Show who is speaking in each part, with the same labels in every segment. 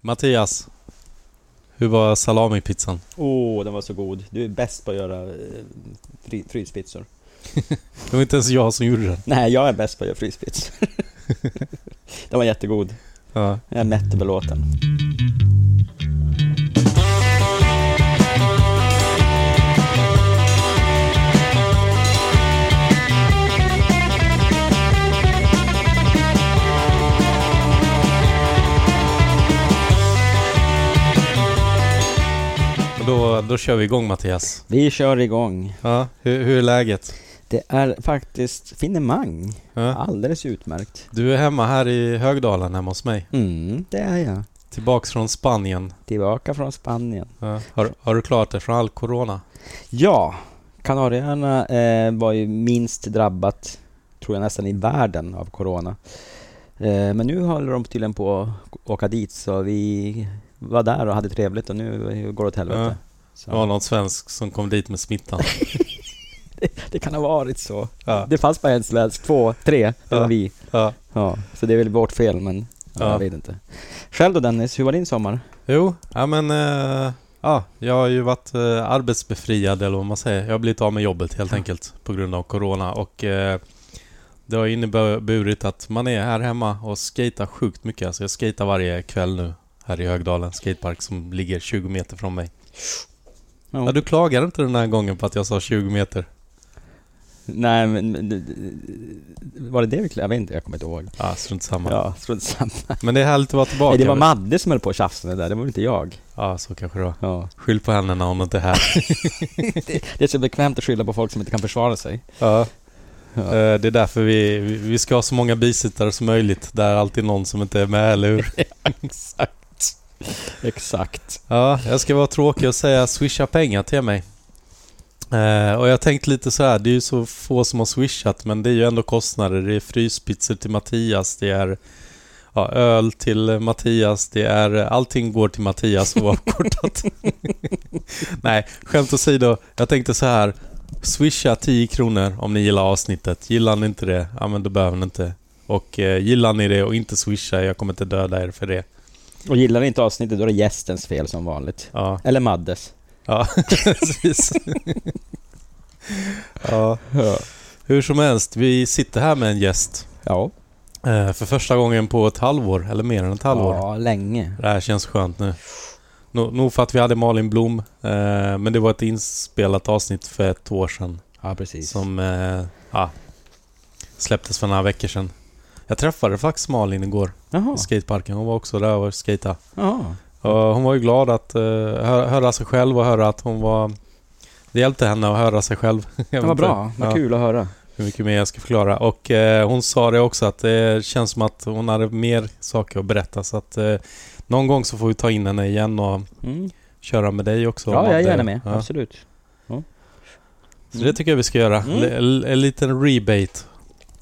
Speaker 1: Mattias, hur var salamipizzan?
Speaker 2: Åh, den var så god. Du är bäst på att göra eh, fri, fryspizzor.
Speaker 1: Det var inte ens jag som gjorde den.
Speaker 2: Nej, jag är bäst på att göra fryspizzor. den var jättegod.
Speaker 1: Ja.
Speaker 2: Jag är mätt och belåten.
Speaker 1: Och då, då kör vi igång Mattias.
Speaker 2: Vi kör igång.
Speaker 1: Ja, hur, hur är läget?
Speaker 2: Det är faktiskt finemang.
Speaker 1: Ja.
Speaker 2: Alldeles utmärkt.
Speaker 1: Du är hemma här i Högdalen, hemma hos mig.
Speaker 2: Mm, det är jag.
Speaker 1: Tillbaks från Spanien.
Speaker 2: Tillbaka från Spanien.
Speaker 1: Ja. Har, har du klarat dig från all corona?
Speaker 2: Ja, Kanarieöarna eh, var ju minst drabbat, tror jag nästan i världen, av corona. Eh, men nu håller de tydligen på att åka dit, så vi var där och hade trevligt och nu går det åt helvete. Så.
Speaker 1: Det var någon svensk som kom dit med smittan.
Speaker 2: Det kan ha varit så.
Speaker 1: Ja.
Speaker 2: Det fanns bara en svensk, två, tre, det
Speaker 1: Ja.
Speaker 2: var vi.
Speaker 1: Ja.
Speaker 2: Ja, så det är väl vårt fel, men ja.
Speaker 1: Ja.
Speaker 2: jag vet inte. Själv då Dennis, hur var din sommar?
Speaker 1: Jo, ja men... eh, ja, jag har ju varit eh, arbetsbefriad eller vad man säger. Jag har blivit av med jobbet helt enkelt på grund av Corona och eh, det har inneburit att man är här hemma och skatar sjukt mycket. Alltså jag skatar varje kväll nu här i Högdalen skatepark som ligger 20 meter från mig.
Speaker 2: Ja.
Speaker 1: Ja, du klagar inte den här gången på att jag sa 20 meter?
Speaker 2: Nej, men men, d- d- var det det vi klä- Jag vet inte, jag kommer inte ihåg.
Speaker 1: Ja, strunt samma.
Speaker 2: Ja, strunt samma.
Speaker 1: Men det är härligt att vara tillbaka.
Speaker 2: Nej, det var
Speaker 1: man.
Speaker 2: Madde som höll på och tjafsade där, det var inte jag.
Speaker 1: Ja, så kanske det var.
Speaker 2: Ja.
Speaker 1: Skyll på henne när hon inte är här.
Speaker 2: Det är så bekvämt att skylla på folk som inte kan försvara sig.
Speaker 1: Ja.
Speaker 2: Ja.
Speaker 1: Eh, Det är därför vi, vi- vi ska ha så många bisittare som möjligt. Där är alltid någon som inte är med, eller hur?
Speaker 2: Exakt. Exakt.
Speaker 1: Ja, jag ska vara tråkig och säga swisha pengar till mig. Eh, och jag tänkte lite så här, det är ju så få som har swishat men det är ju ändå kostnader. Det är fryspizzor till Mattias, det är ja, öl till Mattias, det är allting går till Mattias oavkortat. Nej, skämt åsido. Jag tänkte så här, swisha 10 kronor om ni gillar avsnittet. Gillar ni inte det, ja men då behöver ni inte. Och eh, gillar ni det och inte swisha, jag kommer inte döda er för det.
Speaker 2: Och gillar ni inte avsnittet, då är det gästens fel som vanligt.
Speaker 1: Ja.
Speaker 2: Eller Maddes.
Speaker 1: Ja, precis. ja.
Speaker 2: Ja.
Speaker 1: Hur som helst, vi sitter här med en gäst.
Speaker 2: Ja.
Speaker 1: eh, För första gången på ett halvår, eller mer än ett halvår.
Speaker 2: Ja, länge.
Speaker 1: Det här känns skönt nu. Nog nog för att vi hade Malin Blom, eh, men det var ett inspelat avsnitt för ett år sedan.
Speaker 2: Ja, precis.
Speaker 1: Som eh, ja, släpptes för några veckor sedan. Jag träffade faktiskt Malin igår
Speaker 2: Jaha.
Speaker 1: i skateparken. Hon var också där och skejtade.
Speaker 2: Jaha.
Speaker 1: Och hon var ju glad att eh, hö- höra sig själv och höra att hon var... Det hjälpte henne att höra sig själv. Jag
Speaker 2: Det
Speaker 1: vet
Speaker 2: var
Speaker 1: inte
Speaker 2: bra. Vad
Speaker 1: Ja.
Speaker 2: kul att höra.
Speaker 1: Hur mycket mer jag ska förklara. Och eh, hon sa det också att det känns som att hon hade mer saker att berätta. Så att eh, någon gång så får vi ta in henne igen och
Speaker 2: Mm.
Speaker 1: köra med dig också.
Speaker 2: Ja, jag är
Speaker 1: Madde.
Speaker 2: gärna med.
Speaker 1: Ja.
Speaker 2: Absolut. Ja.
Speaker 1: Så det tycker jag vi ska göra.
Speaker 2: Mm.
Speaker 1: L- l- en liten rebate.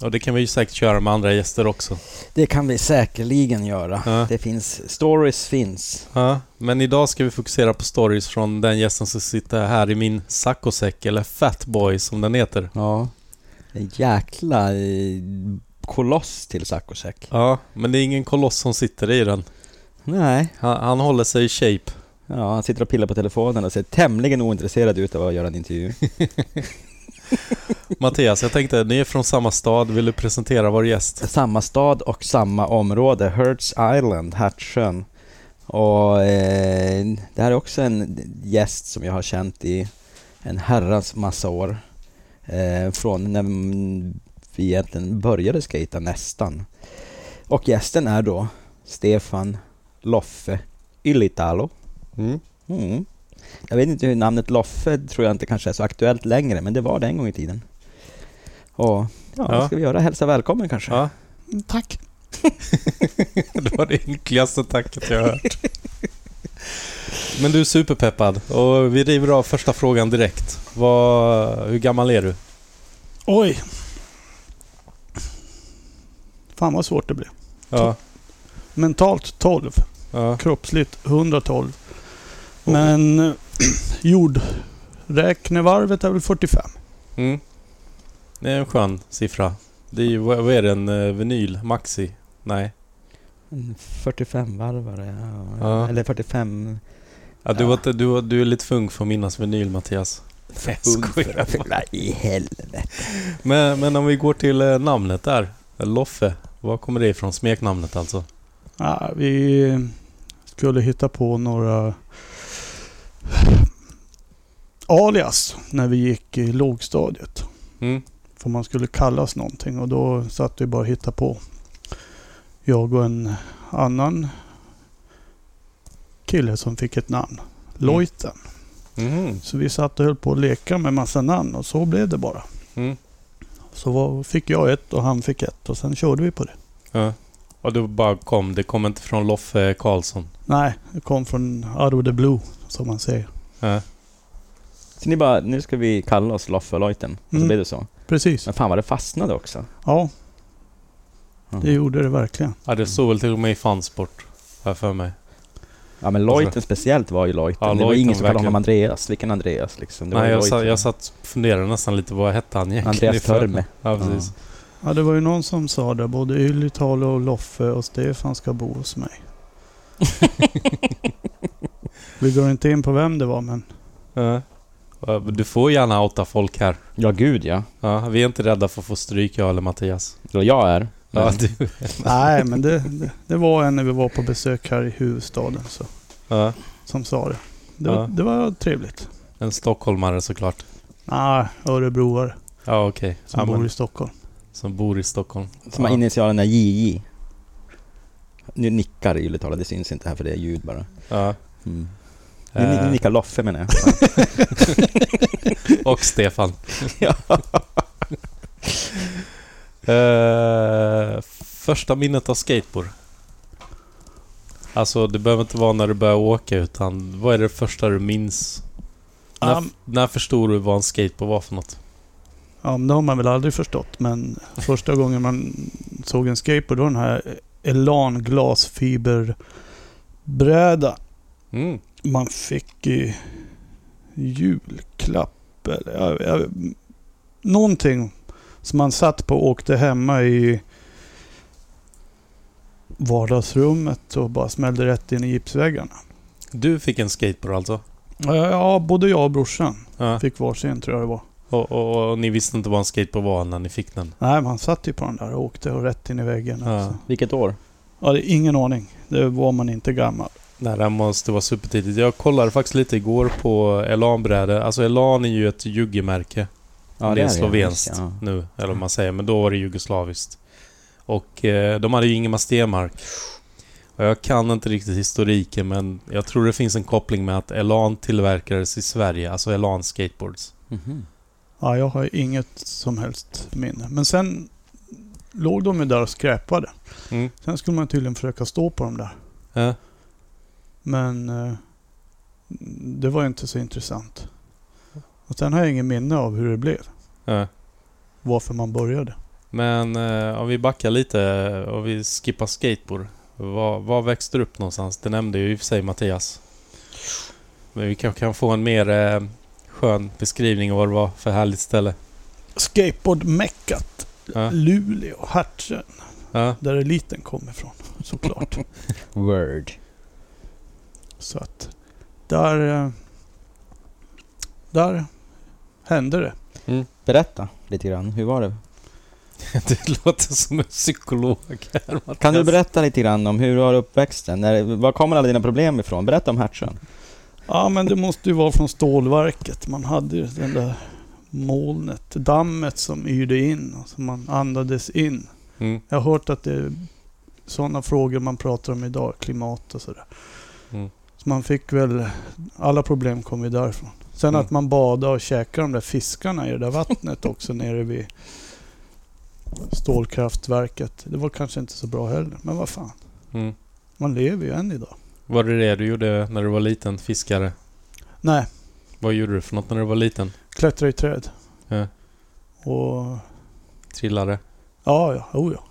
Speaker 1: Och det kan vi ju säkert köra med andra gäster också.
Speaker 2: Det kan vi säkerligen göra.
Speaker 1: Ja.
Speaker 2: Det finns, stories finns.
Speaker 1: Ja, men idag ska vi fokusera på stories från den gästen som sitter här i min saccosäck, eller Fatboy som den heter.
Speaker 2: Ja. En jäkla eh, koloss till saccosäck.
Speaker 1: Ja, men det är ingen koloss som sitter i den.
Speaker 2: Nej.
Speaker 1: Han, han håller sig i shape.
Speaker 2: Ja, han sitter och pillar på telefonen och ser tämligen ointresserad ut av att göra en intervju.
Speaker 1: Mattias, jag tänkte, ni är från samma stad, vill du presentera vår gäst?
Speaker 2: Samma stad och samma område, Hertz Island, Hertsön. Och eh, det här är också en gäst som jag har känt i en herrans massa år. Eh, från när vi egentligen började skata nästan. Och gästen är då Stefan Loffe Ylitalo. Mm. Jag vet inte hur namnet Loffe tror jag inte kanske är så aktuellt längre, men det var det en gång i tiden. Och ja, vad
Speaker 1: Ja.
Speaker 2: ska vi göra? Hälsa välkommen kanske?
Speaker 1: Ja. Tack. det var det ynkligaste tacket jag har hört. Men du är superpeppad och vi river av första frågan direkt. Vad, hur gammal är du?
Speaker 3: Oj! Fan vad svårt det blev.
Speaker 1: Ja,
Speaker 3: Mentalt 12,
Speaker 1: ja,
Speaker 3: kroppsligt 112. Men eh, jordräknevarvet är väl 45.
Speaker 1: Mm. Det är en skön siffra. Det är ju, vad vad är det, en eh, vinyl? Maxi? Nej.
Speaker 2: En 45-varvare. Ja.
Speaker 1: Ja.
Speaker 2: Eller 45...
Speaker 1: Ja, du,
Speaker 2: Ja.
Speaker 1: Var, inte- du, var- du är lite för ung för att minnas vinyl, Mattias. Nej, jag skojar bara.
Speaker 2: Vad i helvete.
Speaker 1: Men, men om vi går till eh, namnet där. Loffe. Var kommer det ifrån? Smeknamnet alltså.
Speaker 3: Ja, vi skulle hitta på några alias när vi gick i lågstadiet.
Speaker 1: Mm.
Speaker 3: För man skulle kallas någonting och då satt vi bara och hittade på. Jag och en annan kille som fick ett namn. Lojten.
Speaker 1: Mhm.
Speaker 3: Så vi satt och höll på att leka med massa namn och så blev det bara.
Speaker 1: Mm.
Speaker 3: Så var, fick jag ett och han fick ett och sen körde vi på det.
Speaker 1: Ja. Och du bara kom. Det kom inte från Loffe Karlsson.
Speaker 3: Nej, det kom från out of the blue som man säger.
Speaker 1: Ja.
Speaker 2: Så ni bara, nu ska vi kalla oss Loffe och Lojten. Och så
Speaker 3: Mm.
Speaker 2: blev det så.
Speaker 3: Precis.
Speaker 2: Men fan vad det fastnade också.
Speaker 3: Ja,
Speaker 2: Mm.
Speaker 3: det gjorde det verkligen.
Speaker 1: Ja, det stod väl till och med i Fansport. Har jag för mig.
Speaker 2: Ja men Lojten speciellt var ju Lojten.
Speaker 1: Ja,
Speaker 2: det var
Speaker 1: Lojten,
Speaker 2: ingen som kallade
Speaker 1: verkligen.
Speaker 2: honom Andreas. Vilken Andreas liksom? Det var
Speaker 1: Nej,
Speaker 2: ju
Speaker 1: jag, sa,
Speaker 2: Lojten.
Speaker 1: jag satt och funderade nästan lite. Vad hette han egentligen? i
Speaker 2: Andreas
Speaker 1: för-
Speaker 2: Törme.
Speaker 1: Ja, precis.
Speaker 3: Ja, det var ju någon som sa det. Både Ylitalo och Loffe och Stefan ska bo hos mig. Vi går inte in på vem det var, men
Speaker 1: Ja. Äh. Ja, Du får gärna outa folk här.
Speaker 2: Ja gud ja.
Speaker 1: Ja, vi är inte rädda för att få stryk, jag eller Mattias.
Speaker 2: Eller jag är. Men,
Speaker 1: Ja, du.
Speaker 3: nej, men det, det, det var en när vi var på besök här i huvudstaden så,
Speaker 1: Ja.
Speaker 3: som sa det. Det,
Speaker 1: Ja.
Speaker 3: var, det var trevligt.
Speaker 1: En stockholmare såklart.
Speaker 3: Nej, örebroare
Speaker 1: Ja, okej.
Speaker 3: som
Speaker 1: Ja, men-
Speaker 3: bor i Stockholm.
Speaker 1: som bor i Stockholm.
Speaker 2: Som har
Speaker 1: Ja.
Speaker 2: initialerna JJ. Nu nickar Ylitala, det syns inte här för det är ljud bara.
Speaker 1: Ja.
Speaker 2: Mm. Nu, ni- nu
Speaker 1: Eh,
Speaker 2: nickar Loffe menar jag.
Speaker 1: och Stefan. Eh, första minnet av skateboard? Alltså, det behöver inte vara när du börjar åka, utan vad är det första du minns? När,
Speaker 3: Ja,
Speaker 1: när förstod du vad en skateboard var för något?
Speaker 3: Ja, men det har man väl aldrig förstått. Men första gången man såg en skateboard, då var den här Elan glasfiberbräda
Speaker 1: Mm.
Speaker 3: man fick i julklapp eller jag, jag, någonting som man satt på och åkte hemma i vardagsrummet och bara smällde rätt in i gipsväggarna.
Speaker 1: Du fick en skateboard alltså?
Speaker 3: Ja, både jag och brorsan
Speaker 1: Ja.
Speaker 3: fick varsin tror jag det var.
Speaker 1: Och, och, och ni visste inte vad en skateboard var när ni fick den?
Speaker 3: Nej, man satt ju på den där och åkte och rätt in i väggen.
Speaker 1: Ja.
Speaker 3: Alltså.
Speaker 2: Vilket år?
Speaker 3: Ja, det är ingen aning. Det var man inte gammal.
Speaker 1: Nej, det här måste vara supertidigt. Jag kollade faktiskt lite igår på Elan-brädor. Alltså Elan är ju ett juggimärke.
Speaker 2: Ja,
Speaker 1: det är
Speaker 2: det
Speaker 1: slovenskt
Speaker 2: Ja.
Speaker 1: nu, eller vad man säger. Men då var det jugoslaviskt. Och eh, de hade ju Ingemar Stenmark. Och jag kan inte riktigt historiken, men jag tror det finns en koppling med att Elan tillverkades i Sverige. Alltså Elan Skateboards.
Speaker 2: Mhm.
Speaker 3: Ja, jag har inget som helst minne. Men sen låg de ju där och skräpade.
Speaker 1: Mm.
Speaker 3: Sen skulle man tydligen försöka stå på dem där.
Speaker 1: Ja.
Speaker 3: Men eh, det var ju inte så intressant. Och sen har jag ingen minne av hur det blev.
Speaker 1: Ja.
Speaker 3: Varför man började.
Speaker 1: Men eh, om vi backar lite och vi skippar skateboard. Var, var växte du upp någonstans? Det nämnde ju i och för sig Mattias. Men vi kanske kan få en mer eh, skön beskrivning av vad det var för härligt ställe.
Speaker 3: Skateboardmeckat.
Speaker 1: Ja,
Speaker 3: Luleå, Hertsön.
Speaker 1: ja,
Speaker 3: Där eliten kom ifrån. Såklart.
Speaker 2: Word.
Speaker 3: så att där... eh, Där hände det.
Speaker 2: Berätta lite grann, hur var det?
Speaker 1: det låter som en psykolog här Mattias.
Speaker 2: Kan du berätta lite grann om hur var uppväxten? När, var kommer alla dina problem ifrån? Berätta om Hertsön.
Speaker 3: Ja, men det måste ju vara från stålverket. Man hade ju den där molnet, dammet som yrde in och som man andades in.
Speaker 1: Mm,
Speaker 3: Jag har hört att det är sådana frågor man pratar om idag, klimat och sådär.
Speaker 1: Mm.
Speaker 3: Så man fick väl, alla problem kom ju därifrån. Sen
Speaker 1: Mm.
Speaker 3: att man badade och käkade de där fiskarna i det där vattnet också nere vid stålkraftverket. Det var kanske inte så bra heller, men vad fan.
Speaker 1: mm.
Speaker 3: Man lever ju än idag.
Speaker 1: Var det det du gjorde när du var liten? Fiskare?
Speaker 3: Nej,
Speaker 1: Vad gjorde du för något när du var liten?
Speaker 3: klättra i träd.
Speaker 1: Ja.
Speaker 3: Och
Speaker 1: Trillade?
Speaker 3: Ja, ja. Oh, ja.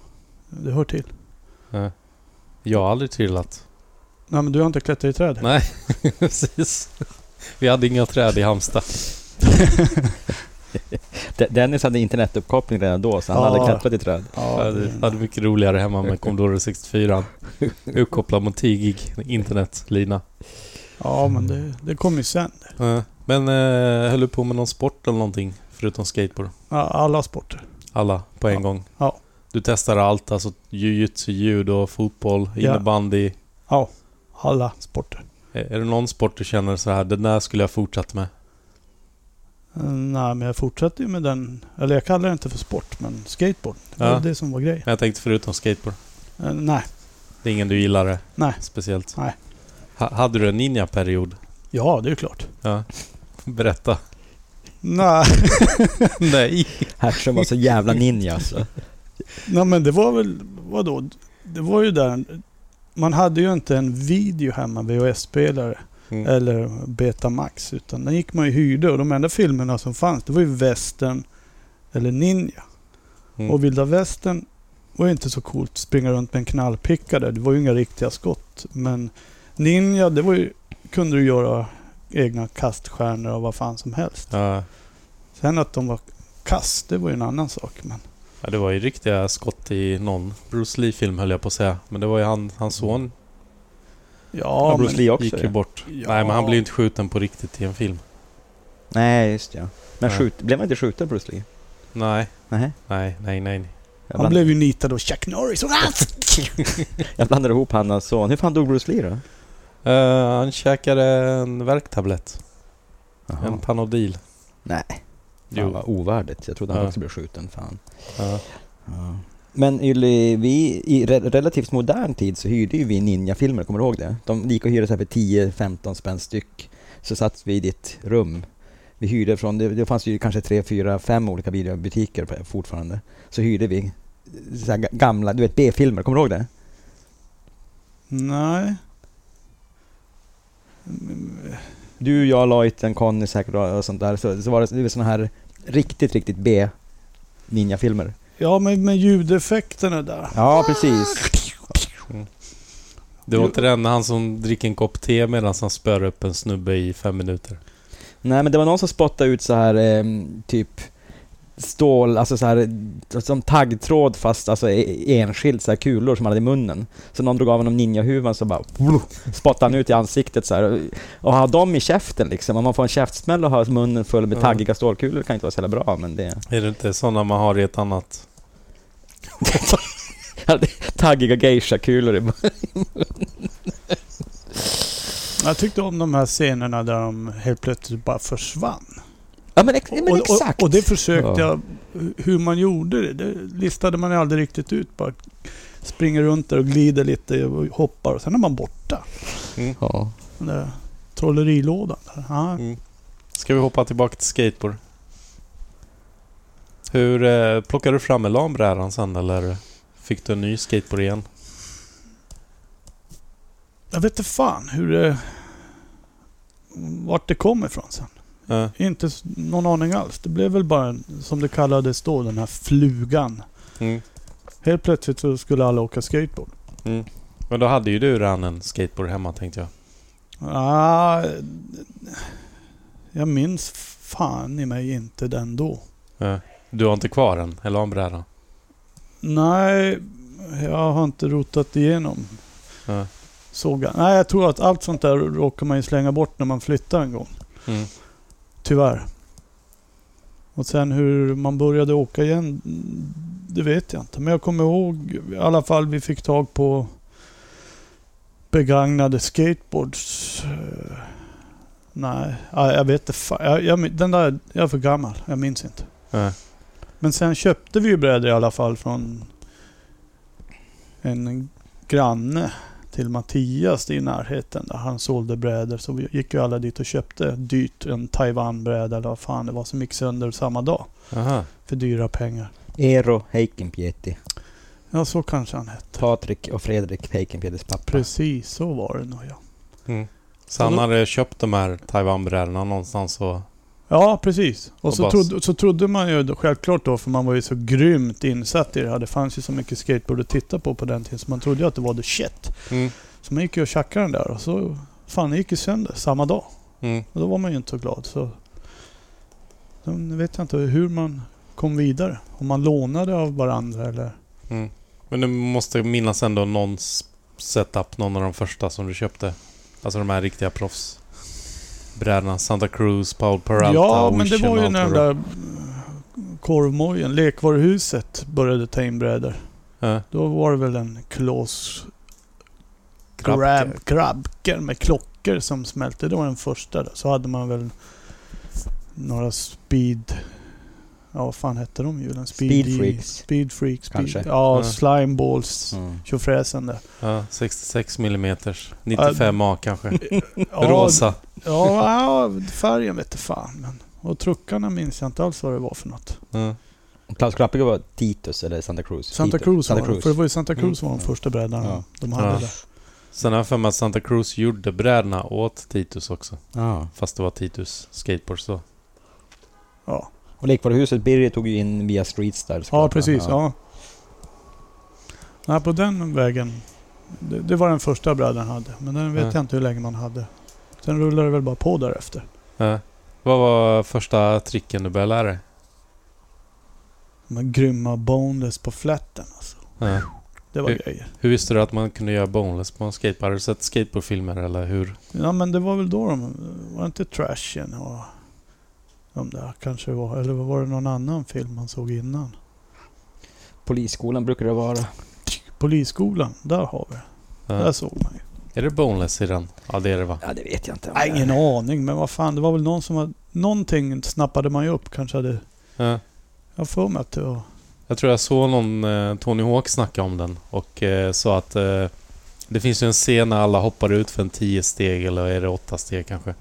Speaker 3: Det hör till.
Speaker 1: Ja. Eh, Jag har aldrig trillat.
Speaker 3: Nej, men du har inte klättrat i träd?
Speaker 1: Nej, precis. Vi hade inga träd i Halmstad.
Speaker 2: De- Dennis hade internetuppkoppling redan då, så han
Speaker 3: Ja.
Speaker 2: hade klättrat i träd.
Speaker 1: Jag
Speaker 3: Ja,
Speaker 1: hade, hade mycket roligare hemma med Commodore 64. Uppkopplad mot 10 gig internetlina.
Speaker 3: ja men det, det kom ju sen.
Speaker 1: Eh, Men eh, höll du på med någon sport eller någonting? Förutom skateboard?
Speaker 3: Ja, Alla sporter.
Speaker 1: Alla på en
Speaker 3: Ja.
Speaker 1: gång?
Speaker 3: Ja.
Speaker 1: Du testade allt, alltså jujutsu, judo, fotboll,
Speaker 3: Ja.
Speaker 1: innebandy.
Speaker 3: Alla sporter.
Speaker 1: Eh, Är är det någon sport du känner så här, den där skulle jag fortsatt med?
Speaker 3: Eh, Nej, men jag fortsatte ju med den. Eller jag kallar det inte för sport, men skateboard. Det var
Speaker 1: Ja.
Speaker 3: det som var grejen.
Speaker 1: Men jag tänkte förutom skateboard.
Speaker 3: Eh, Nej,
Speaker 1: Det är ingen du gillade?
Speaker 3: Nej.
Speaker 1: Speciellt?
Speaker 3: Nej.
Speaker 1: Ha, hade du en ninja-period?
Speaker 3: ja det är ju klart.
Speaker 1: Ja. Berätta.
Speaker 3: Nej,
Speaker 1: Nej.
Speaker 2: Hertzen var så jävla ninja alltså.
Speaker 3: nej men det var väl, vadå? Det var ju där, man hade ju inte en video hemma, VHS-spelare. Eh,
Speaker 1: Mm.
Speaker 3: eller Betamax. Utan den gick man ju hyrde och de enda filmerna som fanns det var ju västern eller ninja.
Speaker 1: Mm.
Speaker 3: Och vilda västern var ju inte så coolt. Springa runt med en knallpicka där. Det var ju inga riktiga skott. Men ninja, det var ju, kunde du göra egna kaststjärnor och vad fan som helst.
Speaker 1: Ja.
Speaker 3: Sen att de var kast, det var ju en annan sak. Men
Speaker 1: Ja, det var ju riktiga skott i någon Bruce Lee-film höll jag på att säga. Men det var ju han, hans son
Speaker 3: ja,
Speaker 2: och Bruce
Speaker 3: men,
Speaker 2: Lee också.
Speaker 1: gick ju
Speaker 2: Ja.
Speaker 1: bort.
Speaker 3: Ja.
Speaker 1: Nej, men han blev ju inte skjuten på riktigt i en film.
Speaker 2: Nej, just ja. Men
Speaker 1: Ja.
Speaker 2: skjut, blev man inte skjuten Bruce Lee?
Speaker 1: Nej,
Speaker 2: Nej.
Speaker 1: nej, nej, nej.
Speaker 2: Jag,
Speaker 3: han
Speaker 2: bland,
Speaker 3: blev ju nitad av Chuck Norris.
Speaker 2: jag blandade ihop han och son. Hur fan dog Bruce Lee då?
Speaker 1: Eh, han käkade en värktablett.
Speaker 2: Jaha.
Speaker 1: En Panodil.
Speaker 2: Nej.
Speaker 1: Jo.
Speaker 2: Fan vad ovärdigt. Jag trodde han
Speaker 1: Ja.
Speaker 2: också blev skjuten. Fan.
Speaker 1: Ja.
Speaker 2: Ja. Men Ylly, vi, i re- relativt modern tid så hyrde ju vi ninjafilmer, kommer du ihåg det? De gick och hyrde så här för 10-15 spänn styck. Så satt vi i ditt rum. Vi hyrde från, det, det fanns ju kanske tre, fyra, fem olika videobutiker på- fortfarande. Så hyrde vi så här ga- gamla, du vet B-filmer, kommer du ihåg det?
Speaker 3: Nej.
Speaker 2: Du, jag, Lojten, Conny säkert och och sånt där. Så, så var det, det var såna här riktigt, riktigt B-ninjafilmer.
Speaker 3: Ja, men med ljudeffekterna där.
Speaker 2: Ja, precis.
Speaker 1: Det var inte den han som dricker en kopp te medan han spör upp en snubbe i fem minuter.
Speaker 2: Nej men det var någon som spottade ut så här ehm, typ stål, alltså så här som taggtråd fast alltså e- enskilt så här kulor som han hade i munnen. Så någon drog av honom ninjahuvan så bara spottade han ut i ansiktet så här. Och ha dem i käften liksom. Om man får en käftsmäll och har munnen full med
Speaker 1: Ja.
Speaker 2: taggiga stålkulor kan inte vara så jävla bra men det...
Speaker 1: Är det inte sådana man har i ett annat?
Speaker 2: Taggiga geisha-kulor i mun.
Speaker 3: Jag tyckte om de här scenerna där de helt plötsligt bara försvann.
Speaker 2: Ja men, ex- men
Speaker 3: och,
Speaker 2: exakt!
Speaker 3: och, och det försökte
Speaker 2: Ja.
Speaker 3: jag... Hur man gjorde det, det listade man ju aldrig riktigt ut. Bara springer runt där och glider lite och hoppar och sen är man borta.
Speaker 2: Ja.
Speaker 3: Den där trollerilådan där. Ja.
Speaker 1: Mm. Ska vi hoppa tillbaka till skateboard? Hur eh, plockar du fram elambrädan sen eller fick du en ny skateboard igen?
Speaker 3: Jag vet inte fan hur det... Vart det kommer ifrån sen.
Speaker 1: Eh,
Speaker 3: Inte s- någon aning alls. Det blev väl bara, en- som det kallades då, den här flugan.
Speaker 1: mm.
Speaker 3: Helt plötsligt så skulle alla åka skateboard.
Speaker 1: Mm. Men då hade ju du redan en skateboard hemma tänkte jag.
Speaker 3: Ah, jag minns fan i mig inte den då.
Speaker 1: Eh, Du har inte kvar en elambräda?
Speaker 3: Nej, jag har inte rotat igenom.
Speaker 1: Nej.
Speaker 3: Såg jag. Nej, jag tror att allt sånt där råkar man ju slänga bort när man flyttar en gång.
Speaker 1: Mm.
Speaker 3: Tyvärr. Och sen hur man började åka igen, det vet jag inte. Men jag kommer ihåg i alla fall vi fick tag på begagnade skateboards. Eh, Nej, ja, jag vet inte. fa- Jag, jag, den där, jag är för gammal. Jag minns inte.
Speaker 1: Eh,
Speaker 3: Men sen köpte vi ju brädor i alla fall från en granne till Mattias i närheten där han sålde brädor. Så vi gick ju alla dit och köpte dyrt en Taiwan-bräda eller vad fan det var som gick sönder samma dag
Speaker 1: Aha.
Speaker 3: för dyra pengar.
Speaker 2: Eero Heikinpieti.
Speaker 3: Ja, så kanske han hette.
Speaker 2: Patrik och Fredrik Heikinpietis pappa.
Speaker 3: Precis, så var det nog ja.
Speaker 1: Mm. Så han hade köpt de här Taiwan-brädorna någonstans och...
Speaker 3: Ja, precis. Och,
Speaker 1: Och
Speaker 3: så,
Speaker 1: bas.
Speaker 3: trodde, så trodde man ju då, självklart då, för man var ju så grymt insatt i det här. Det fanns ju så mycket skateboard att titta på på den tiden, så man trodde ju att det var the shit.
Speaker 1: Mm.
Speaker 3: Så man gick ju och tjackade den där och så... Fan, den gick ju sönder samma dag.
Speaker 1: Mm.
Speaker 3: Och då var man ju inte så glad. Så, Sen vet jag inte hur man kom vidare. Om man lånade av varandra eller...
Speaker 1: Mm. Men du måste minnas ändå någon s- setup, någon av de första som du köpte. Alltså de här riktiga proffsbrädorna. Santa Cruz, Paul Peralta,
Speaker 3: ja, men det
Speaker 1: Ocean
Speaker 3: var ju
Speaker 1: och
Speaker 3: när
Speaker 1: allt
Speaker 3: den
Speaker 1: vad det
Speaker 3: där eh, korvmojen, lekvaruhuset, började ta in brädor.
Speaker 1: var. Ja.
Speaker 3: Då var det väl en Klas
Speaker 1: Krabke.
Speaker 3: Grab, Krabker med klockor som smälte. Det var den första. Då. Så hade man väl några Speed... Ja, vad fan hette de hjulen?
Speaker 2: Speed Freaks.
Speaker 3: Speed Freaks. Speed,
Speaker 2: Kanske.
Speaker 3: Ja,
Speaker 1: Ja.
Speaker 3: Slimeballs.
Speaker 2: Mm.
Speaker 3: Tjofräsen där.
Speaker 1: Ja, 66 mm. 95A kanske.
Speaker 3: Ja,
Speaker 1: Rosa.
Speaker 3: Ja, ja, färgen vet du fan. Men, och truckarna minns jag inte alls vad det var för något.
Speaker 1: Ja.
Speaker 2: Klaus Klappige var Titus eller Santa Cruz?
Speaker 3: Santa
Speaker 2: Titus.
Speaker 3: Cruz,
Speaker 2: Santa
Speaker 3: var det.
Speaker 2: Cruz.
Speaker 3: För det var ju Santa Cruz som var de
Speaker 2: Mm.
Speaker 3: första brädarna
Speaker 2: Ja.
Speaker 3: de hade
Speaker 1: Ja.
Speaker 3: där.
Speaker 1: Sen har jag för mig att Santa Cruz gjorde brädorna åt Titus också.
Speaker 2: Ja.
Speaker 1: Fast det var Titus Skateboards då.
Speaker 3: Ja,
Speaker 2: Och lekvaruhuset Birger tog ju in via Streetstyle
Speaker 3: ja
Speaker 2: såklart.
Speaker 3: precis. Ja. Nej, på den vägen. Det, det var den första brädan hade. Men den vet
Speaker 1: Ja.
Speaker 3: jag inte hur länge man hade. Sen rullade det väl bara på därefter.
Speaker 1: Ja. Vad var första tricken du började lära dig?
Speaker 3: De här grymma boneless på flätten alltså.
Speaker 1: Ja.
Speaker 3: Det var
Speaker 1: Hur-
Speaker 3: grejer.
Speaker 1: Hur visste du att man kunde göra boneless på en skateboard? Har du sett skateboardfilmer eller hur?
Speaker 3: Ja men det var väl då de... Var det inte Trashen och... De där kanske det var. Eller var det någon annan film man såg innan?
Speaker 2: Polisskolan brukar det vara.
Speaker 3: Polisskolan, där har vi det. Där
Speaker 1: Ja.
Speaker 3: såg man ju.
Speaker 1: Är det boneless i den? Ja, det är det va?
Speaker 2: Ja, det vet jag inte. om
Speaker 3: Nej,
Speaker 2: det är.
Speaker 3: ingen aning, men vad fan. Det var väl någon som var... Någonting snappade man ju upp. Kanske hade...
Speaker 1: Ja.
Speaker 3: Jag har för mig att det var...
Speaker 1: Jag tror jag såg någon eh, Tony Hawk snacka om den och eh, sa att eh, det finns ju en scen när alla hoppar ut för en tio steg eller är det åtta steg kanske.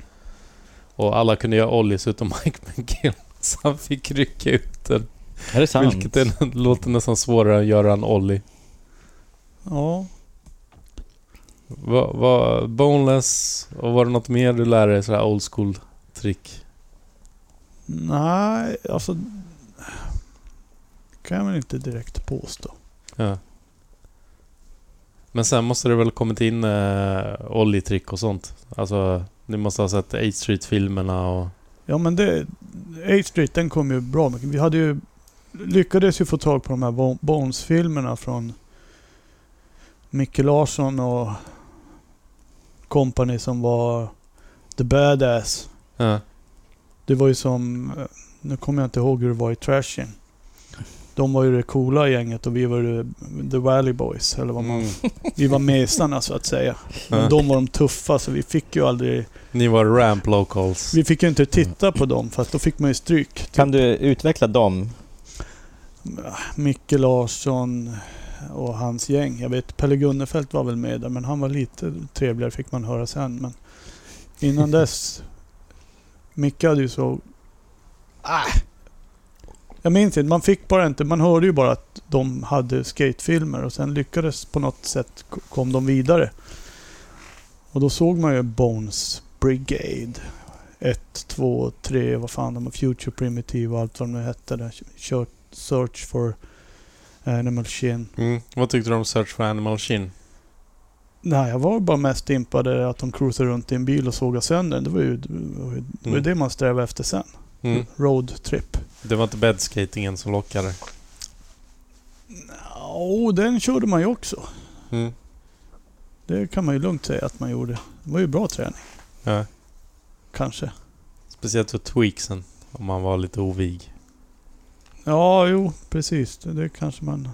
Speaker 1: Och alla kunde göra ollies utom Mike McGill. Så han fick rycka ut den.
Speaker 2: Är det sant?
Speaker 1: Vilket är, låter nästan svårare än att göra en ollie.
Speaker 3: Ja.
Speaker 1: Va, va, boneless och var det något mer du lärde dig? Sådär old school trick?
Speaker 3: Nej, alltså... kan jag väl inte direkt påstå.
Speaker 1: Ja. Men sen måste det väl kommit in eh, ollie-trick och sånt? Alltså, ni måste ha sett 8 Street-filmerna och...
Speaker 3: Ja, men det... A Street, den kom ju bra mycket. Vi hade ju... Lyckades ju få tag på de här Bo- Bones-filmerna från... Micke Larsson och... Company som var... The Badass.
Speaker 1: Ja.
Speaker 3: Det var ju som... eh, Nu kommer jag inte ihåg hur det var i Trashin. De var ju det coola gänget och vi var ju The Valley Boys. Eller vad
Speaker 1: Mm.
Speaker 3: man, Vi var mesarna så att säga. Men
Speaker 1: Ja.
Speaker 3: de var de tuffa så vi fick ju aldrig...
Speaker 1: Ni var ramp locals.
Speaker 3: Vi fick ju inte titta på dem för att då fick man ju stryk. Typ
Speaker 2: Kan du utveckla dem?
Speaker 3: Micke Larsson och hans gäng. Jag vet Pelle Gunnefelt var väl med där men han var lite trevligare fick man höra sen. Men innan dess... Micke hade ju så... Ah. Jag minns inte, man fick bara inte... Man hörde ju bara att de hade skatefilmer och sen lyckades på något sätt k- kom de vidare. Och då såg man ju Bones Brigade. 1, 2, 3, vad fan de var, Future Primitive och allt vad de nu hette. Där. Kör- Search for eh, Animal Shin.
Speaker 1: Mm. Vad tyckte du om Search for Animal Shin?
Speaker 3: Nej, jag var bara mest impad i att de cruisade runt i en bil och sågade sönder den. Det var ju det, var ju, det, var
Speaker 1: Mm.
Speaker 3: ju det man strävade efter sen.
Speaker 1: Mm.
Speaker 3: Road trip.
Speaker 1: Det var inte bedskatingen som lockade.
Speaker 3: Åh, den körde man ju också.
Speaker 1: Mm.
Speaker 3: Det kan man ju lugnt säga att man gjorde. Det var ju bra träning,
Speaker 1: Ja.
Speaker 3: kanske.
Speaker 1: Speciellt för tweaksen. Om man var lite ovig.
Speaker 3: Ja, jo, precis. Det, det kanske man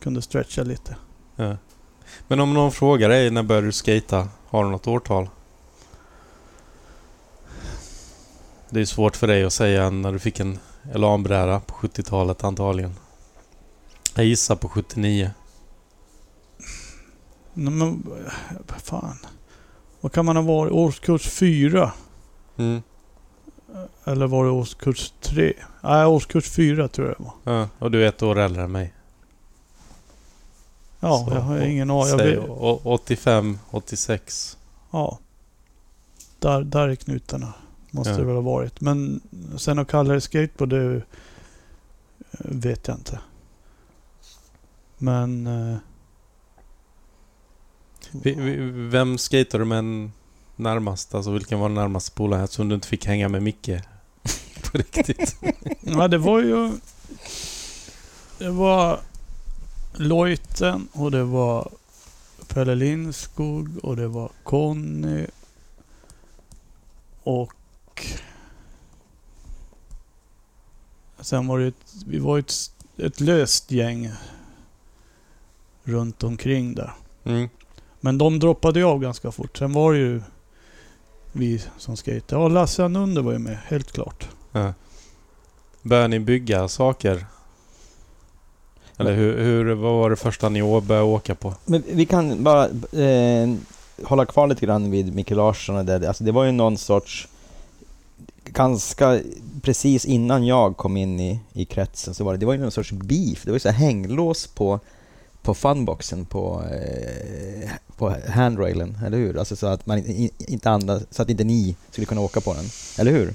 Speaker 3: kunde stretcha lite.
Speaker 1: Ja. Men om någon frågar dig när började du skata? Har du något årtal? Det är svårt för dig att säga när du fick en elanbräda på 70-talet antagligen. Jag gissar på 79.
Speaker 3: Nej, Men, eh, fan. Vad kan man ha varit? Årskurs fyra?
Speaker 1: Mm.
Speaker 3: Eller var det årskurs tre? Nej, årskurs fyra tror jag det var.
Speaker 1: Ja. Och du är ett år äldre än mig.
Speaker 3: Ja,
Speaker 1: Så,
Speaker 3: jag har
Speaker 1: och-
Speaker 3: ingen aning. Jag
Speaker 1: Säg
Speaker 3: vet-
Speaker 1: å- 85, 86.
Speaker 3: Ja. Där, där är knutarna. Måste
Speaker 1: Ja.
Speaker 3: det väl ha varit. Men sen att kalla det skateboard, det eh, vet jag inte. Men... eh,
Speaker 1: Vi- vi- Vem skater du med närmast? Alltså vilken var den närmaste polaren? Eftersom du inte fick hänga med Micke. på riktigt.
Speaker 3: Ja, det var ju... Det var Lojten och det var Pelle Lindskog och det var Conny och... Sen var det ett, vi var ett, ett löst gäng runt omkring där.
Speaker 1: Mm.
Speaker 3: Men de droppade ju av ganska fort. Sen var det ju vi som skejtade. Ja, Lasse Anunder var ju med, helt klart.
Speaker 1: Ja. Började ni bygga saker? Eller hur, hur, vad var det första ni å- började åka på?
Speaker 2: Men vi kan bara eh, hålla kvar lite grann vid Micke Larsson och det. Alltså det var ju någon sorts... Ganska precis innan jag kom in i, i kretsen så var det, det var ju någon sorts beef. Det var ju så här hänglås på, på funboxen på, eh, på handrailen, eller hur? Alltså så att man i- inte andas, så att inte ni skulle kunna åka på den, eller hur?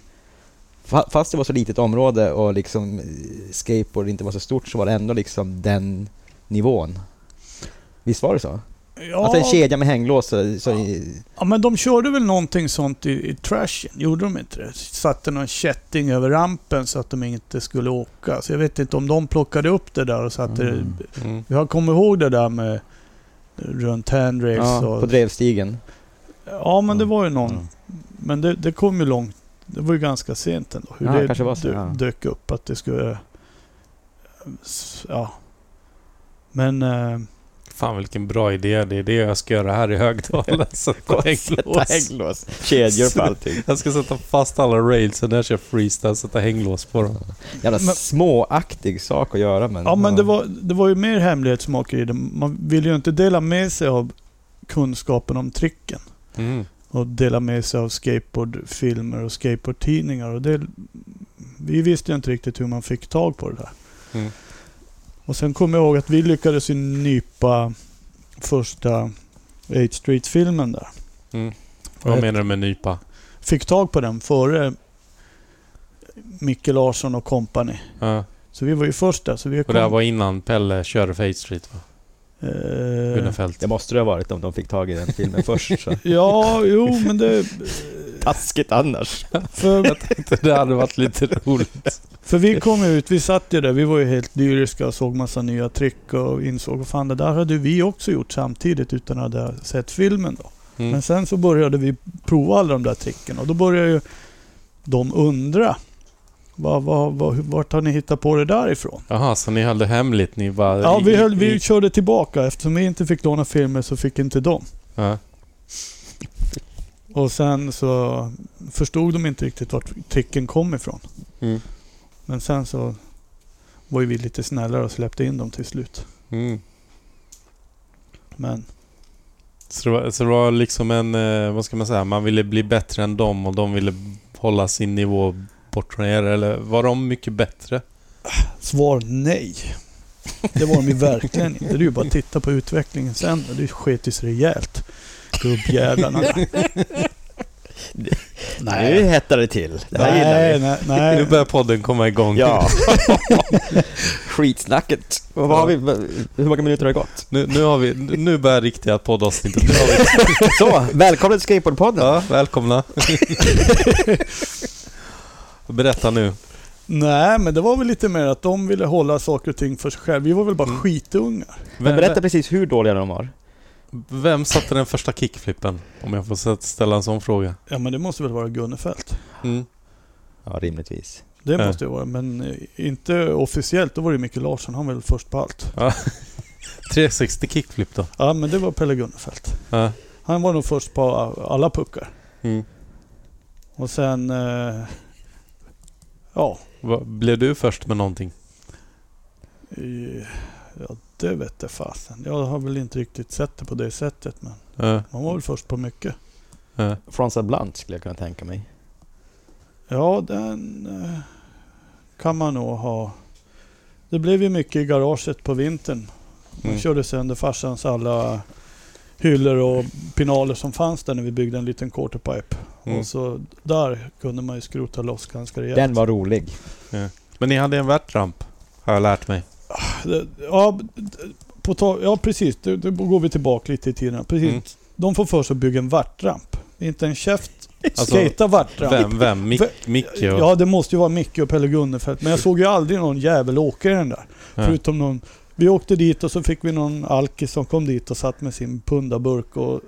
Speaker 2: Fa- Fast det var så litet område och liksom eh, skateboard inte var så stort så var det ändå liksom den nivån. Visst var det så?
Speaker 3: Ja,
Speaker 2: Alltså en kedja med hänglås. Så, så, i-
Speaker 3: ja, men de körde väl någonting sånt i, i trashen? Gjorde de inte det? Satte någon kätting över rampen så att de inte skulle åka. Så jag vet inte om de plockade upp det där och satte
Speaker 2: Mm.
Speaker 3: det...
Speaker 1: Mm.
Speaker 3: Jag kommer ihåg det där med runt handrails
Speaker 2: ja, på
Speaker 3: och...
Speaker 2: drevstigen.
Speaker 3: Ja, men det var ju någon...
Speaker 1: Mm.
Speaker 3: Men det, det kom ju långt. Det var ju ganska sent ändå. Hur
Speaker 2: Ja,
Speaker 3: det
Speaker 2: det kanske var så,
Speaker 3: dö-
Speaker 2: ja.
Speaker 3: dök upp att det skulle... s- Ja. Men... Eh,
Speaker 1: Fan vilken bra idé. Det är det jag ska göra här i Högdalen. Sätta hänglås.
Speaker 2: hänglås. Kedjor på allting.
Speaker 1: Jag ska sätta fast alla railsen när jag kör freestyle. Sätta hänglås på dem.
Speaker 2: Jävla
Speaker 3: Men-
Speaker 2: småaktig sak att göra men...
Speaker 3: ja, men det var, det var ju mer hemlighetsmakeri. Det- Man ville ju inte dela med sig av kunskapen om tricken.
Speaker 1: Mm.
Speaker 3: Och dela med sig av skateboardfilmer och skateboardtidningar. Och det, vi visste ju inte riktigt hur man fick tag på det där.
Speaker 1: Mm.
Speaker 3: Och sen kommer jag ihåg att vi lyckades ju nypa första 8 Street-filmen där.
Speaker 1: Mm. Vad menar du med nypa?
Speaker 3: fick tag på den före Micke Larsson och company.
Speaker 1: Ja.
Speaker 3: Så vi var ju först där. Så vi
Speaker 1: Och
Speaker 3: kom,
Speaker 1: det här var innan Pelle körde för 8 Street va?
Speaker 3: eh,
Speaker 1: Gunnefelt.
Speaker 2: Det måste det ha varit om de fick tag i den filmen först. Så.
Speaker 3: Ja, jo men det...
Speaker 2: Taskigt annars.
Speaker 3: För,
Speaker 1: Det hade varit lite roligt.
Speaker 3: för vi kom ju ut, vi satt ju där, vi var ju helt lyriska och såg massa nya trick och insåg att fan det där hade vi också gjort samtidigt utan att ha sett filmen då.
Speaker 1: Mm.
Speaker 3: Men sen så började vi prova alla de där tricken och då började ju de undra. Vad, vad, vad, vart har ni hittat på det där ifrån?
Speaker 1: Jaha, så ni höll det hemligt? Ni bara...
Speaker 3: Ja, vi, höll,
Speaker 1: i-
Speaker 3: vi
Speaker 1: i-
Speaker 3: körde tillbaka. Eftersom vi inte fick låna filmer så fick inte de.
Speaker 1: Ja.
Speaker 3: Och sen så förstod de inte riktigt vart tricken kom ifrån.
Speaker 1: Mm.
Speaker 3: Men sen så var ju vi lite snällare och släppte in dem till slut.
Speaker 1: Mm.
Speaker 3: Men
Speaker 1: Så det, var, så det var liksom en, eh, vad ska man säga, man ville bli bättre än dem och de ville hålla sin nivå bort från er. Eller var de mycket bättre?
Speaker 3: svar nej. Det var de ju verkligen inte. Det är ju bara att titta på utvecklingen sen. och Det sket ju sig rejält. Gubbjävlarna.
Speaker 2: Nu hettar det till. Det här gillar
Speaker 3: nej,
Speaker 2: vi.
Speaker 3: nej,
Speaker 1: Nu
Speaker 3: nej.
Speaker 1: börjar podden komma igång.
Speaker 2: Ja. Skitsnacket. Vad har vi, hur många minuter har det gått?
Speaker 1: Nu, nu, har vi, nu börjar riktiga poddavsnittet. Nu har vi-
Speaker 2: Så, välkommen till Skateboardpodden.
Speaker 1: Ja, välkomna. Berätta nu.
Speaker 3: nej, men det var väl lite mer att de ville hålla saker och ting för sig själva. Vi var väl bara
Speaker 1: Mm.
Speaker 3: skitunga.
Speaker 2: Men
Speaker 1: Vem,
Speaker 2: berätta precis hur dåliga de var.
Speaker 1: vem satte den första kickflippen? Om jag får sätt- ställa en sån fråga.
Speaker 3: Ja men det måste väl vara Gunnefelt.
Speaker 1: Mm.
Speaker 2: Ja, rimligtvis.
Speaker 3: Det
Speaker 1: Ja.
Speaker 3: måste det vara, men eh, inte officiellt. Då var det Micke Larsson, han var väl först på allt.
Speaker 1: 360 kickflip då.
Speaker 3: Ja men det var Pelle Gunnefelt.
Speaker 1: Ja.
Speaker 3: Han var nog först på a- alla puckar.
Speaker 1: Mm.
Speaker 3: Och sen... eh, Ja,
Speaker 1: Vad- Blev du först med någonting?
Speaker 3: eh, ja det vette fasen. Jag har väl inte riktigt sett det på det sättet men
Speaker 1: Ja,
Speaker 3: man var väl först på mycket.
Speaker 1: ja.
Speaker 2: Franza Blunt skulle jag kunna tänka mig.
Speaker 3: Ja den eh, kan man nog ha. Det blev ju mycket i garaget på vintern Man
Speaker 1: Mm.
Speaker 3: körde sönder farsans alla hyllor och pinaler som fanns där när vi byggde en liten quarterpipe.
Speaker 1: Mm.
Speaker 3: Och så där kunde man ju skrota loss ganska rejält.
Speaker 2: Den var rolig.
Speaker 1: Men ni hade en värtramp, har jag lärt mig.
Speaker 3: Det- Ja, d- på ta- ja precis. Då, då går vi tillbaka lite i tiden. Precis.
Speaker 1: Mm.
Speaker 3: De får för sig att bygga en värtramp. Inte en käft
Speaker 1: Alltså,
Speaker 3: Skejta vart då?
Speaker 1: Vem? Vem? Mick,
Speaker 3: Vem?
Speaker 1: Micke och...
Speaker 3: Ja, det måste ju vara Micke och Pelle Gunnefelt. Men jag såg ju aldrig någon jävel åka i den där.
Speaker 1: Ja.
Speaker 3: Förutom någon... Vi åkte dit och så fick vi någon alkis som kom dit och satt med sin pundaburk och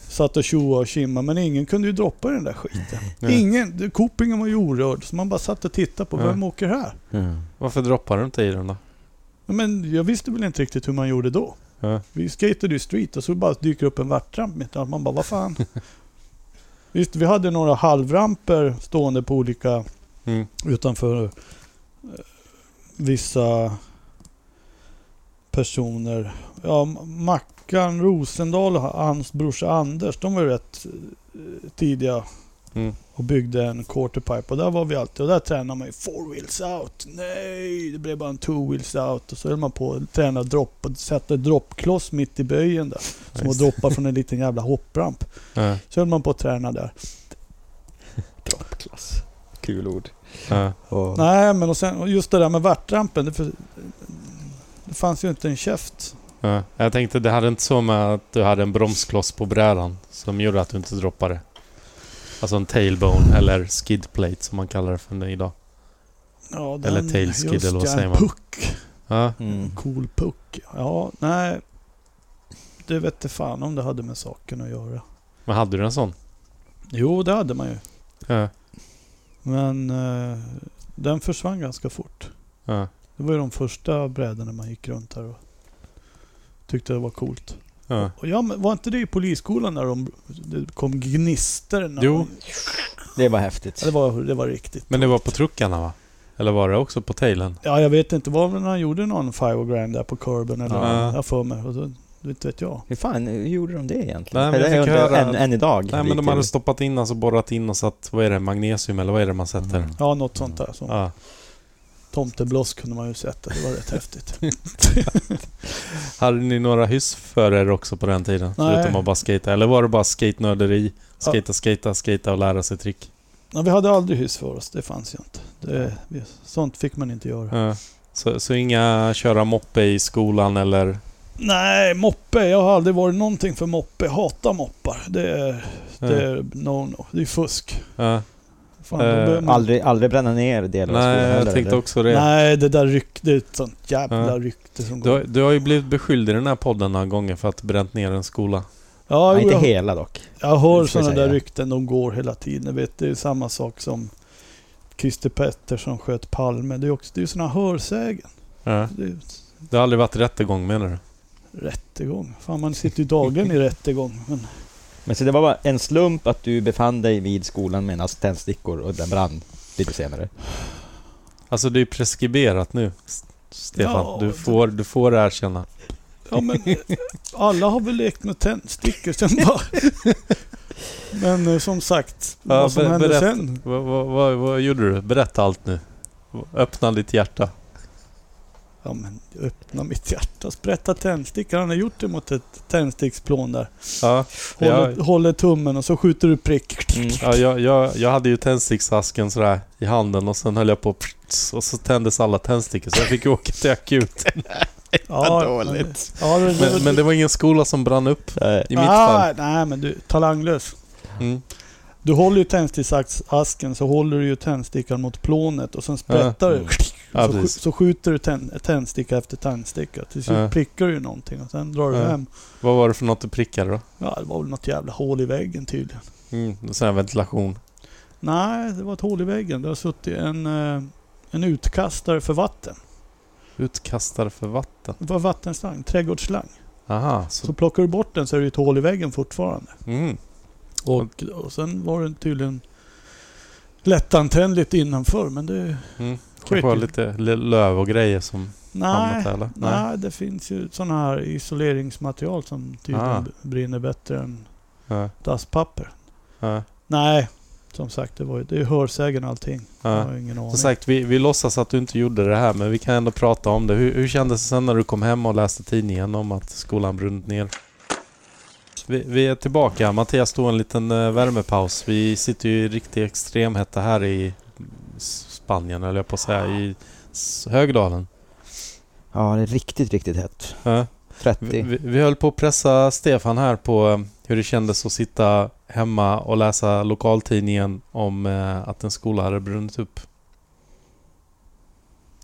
Speaker 3: satt och tjoade och tjimmade. Men ingen kunde ju droppa den där skiten.
Speaker 1: Nej.
Speaker 3: Ingen. Copingen var ju orörd. Så man bara satt och tittade på,
Speaker 1: Ja.
Speaker 3: vem åker här?
Speaker 1: Varför droppar du inte i den då?
Speaker 3: Men jag visste väl inte riktigt hur man gjorde då.
Speaker 1: Ja.
Speaker 3: Vi skatade ju street och så bara dyker upp en värtramp mitt i allt. Man bara, vad fan? Visst, vi hade några halvramper stående på olika
Speaker 1: Mm.
Speaker 3: utanför eh, vissa personer. Ja, M- Mackan Rosendal och hans brorsa Anders, de var ju rätt eh, tidiga
Speaker 1: Mm.
Speaker 3: och byggde en quarterpipe och där var vi alltid och där tränade man ju four wheels out. Nej, det blev bara en two wheels out och så höll man på att träna dropp och sätta droppkloss mitt i böjen där. Som att
Speaker 1: Nice.
Speaker 3: droppa från en liten jävla hoppramp.
Speaker 1: Ja.
Speaker 3: Så höll man på att träna där.
Speaker 2: Droppklass. Kul ord.
Speaker 1: Ja.
Speaker 2: Och,
Speaker 3: Nej, men och sen, och just det där med värtrampen. Det, för, det fanns ju inte en käft.
Speaker 1: Ja. Jag tänkte, det hade inte så med att du hade en bromskloss på brädan som gjorde att du inte droppade. Alltså en tailbone eller skidplate som man kallar det för nu idag.
Speaker 3: Ja,
Speaker 1: Eller tail skid,
Speaker 3: just
Speaker 1: eller vad
Speaker 3: ja,
Speaker 1: säger
Speaker 3: en
Speaker 1: man?
Speaker 3: Puck.
Speaker 1: Ja.
Speaker 2: mm.
Speaker 3: Cool puck. Ja, nej. Det vet fan om det hade med saken att göra.
Speaker 1: Men hade du en sån?
Speaker 3: Jo, det hade man ju.
Speaker 1: Ja.
Speaker 3: Men eh, den försvann ganska fort.
Speaker 1: Ja.
Speaker 3: Det var ju de första brädorna man gick runt här och tyckte det var coolt.
Speaker 1: Ja.
Speaker 3: Och ja, men var inte det i polisskolan när de, det kom gnister? När
Speaker 1: Jo.
Speaker 3: man-
Speaker 2: Det var häftigt.
Speaker 3: Ja, det, var, det var riktigt.
Speaker 1: Men det var på truckarna va? Eller var det också på tailen?
Speaker 3: Ja, jag vet inte. Var det när han gjorde någon five grand där på kurben eller
Speaker 1: Ja.
Speaker 3: ja. jag för mig. Och då- Inte vet jag.
Speaker 2: Hur fan hur gjorde de det egentligen?
Speaker 1: Nej, men
Speaker 2: det
Speaker 1: jag fick
Speaker 2: undrar
Speaker 1: höra
Speaker 2: än, än idag.
Speaker 1: Nej men
Speaker 2: lite.
Speaker 1: de hade stoppat in, alltså borrat in och satt, vad är det, magnesium eller vad är det man sätter?
Speaker 2: Mm.
Speaker 3: Ja, något sånt där. Som
Speaker 1: Ja.
Speaker 3: Tomtebloss kunde man ju sätta. Det var rätt häftigt.
Speaker 1: Hade ni några hyss för er också på den tiden?
Speaker 3: Nej.
Speaker 1: Förutom att bara skata Eller var det bara skatenörderi? Skata, skata, skata och lära sig trick?
Speaker 3: Ja, vi hade aldrig hyss för oss. Det fanns ju inte. Det, vi- sånt fick man inte göra.
Speaker 1: Ja. Så, så inga köra moppe i skolan eller...
Speaker 3: Nej, moppe. Jag har aldrig varit någonting för moppe. Jag hatar moppar. Det är, det är no-no. Det är fusk.
Speaker 1: Ja.
Speaker 3: Fan, då
Speaker 1: Eh,
Speaker 3: behöver man-
Speaker 2: Aldrig, aldrig bränna ner delar av
Speaker 1: Nej,
Speaker 2: skolan
Speaker 1: jag
Speaker 2: heller,
Speaker 1: tänkte
Speaker 2: eller?
Speaker 1: också det.
Speaker 3: Nej, det där ryktet. Ett sånt jävla
Speaker 1: Ja.
Speaker 3: rykte som
Speaker 1: Du, har-
Speaker 3: går.
Speaker 1: du har ju blivit beskylld i den här podden några gånger för att bränt ner en skola.
Speaker 3: Ja,
Speaker 2: Nej,
Speaker 3: jo,
Speaker 2: inte
Speaker 3: jag,
Speaker 2: hela dock.
Speaker 3: Jag hör
Speaker 2: Det ska jag
Speaker 3: sådana där
Speaker 2: säga.
Speaker 3: rykten, de går hela tiden. Vet, det är samma sak som Christer Pettersson sköt Palme. Det är också det är sådana hörsägen.
Speaker 1: Ja.
Speaker 3: Det är ju
Speaker 1: Det har aldrig varit rättegång menar du?
Speaker 3: rättegång. Fan, man sitter ju dagligen i rättegång. Men,
Speaker 2: Men så det var bara en slump att du befann dig vid skolan medan tändstickor och den brann lite senare.
Speaker 1: Alltså det är preskriberat nu, S- Stefan.
Speaker 3: Ja,
Speaker 1: du,
Speaker 3: det-
Speaker 1: får, du får erkänna.
Speaker 3: ja, men eh, alla har väl lekt med tändstickor sen bara. Men eh, som sagt,
Speaker 1: Ja,
Speaker 3: vad som
Speaker 1: ber-
Speaker 3: hände
Speaker 1: berätta.
Speaker 3: sen.
Speaker 1: Vad, vad, vad, vad gjorde du? Berätta allt nu. Öppna ditt hjärta.
Speaker 3: Ja, men öppna mitt hjärta. Sprätta tändstickor. Han har gjort det mot ett tändsticksplån där.
Speaker 1: Ja,
Speaker 3: Håller,
Speaker 1: Ja.
Speaker 3: håller tummen och så skjuter du prick.
Speaker 2: Mm.
Speaker 1: ja jag, jag, jag hade ju tändsticksasken sådär i handen och sen höll jag på och så tändes alla tändstickor så jag fick ju åka till akut.
Speaker 3: Ja,
Speaker 2: dåligt.
Speaker 3: Ja, det, det,
Speaker 1: Men, men det var ingen skola som brann upp i mitt
Speaker 3: Ah.
Speaker 1: fall.
Speaker 3: Nej, men du, talanglös.
Speaker 1: Mm.
Speaker 3: Du håller ju tändsticksasken så håller du ju tändstickan mot plånet och sen sprättar du.
Speaker 2: Mm.
Speaker 1: Ja,
Speaker 3: så, skj-
Speaker 1: precis.
Speaker 3: så skjuter du tänd, tändsticka efter tändsticka. Till slut
Speaker 1: Ja.
Speaker 3: prickar du ju någonting och sen drar du
Speaker 1: Ja.
Speaker 3: hem.
Speaker 1: Vad var det för något du prickade då?
Speaker 3: Ja, det var väl något jävla hål i väggen tydligen.
Speaker 1: Mm, sån här ventilation.
Speaker 3: Nej, det var ett hål i väggen. Det har suttit en, eh, en utkastare för vatten.
Speaker 1: Utkastare för vatten.
Speaker 3: Det var vattenslang, trädgårdsslang.
Speaker 1: Aha, så...
Speaker 3: Så plockar du bort den så är det ju ett hål i väggen fortfarande.
Speaker 1: Mm.
Speaker 3: Och, och sen var den tydligen lättantändligt innanför men det...
Speaker 1: Mm.
Speaker 3: sket
Speaker 1: Kanske var
Speaker 3: ju-
Speaker 1: lite l- löv och grejer som hamnat
Speaker 3: Nej,
Speaker 1: där eller?
Speaker 3: Nej. det finns ju sådana här isoleringsmaterial som tydligen
Speaker 1: Ah.
Speaker 3: b- brinner bättre än
Speaker 1: Ja,
Speaker 3: dasspapper.
Speaker 1: ja,
Speaker 3: Nej, som sagt, det, var ju, det är ju hörsägen allting. Jag
Speaker 1: ja.
Speaker 3: har ingen aning.
Speaker 1: Som sagt, vi, vi låtsas att du inte gjorde det här, men vi kan ändå prata om det. Hur, hur kändes det sen när du kom hem och läste tidningen om att skolan brunnit ner? Vi, vi är tillbaka. Mattias tog en liten eh, värmepaus. Vi sitter ju i riktig extremhetta här i S- Spanien, eller jag på att säga, i S- Högdalen.
Speaker 2: Ja, det är riktigt, riktigt hett.
Speaker 1: Ja.
Speaker 2: 30.
Speaker 1: Vi, vi, vi höll på att pressa Stefan här på eh, hur det kändes att sitta hemma och läsa lokaltidningen om eh, att en skola hade brunnit upp.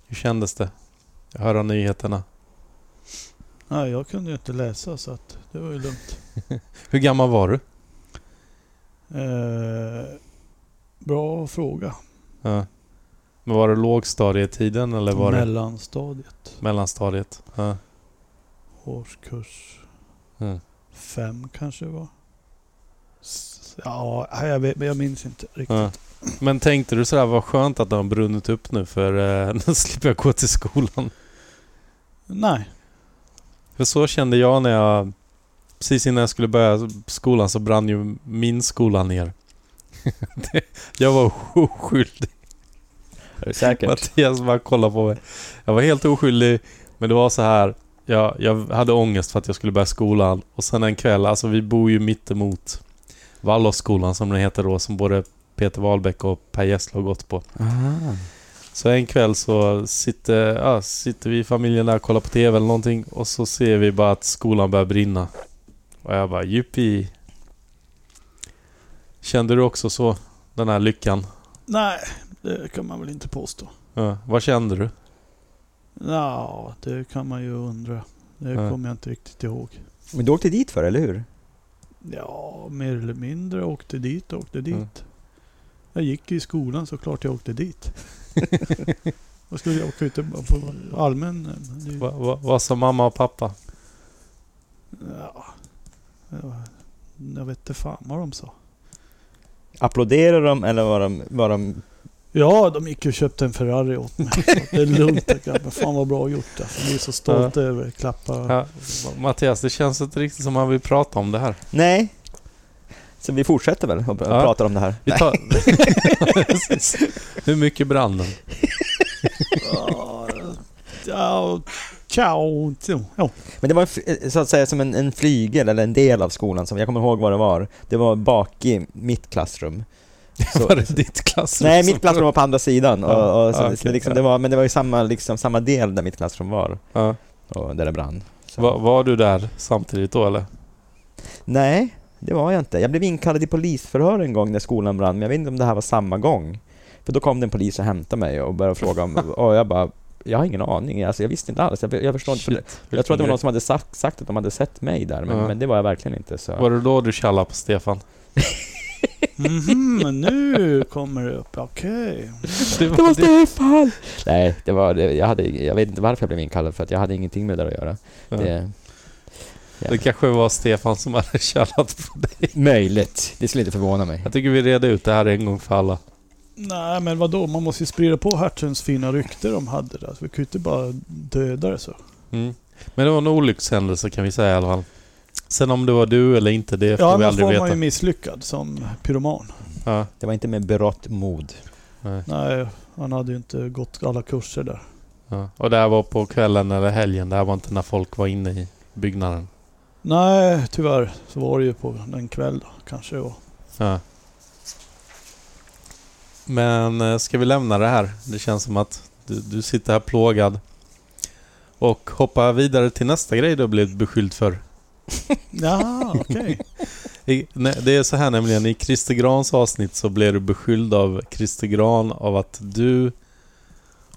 Speaker 1: Hur kändes det? Att höra nyheterna.
Speaker 3: Nej, jag kunde ju inte läsa så att det var ju lugnt.
Speaker 1: Hur gammal var du?
Speaker 3: Eh, bra fråga.
Speaker 1: Ja. Men var det lågstadietiden eller var det
Speaker 3: Mellanstadiet.
Speaker 1: mellanstadiet? Ja.
Speaker 3: Årskurs
Speaker 1: Mm.
Speaker 3: fem kanske det var. S- Ja, nej, jag, vet, men jag minns inte riktigt.
Speaker 1: Ja. Men tänkte du sådär, vad skönt att den har brunnit upp nu för eh, nu slipper jag gå till skolan.
Speaker 3: Nej.
Speaker 1: För så kände jag när jag... Precis innan jag skulle börja skolan så brann ju min skola ner. Det- jag var oskyldig.
Speaker 2: Är du säker?
Speaker 1: Mattias bara kollade på mig. Jag var helt oskyldig, men det var så här. Jag, jag hade ångest för att jag skulle börja skolan och sen en kväll, alltså vi bor ju mittemot Waldorfskolan som den heter då, som både Peter Wahlbeck och Per Gessle har gått på.
Speaker 2: Ah.
Speaker 1: Så en kväll så sitter, ja, sitter vi i familjen där och kollar på TV eller någonting och så ser vi bara att skolan börjar brinna. Och jag bara jippi. Kände du också så? Den här lyckan?
Speaker 3: Nej, det kan man väl inte påstå.
Speaker 1: Ja, vad kände du?
Speaker 3: Ja, det kan man ju undra. Det
Speaker 1: Ja.
Speaker 3: kommer jag inte riktigt ihåg.
Speaker 2: Men du åkte dit för, eller hur?
Speaker 3: Ja, mer eller mindre. Åkte dit, åkte dit.
Speaker 1: Mm.
Speaker 3: Jag gick i skolan såklart jag åkte dit. Vad skulle jag åka ut på allmän... eh, Det,
Speaker 1: Va, va, vad sa mamma och pappa?
Speaker 3: ja, Ja, jag vet inte fan vad de sa.
Speaker 2: Applåderade de, eller var de... Var de
Speaker 3: Ja, de gick ju och köpte en Ferrari åt mig. Så att Det är lugnt grabben. Fan vad bra gjort. Alltså. De är så stolta över klappar.
Speaker 1: Ja, Mattias, det känns inte riktigt som han vill prata om det här.
Speaker 2: nej. Så vi fortsätter väl och pr-
Speaker 1: Ja.
Speaker 2: pratar om det här?
Speaker 1: Vi tar... Precis. Hur mycket brann den?
Speaker 3: Ja, ciao. Ja,
Speaker 2: Men det var f- eh, så att säga som en, en flygel eller en del av skolan, som jag kommer ihåg vad det var. Det var bak i mitt klassrum. Så-
Speaker 1: Var det ditt klassrum?
Speaker 2: nej,
Speaker 1: som-
Speaker 2: mitt klassrum var på andra sidan. Och,
Speaker 1: Ja,
Speaker 2: och så,
Speaker 1: ja,
Speaker 2: så
Speaker 1: okej,
Speaker 2: liksom,
Speaker 1: ja.
Speaker 2: det var, men det var ju samma, liksom, samma del där mitt klassrum var,
Speaker 1: Ja.
Speaker 2: och där det brann. Så.
Speaker 1: Var, var du där samtidigt då eller?
Speaker 2: Nej, det var jag inte. Jag blev inkallad i polisförhör en gång när skolan brann, men jag vet inte om det här var samma gång. För då kom det en polis och hämtade mig och började fråga om... Och jag bara, jag har ingen aning. Alltså, jag visste inte alls. Jag, jag förstår inte. för
Speaker 1: Shit,
Speaker 2: Jag tror att det var
Speaker 1: vilken
Speaker 2: någon som hade sagt, sagt att de hade sett mig där, men,
Speaker 1: Ja.
Speaker 2: men det var jag verkligen inte. Så.
Speaker 1: Var det då du tjallade på Stefan?
Speaker 3: Mhm, men nu kommer det upp. Okej.
Speaker 1: Det var,
Speaker 2: Det var
Speaker 1: det.
Speaker 2: Stefan! Nej, det var, det, jag, hade, jag vet inte varför jag blev inkallad, för att jag hade ingenting med det där att göra.
Speaker 1: Ja.
Speaker 2: Det,
Speaker 1: det kanske var Stefan som hade tjallat på dig.
Speaker 2: möjligt. Det skulle inte förvåna mig.
Speaker 1: Jag tycker vi reder ut det här en gång för alla.
Speaker 3: Nej, men vadå? Man måste ju sprida på Hertzens fina rykte de hade där. Så vi kan ju inte bara döda det så.
Speaker 1: Mm. Men det var en olyckshändelse kan vi säga i alla fall. Sen om det var du eller inte, det får
Speaker 3: Ja,
Speaker 1: vi
Speaker 3: annars
Speaker 1: aldrig
Speaker 3: var man
Speaker 1: veta.
Speaker 3: ju misslyckad som pyroman.
Speaker 1: Ja,
Speaker 2: Det var inte med berått mod.
Speaker 1: nej,
Speaker 3: Nej, han hade ju inte gått alla kurser där.
Speaker 1: ja. Och det här var på kvällen eller helgen, det här var inte när folk var inne i byggnaden.
Speaker 3: Nej, tyvärr så var det ju på den kväll då, kanske det var.
Speaker 1: Ja. Men eh, ska vi lämna det här? Det känns som att du, du sitter här plågad. Och hoppa vidare till nästa grej du har blivit beskylld för.
Speaker 3: Ja, okej.
Speaker 1: I, nej, det är så här nämligen, i Christer Grans avsnitt så blev du beskylld av Christer Gran av att du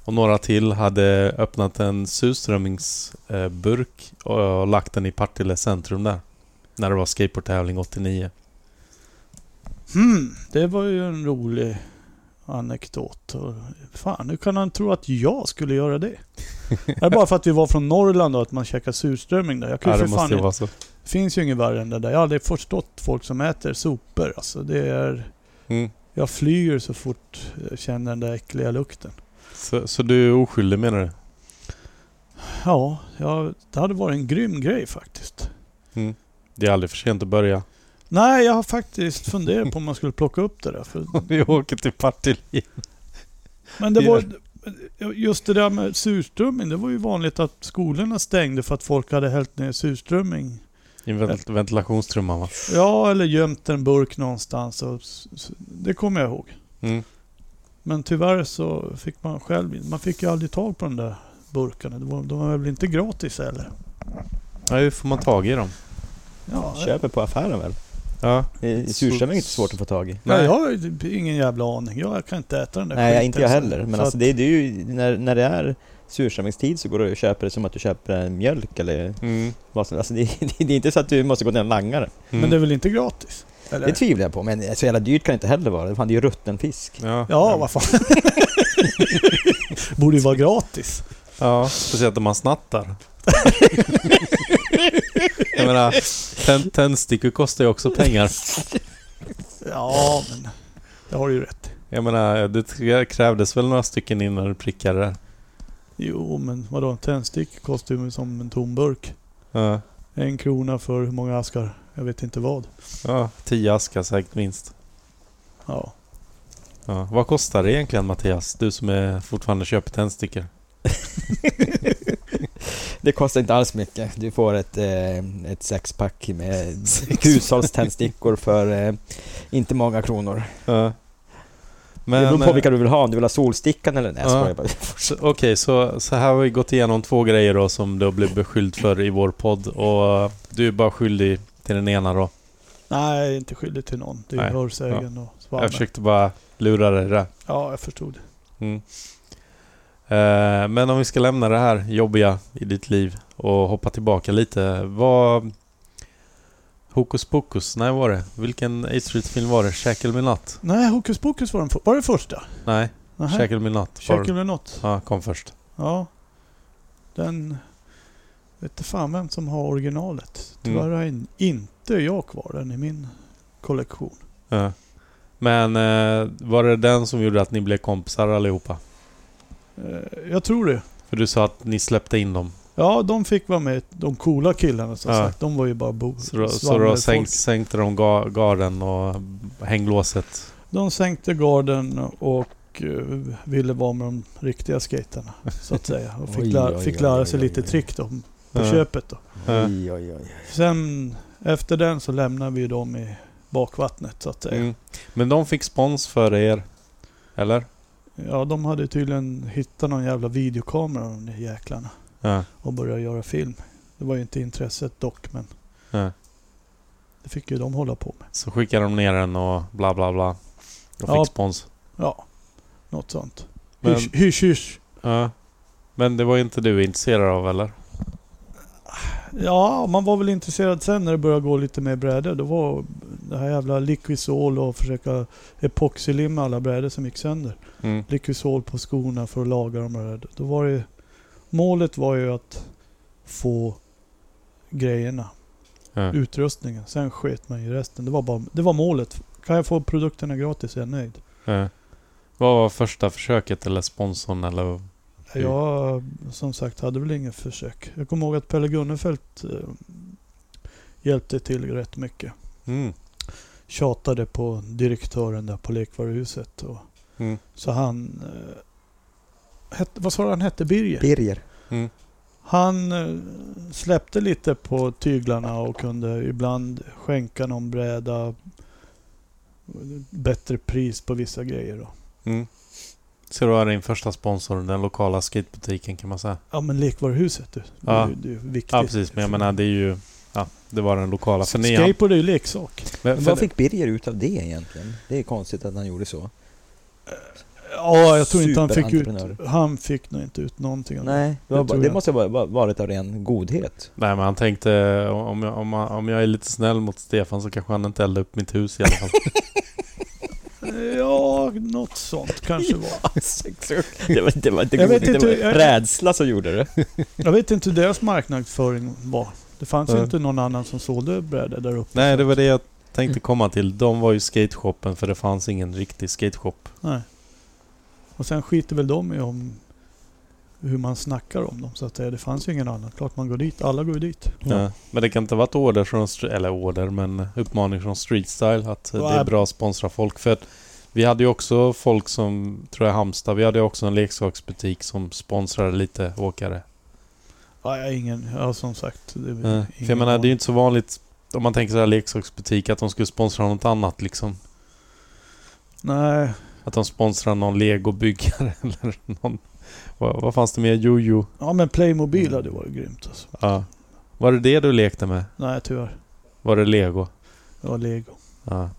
Speaker 1: och några till hade öppnat en surströmmingsburk och, och lagt den i Partille centrum där. När det var skateboardtävling 89.
Speaker 3: Hmm, det var ju en rolig anekdot. Och Fan, hur kan han tro att jag skulle göra det? Är det bara för att vi var från Norrland och att man käkar surströmming där? Jag kan
Speaker 1: Ja,
Speaker 3: ju
Speaker 1: det
Speaker 3: för fan
Speaker 1: måste ju
Speaker 3: inte
Speaker 1: vara så.
Speaker 3: finns ju inget värre än det där. Jag har aldrig förstått folk som äter sopor. Alltså det är...
Speaker 1: Mm.
Speaker 3: Jag flyr så fort jag känner den där äckliga lukten.
Speaker 1: så. Så du är oskyldig menar du?
Speaker 3: Ja, jag, det hade varit en grym grej faktiskt.
Speaker 1: Det är aldrig för sent att börja.
Speaker 3: Nej, jag har faktiskt funderat på om man skulle plocka upp det där. För,
Speaker 1: Vi åker till Partille.
Speaker 3: men det var... Just det där med surströmming, det var ju vanligt att skolorna stängde för att folk hade hällt ner surströmming.
Speaker 1: I vent- ventilationstrumman va?
Speaker 3: Ja, eller gömt en burk någonstans. Och, s- s- det kommer jag ihåg.
Speaker 1: Mm.
Speaker 3: Men tyvärr så fick man själv Man fick ju aldrig tag på de där burkarna. De var, de var väl inte gratis heller?
Speaker 1: Ja, hur får man tag i dem?
Speaker 3: Ja,
Speaker 2: Köper på affären väl?
Speaker 1: Ja.
Speaker 2: Eh, Surströmming är inte svårt att få tag i.
Speaker 1: Nej.
Speaker 3: Nej. Jag har ju typ ingen jävla aning. Jag kan inte äta den där
Speaker 2: Nej,
Speaker 3: skiten,
Speaker 2: inte jag
Speaker 3: så-
Speaker 2: heller. Men
Speaker 3: så
Speaker 2: alltså
Speaker 3: att-
Speaker 2: det, det är ju, när, när det är surströmmingstid så går du och köper det som att du köper en mjölk eller
Speaker 1: Mm.
Speaker 2: vad som Alltså det, det, det är inte så att du måste gå ner och langa det.
Speaker 3: Men det är väl inte gratis? Eller?
Speaker 2: Det tvivlar jag på, men så jävla dyrt kan det inte heller vara. Fan, det är ju rutten fisk.
Speaker 1: Ja,
Speaker 3: ja, vad fan. Borde ju vara gratis.
Speaker 1: ja, speciellt om man snattar. jag menar, tänd, tändstickor kostar ju också pengar.
Speaker 3: Ja, men det har du ju rätt i.
Speaker 1: Jag menar, det krävdes väl några stycken innan du prickade det.
Speaker 3: Jo, men vadå? En tändstick kostar ju som en tom burk.
Speaker 1: Ja,
Speaker 3: En krona för hur många askar? Jag vet inte vad.
Speaker 1: ja, tio askar säkert minst.
Speaker 3: Ja.
Speaker 1: Ja. Vad kostar det egentligen Mattias? Du som är fortfarande köper tändstickor.
Speaker 2: Det kostar inte alls mycket. Du får ett, eh, ett sexpack med hushållständstickor för eh, inte många kronor.
Speaker 1: Ja.
Speaker 2: det beror på
Speaker 1: eh,
Speaker 2: vilka du vill ha, om du vill ha solstickan eller... Nej, jag
Speaker 1: Ja.
Speaker 2: skojar bara.
Speaker 1: Så- eh, Okej, så, så här har vi gått igenom två grejer då som du har blivit beskylld för i vår podd och eh, du är bara skyldig till den ena då.
Speaker 3: Nej, jag är inte skyldig till någon. Det är
Speaker 1: Nej.
Speaker 3: hörsägen och svammel.
Speaker 1: Jag försökte bara lura dig där.
Speaker 3: Ja, jag förstod det.
Speaker 1: Mm. Eh, men om vi ska lämna det här jobbiga i ditt liv och hoppa tillbaka lite. Vad... Hokus pokus, nej var det? Vilken 8 Street-film var det? Käkel med natt?
Speaker 3: Nej, Hokus pokus var den, för- var den första.
Speaker 1: Nej,
Speaker 3: Nähä.
Speaker 1: Käkel med natt. var det.
Speaker 3: Käkel eller något.
Speaker 1: Ja, kom först.
Speaker 3: Ja. Den... Vet inte fan vem som har originalet.
Speaker 1: Mm.
Speaker 3: Tyvärr har in, inte jag kvar den i min kollektion.
Speaker 1: Ja. Men eh, var det den som gjorde att ni blev kompisar allihopa?
Speaker 3: Eh, Jag tror det.
Speaker 1: För du sa att ni släppte in dem.
Speaker 3: Ja, de fick vara med. De coola killarna som
Speaker 1: Ja.
Speaker 3: sagt. De var ju bara bo-
Speaker 1: Så då, så då
Speaker 3: svammelfolk.
Speaker 1: sänk, sänkte de ga, garden och hänglåset.
Speaker 3: De sänkte garden och eh, ville vara med de riktiga skaterna så att säga. Och fick,
Speaker 2: Oj,
Speaker 3: lä-
Speaker 2: oj,
Speaker 3: fick
Speaker 2: oj,
Speaker 3: lära
Speaker 2: oj,
Speaker 3: sig
Speaker 2: oj,
Speaker 3: lite
Speaker 2: oj.
Speaker 3: trick då, på
Speaker 1: Ja.
Speaker 3: köpet. Då.
Speaker 1: Ja.
Speaker 2: Oj, oj, oj.
Speaker 3: Sen efter den så lämnade vi dem i bakvattnet så att säga.
Speaker 1: Mm. Men de fick spons för er? Eller?
Speaker 3: Ja, de hade tydligen hittat någon jävla videokamera de där jäklarna
Speaker 1: Ja.
Speaker 3: och börjat göra film. Det var ju inte intresset dock, men
Speaker 1: ja.
Speaker 3: det fick ju de hålla på med.
Speaker 1: Så skickade de ner den och bla bla bla. De fick
Speaker 3: Ja.
Speaker 1: spons.
Speaker 3: Ja, något sånt.
Speaker 1: Men,
Speaker 3: Hysch, hysch, hysch.
Speaker 1: ja. Men det var ju inte du intresserad av eller?
Speaker 3: Ja, man var väl intresserad sen när det började gå lite mer brädor. Då var det här jävla Liquisol och försöka epoxylimma alla brädor som gick sönder.
Speaker 1: Mm.
Speaker 3: Liquisol på skorna för att laga dem. Där. Då var det, målet var ju att få grejerna,
Speaker 1: Ja.
Speaker 3: utrustningen. Sen sket man ju resten. Det var, bara, det var målet. Kan jag få produkterna gratis är jag nöjd.
Speaker 1: Ja. Vad var första försöket eller sponsorn eller? Mm.
Speaker 3: Jag som sagt hade väl ingen försök. Jag kommer ihåg att Pelle Gunnefelt eh, hjälpte till rätt mycket.
Speaker 1: Mm.
Speaker 3: tjatade på direktören där på lekvaruhuset. Och,
Speaker 1: Mm.
Speaker 3: Så han... Eh, het, vad sa du han hette? Birger?
Speaker 2: Birger.
Speaker 3: Han eh, släppte lite på tyglarna och kunde ibland skänka någon bräda. Bättre pris på vissa grejer. Då.
Speaker 1: Mm. Så det var din första sponsor, den lokala skatebutiken kan man säga?
Speaker 3: Ja men lekvaruhuset du. Det,
Speaker 1: Ja.
Speaker 3: är ju- det är ju viktigt.
Speaker 1: Ja precis, men jag menar det är ju... Ja, det var den lokala. För ni,
Speaker 3: Skateboard är ju leksak.
Speaker 1: men,
Speaker 2: Men
Speaker 1: för,
Speaker 2: vad fick Birger ut av det egentligen? Det är konstigt att han gjorde så.
Speaker 3: Ja, jag tror inte han fick ut...
Speaker 2: Superentreprenör.
Speaker 3: Han fick nog inte ut någonting. av det.
Speaker 2: Nej, det, var
Speaker 3: det
Speaker 2: bara,
Speaker 3: tror
Speaker 2: det
Speaker 3: jag.
Speaker 2: måste ha bara- bara varit av ren godhet.
Speaker 1: Nej men han tänkte om jag, om, jag, om jag är lite snäll mot Stefan så kanske han inte eldar upp mitt hus i alla fall.
Speaker 3: Ja, något sånt kanske var.
Speaker 2: det, var, det var inte
Speaker 3: Jag vet
Speaker 2: godhet, det
Speaker 3: inte
Speaker 2: var
Speaker 3: hur- jag-
Speaker 2: rädsla som gjorde det.
Speaker 3: Jag vet inte hur deras marknadsföring var. Det fanns ju
Speaker 1: Nej.
Speaker 3: inte någon annan som sålde brädor där uppe.
Speaker 1: Nej det var det jag
Speaker 3: Mm.
Speaker 1: tänkte komma till. De var ju skateshopen för det fanns ingen riktig skateshop.
Speaker 3: Nej. Och sen skiter väl de i om hur man snackar om dem så att säga. Det fanns ju ingen annan. Klart man går dit. Alla går ju dit.
Speaker 2: Ja.
Speaker 1: Eh, Men det kan inte ha varit order från, Stre- eller order men uppmaning från Streetstyle att eh, det är
Speaker 3: Nej.
Speaker 1: bra att sponsra folk. För att vi hade ju också folk som, tror jag Halmstad, vi hade ju också en leksaksbutik som sponsrade lite åkare.
Speaker 3: Ja, jag har ingen. Ja, som sagt. Det är väl
Speaker 1: Eh, För
Speaker 3: Mm, ingen
Speaker 1: jag menar det är ju
Speaker 3: aning.
Speaker 1: inte så vanligt om man tänker så här leksaksbutik att de skulle sponsra något annat liksom.
Speaker 3: Nej.
Speaker 1: Att de sponsrar någon legobyggare eller någon... Vad, vad fanns det mer? Jojo?
Speaker 3: Ja, men
Speaker 1: Mm.
Speaker 3: Playmobil hade varit grymt alltså.
Speaker 1: Ja. Var det det du lekte med?
Speaker 3: Nej, tyvärr.
Speaker 1: Var det lego?
Speaker 3: och lego.
Speaker 1: Ja.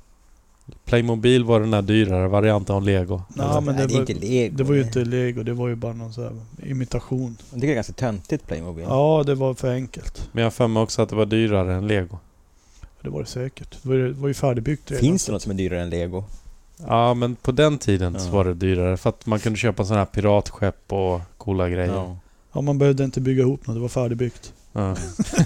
Speaker 1: Playmobil var den här dyrare varianten av Lego.
Speaker 3: Ja, men
Speaker 2: Nej,
Speaker 3: det,
Speaker 2: det är
Speaker 3: var,
Speaker 2: inte lego.
Speaker 3: det var ju inte lego, det var ju bara någon sån här imitation.
Speaker 2: Jag tycker det är ganska töntigt Playmobil.
Speaker 3: Ja, det var för enkelt.
Speaker 1: Men jag har för mig också att det var dyrare än Lego.
Speaker 3: Det var det säkert. Det var ju, det var ju färdigbyggt redan.
Speaker 2: Finns det något som är dyrare än lego?
Speaker 1: Ja, men på den tiden så
Speaker 2: Ja.
Speaker 1: var det dyrare. För att man kunde köpa sådana här piratskepp och coola grejer. Ja.
Speaker 2: Ja.
Speaker 3: Ja, man behövde inte bygga ihop något, det var färdigbyggt.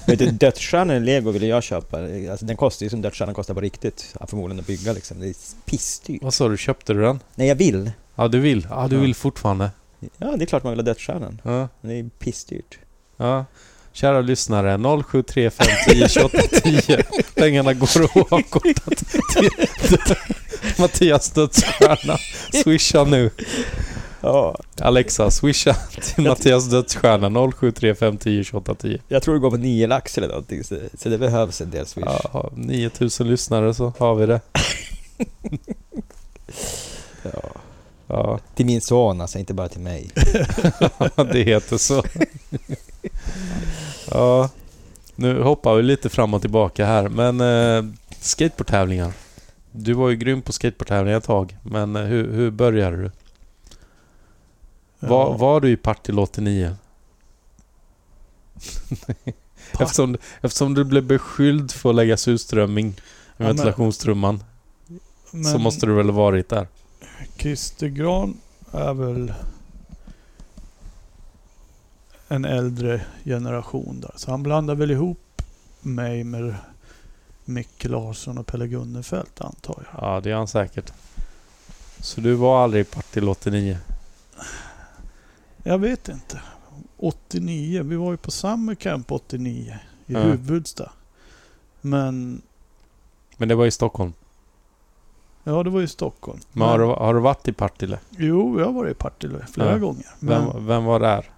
Speaker 2: Vet du, dödsstjärnan i lego ville jag köpa. Alltså, den kostar ju som dödsstjärnan kostar på riktigt. Ja, förmodligen att bygga liksom. Det är pissdyrt.
Speaker 1: Vad sa du? Köpte du den?
Speaker 2: Nej, jag vill.
Speaker 1: Ja, du vill? Ja, du
Speaker 2: Ja.
Speaker 1: vill fortfarande.
Speaker 2: Ja, det är klart man vill ha dödsstjärnan.
Speaker 1: Ja.
Speaker 2: Men det är pissdyrt.
Speaker 1: ja. Kära lyssnare, 0735 10 28 10. Pengarna går oavkortat till Mattias dödsstjärna. Swisha nu.
Speaker 2: Ja,
Speaker 1: Alexa, swisha till Mattias dödsstjärna 0735 10 28 10.
Speaker 2: jag tror det går på nio lax eller någonting. Så, så det behövs en del swish.
Speaker 1: Ja, har 9000 lyssnare så har vi det.
Speaker 2: Ja.
Speaker 1: Ja,
Speaker 2: Till min son alltså, inte bara till mig.
Speaker 1: det heter så. Ja, nu hoppar vi lite fram och tillbaka här, men eh, skateboardtävlingar. Du var ju grym på skateboardtävlingar ett tag, men eh, hur, hur började du? Var, var du i Partille 89? eftersom, eftersom du blev beskylld för att lägga surströmming i
Speaker 3: Ja, men-
Speaker 1: ventilationstrumman
Speaker 3: Men
Speaker 1: så måste du väl ha varit där?
Speaker 3: Christer Gran är väl en äldre generation där. Så han blandar väl ihop mig med Micke Larsson och Pelle Gunnefelt antar jag.
Speaker 1: Ja, det är han säkert. Så du var aldrig i Partille 89?
Speaker 3: Jag vet inte. 89, vi var ju på Summer Camp 89 i
Speaker 1: Ja.
Speaker 3: Huvudsta. Men,
Speaker 1: Men det var i Stockholm?
Speaker 3: ja det var ju Stockholm.
Speaker 1: Men har du, har du varit i Partille?
Speaker 3: Jo, jag var i Partille flera
Speaker 1: Ja.
Speaker 3: gånger. Men,
Speaker 1: Vem, vem var där?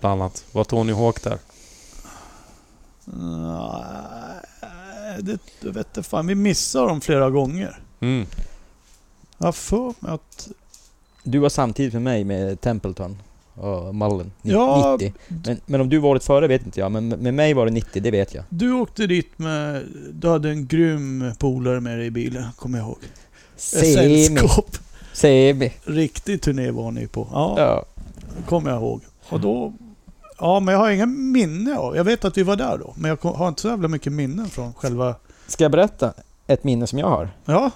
Speaker 1: Bland annat. Var Tony Hawk där?
Speaker 3: Nej, det, jag vet inte fan. Vi missade dem flera gånger.
Speaker 1: Mm.
Speaker 3: Jag har för mig att...
Speaker 2: Du var samtidigt med mig med Templeton och Mullen, ni-
Speaker 3: Ja.
Speaker 2: 90. Men, men om du var året före vet inte jag, men med mig var det 90, det vet jag.
Speaker 3: Du åkte dit med... Du hade en grym polare med dig i bilen, kommer jag ihåg. Ett
Speaker 2: Semi!
Speaker 3: sällskap.
Speaker 2: Semi!
Speaker 3: Riktig turné var ni på. Ja,
Speaker 2: Ja.
Speaker 3: kommer jag ihåg. Och då... Ja, men jag har inga minne av... Jag vet att vi var där då, men jag kom- har inte så jävla mycket minnen från själva...
Speaker 2: Ska jag berätta ett minne som jag har?
Speaker 3: Ja,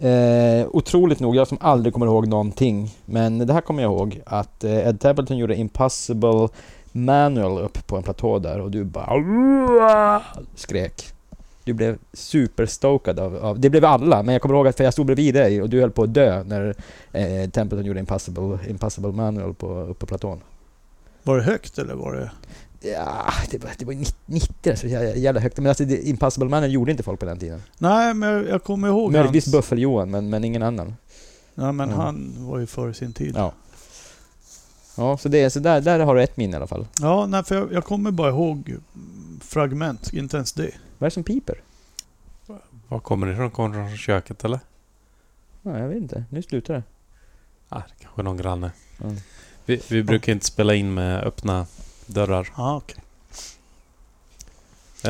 Speaker 2: Eh, otroligt nog, jag som aldrig kommer ihåg någonting, men det här kommer jag ihåg att eh, Ed Templeton gjorde Impossible Manual upp på en platå där och du bara skrek. Du blev superstokad av, av, det blev alla, men jag kommer ihåg att för jag stod bredvid dig och du höll på att dö när eh, Templeton gjorde Impossible, Impossible Manual på, uppe på platån.
Speaker 3: var det högt eller var det...
Speaker 2: Ja, det var, det var ju nitt- 90 så jävla, jävla högt, men alltså det, Impossible Manual gjorde inte folk på den tiden.
Speaker 3: Nej, men jag, jag kommer ihåg
Speaker 2: Möjligtvis
Speaker 3: hans...
Speaker 2: Buffel-Johan, men, men ingen annan.
Speaker 3: Nej, men
Speaker 2: Ja.
Speaker 3: han var ju före sin tid.
Speaker 2: Ja. Ja, så, det, så där, där har du ett minne i alla fall.
Speaker 3: Ja, nej, för jag, jag kommer bara ihåg mm, fragment, inte ens det.
Speaker 2: Vad är det som piper?
Speaker 1: Var kommer det ifrån? Kommer det från köket eller?
Speaker 2: Ja, jag vet inte. Nu slutar det.
Speaker 1: Ah, det kanske är någon granne.
Speaker 2: Mm.
Speaker 1: Vi, vi brukar inte spela in med öppna dörrar.
Speaker 3: Ja, okej.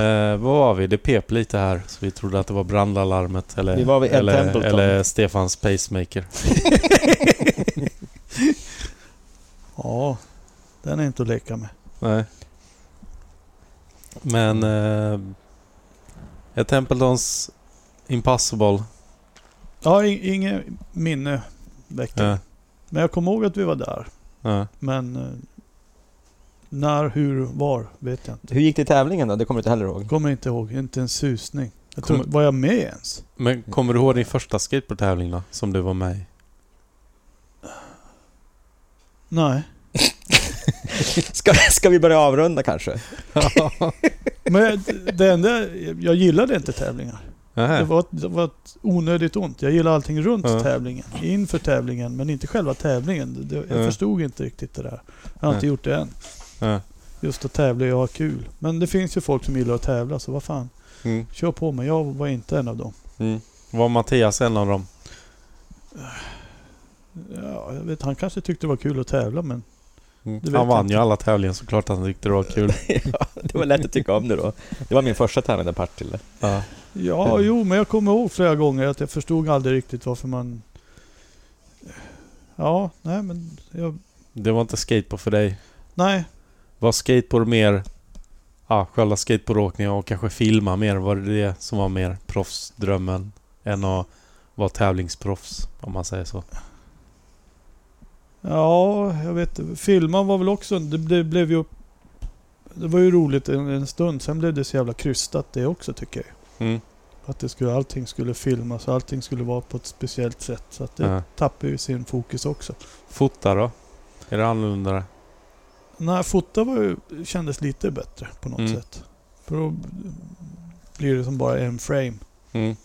Speaker 1: Eh, vad var vi? Det pep lite här. Så vi trodde att det var brandalarmet eller,
Speaker 2: Vi var vid Ed
Speaker 1: eller,
Speaker 2: Templeton.
Speaker 1: eller Stefans pacemaker.
Speaker 3: Ja, den är inte att leka med.
Speaker 1: Nej. Men... Eh, Ed Templetons Impossible.
Speaker 3: Ja, in- inget minne väcker.
Speaker 1: Ja,
Speaker 3: Men jag kommer ihåg att vi var där.
Speaker 1: typ. ja.
Speaker 3: Men eh, när, hur, var vet jag inte.
Speaker 2: Hur gick det i tävlingen då? Det kommer du inte heller ihåg?
Speaker 3: Kommer inte ihåg, inte en susning. Jag tror,
Speaker 1: Kommer-
Speaker 3: Var jag med ens?
Speaker 1: Men kommer du ihåg din första skateboardtävling då? Som du var med i?
Speaker 3: Nej.
Speaker 2: Ska, ska vi börja avrunda kanske?
Speaker 3: Men jag- det enda, jag gillade inte tävlingar. Det
Speaker 1: Nähä.
Speaker 3: var, ett- det var ett onödigt ont. Jag gillade allting runt
Speaker 1: Ja.
Speaker 3: tävlingen, inför tävlingen, men inte själva tävlingen. Det- Det, jag
Speaker 1: Ja.
Speaker 3: förstod inte riktigt det där. Jag har inte
Speaker 1: Ja.
Speaker 3: gjort det än.
Speaker 1: Ja.
Speaker 3: Just att tävla och ha kul. Men det finns ju folk som gillar att tävla, så vad fan.
Speaker 1: Mm.
Speaker 3: Kör på, men jag var inte en av dem.
Speaker 1: Mm. Var Mattias en av dem?
Speaker 3: Ja, jag vet, han kanske tyckte det var kul att tävla, men
Speaker 1: Mm.
Speaker 3: Det vet
Speaker 1: Han
Speaker 3: jag
Speaker 1: vann ju
Speaker 3: inte.
Speaker 1: alla tävlingar såklart han tyckte det var kul.
Speaker 2: ja, det var lätt att tycka om det då. Det var min första tävling där Partille.
Speaker 1: Ja.
Speaker 3: Ja,
Speaker 2: Mm.
Speaker 3: jo, men jag kommer ihåg flera gånger att jag förstod aldrig riktigt varför man... Ja, nej men... Jag...
Speaker 1: Det var inte skateboard för dig.
Speaker 3: Nej,
Speaker 1: Var skateboard mer ja, själva skateboardåkningen och kanske filma mer? Var det det som var mer proffsdrömmen än att vara tävlingsproffs om man säger så?
Speaker 3: Ja, jag vet inte. Filma var väl också... Det, det blev ju... Det var ju roligt en, en stund, sen blev det så jävla krystat det också tycker jag.
Speaker 1: Mm.
Speaker 3: Att det skulle, allting skulle filmas och allting skulle vara på ett speciellt sätt. Så att det
Speaker 1: Ja.
Speaker 3: tappar ju sin fokus också.
Speaker 1: Fota då? Är det annorlunda?
Speaker 3: Nej, fota var ju, kändes lite bättre på något
Speaker 1: Mm.
Speaker 3: sätt. För då blir det som bara en frame.
Speaker 1: Mm.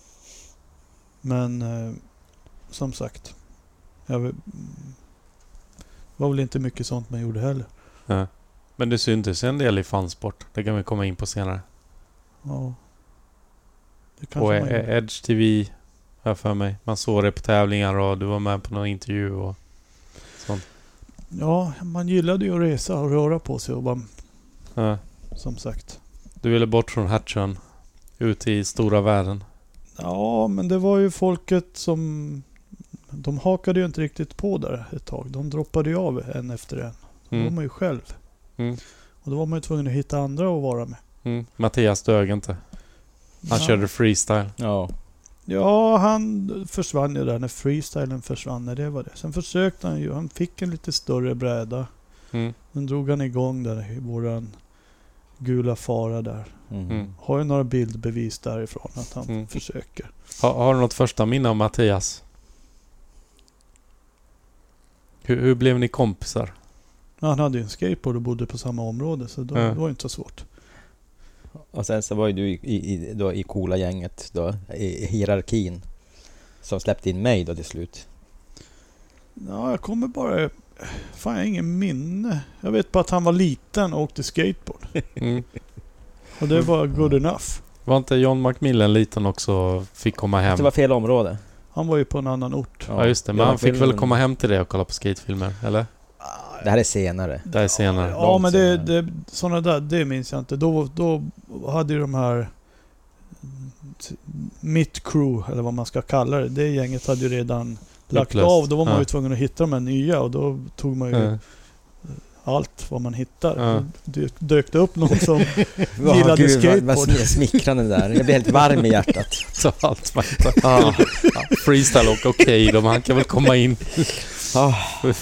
Speaker 3: Men eh, som sagt. Jag, vet- det var väl inte mycket sånt man gjorde heller.
Speaker 1: Ja. Men det syntes en del i fansport. Det kan vi komma in på senare.
Speaker 3: Ja. Det kanske
Speaker 1: Och
Speaker 3: man gjorde.
Speaker 1: E- Edge TV har jag för mig. Man såg det på tävlingar och du var med på någon intervju och sånt.
Speaker 3: Ja, man gillade ju att resa och röra på sig och bara,
Speaker 1: Ja.
Speaker 3: som sagt.
Speaker 1: Du ville bort från Hatchön. Ut i stora världen.
Speaker 3: Ja, men det var ju folket som... De hakade ju inte riktigt på där ett tag. De droppade ju av en efter en. Då var
Speaker 1: Mm.
Speaker 3: man ju själv.
Speaker 1: Mm.
Speaker 3: Och då var man ju tvungen att hitta andra att vara med.
Speaker 1: Mm. Mattias dög inte. Han
Speaker 3: ja.
Speaker 1: körde freestyle.
Speaker 2: Ja.
Speaker 3: Ja, han försvann ju där när freestylen försvann. När det var det. Sen försökte han ju. Han fick en lite större bräda.
Speaker 1: Mm.
Speaker 3: Sen drog han igång där i våran gula fara där.
Speaker 2: Mm.
Speaker 1: Mm.
Speaker 3: Har ju några bildbevis därifrån att han
Speaker 1: Mm.
Speaker 3: försöker.
Speaker 1: Ha, har du något första minne av Mattias? Hur, hur blev ni kompisar?
Speaker 3: Ja, Han hade ju en skateboard och bodde på samma område så då,
Speaker 1: Ja.
Speaker 3: det var ju inte så svårt.
Speaker 2: Och sen så var ju du i, i, i- då, i coola gänget då, i i hierarkin. Som släppte in mig då till slut.
Speaker 3: Ja, jag kommer bara... Fan, jag har ingen minne. Jag vet bara att han var liten och åkte skateboard.
Speaker 1: Mm.
Speaker 3: Och det var good enough.
Speaker 1: Var inte John Macmillan liten också och fick komma hem?
Speaker 2: Det var fel område.
Speaker 3: Han var ju på en annan ort.
Speaker 1: Ja just det, men
Speaker 2: Jag
Speaker 1: han fick
Speaker 2: vill-
Speaker 1: väl komma hem till dig och kolla på skatefilmer? Eller?
Speaker 2: Det här är senare.
Speaker 1: Det här är senare.
Speaker 3: Ja, men det,
Speaker 2: senare.
Speaker 3: det, sådana där, det minns jag inte. Då, då hade ju de här... mm, Mitt crew, eller vad man ska kalla det. Det gänget hade ju redan lagt
Speaker 1: Upplöst.
Speaker 3: av. Då var man
Speaker 1: Ja.
Speaker 3: ju tvungen att hitta de här nya och då tog man ju
Speaker 1: Mm.
Speaker 3: allt vad man hittar.
Speaker 1: Ja.
Speaker 3: Det dök det upp någon som...
Speaker 2: Åh,
Speaker 3: Gillade
Speaker 2: gud, vad- Vad,
Speaker 3: skateboard.
Speaker 2: sm- smickrande det där. Jag blir helt varm i hjärtat.
Speaker 1: Så allt man hittar. ja. Freestyle och okej då, men han kan väl komma in.
Speaker 2: Ah,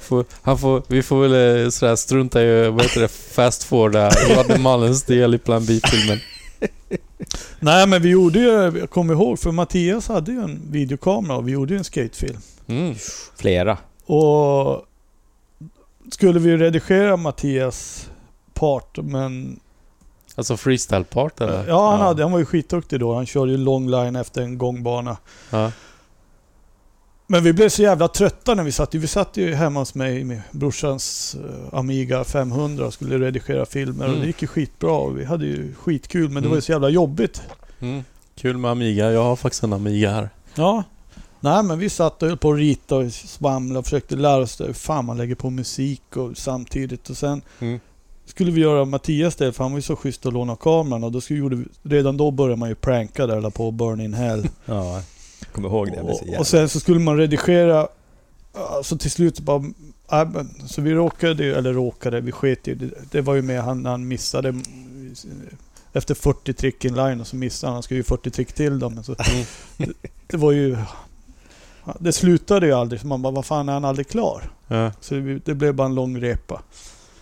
Speaker 1: Får- han får, vi får väl eh, sådär strunta i, vad heter det, fast forwarda Rodney Mullens del i Plan B-filmen.
Speaker 3: Nej men vi gjorde ju, jag kommer ihåg, för Mattias hade ju en videokamera och vi gjorde ju en skatefilm.
Speaker 1: Mm.
Speaker 2: flera.
Speaker 3: Och skulle vi redigera Mattias part, men...
Speaker 1: Alltså freestyle-part eller?
Speaker 3: Ja, han, Hade, han var ju skitduktig då. Han körde ju long line efter en gångbana.
Speaker 1: Ja.
Speaker 3: Men vi blev så jävla trötta när vi satt. Vi satt ju hemma hos mig i min brorsans eh, Amiga 500 och skulle redigera filmer och
Speaker 1: Mm.
Speaker 3: det gick ju skitbra. Och vi hade ju skitkul, men det
Speaker 1: Mm.
Speaker 3: var ju så jävla jobbigt.
Speaker 1: Mm. Kul med Amiga. Jag har faktiskt en Amiga här.
Speaker 3: Ja. Nej, men vi satt och höll på att rita och svamla och försökte lära oss det, hur fan man lägger på musik och samtidigt. Och sen
Speaker 1: Mm.
Speaker 3: skulle vi göra Mattias del, för han var ju så schysst att låna kameran. Och då skulle, gjorde vi, redan då började man ju pranka där, eller på Burn in Hell.
Speaker 2: Ja, jag kommer ihåg det. Jag blev så
Speaker 3: och,
Speaker 2: jävla...
Speaker 3: och sen så skulle man redigera. Så till slut bara... nej, men- Så vi råkade ju, eller råkade, vi sket ju. Det- Det var ju med han, han missade. Efter 40 trick inline och så missade han. Han skulle ju 40 trick till dem. men Så,
Speaker 1: Mm.
Speaker 3: det, det var ju... Det slutade ju aldrig. Så man bara, vad fan är han aldrig klar?
Speaker 1: Ja.
Speaker 3: Så det, det blev bara en lång repa.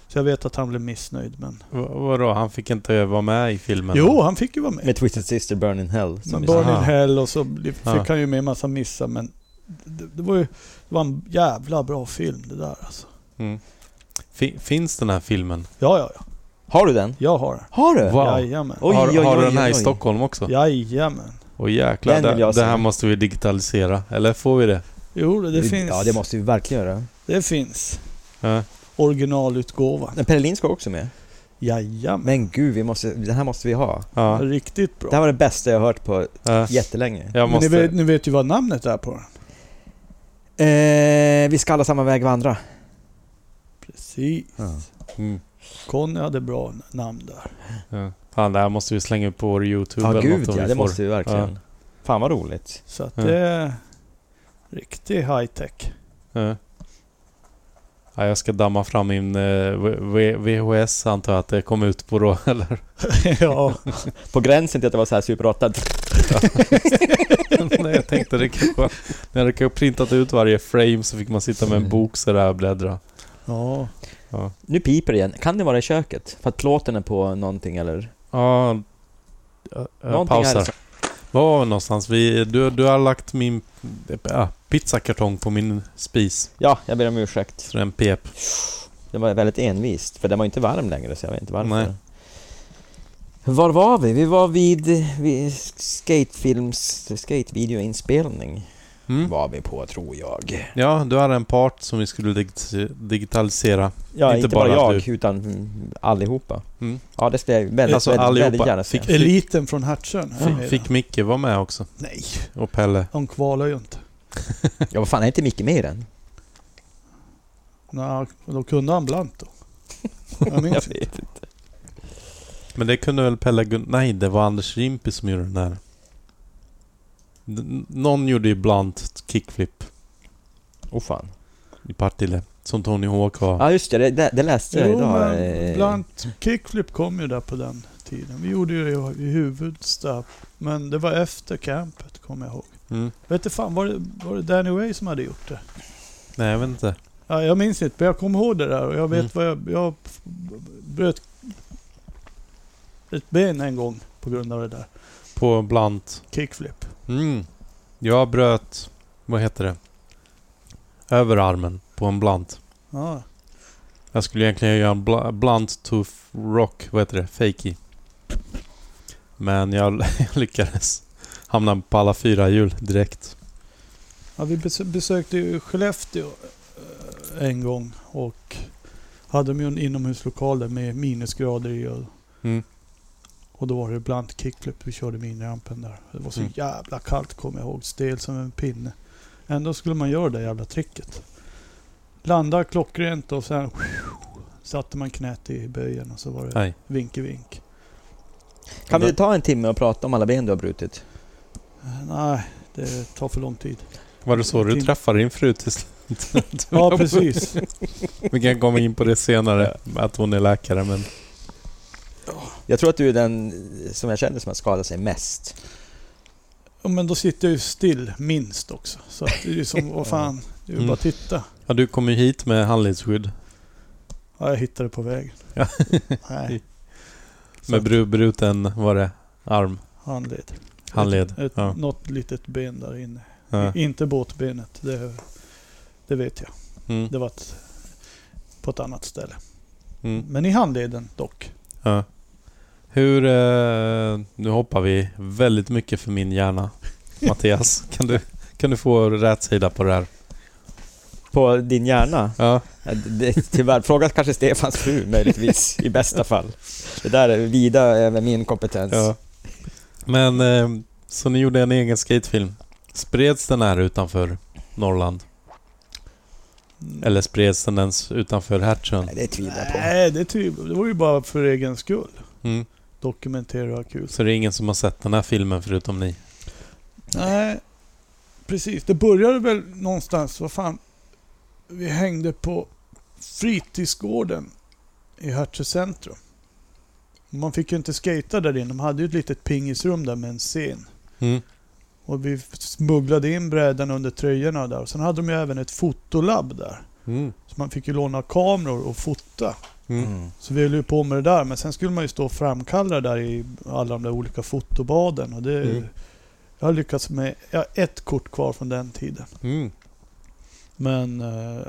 Speaker 3: Så jag vet att han blev missnöjd men...
Speaker 1: V- vadå? Han fick inte vara med i filmen?
Speaker 3: Jo, han fick ju vara med.
Speaker 2: Med Twisted Sister Burn in Hell. som
Speaker 3: Men
Speaker 2: vi
Speaker 1: bara-
Speaker 2: sa.
Speaker 3: Burn in
Speaker 1: Mm. Aha.
Speaker 3: Hell och så blev- fick
Speaker 1: Ja.
Speaker 3: han ju med en massa missar men det, det var ju det var en jävla bra film det där alltså.
Speaker 1: Mm. Fi- finns den här filmen?
Speaker 3: Ja, ja, ja.
Speaker 2: Har du den?
Speaker 3: Jag har den.
Speaker 2: Har du?
Speaker 1: Wow.
Speaker 3: Jajamän.
Speaker 2: Oj,
Speaker 1: har,
Speaker 2: oj,
Speaker 1: har du
Speaker 2: oj,
Speaker 1: den här i
Speaker 2: oj.
Speaker 1: Stockholm också?
Speaker 3: Jajamän.
Speaker 1: Och jäklar,
Speaker 2: Den vill
Speaker 1: det,
Speaker 2: jag
Speaker 1: det här
Speaker 2: se.
Speaker 1: måste vi digitalisera. Eller får vi det?
Speaker 3: Jo, det, det finns.
Speaker 2: Ja, det måste vi verkligen göra.
Speaker 3: det finns.
Speaker 1: Ja.
Speaker 3: Originalutgåvan.
Speaker 2: Men Pelle Lind ska också med.
Speaker 3: Jajamän.
Speaker 2: Men gud, vi måste, den här måste vi ha.
Speaker 1: Ja.
Speaker 3: Riktigt bra.
Speaker 2: Det här var det bästa jag har hört på
Speaker 1: Ja.
Speaker 2: jättelänge.
Speaker 1: Jag
Speaker 3: Men ni vet,
Speaker 1: måste...
Speaker 3: ni vet ju vad namnet är på den.
Speaker 2: Eh, vi ska alla samma väg vandra.
Speaker 3: Precis.
Speaker 2: Ja.
Speaker 1: Mm.
Speaker 3: Conny hade bra namn där.
Speaker 1: Ja. Fan, det här måste vi slänga upp på vår YouTube
Speaker 2: Ja,
Speaker 1: eller
Speaker 2: gud
Speaker 1: något om
Speaker 2: ja,
Speaker 1: vi
Speaker 2: det
Speaker 1: får.
Speaker 2: måste vi verkligen. Fan vad roligt.
Speaker 3: Så att
Speaker 1: Ja.
Speaker 3: det är riktig high-tech.
Speaker 1: Ja. Ja, jag ska damma fram min eh, V- V- VHS antar jag att det kom ut på då, eller?
Speaker 3: ja,
Speaker 2: På gränsen till att det var så här Super 8.
Speaker 1: Nej, jag tänkte det kanske... När det kanske printat ut varje frame så fick man sitta med en bok sådär och bläddra.
Speaker 3: ja.
Speaker 1: Ja,
Speaker 2: Nu piper det igen. Kan det vara i köket? För att plåten är på någonting eller?
Speaker 1: ja jag, jag
Speaker 2: Någonting liksom.
Speaker 1: pausar.
Speaker 2: är det som-
Speaker 1: Var var vi någonstans? Vi, du, du har lagt min äh, pizzakartong på min spis.
Speaker 2: Ja, jag ber om ursäkt.
Speaker 1: Så den pep.
Speaker 2: Det var väldigt envist, för den var inte varm längre så jag vet inte varför.
Speaker 1: Nej.
Speaker 2: Var var vi? Vi var vid, vid skatefilms... Skatevideoinspelning
Speaker 1: Mm.
Speaker 2: var vi på tror jag.
Speaker 1: Ja, du hade en part som vi skulle dig- digitalisera.
Speaker 2: Ja, inte,
Speaker 1: Inte
Speaker 2: bara,
Speaker 1: bara
Speaker 2: jag utan mm, allihopa.
Speaker 1: Mm.
Speaker 2: Ja, det skulle jag väldigt,
Speaker 1: Alltså,
Speaker 2: väldigt, väldigt
Speaker 1: allihopa.
Speaker 2: gärna se.
Speaker 1: Fick-
Speaker 3: Eliten från Hertsön. här är
Speaker 1: Fick,
Speaker 3: det.
Speaker 1: fick Micke vara med också?
Speaker 3: Nej,
Speaker 1: Och Pelle.
Speaker 3: de kvalar ju inte.
Speaker 2: Ja, vad fan, är inte Micke med i den?
Speaker 3: Nå, då kunde han blant då. Jag minns inte.
Speaker 2: vet.
Speaker 1: Men det kunde väl Pelle Gun- Nej, det var Anders Rimpi som gjorde den där. N- Någon gjorde ju blunt kickflip
Speaker 2: Oh, fan.
Speaker 1: i Partille. Som Tony Hawk var.
Speaker 2: Ja, just det, det, det läste jag
Speaker 3: Jo,
Speaker 2: idag.
Speaker 3: men
Speaker 2: eh,
Speaker 3: blant kickflip kom ju där på den tiden. Vi gjorde ju det i huvudstad. Men det var efter campet, kommer jag ihåg.
Speaker 1: Mm.
Speaker 3: Vet du fan, var det, var det Danny Way som hade gjort det?
Speaker 1: Nej, jag vet inte.
Speaker 3: Ja, jag minns inte, men jag kommer ihåg det där och jag vet
Speaker 1: Mm.
Speaker 3: vad jag... Jag f- bröt ett ben en gång på grund av det där.
Speaker 1: På blunt.
Speaker 3: Kickflip.
Speaker 1: Mm. Jag bröt... Vad heter det? Överarmen på en blunt.
Speaker 3: Ja,
Speaker 1: Jag skulle egentligen göra en bl- blunt to f- rock. Vad heter det? Fakey. Men jag lyckades. Hamna på alla fyra hjul direkt.
Speaker 3: ja vi besö- besökte ju Skellefteå eh, en gång och hade de ju en inomhuslokal där med minusgrader i och,
Speaker 1: Mm.
Speaker 3: och då var det bland kickflip vi körde minirampen där. Det var så
Speaker 1: Mm.
Speaker 3: jävla kallt kommer jag ihåg, stel som en pinne. Ändå skulle man göra det jävla tricket. Landa klockrent och sen satte man knät i böjen och så var det
Speaker 1: Nej.
Speaker 3: vinke vink.
Speaker 2: Kan vi ta en timme och prata om alla ben du har brutit?
Speaker 3: Eh, Nej, det tar för lång tid.
Speaker 1: Var det så du
Speaker 3: Tim-
Speaker 1: träffade din fru till slut?
Speaker 3: Ja, precis.
Speaker 1: Vi kan komma in på det senare, att hon är läkare, men...
Speaker 2: Jag tror att du är den som jag känner som har skadat sig mest.
Speaker 3: Ja, men då sitter jag ju still minst också. Så att det är ju som, vad fan, det är ju
Speaker 1: Mm.
Speaker 3: bara att titta.
Speaker 1: Ja, du kom ju hit med handledsskydd.
Speaker 3: Ja, jag hittade på vägen.
Speaker 1: Ja.
Speaker 3: Nej, Så
Speaker 1: Med
Speaker 3: att-
Speaker 1: bru, bruten, var det, arm,
Speaker 3: handled.
Speaker 1: handled.
Speaker 3: Ett,
Speaker 1: Ja.
Speaker 3: Något litet ben där inne.
Speaker 1: Ja.
Speaker 3: Inte båtbenet, det, det vet jag.
Speaker 1: Mm.
Speaker 3: Det var ett, på ett annat ställe.
Speaker 1: Mm.
Speaker 3: Men i handleden dock.
Speaker 1: Ja. Hur... Eh, nu hoppar vi väldigt mycket för min hjärna. Mattias, kan du, kan du få rätt sida på det här?
Speaker 2: På din hjärna?
Speaker 1: Ja.
Speaker 2: Ja, det- det- Tyvärr, fråga kanske Stefans fru möjligtvis, i bästa fall. Det där är vida över min kompetens.
Speaker 1: ja. Men, eh, så ni gjorde en egen skatefilm. Spreds den här utanför Norrland?
Speaker 3: Mm.
Speaker 1: Eller spreds den ens utanför Hertsön?
Speaker 2: Nej, det tvivlar jag på.
Speaker 3: Nej, det, tvivlar- det var ju bara för egen skull.
Speaker 1: Mm.
Speaker 3: Dokumentera och ha kul.
Speaker 1: Så det är ingen som har sett den här filmen förutom ni?
Speaker 3: Nej, precis. Det började väl någonstans, vad fan. Vi hängde på fritidsgården i Hertsö centrum. Man fick ju inte skata där inne. De hade ju ett litet pingisrum där med en scen.
Speaker 1: Mm.
Speaker 3: Och vi smugglade in brädan under tröjorna där. Och sen hade de ju även ett fotolabb där.
Speaker 1: Mm.
Speaker 3: Så man fick ju låna kameror och fota.
Speaker 1: Mm.
Speaker 2: Mm.
Speaker 3: Så vi höll ju på med det där. Men sen skulle man ju stå och framkalla det där i alla de där olika fotobaden. Och det,
Speaker 1: Mm.
Speaker 3: Jag har lyckats med... Jag har ett kort kvar från den tiden.
Speaker 1: Mm.
Speaker 3: Men... Eh,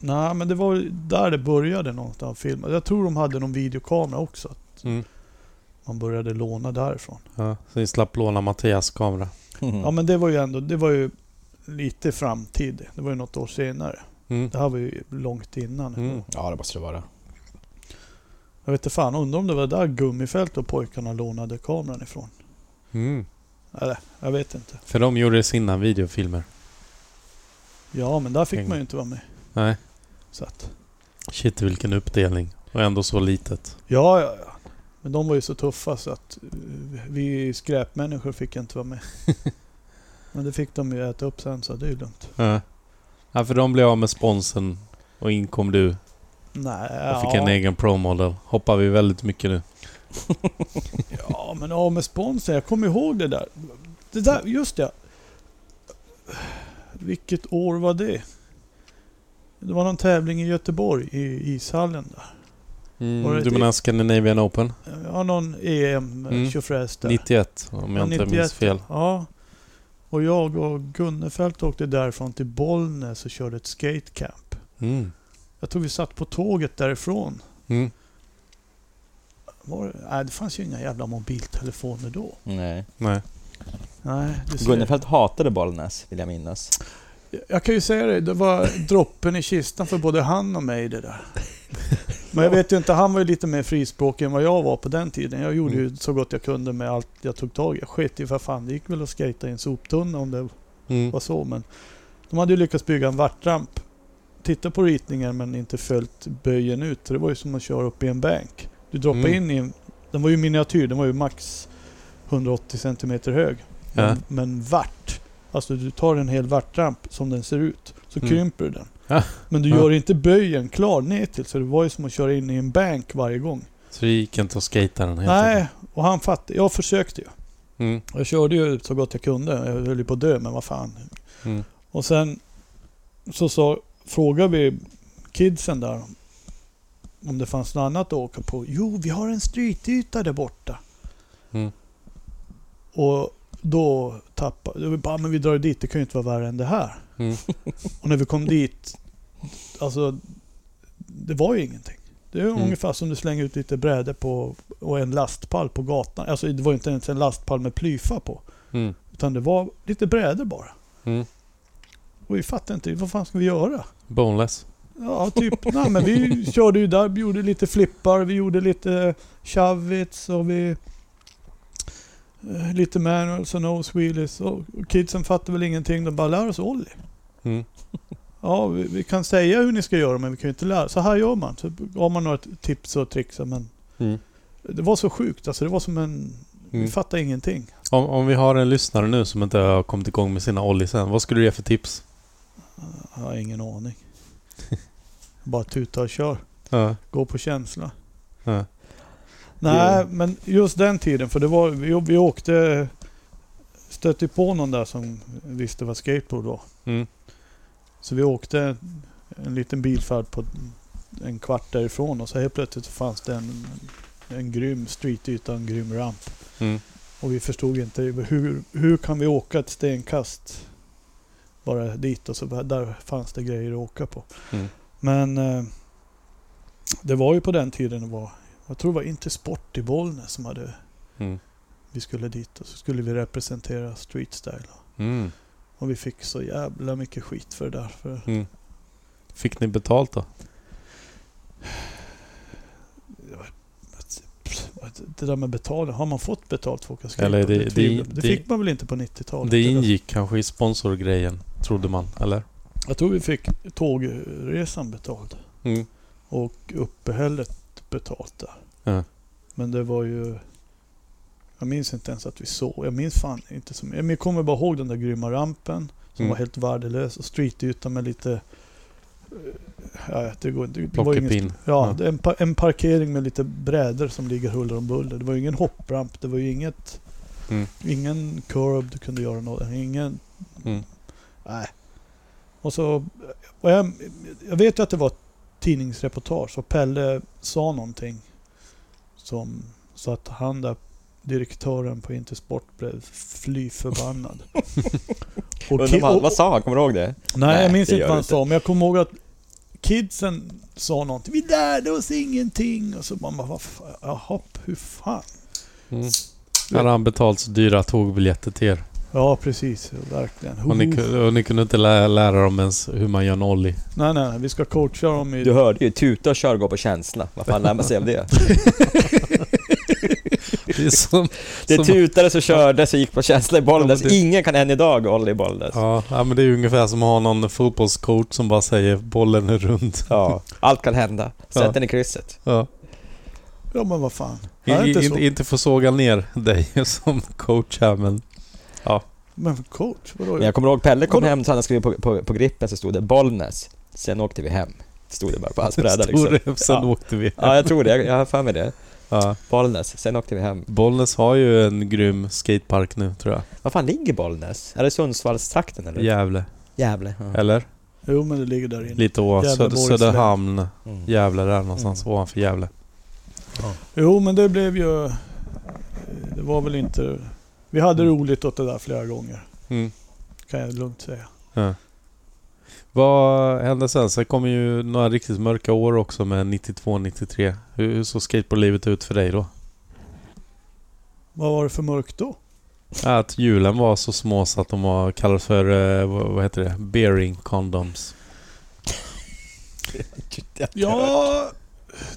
Speaker 3: nej, men det var där det började någonstans filmen. Jag tror de hade någon videokamera också. Att
Speaker 1: Mm.
Speaker 3: man började låna därifrån.
Speaker 1: Ja, så ni slapp låna Mattias kamera?
Speaker 3: Ja,
Speaker 2: Mm.
Speaker 3: men det var ju ändå... Det var ju lite framtid. Det var ju något år senare.
Speaker 1: Mm.
Speaker 3: Det här var ju långt innan.
Speaker 1: Mm.
Speaker 2: ja, det måste det vara.
Speaker 3: Jag vet inte fan, undrar om det var där gummifält och pojkarna lånade kameran ifrån.
Speaker 1: Mm.
Speaker 3: Eller, jag vet inte.
Speaker 1: För de gjorde sina videofilmer?
Speaker 3: Ja, men där fick
Speaker 1: Häng.
Speaker 3: man ju inte vara med.
Speaker 1: Nej.
Speaker 3: Så att,
Speaker 1: Shit vilken uppdelning. Och ändå så litet.
Speaker 3: ja, ja, ja. Men de var ju så tuffa så att eh, vi skräpmänniskor fick inte vara med. Men det fick de ju äta upp sen så det är ju lugnt.
Speaker 1: Ja. ja, för de blev av med sponsen och in kom du
Speaker 3: Nej,
Speaker 1: och fick en egen Pro-model. Hoppar vi väldigt mycket nu.
Speaker 3: Ja, men av med sponsen. Jag kommer ihåg det där. Det där, just det. Vilket år var det? Det var någon tävling i Göteborg, i ishallen där. Var det
Speaker 1: Mm, du
Speaker 3: det?
Speaker 1: menar Scandinavian Open?
Speaker 3: Ja, någon EM
Speaker 1: Mm.
Speaker 3: tjofräs där.
Speaker 1: 91, om jag inte
Speaker 3: 91,
Speaker 1: minns fel.
Speaker 3: Ja. Och jag och Gunnefelt åkte därifrån till Bollnäs och körde ett skatecamp.
Speaker 1: Mm.
Speaker 3: Jag tror vi satt på tåget därifrån.
Speaker 1: Mm.
Speaker 3: Var, det- nej, det fanns ju inga jävla mobiltelefoner då.
Speaker 2: Nej.
Speaker 1: Nej.
Speaker 3: Nej, du ser.
Speaker 2: Gunnefelt hatade Bollnäs, vill jag minnas.
Speaker 3: Jag kan ju säga det, det var droppen i kistan för både han och mig det där. Men jag vet ju inte, han var ju lite mer frispråkig än vad jag var på den tiden. Jag gjorde ju så gott jag kunde med allt jag tog tag i. Jag sket ju för fan, det gick väl att skejta i en soptunna om det
Speaker 1: Mm.
Speaker 3: var så. Men de hade ju lyckats bygga en vartramp. Titta på ritningen men inte följt böjen ut. Så det var ju som att köra upp i en bänk. Du droppade
Speaker 1: Mm.
Speaker 3: in i en... Den var ju miniatyr, den var ju max 180 cm hög. Men,
Speaker 1: Ja.
Speaker 3: men vart. Alltså du tar en hel vartramp som den ser ut, så
Speaker 1: Mm.
Speaker 3: krymper du den.
Speaker 1: Ja.
Speaker 3: Men du
Speaker 1: Ja.
Speaker 3: gör inte böjen klar ner till så det var ju som att köra in i en bank varje gång.
Speaker 1: Så det gick inte att skata den helt
Speaker 3: Nej, och han fattade. Jag försökte ju.
Speaker 1: enkelt. Mm.
Speaker 3: Jag körde ju så gott jag kunde. Jag höll ju på att dö, men vad fan.
Speaker 1: Mm.
Speaker 3: Och sen så, så frågade vi kidsen där om det fanns något annat att åka på. Jo, vi har en strytyta där borta.
Speaker 1: Mm.
Speaker 3: Och då tappade... Vi bara, "Ah, men vi drar ju dit. Det kan ju inte vara värre än det här.
Speaker 1: Mm.
Speaker 3: Och när vi kom dit, alltså, det var ju ingenting. Det är
Speaker 1: Mm.
Speaker 3: ungefär som du slänger ut lite brädor på och en lastpall på gatan. Alltså det var ju inte ens en lastpall med plyfa på.
Speaker 1: Mm.
Speaker 3: Utan det var lite brädor bara.
Speaker 1: Mm.
Speaker 3: Och vi fattade inte, vad fan ska vi göra?
Speaker 1: Boneless.
Speaker 3: Ja, typ, nej men vi körde ju där, vi gjorde lite flippar, vi gjorde lite shavits och vi... eh, Lite manuals och nose wheelies och kidsen fattade väl ingenting, de bara lär oss ollie.
Speaker 1: Mm.
Speaker 3: Ja, vi, vi kan säga hur ni ska göra men vi kan ju inte lära. Så här gör man. Så har man några tips och tricks. Men
Speaker 1: Mm.
Speaker 3: det var så sjukt. Alltså, det var som en... Vi
Speaker 1: Mm.
Speaker 3: fattade ingenting.
Speaker 1: Om, om vi har en lyssnare nu som inte har kommit igång med sina ollies än, vad skulle du ge för tips?
Speaker 3: Jag har ingen aning. Bara tuta och kör.
Speaker 1: Ja.
Speaker 3: Gå på känsla.
Speaker 1: Ja.
Speaker 3: Nej, men just den tiden. För det var... Vi, vi åkte... Stötte på någon där som visste vad skateboard var.
Speaker 1: Mm.
Speaker 3: Så vi åkte en liten bilfärd på en kvart därifrån och så helt plötsligt så fanns det en, en grym streetyta, en grym ramp.
Speaker 1: Mm.
Speaker 3: Och vi förstod inte hur, hur kan vi åka ett stenkast bara dit och så bara- där fanns det grejer att åka på.
Speaker 1: Mm.
Speaker 3: Men eh, det var ju på den tiden det var, jag tror det var Intersport i Bollnäs som hade,
Speaker 1: Mm.
Speaker 3: vi skulle dit och så skulle vi representera streetstyle.
Speaker 1: Mm.
Speaker 3: Och vi fick så jävla mycket skit för det där. För
Speaker 1: Mm. Fick ni betalt då?
Speaker 3: Det där med betalning, har man fått betalt för att åka
Speaker 1: Eller
Speaker 3: skateboard?
Speaker 1: det-
Speaker 3: Det, tvivlar-
Speaker 1: det-
Speaker 3: det
Speaker 1: det-
Speaker 3: fick man väl inte på 90-talet?
Speaker 1: Det
Speaker 3: eller?
Speaker 1: ingick kanske i sponsorgrejen, trodde man, eller?
Speaker 3: Jag tror vi fick tågresan betald
Speaker 1: Mm.
Speaker 3: och uppehället betalt där.
Speaker 1: Ja.
Speaker 3: Men det var ju... Jag minns inte ens att vi såg. Jag minns fan inte så mycket. Jag kommer bara ihåg den där grymma rampen som
Speaker 1: Mm.
Speaker 3: var helt värdelös och streetytan med lite... eh, Ja, det går inte. Det var ju ingen,
Speaker 1: Plockepinn.
Speaker 3: ja,
Speaker 1: Ja.
Speaker 3: det är en, pa- en parkering med lite brädor som ligger huller om buller. Det var ju ingen hoppramp. Det var ju inget...
Speaker 1: Mm.
Speaker 3: Ingen curb du kunde göra något. Ingen...
Speaker 1: Mm.
Speaker 3: Nej. Och så... Och jag, jag vet ju att det var ett tidningsreportage och Pelle sa någonting. Som, så att han där, direktören på Intersport blev fly förbannad. och
Speaker 2: Undrar
Speaker 3: ki-
Speaker 2: vad,
Speaker 3: och,
Speaker 2: vad sa han? Kommer du ihåg det?
Speaker 3: nej, jag
Speaker 2: Nej,
Speaker 3: minns
Speaker 2: det
Speaker 3: inte
Speaker 2: gör
Speaker 3: vad
Speaker 2: du
Speaker 3: han
Speaker 2: inte.
Speaker 3: sa, men jag kommer ihåg att kidsen sa någonting. Vi lärde oss ingenting. Och så man bara, vad fan, jaha, hur fan?
Speaker 1: Mm. Hade han betalt så dyra tågbiljetter till er?
Speaker 3: Ja, precis. Verkligen.
Speaker 1: Och ni,
Speaker 3: Ho, ho.
Speaker 1: ku- och ni kunde inte lära, lära dem ens hur man gör en ollie?
Speaker 3: Nej, nej, nej, vi ska coacha dem i...
Speaker 2: Du hörde ju, tuta och kör, gå på känsla. Vad fan lär man sig av det?
Speaker 1: Det är som,
Speaker 2: Det typ-
Speaker 1: som,
Speaker 2: tutades och kördes och gick på känsla i bollen.
Speaker 1: Ja, men det-
Speaker 2: Ingen kan än idag hålla i bollen. Ja.
Speaker 1: ja, ja, men det är ju ungefär som att ha någon fotbollscoach som bara säger bollen är rund.
Speaker 2: Allt kan hända. Sätt
Speaker 1: Ja.
Speaker 2: den i krysset.
Speaker 1: Ja.
Speaker 3: Ja men vad fan.
Speaker 1: I,
Speaker 3: Är det inte
Speaker 1: inte,
Speaker 3: så?
Speaker 1: inte, inte få såga ner dig som coach här, men...
Speaker 3: Men coach, vadå?
Speaker 2: Men jag kommer ihåg Pelle kom
Speaker 3: Vadå?
Speaker 2: hem så hade han skrev på, på, på grippen så stod det Bollnäs. Sen åkte vi hem. Stod det bara på hans bräda
Speaker 1: Stor
Speaker 2: liksom.
Speaker 1: rev, sen
Speaker 2: Ja.
Speaker 1: åkte vi.
Speaker 2: Ja, jag tror det. Jag, jag har för mig det.
Speaker 1: Ja.
Speaker 2: Bollnäs. Sen åkte vi hem.
Speaker 1: Bollnäs har ju en grym skatepark nu, tror jag.
Speaker 2: Var fan ligger Bollnäs? Är det Sundsvallstrakten eller?
Speaker 1: Gävle.
Speaker 2: Gävle. Ja.
Speaker 1: Eller?
Speaker 3: Jo men det ligger där inne.
Speaker 1: Lite ovanför. Söder,
Speaker 3: Gävleborgs län.
Speaker 1: Söderhamn.
Speaker 2: Mm.
Speaker 1: Gävle där någonstans ovanför Gävle.
Speaker 3: Jo men det blev ju... eh, Det var väl inte... Vi hade
Speaker 2: Mm.
Speaker 3: roligt åt det där flera gånger.
Speaker 1: Mm.
Speaker 3: Kan jag lugnt säga.
Speaker 1: Ja. Vad hände sen? Sen kommer ju några riktigt mörka år också med 92, 93. Hur, hur såg skateboardlivet ut för dig då?
Speaker 3: Vad var det för mörkt då?
Speaker 1: Att hjulen var så små så att de var kallade för, eh, vad, vad heter det? Bearing condoms.
Speaker 3: Ja...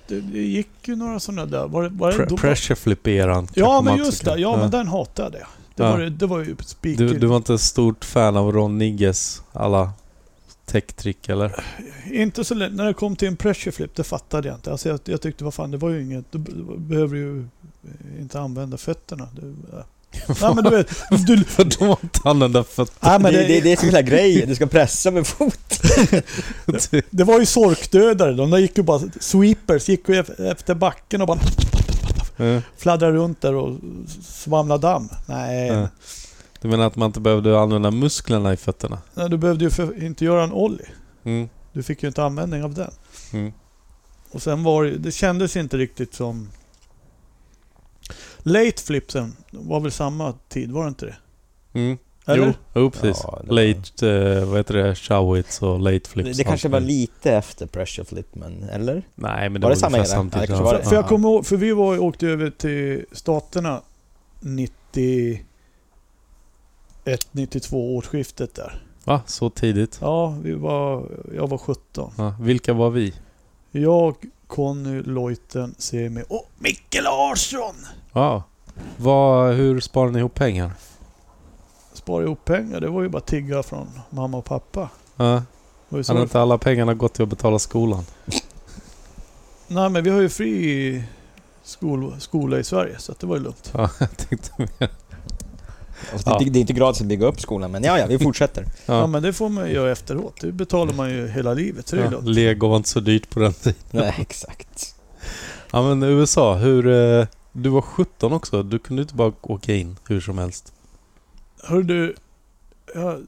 Speaker 3: Det, det gick ju några sådana där... Var det, var det
Speaker 1: Pre-
Speaker 3: då-
Speaker 1: pressure flip-eran.
Speaker 3: Ja
Speaker 1: kanske
Speaker 3: men
Speaker 1: man
Speaker 3: just
Speaker 1: också
Speaker 3: det.
Speaker 1: kan-
Speaker 3: Ja men den hatade jag. Det,
Speaker 1: liksom. Ja.
Speaker 3: var, det var ju spiken.
Speaker 1: Du, du var inte ett stort fan av Ron Nigges alla tech-trick eller?
Speaker 3: Inte så länge. När det kom till en pressure flip, det fattade jag inte. Alltså jag, jag tyckte, vad fan, det var ju inget... Du be- behöver ju eh, inte använda fötterna. Du, äh. Nej men du vet... Du,
Speaker 1: För då var inte han den där fötterna.
Speaker 3: nej, men
Speaker 2: Ah, det, det,
Speaker 3: det,
Speaker 2: det är så hela grejen. Du ska pressa med fot.
Speaker 3: det var ju sorkdödare. De där gick ju bara... Sweepers gick ju ef- efter backen och bara Mm.
Speaker 1: Ja.
Speaker 3: fladdrade runt där och svamlade damm. Nej,
Speaker 1: Ja. Du menar att man inte behövde använda musklerna i fötterna?
Speaker 3: nej, du behövde ju för, inte göra en ollie.
Speaker 1: Mm.
Speaker 3: Du fick ju inte användning av den.
Speaker 1: Mm.
Speaker 3: Och sen var det, det kändes inte riktigt som... Late flipsen var väl samma tid, var det inte det?
Speaker 1: Mm.
Speaker 3: Eller?
Speaker 1: Jo, jo, precis.
Speaker 2: Ja, det var-
Speaker 1: late, eh, vad heter det, showits och late flips.
Speaker 2: Det, det kanske
Speaker 1: allt
Speaker 2: var
Speaker 1: möjligt.
Speaker 2: lite efter pressure flip, men eller?
Speaker 1: Nej, men det
Speaker 2: Var
Speaker 1: var,
Speaker 2: det samma
Speaker 1: ungefär
Speaker 2: era? Ja, det
Speaker 1: samtidigt.
Speaker 2: kanske var
Speaker 3: För,
Speaker 2: det.
Speaker 3: för jag
Speaker 2: Ja.
Speaker 3: kommer ihåg, för vi var, åkte över till Staterna 91, 92 årsskiftet där.
Speaker 1: Va? Så tidigt?
Speaker 3: Ja, vi var, jag var 17.
Speaker 1: Ja. Vilka var vi?
Speaker 3: Jag, Conny, Lojten, Semi och Micke Larsson!
Speaker 1: Ja. Vad, hur sparar ni ihop pengar?
Speaker 3: Spara ihop pengar, det var ju bara tigga från mamma och pappa.
Speaker 1: Ja.
Speaker 3: Det var ju så
Speaker 1: Hade
Speaker 3: det-
Speaker 1: inte alla pengarna gått till att betala skolan?
Speaker 3: Nej men vi har ju fri skol, skola i Sverige så att det var ju lugnt.
Speaker 1: Ja, jag tänkte mer.
Speaker 2: Alltså,
Speaker 1: Ja.
Speaker 2: det, det är inte gratis att bygga upp skolan, men ja, ja, vi fortsätter.
Speaker 3: Ja.
Speaker 1: Ja.
Speaker 3: men det får man ju göra efteråt. Det betalar man ju hela livet så det är
Speaker 1: Ja,
Speaker 3: lugnt.
Speaker 1: Lego var inte så dyrt på den tiden.
Speaker 2: Nej, exakt.
Speaker 1: Ja men USA, hur... eh, Du var 17 också, du kunde inte bara åka in hur som helst.
Speaker 3: Hör du, jag,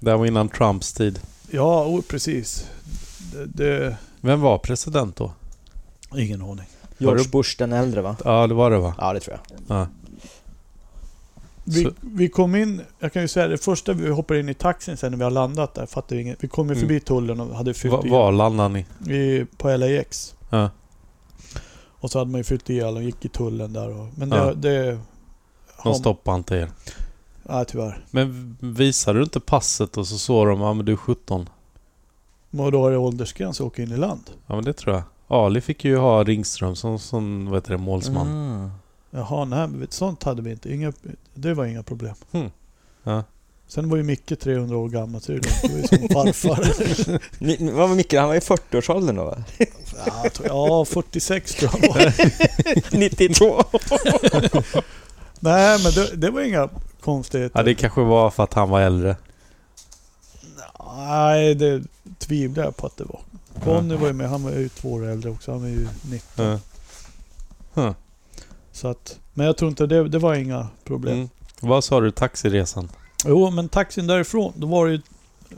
Speaker 1: Det här var innan Trumps tid.
Speaker 3: Ja, o- precis. Det, det...
Speaker 1: Vem var president då?
Speaker 3: Ingen aning.
Speaker 2: George Bush den äldre, va?
Speaker 1: Ja, det var det va?
Speaker 2: Ja, det tror jag.
Speaker 3: Vi,
Speaker 1: Så-
Speaker 3: vi kom in, jag kan ju säga det första vi hoppar in i taxin sen när vi har landat där, fattar vi inget. Vi kom ju förbi tullen och hade fyllt
Speaker 1: Mm. Va,
Speaker 3: i,
Speaker 1: var landade ni?
Speaker 3: i på LAX.
Speaker 1: Ja.
Speaker 3: Och så hade man ju fyllt i alla och gick i tullen där. Och, men det...
Speaker 1: Ja.
Speaker 3: det har-
Speaker 1: De stoppade inte er.
Speaker 3: Nej, tyvärr.
Speaker 1: Men visade du inte passet och så såg de, ja men du är 17.
Speaker 3: Men då är det åldersgräns att åka in i land.
Speaker 1: Ja men det tror jag. Ali fick ju ha Ringström som, som vad heter det, målsman.
Speaker 2: Mm.
Speaker 3: Jaha, nej, men vet- sånt hade vi inte. Inga, det var inga problem.
Speaker 1: Hmm. Ja.
Speaker 3: Sen var ju Micke 300 år gammal, så det är lugnt. Det var ju som farfar.
Speaker 2: Ni- Vad var Micke? Han var i 40-årsåldern då, va?
Speaker 3: ja, jag tror- ja, 46 tror jag var.
Speaker 2: 92!
Speaker 3: Nej, men det, det var inga konstigheter.
Speaker 1: Ja det kanske var för att han var äldre.
Speaker 3: Nej, det tvivlar jag på att det var. Conny var ju med, han var ju två år äldre också. Han var ju 90.
Speaker 1: Ja. Huh.
Speaker 3: Så att, men jag tror inte det, det var inga problem.
Speaker 1: Mm. Vad sa du, taxiresan?
Speaker 3: Jo, men taxin därifrån, då var det ju... Eh,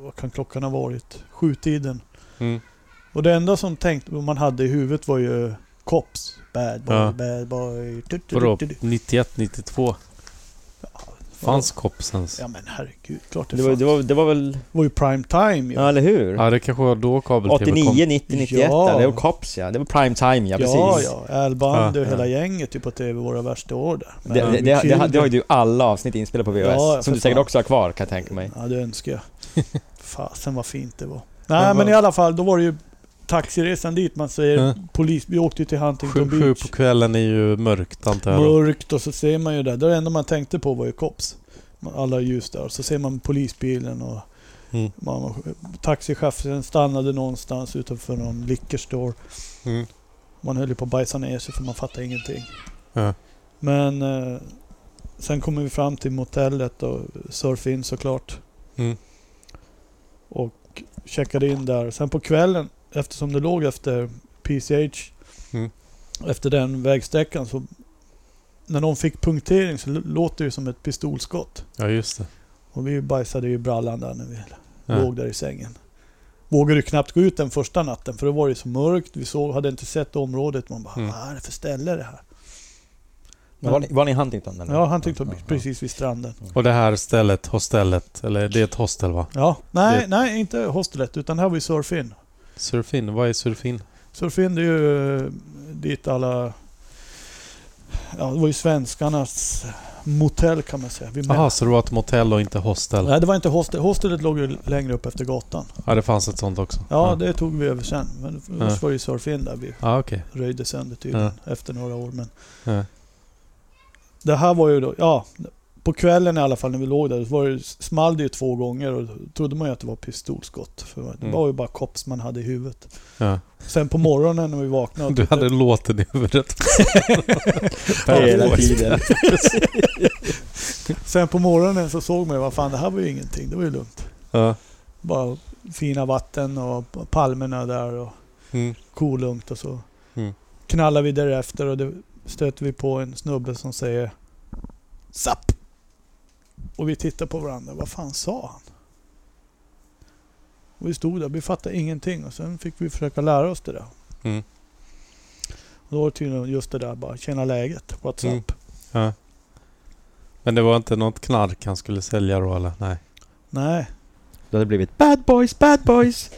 Speaker 3: vad kan klockan ha varit? Sjutiden.
Speaker 1: Mm.
Speaker 3: Och det enda som tänkt, man hade i huvudet var ju Cops. Bad boy,
Speaker 1: Ja.
Speaker 3: bad boy. Du, du,
Speaker 1: Vadå?
Speaker 3: du, du.
Speaker 1: 91, 92? Fanns Kopsens?
Speaker 3: Ja men herregud, klart det,
Speaker 2: Det var,
Speaker 3: fanns.
Speaker 2: det, var, det var väl...
Speaker 3: Det var ju prime time ju.
Speaker 2: Ja, eller hur?
Speaker 1: Ja, det kanske var då kabel-tv
Speaker 2: 89, 90, 91.
Speaker 3: Ja.
Speaker 2: Det var Cops, ja. Det var prime time, ja, precis.
Speaker 3: Ja, ja. Al Bundy
Speaker 1: Ja,
Speaker 3: och hela
Speaker 2: ja.
Speaker 3: gänget typ på TV våra värsta år där. Men
Speaker 2: Det, det, det, det, det har ju
Speaker 3: Children-
Speaker 2: du alla avsnitt inspelade på VHS,
Speaker 3: Ja, för
Speaker 2: som du säkert
Speaker 3: fan.
Speaker 2: också har kvar kan jag tänka mig.
Speaker 3: Ja, det önskar jag. Fasen vad fint det var.
Speaker 1: Men
Speaker 3: Nej,
Speaker 1: vad-
Speaker 3: men i alla fall, då var det ju taxiresan dit, man säger
Speaker 1: Ja.
Speaker 3: polis, vi åkte ju till
Speaker 1: Sju,
Speaker 3: Huntington
Speaker 1: sju på
Speaker 3: Beach.
Speaker 1: kvällen är ju mörkt antar jag. då.
Speaker 3: Mörkt och så ser man ju där, det enda man tänkte på var ju cops. Man- Alla ljus där. Så ser man polisbilen och
Speaker 1: Mm.
Speaker 3: man, taxichauffören stannade någonstans utanför någon liquor store.
Speaker 1: Mm.
Speaker 3: Man höll ju på att bajsa ner sig för man fattade ingenting.
Speaker 1: Ja.
Speaker 3: Men eh, sen kommer vi fram till motellet och surfade in såklart.
Speaker 1: Mm.
Speaker 3: Och checkade in där. Sen på kvällen, eftersom det låg efter PCH,
Speaker 1: Mm.
Speaker 3: efter den vägsträckan så när de fick punktering så l- låter det som ett pistolskott.
Speaker 1: ja, just det.
Speaker 3: Och vi bajsade i brallan där när vi
Speaker 1: Ja.
Speaker 3: låg där i sängen. Vågade ju knappt gå ut den första natten för då var det så mörkt. Vi såg, hade inte sett området. Man bara,
Speaker 1: Mm.
Speaker 3: vad är det för ställe det här?
Speaker 4: Men var, ni, var ni i Huntington eller?
Speaker 3: Ja, han tyckte att-
Speaker 4: ja.
Speaker 3: precis vid stranden.
Speaker 1: Och det här stället, hostellet, eller det är ett hostel va?
Speaker 3: Ja, nej,
Speaker 1: Det-
Speaker 3: nej, inte hostelet utan här var ju Surfin.
Speaker 1: Surfin, vad är surfin?
Speaker 3: Surfin det är ju eh, dit alla... Ja, det var ju svenskarnas motell kan man säga. Vi
Speaker 1: Jaha,
Speaker 3: men...
Speaker 1: så det var ett motell och inte hostel?
Speaker 3: Nej, det var inte hostel. Hostelet låg ju längre upp efter gatan.
Speaker 1: Ja, det fanns ett sånt också?
Speaker 3: Ja,
Speaker 1: ja.
Speaker 3: det tog vi över sen. Men först
Speaker 1: Ja.
Speaker 3: var det ju Surfin där vi
Speaker 1: Ja, okej.
Speaker 3: röjde sönder tydligen efter några år. Men
Speaker 1: Ja.
Speaker 3: det här var ju då... Ja, på kvällen i alla fall när vi låg där så var det, small det ju två gånger och då trodde man ju att det var pistolskott. För det
Speaker 1: Mm.
Speaker 3: var ju bara kops man hade i huvudet.
Speaker 1: Ja.
Speaker 3: Sen på morgonen när vi vaknade...
Speaker 1: Du hade låten i huvudet.
Speaker 4: Hela tiden.
Speaker 3: Sen på morgonen så såg man ju, vad fan det här var ju ingenting, det var ju lugnt.
Speaker 1: Ja.
Speaker 3: Bara fina vatten och p- palmerna där och
Speaker 1: Mm.
Speaker 3: kolugnt och så.
Speaker 1: Mm.
Speaker 3: Knallar vi därefter och då stöter vi på en snubbe som säger Zapp! Och vi tittar på varandra, vad fan sa han? Och vi stod där, vi fattade ingenting och sen fick vi försöka lära oss det där.
Speaker 1: Mm.
Speaker 3: Och då var det tydligen just det där bara, känna läget, what's
Speaker 1: Mm.
Speaker 3: up?
Speaker 1: Ja. Men det var inte något knark han skulle sälja då eller? Nej.
Speaker 3: Nej,
Speaker 2: Då hade det blivit Bad boys, bad boys!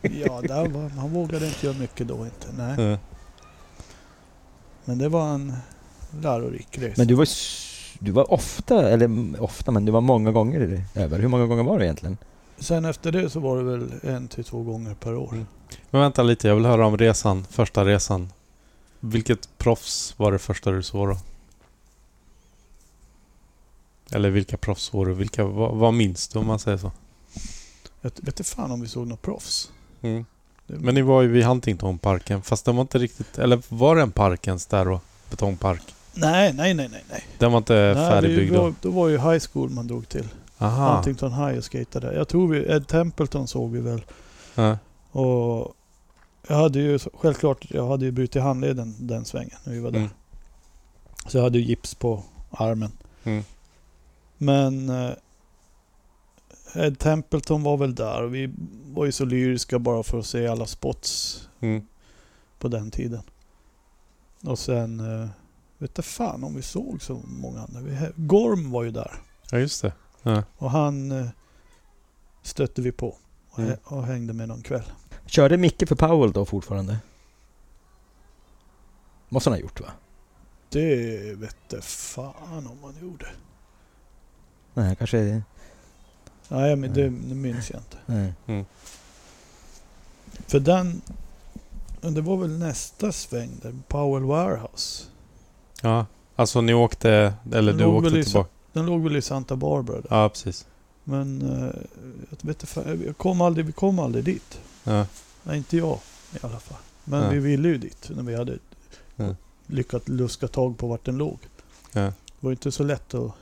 Speaker 3: ja, där var, han vågade inte göra mycket då inte. Nej.
Speaker 1: Ja.
Speaker 3: Men det var en lärorik resa.
Speaker 4: Men du var, s- du var ofta, eller m- ofta, men du var många gånger i det över. Hur många gånger var du egentligen?
Speaker 3: Sen efter det så var det väl en till två gånger per år.
Speaker 1: Mm. Men vänta lite, jag vill höra om resan. Första resan. Vilket proffs var det första du såg då? Eller vilka proffs såg du? Vilka, vad, vad minns du om man säger så?
Speaker 3: Jag vet inte fan om vi såg något proffs. Det-
Speaker 1: Men ni var ju vid Huntingtonparken, fast den var inte riktigt... Eller var den park ens där då? Betongpark?
Speaker 3: Nej, nej, nej, nej. nej.
Speaker 1: Den var inte
Speaker 3: nej vi,
Speaker 1: färdigbyggd
Speaker 3: vi var,
Speaker 1: då?
Speaker 3: då var ju high school man drog till.
Speaker 1: Aha.
Speaker 3: Huntington High och skatade. Jag tror vi, Ed Templeton såg vi väl.
Speaker 1: Ja.
Speaker 3: Och jag hade ju, självklart, jag hade ju brutit handleden den svängen när vi var där.
Speaker 1: Mm.
Speaker 3: Så jag hade ju gips på armen.
Speaker 1: Mm.
Speaker 3: Men eh, Ed Templeton var väl där och vi var ju så lyriska bara för att se alla spots
Speaker 1: Mm.
Speaker 3: på den tiden. Och sen, eh, vet inte fan om vi såg så många andra. Vi, hä- Gorm var ju där
Speaker 1: ja, just det.
Speaker 3: och han eh, stötte vi på och, hä-
Speaker 1: Mm.
Speaker 3: och hängde med någon kväll.
Speaker 4: Körde Micke för Powell då fortfarande? Måste han ha gjort va?
Speaker 3: Det vet inte fan om han gjorde.
Speaker 4: Nej, kanske...
Speaker 3: Nej, men det, det minns jag inte.
Speaker 4: Nej.
Speaker 3: För den, det var väl nästa sväng där, Powell Warehouse.
Speaker 1: Ja. Alltså ni åkte... Eller
Speaker 3: Den
Speaker 1: du
Speaker 3: låg väl
Speaker 1: åkte
Speaker 3: i
Speaker 1: tillbaka?
Speaker 3: Den låg väl i Santa Barbara där.
Speaker 1: Ja, precis.
Speaker 3: Men eh, jag vet inte fan, jag kom aldrig, vi kom aldrig dit.
Speaker 1: Ja.
Speaker 3: Nej, inte jag i alla fall. Men
Speaker 1: Nej.
Speaker 3: vi ville ju dit när vi hade
Speaker 1: Ja.
Speaker 3: lyckats luska tag på vart den låg.
Speaker 1: Ja.
Speaker 3: Det var ju inte så lätt att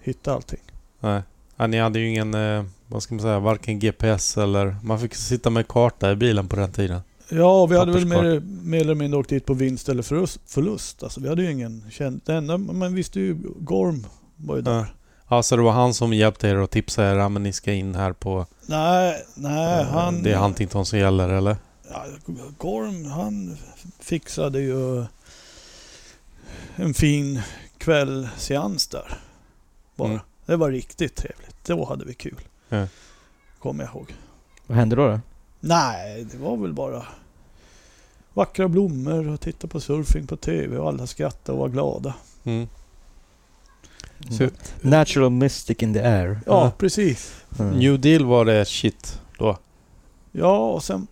Speaker 3: hitta allting.
Speaker 1: Nej. Ja, ni hade ju ingen, eh, vad ska man säga, varken GPS eller... Man fick sitta med karta i bilen på den tiden.
Speaker 3: Ja, vi hade väl
Speaker 1: Papperskvarn.
Speaker 3: mer, mer eller mindre åkt dit på vinst eller förlust. förlust. Alltså, vi hade ju ingen känd... Det enda man visste ju, Gorm var ju där.
Speaker 1: Ja. ja, så det var han som hjälpte er och tipsade er, ja, men ni ska in här på...
Speaker 3: Nej, nej,
Speaker 1: eh,
Speaker 3: Äh, han...
Speaker 1: Det är Huntington som gäller, eller?
Speaker 3: Ja, Gorm, han fixade ju en fin kvällseans där. Bara.
Speaker 1: Mm.
Speaker 3: Det var riktigt trevligt. Då hade vi kul.
Speaker 1: Ja.
Speaker 3: Kommer jag ihåg.
Speaker 4: Vad hände då? då?
Speaker 3: Nej, det var väl bara vackra blommor och titta på surfing på TV och alla skrattade och var glada.
Speaker 1: Mm. Så,
Speaker 4: Mm. Natural mystic in the air.
Speaker 3: Ja,
Speaker 1: Ja.
Speaker 3: precis.
Speaker 4: Mm.
Speaker 1: New Deal var det shit då?
Speaker 3: Ja, och sen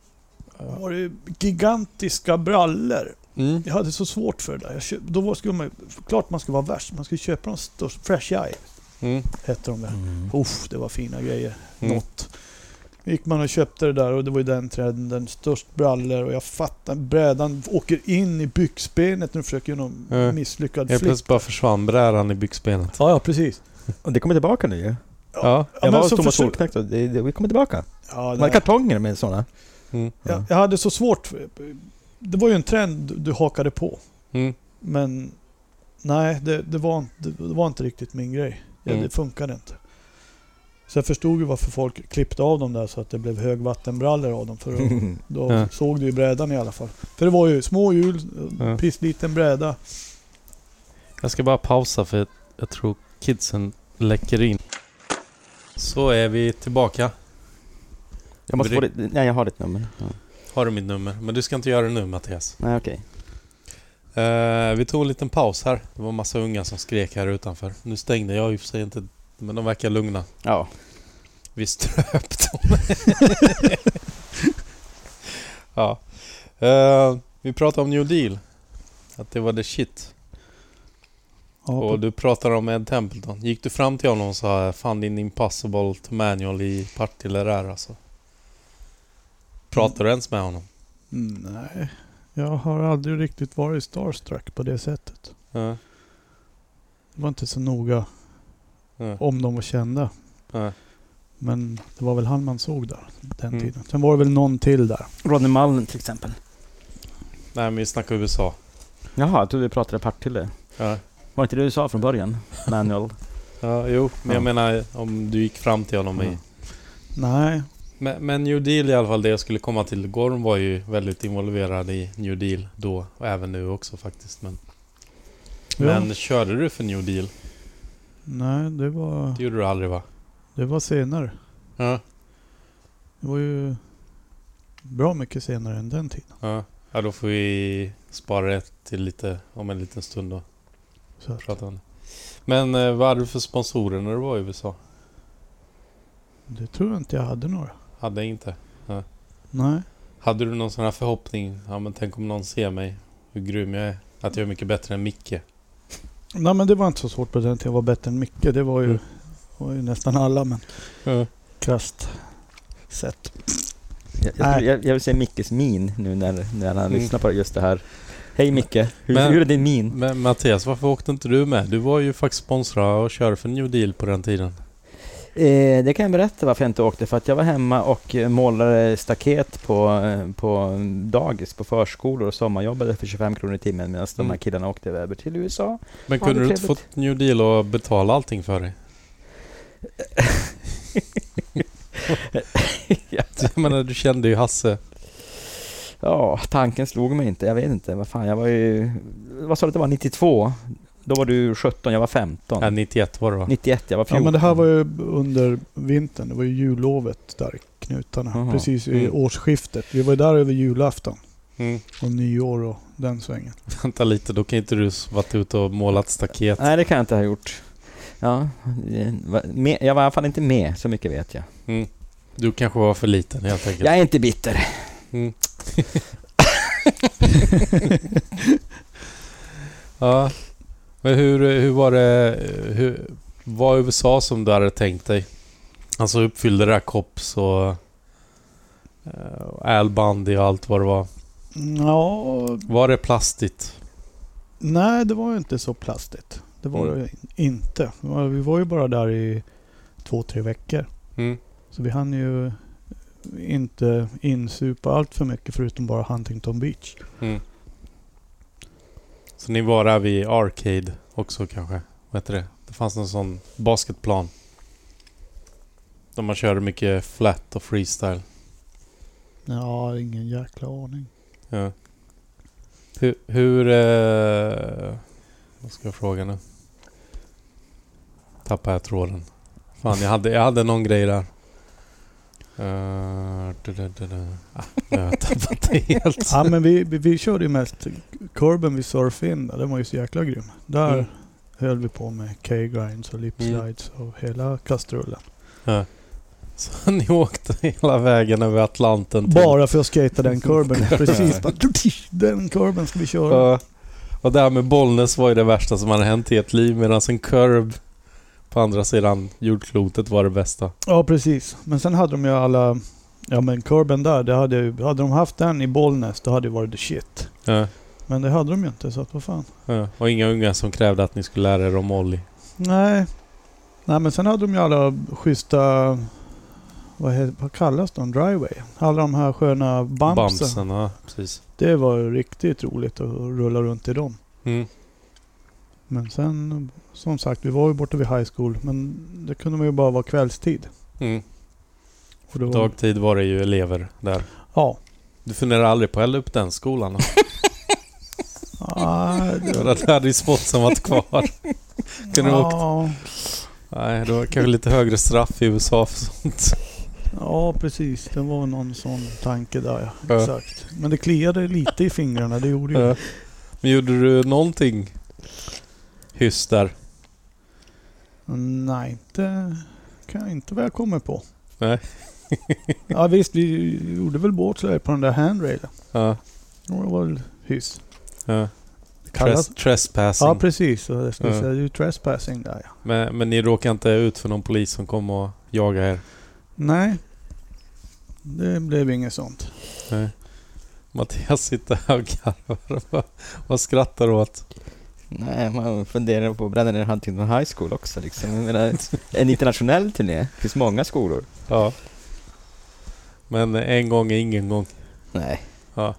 Speaker 3: var det gigantiska brallor.
Speaker 1: Mm.
Speaker 3: Jag hade så svårt för det där. Jag köp, då var- skulle man, klart man skulle vara värst. Man skulle köpa de största. Fresh Eye
Speaker 1: Mm.
Speaker 3: hette de där.
Speaker 4: Mm.
Speaker 3: Uff, det var fina grejer.
Speaker 1: Mm.
Speaker 3: Något. gick man och köpte det där och det var ju den trenden. den Störst brallor och jag fattar. Brädan åker in i byxbenet när du försöker göra någon
Speaker 1: Mm.
Speaker 3: misslyckad
Speaker 1: Helt
Speaker 3: flipp.
Speaker 1: plötsligt bara försvann brädan i byxbenet.
Speaker 3: Ja, ja, precis.
Speaker 4: Och det kommer tillbaka nu ju.
Speaker 1: Ja.
Speaker 3: Ja,
Speaker 4: Jag
Speaker 3: men
Speaker 4: var hos
Speaker 3: så
Speaker 4: Thomas
Speaker 3: försö-
Speaker 4: Solknekt och det, det, vi kommer tillbaka.
Speaker 3: Ja,
Speaker 4: De
Speaker 3: det
Speaker 4: hade kartonger med sådana.
Speaker 1: Mm.
Speaker 3: jag, jag hade så svårt. för- Det var ju en trend du hakade på.
Speaker 1: Mm.
Speaker 3: Men nej, det, det, var, inte- det var inte riktigt min grej. Ja,
Speaker 1: Mm.
Speaker 3: Det funkade inte. Så jag förstod ju varför folk klippte av dem där så att det blev högvattenbrallor av dem. För att, då
Speaker 1: Ja.
Speaker 3: såg du ju brädan i alla fall. För det var ju små hjul,
Speaker 1: Ja.
Speaker 3: pissliten bräda.
Speaker 1: Jag ska bara pausa för jag, jag tror kidsen läcker in. Så är vi tillbaka.
Speaker 4: Jag
Speaker 1: måste
Speaker 4: måste
Speaker 1: få
Speaker 4: få det. Nej, jag har ditt nummer. Ja.
Speaker 1: Har du mitt nummer? Men du ska inte göra det nu Mattias.
Speaker 4: Nej, okej.
Speaker 1: Eh, vi tog en liten paus här. Det var massa unga som skrek här utanför. Nu stängde jag i och för sig inte, men de verkar lugna.
Speaker 4: Ja.
Speaker 1: Vi ströp dem. ja. Eh, vi pratade om New Deal. Att det var the shit. Och du pratade om Ed Templeton. Gick du fram till honom och sa Fan din impossible to manual i Partille där alltså? Pratade du ens med honom?
Speaker 3: Mm, Nej, jag har aldrig riktigt varit starstruck på det sättet.
Speaker 1: Nej.
Speaker 3: Det var inte så noga
Speaker 1: Nej.
Speaker 3: om de var kända.
Speaker 1: Nej.
Speaker 3: Men det var väl han man såg där den
Speaker 1: Mm.
Speaker 3: tiden. Sen var det väl någon till där.
Speaker 2: Ronny Mullen till exempel.
Speaker 1: Nej men vi snackar USA.
Speaker 4: Jaha, jag trodde vi pratade Partille.
Speaker 1: Ja.
Speaker 2: Var inte det du sa från början? Manual.
Speaker 1: Ja, jo, men jag
Speaker 4: Ja.
Speaker 1: menar om du gick fram till honom i...
Speaker 4: Mm.
Speaker 3: Nej,
Speaker 1: Men, men New Deal i alla fall, det jag skulle komma till. Gorm var ju väldigt involverad i New Deal då och även nu också faktiskt. Men,
Speaker 3: Ja.
Speaker 1: men körde du för New Deal?
Speaker 3: nej det, var,
Speaker 1: Det gjorde du aldrig va?
Speaker 3: det var senare.
Speaker 1: Ja,
Speaker 3: Det var ju bra mycket senare än den tiden.
Speaker 1: ja. ja då får vi spara det till lite om en liten stund då.
Speaker 3: Så att,
Speaker 1: Prata om det. Men eh, vad hade du för sponsorer när du var i USA?
Speaker 3: det tror jag inte jag hade några.
Speaker 1: Hade jag inte.
Speaker 3: Nej.
Speaker 1: Hade du någon sån här förhoppning? Ja men tänk om någon ser mig, hur grym jag är. Att jag är mycket bättre än Micke.
Speaker 3: Nej men det var inte så svårt på den tiden. Jag var bättre än Micke. Det var ju,
Speaker 1: Mm.
Speaker 3: var ju nästan alla men
Speaker 1: Ja.
Speaker 3: krasst sett.
Speaker 4: Jag, jag,
Speaker 3: Nej.
Speaker 4: skulle- jag, jag vill se Mickes min nu när, när han
Speaker 1: Mm.
Speaker 4: lyssnar på just det här. Hej Micke, hur,
Speaker 1: Men-
Speaker 4: hur är din min?
Speaker 1: Men Mattias, varför åkte inte du med? Du var ju faktiskt sponsrad och körde för New Deal på den tiden.
Speaker 4: Eh, det kan jag berätta varför jag inte åkte. För att jag var hemma och eh, målade staket på, eh, på dagis, på förskolor och sommarjobbade för 25 kronor i timmen medan de här
Speaker 1: Mm.
Speaker 4: killarna åkte över till USA.
Speaker 1: Men
Speaker 4: Ja,
Speaker 1: kunde
Speaker 4: det är
Speaker 1: du inte
Speaker 4: trevligt.
Speaker 1: fått New Deal och betala allting för dig? Jag menar, du kände ju Hasse.
Speaker 4: Ja, tanken slog mig inte. Jag vet inte. Vad fan, jag var ju... Vad sa du att det var? 92? Då var du 17, jag var 15.
Speaker 1: Ja, 91 var det va?
Speaker 4: 91, jag var 14.
Speaker 3: Ja men det här var ju under vintern. Det var ju jullovet där knutarna.
Speaker 4: Jaha.
Speaker 3: Precis i
Speaker 1: Mm.
Speaker 3: årsskiftet. Vi var ju där över julafton
Speaker 1: Mm.
Speaker 3: och nyår och den svängen.
Speaker 1: Vänta lite, då kan inte du s- varit ute och målat staket.
Speaker 4: Nej, det kan jag inte ha gjort. Ja, eh, va- med, jag var i alla fall inte med, så mycket vet jag.
Speaker 1: Du kanske var för liten helt enkelt.
Speaker 4: Jag är inte bitter.
Speaker 1: Mm. ja. Men hur, hur var det... Hur, var USA som du hade tänkt dig? Alltså uppfyllde det här Cops och... eh, Al Bundy och allt vad det var.
Speaker 3: Ja,
Speaker 1: Var det plastigt?
Speaker 3: nej det var ju inte så plastigt. Det var
Speaker 1: Mm.
Speaker 3: det inte. Vi var ju bara där i två, tre veckor.
Speaker 1: Mm.
Speaker 3: Så vi hann ju inte insupa allt för mycket förutom bara Huntington Beach.
Speaker 1: Mm. Så ni var där vid Arcade också kanske? Vad heter det? Det fanns en sån basketplan. Där man körde mycket flat och freestyle.
Speaker 3: Ja, ingen jäkla aning.
Speaker 1: Ja. Hur... hur eh, vad ska jag fråga nu? Tappade jag tråden. Fan, jag hade, jag hade någon grej där. Uh, du, du, du, du. Ah, nu har jag tappat det helt.
Speaker 3: Ja, men vi, vi, vi körde ju mest kurben vid surfin där. Den var ju så jäkla grym. Där
Speaker 1: Mm.
Speaker 3: höll vi på med K-grinds och lip
Speaker 1: Mm.
Speaker 3: slides och hela kastrullen.
Speaker 1: Ja. Så ni åkte hela vägen över Atlanten till...
Speaker 3: Bara för att skata den kurben. Precis. Bara, Den kurben ska vi köra.
Speaker 1: Och, och det här med Bollnäs var ju det värsta som hade hänt i ett liv medan en kurb på andra sidan jordklotet var det bästa.
Speaker 3: Ja, precis. Men sen hade de ju alla... Ja, men kurben där, det hade, ju- hade de haft den i Bollnäs, då hade det varit the shit.
Speaker 1: Ja,
Speaker 3: Men det hade de ju inte, så att vad fan.
Speaker 1: ja. Och inga unga som krävde att ni skulle lära er om Olli.
Speaker 3: Nej. Nej, men sen hade de ju alla schyssta... Vad, he- vad kallas de? Driveway? Alla de här sköna bumpsen.
Speaker 1: Bamsen. Ja, precis.
Speaker 3: Det var ju riktigt roligt att rulla runt i dem.
Speaker 1: Mm.
Speaker 3: Men sen, som sagt, vi var ju borta vid high school. Men det kunde man ju bara vara kvällstid.
Speaker 1: Mm.
Speaker 3: Och då,
Speaker 1: Dagtid var det ju elever där.
Speaker 3: Ja.
Speaker 1: Du funderar aldrig på att hälla upp den skolan? då?
Speaker 3: Ah,
Speaker 1: Det var där hade ju spotsen varit kvar. Kunde du åkt?
Speaker 3: ja,
Speaker 1: Nej, det var kanske lite högre straff i USA för sånt.
Speaker 3: ja, precis. Det var någon sån tanke där. Ja.
Speaker 1: Ja.
Speaker 3: Exakt. Men det kliade lite i fingrarna. Det gjorde ju.
Speaker 1: Ja. Men gjorde du någonting hyss där?
Speaker 3: Nej, inte kan jag inte vad jag kommer på.
Speaker 1: Nej.
Speaker 3: ja visst, vi gjorde väl båtslöjd på den där handrailen.
Speaker 1: Ja.
Speaker 3: Det var väl hyss.
Speaker 1: ja.
Speaker 3: Det
Speaker 1: Tres-
Speaker 3: kallas-
Speaker 1: trespassing.
Speaker 3: Ja precis, Så jag skulle
Speaker 1: Ja.
Speaker 3: säga det är ju trespassing där ja.
Speaker 1: Men, men ni råkade inte ut för någon polis som kom och jagade er?
Speaker 3: Nej. Det blev inget sånt.
Speaker 1: Nej. Mattias sitter här och garvar. Vad- Vad skrattar du åt?
Speaker 4: Nej, man funderar på att bränna ner Huntington High School också liksom. Jag menar, en internationell turné. Det finns många skolor.
Speaker 1: Ja. Men en gång är ingen gång.
Speaker 4: Nej.
Speaker 1: Ja.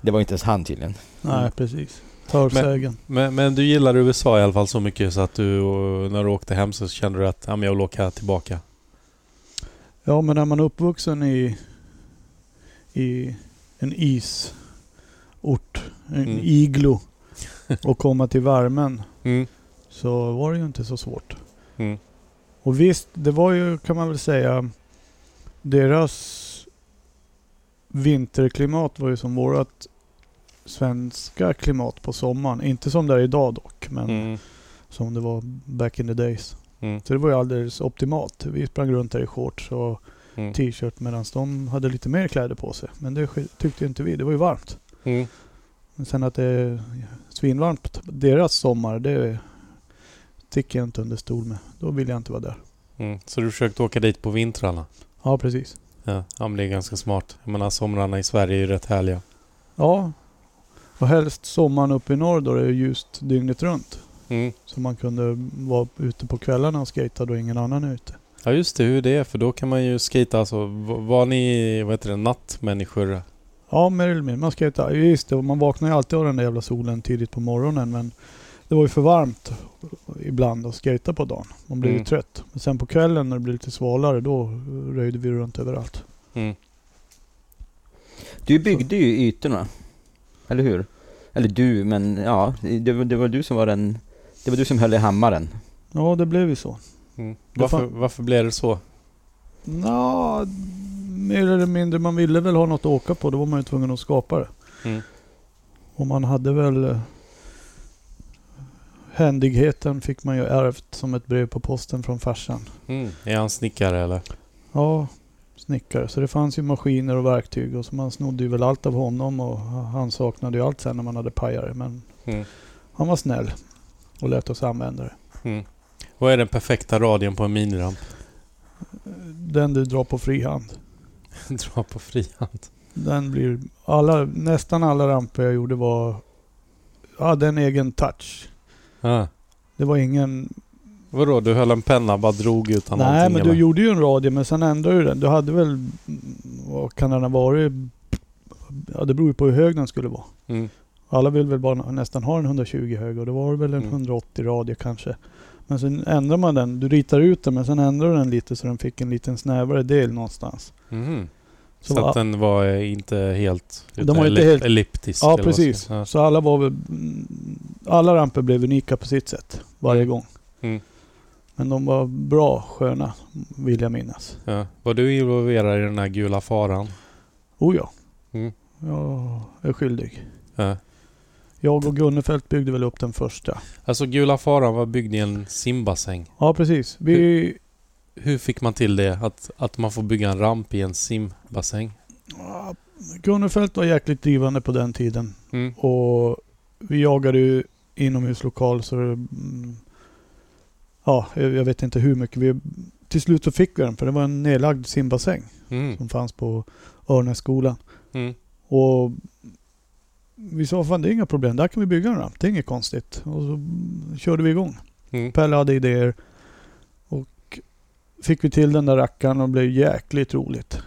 Speaker 4: Det var ju inte ens han tydligen.
Speaker 3: Nej
Speaker 1: Mm.
Speaker 3: precis. Torvsägen.
Speaker 1: Men, men du gillar USA i alla fall så mycket så att du och, när du åkte hem så kände du att ja, men jag vill åka tillbaka.
Speaker 3: Ja men när man är uppvuxen i, i en isort, en
Speaker 1: Mm.
Speaker 3: iglo och komma till värmen
Speaker 1: Mm.
Speaker 3: så var det ju inte så svårt.
Speaker 1: Mm.
Speaker 3: Och visst, det var ju kan man väl säga deras vinterklimat var ju som vårat svenska klimat på sommaren. Inte som det är idag dock, men
Speaker 1: Mm.
Speaker 3: som det var back in the days.
Speaker 1: Mm.
Speaker 3: Så det var ju alldeles optimalt. Vi sprang runt där i shorts och
Speaker 1: Mm.
Speaker 3: t-shirt medan de hade lite mer kläder på sig. Men det sk- tyckte inte vi. Det var ju varmt.
Speaker 1: Mm.
Speaker 3: Men sen att det är svinvarmt på deras sommar, det sticker jag inte under stol med. Då vill jag inte vara där.
Speaker 1: Mm. Så du försökte åka dit på vintrarna?
Speaker 3: Ja, precis.
Speaker 1: Ja, ja men det är ganska smart. Jag menar somrarna i Sverige är ju rätt härliga.
Speaker 3: Ja. Och helst sommaren uppe i norr då det är ljust dygnet runt.
Speaker 1: Mm.
Speaker 3: Så man kunde vara ute på kvällarna och skejta då ingen annan är ute.
Speaker 1: Ja just det, hur det är för då kan man ju skita alltså. v- Var ni, vad heter det, nattmänniskor?
Speaker 3: Ja, mer eller mindre. Man skejtade. Just det, och man vaknar ju alltid av den där jävla solen tidigt på morgonen. Men det var ju för varmt ibland att skejta på dagen. Man blev ju
Speaker 1: Mm.
Speaker 3: trött. Men sen på kvällen när det blev lite svalare då röjde vi runt överallt.
Speaker 1: Mm.
Speaker 4: Du byggde ju ytorna. Eller hur? Eller du, men ja. Det, var- det var du som var den... Det var du som höll i hammaren.
Speaker 3: Ja, det blev ju så.
Speaker 1: Mm. Varför, varför blev det så?
Speaker 3: Nå, mer eller mindre. Man ville väl ha något att åka på. Då var man ju tvungen att skapa det.
Speaker 1: Mm.
Speaker 3: Och man hade väl... eh, Händigheten fick man ju ärvt som ett brev på posten från farsan.
Speaker 1: Mm. Är han snickare eller?
Speaker 3: Ja, snickare. Så det fanns ju maskiner och verktyg och så man snodde ju väl allt av honom och han saknade ju allt sen när man hade pajare. Men
Speaker 1: Mm.
Speaker 3: han var snäll och lät oss använda det.
Speaker 1: Mm. Vad är den perfekta radien på en miniramp?
Speaker 3: Den du drar på fri hand.
Speaker 1: Dra på frihand.
Speaker 3: Den blir... Alla, nästan alla ramper jag gjorde var... Hade en egen touch.
Speaker 1: Ah.
Speaker 3: Det var ingen
Speaker 1: Vadå, du höll en penna bara drog utan
Speaker 3: Nej,
Speaker 1: någonting
Speaker 3: men du
Speaker 1: eller?
Speaker 3: gjorde ju en radie, men sen ändrade du den. Du hade väl... mm, Vad kan den ha varit? Ja, det beror ju på hur hög den skulle vara.
Speaker 1: Mm.
Speaker 3: Alla vill väl bara nästan ha en 120 hög och det var det väl en
Speaker 1: Mm.
Speaker 3: 180 radie kanske. Men sen ändrar man den. Du ritar ut den, men sen ändrar du den lite så den fick en liten snävare del någonstans.
Speaker 1: Mhm. Så,
Speaker 3: Så va-
Speaker 1: att den var eh, inte helt...
Speaker 3: De
Speaker 1: utan
Speaker 3: var inte
Speaker 1: ellip-
Speaker 3: helt-
Speaker 1: Elliptisk.
Speaker 3: Ja,
Speaker 1: eller vad ska jag
Speaker 3: precis.
Speaker 1: säga.
Speaker 3: Så alla var väl... mm, Alla ramper blev unika på sitt sätt varje gång.
Speaker 1: Mm.
Speaker 3: Men de var bra, sköna, vill jag minnas.
Speaker 1: Ja. Ja. Var du involverad i den här gula faran?
Speaker 3: Oh ja.
Speaker 1: Mm.
Speaker 3: Jag är skyldig.
Speaker 1: Ja.
Speaker 3: Jag och Gunnefelt byggde väl upp den första.
Speaker 1: Alltså gula faran var byggd i en simbassäng.
Speaker 3: Ja, precis. Vi
Speaker 1: hur fick man till det? Att, att man får bygga en ramp i en simbassäng?
Speaker 3: Ja, Gunnefelt var jäkligt drivande på den tiden.
Speaker 1: Mm.
Speaker 3: Och vi jagade ju inomhuslokal så det, mm, Ja, jag jag vet inte hur mycket. Vi, till slut så fick vi den för det var en nedlagd simbassäng
Speaker 1: Mm.
Speaker 3: som fanns på Örnässkolan.
Speaker 1: Mm.
Speaker 3: Och vi sa fan det är inga problem, där kan vi bygga en ramp. Det är inget konstigt. Och så mm, körde vi igång.
Speaker 1: Mm.
Speaker 3: Pelle hade idéer. Och fick vi till den där rackaren och det blev jäkligt roligt.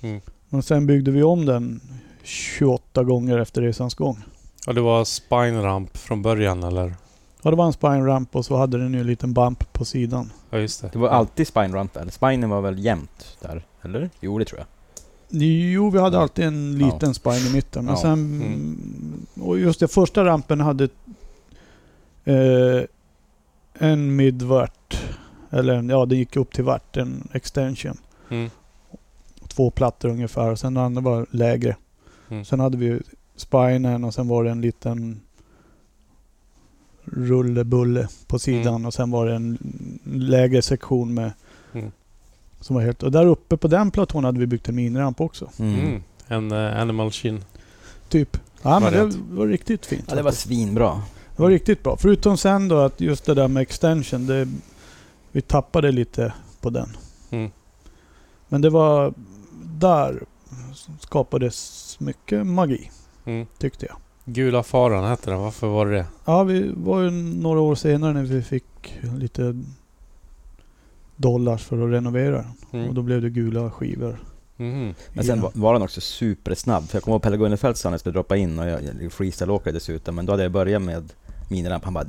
Speaker 1: Mm.
Speaker 3: Men sen byggde vi om den 28 gånger efter resans gång.
Speaker 1: Ja, det var spine ramp från början eller?
Speaker 3: Ja, det var en spine ramp och så hade den ju en liten bump på sidan.
Speaker 1: Ja, just det.
Speaker 4: Det var alltid spine ramp eller? Spinen var väl jämnt där? Eller? Jo, det tror jag.
Speaker 3: Jo, vi hade alltid en
Speaker 4: Ja.
Speaker 3: liten spine i mitten. Men
Speaker 4: Ja. Mm.
Speaker 3: sen... Och just den första rampen hade eh, en midvart. Eller en- ja, det gick upp till vart, en extension.
Speaker 1: Mm.
Speaker 3: Två plattor ungefär. Och sen den andra var lägre.
Speaker 1: Mm.
Speaker 3: Sen hade vi ju spinen och sen var det en liten rullebulle
Speaker 1: Mm.
Speaker 3: på sidan och sen var det en lägre sektion med
Speaker 1: Mm.
Speaker 3: som var helt... Och där uppe på den platån hade vi byggt en miniramp också.
Speaker 1: Mm. En eh, animal chin.
Speaker 3: Typ. Ja men
Speaker 1: Variant.
Speaker 3: det var riktigt fint.
Speaker 4: Ja, det var
Speaker 3: faktiskt.
Speaker 4: svinbra.
Speaker 3: det var riktigt bra. Förutom sen då att just det där med extension, det, vi tappade lite på den.
Speaker 1: Mm.
Speaker 3: Men det var... Där skapades mycket magi,
Speaker 1: Mm.
Speaker 3: tyckte jag.
Speaker 1: Gula faran hette den. Varför var det det?
Speaker 3: Ja, vi var ju några år senare när vi fick lite dollars för att renovera den. Och
Speaker 1: Mm.
Speaker 3: då blev det gula skivor.
Speaker 1: Mhm.
Speaker 4: Men sen
Speaker 3: i
Speaker 4: var,
Speaker 3: den.
Speaker 4: var den också supersnabb. För jag kommer ihåg Pelle Gunnefelt sa när jag skulle droppa in och jag, jag freestyleåkare dessutom. Men då hade jag börjat med miniramp. Han bara,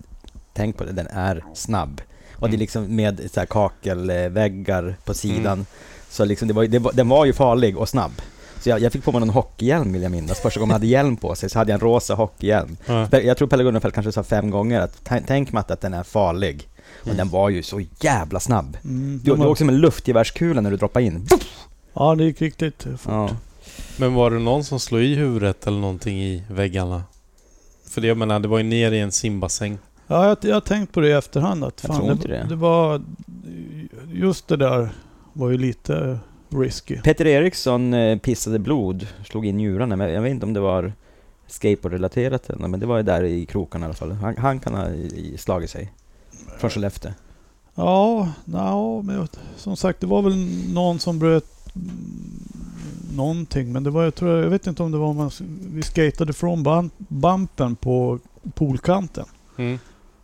Speaker 4: tänk på det, den är snabb. Och det är
Speaker 1: Mm.
Speaker 4: liksom med så här kakelväggar på sidan. Så liksom det var, ju- det var, den var ju farlig och snabb. Så jag, jag fick på mig någon hockeyhjälm vill jag minnas. Första gången jag hade hjälm på sig så hade jag en rosa hockeyhjälm.
Speaker 1: Ja.
Speaker 4: Pe- Jag tror Pelle Gunnefelt kanske sa fem gånger att "Tän- tänk Matte att den är farlig. Och
Speaker 1: Mm.
Speaker 4: den var ju så jävla snabb.
Speaker 3: Mm,
Speaker 4: Du,
Speaker 3: de
Speaker 4: du
Speaker 3: var-
Speaker 4: åkte som en luftgevärskula när du droppade in.
Speaker 3: Ja, det gick riktigt fort.
Speaker 4: Ja.
Speaker 1: Men var det någon som slog i huvudet eller någonting i väggarna? För det jag menar, det var ju ner i en simbassäng.
Speaker 3: Ja, jag, jag har tänkt på det i efterhand. Att
Speaker 4: Jag
Speaker 3: fan,
Speaker 4: tror
Speaker 3: det,
Speaker 4: inte det.
Speaker 3: det var... Just det där var ju lite risky.
Speaker 4: Peter Eriksson eh, pissade blod, slog in njurarna, men jag vet inte om det var skateboardrelaterat eller något, men det var ju där i krokarna i alla fall. Han, han kan ha i- i- slagit sig. Från Skellefteå.
Speaker 3: Ja, no, men jag, som sagt det var väl någon som bröt mm, någonting. Men det var, jag, tror, jag vet inte om det var om man, s- vi skatade från ban, bumpen på poolkanten.
Speaker 1: Mm.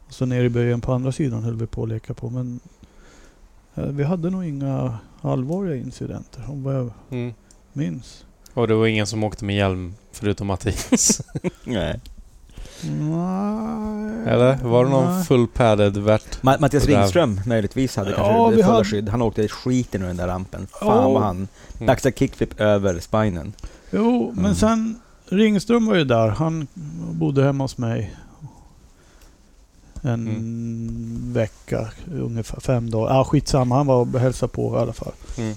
Speaker 3: Och så ner i böjen på andra sidan höll vi på att leka på. Men eh, vi hade nog inga allvarliga incidenter om vad jag
Speaker 1: Mm.
Speaker 3: minns.
Speaker 1: Och det var ingen som åkte med hjälm förutom Mattias.
Speaker 4: Nej.
Speaker 3: Nej.
Speaker 1: eller? Var det någon
Speaker 3: Nej.
Speaker 1: full padded värt?
Speaker 4: Ma- Mattias
Speaker 1: Det där-
Speaker 4: Ringström möjligtvis hade
Speaker 3: Ja,
Speaker 4: kanske
Speaker 3: vi
Speaker 4: det fulla
Speaker 3: hade-
Speaker 4: skydd. Han åkte skiten ur den där rampen. Fan
Speaker 3: Ja. Mm.
Speaker 4: vad han... Backside kickflip över spinen.
Speaker 3: Jo, men
Speaker 4: Mm.
Speaker 3: sen Ringström var ju där. Han bodde hemma hos mig. En
Speaker 1: Mm.
Speaker 3: vecka, ungefär fem dagar. Ah, skitsamma, han var och hälsade på i alla fall.
Speaker 1: Mm.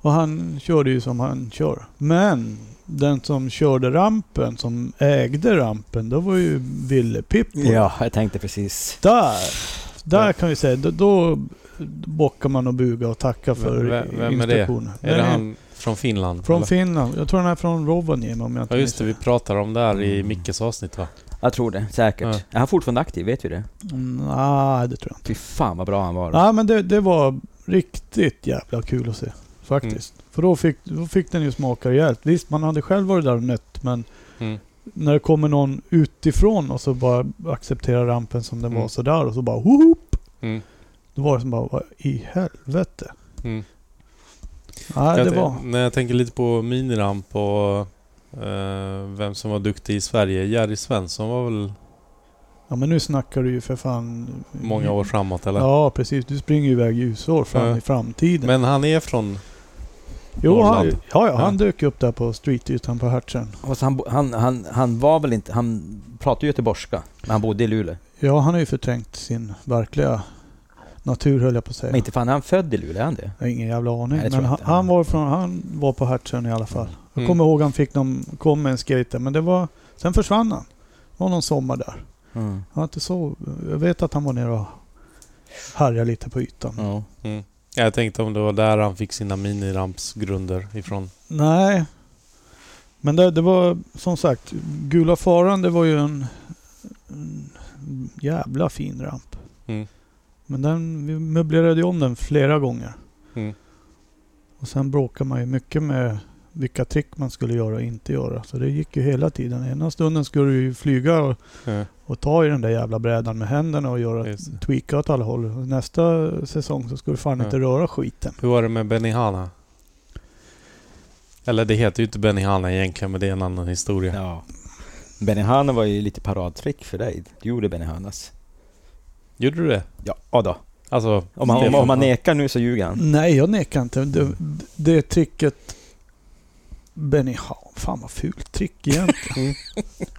Speaker 3: Och han körde ju som han kör. Men den som körde rampen, som ägde rampen, det var ju Ville Pippo.
Speaker 4: Ja, jag tänkte precis.
Speaker 3: Där! Där
Speaker 1: Ja.
Speaker 3: kan vi säga, då, då bockar man och bugar och tackar för
Speaker 1: Vem- vem- vem är det?
Speaker 3: instruktioner.
Speaker 1: Är det
Speaker 3: Nej,
Speaker 1: han från Finland?
Speaker 3: Från
Speaker 1: eller?
Speaker 3: Finland. Jag tror han är från Rovaniemi om jag inte
Speaker 1: Ja just det, vi pratar om det här i
Speaker 4: Mm.
Speaker 1: Mickes avsnitt va?
Speaker 4: Jag tror det, säkert.
Speaker 1: Ja.
Speaker 4: Är han fortfarande aktiv? Vet vi det?
Speaker 3: Mm, Nej, det tror jag inte.
Speaker 4: Fy fan vad bra han var.
Speaker 3: Nej, men det, det var riktigt jävla kul att se. Faktiskt.
Speaker 1: Mm.
Speaker 3: För då fick, då fick den ju smaka rejält. Visst, man hade själv varit där och nött, men
Speaker 1: Mm.
Speaker 3: när det kommer någon utifrån och så bara accepterar rampen som den
Speaker 1: Mm.
Speaker 3: var sådär och så bara whoop!
Speaker 1: Mm.
Speaker 3: Då var det som bara, vad i helvete?
Speaker 1: Mm.
Speaker 3: Nej,
Speaker 1: Jag
Speaker 3: det
Speaker 1: tän-
Speaker 3: var...
Speaker 1: När jag tänker lite på miniramp och eh, vem som var duktig i Sverige. Jerry Svensson var väl
Speaker 3: Ja, men nu snackar du ju för fan...
Speaker 1: många
Speaker 3: Mm.
Speaker 1: år framåt eller?
Speaker 3: Ja, precis. Du springer ju iväg ljusår fram
Speaker 1: Ja.
Speaker 3: i framtiden.
Speaker 1: Men han är från...
Speaker 3: jo, han,
Speaker 1: Norrland.
Speaker 3: ja, ja, han
Speaker 1: Ja.
Speaker 3: dök upp där på streetytan på Hertzen.
Speaker 4: Och så han, bo- han, han, han var väl inte... Han pratade ju göteborgska, men han bodde i Luleå.
Speaker 3: Ja, han har ju förträngt sin verkliga natur höll jag på att säga.
Speaker 4: Men inte fan är han född i Luleå, är han det?
Speaker 3: Jag har ingen jävla aning.
Speaker 4: Nej, det tror
Speaker 3: men
Speaker 4: jag
Speaker 3: han,
Speaker 4: inte.
Speaker 3: han, var från, han var på Hertsön i alla fall. Jag
Speaker 1: Mm.
Speaker 3: kommer ihåg han fick någon, kom med en skater, men det var... Sen försvann han. Det var någon sommar där.
Speaker 4: Mm.
Speaker 3: Han var inte så... Jag vet att han var nere och härjar lite på ytan.
Speaker 2: Ja.
Speaker 1: Mm. Jag tänkte om det var där han fick sina minirampsgrunder ifrån.
Speaker 3: Nej. Men det, det var som sagt, Gula Faran det var ju en, en jävla fin ramp.
Speaker 1: Mm.
Speaker 3: Men den, vi möblerade ju om den flera gånger.
Speaker 1: Mm.
Speaker 3: Och sen bråkade man ju mycket med vilka trick man skulle göra och inte göra. Så det gick ju hela tiden. Ena stunden skulle du ju flyga och,
Speaker 1: Ja,
Speaker 3: och ta i den där jävla brädan med händerna och göra
Speaker 1: just det.
Speaker 3: tweaka åt alla håll. Och Nästa säsong så skulle du fan
Speaker 1: Ja.
Speaker 3: inte röra skiten.
Speaker 1: Hur var det med Benihana? Eller det heter ju inte Benihana egentligen, men det är en annan historia.
Speaker 2: Ja.
Speaker 4: Benihana var ju lite paradtrick för dig. Du gjorde Benihanas.
Speaker 1: Gjorde du det?
Speaker 4: Ja, ja då.
Speaker 1: Alltså...
Speaker 4: Om han, om,
Speaker 1: Stefan-
Speaker 4: om han nekar nu så ljuger han.
Speaker 3: Nej, jag nekar inte. Det, det tricket... Benny Ha- fan vad fult trick egentligen.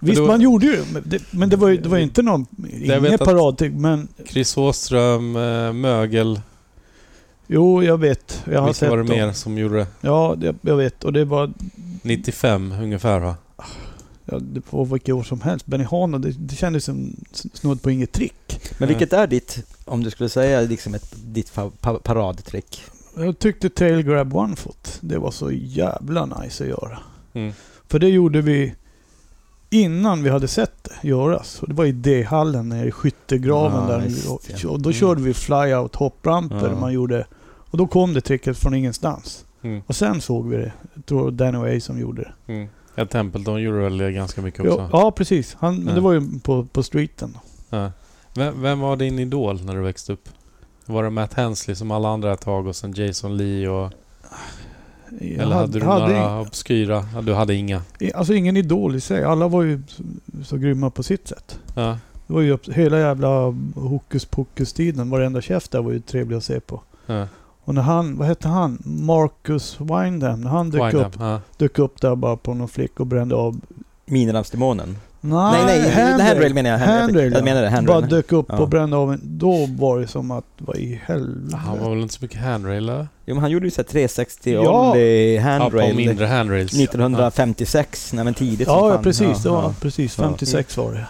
Speaker 3: Visst,
Speaker 1: Mm. det var-
Speaker 3: man gjorde ju men det, men det var ju det var ju inte någon...
Speaker 1: vet
Speaker 3: Inget
Speaker 1: att-
Speaker 3: paradtrick, men
Speaker 1: Chris Åström, eh, Mögel.
Speaker 3: jo, jag vet. Jag har
Speaker 1: Vilka
Speaker 3: sett
Speaker 1: var det
Speaker 3: dem.
Speaker 1: mer som gjorde?
Speaker 3: Ja, det, jag vet. Och det var
Speaker 1: 95 ungefär va?
Speaker 3: ja, det var vilket år som helst. Benny Hana, det, det kändes som s- snudd på inget trick.
Speaker 4: Men vilket är ditt, om du skulle säga liksom ett, ditt fa- pa- paradtrick?
Speaker 3: Jag tyckte tail grab one foot. Det var så jävla nice att göra.
Speaker 1: Mm.
Speaker 3: För det gjorde vi innan vi hade sett det göras. Och det var i D-hallen nere i skyttegraven
Speaker 4: Ja,
Speaker 3: där.
Speaker 4: visst,
Speaker 3: och,
Speaker 4: ja.
Speaker 3: och då körde vi fly-out hoppramper.
Speaker 1: Ah, Ja.
Speaker 3: Man gjorde, och då kom det tricket från ingenstans.
Speaker 1: Mm.
Speaker 3: Och sen såg vi det. Jag tror Danny Way som gjorde det.
Speaker 1: Mm. Ja, Templeton gjorde väl ganska mycket
Speaker 3: Ja,
Speaker 1: också?
Speaker 3: ja precis. Han, men
Speaker 1: Ja.
Speaker 3: det var ju på, på streeten.
Speaker 1: Ja. Vem, vem var din idol när du växte upp? Var det Matt Hensley som alla andra ett tag och sen Jason Lee och...
Speaker 3: Jag
Speaker 1: eller hade du några
Speaker 3: ing-
Speaker 1: obskyra? Ja, Du hade inga?
Speaker 3: Alltså ingen idol i sig. Alla var ju så, så grymma på sitt sätt.
Speaker 1: Ja.
Speaker 3: Det var ju upp- hela jävla hokus pokus-tiden. Varenda chef där var ju trevlig att se på.
Speaker 1: Ja.
Speaker 3: Och när han, vad hette han? Marcus Windham. När han dök
Speaker 1: Windham,
Speaker 3: upp,
Speaker 1: Ja.
Speaker 3: dök upp där bara på någon flick och brände av.
Speaker 4: Miniramsdemonen?
Speaker 3: Nej,
Speaker 4: Nej, nej, handrail, handrail menar jag. Handrail.
Speaker 3: Handrail,
Speaker 4: jag menar det,
Speaker 3: Bara
Speaker 4: handrail.
Speaker 3: dök upp
Speaker 4: Ja.
Speaker 3: och brände av en. Då var det som att, vad i helvete?
Speaker 1: Han var väl inte så mycket handrail eller?
Speaker 4: Jo, men han gjorde ju såhär 360
Speaker 3: Ja.
Speaker 4: only
Speaker 1: Ja, på
Speaker 4: handrail.
Speaker 1: mindre handrails.
Speaker 4: 1956, nej men tidigt som
Speaker 3: ja, ja,
Speaker 4: fan.
Speaker 3: precis. Det var,
Speaker 4: ja.
Speaker 3: precis.
Speaker 4: Ja.
Speaker 3: 56 var det.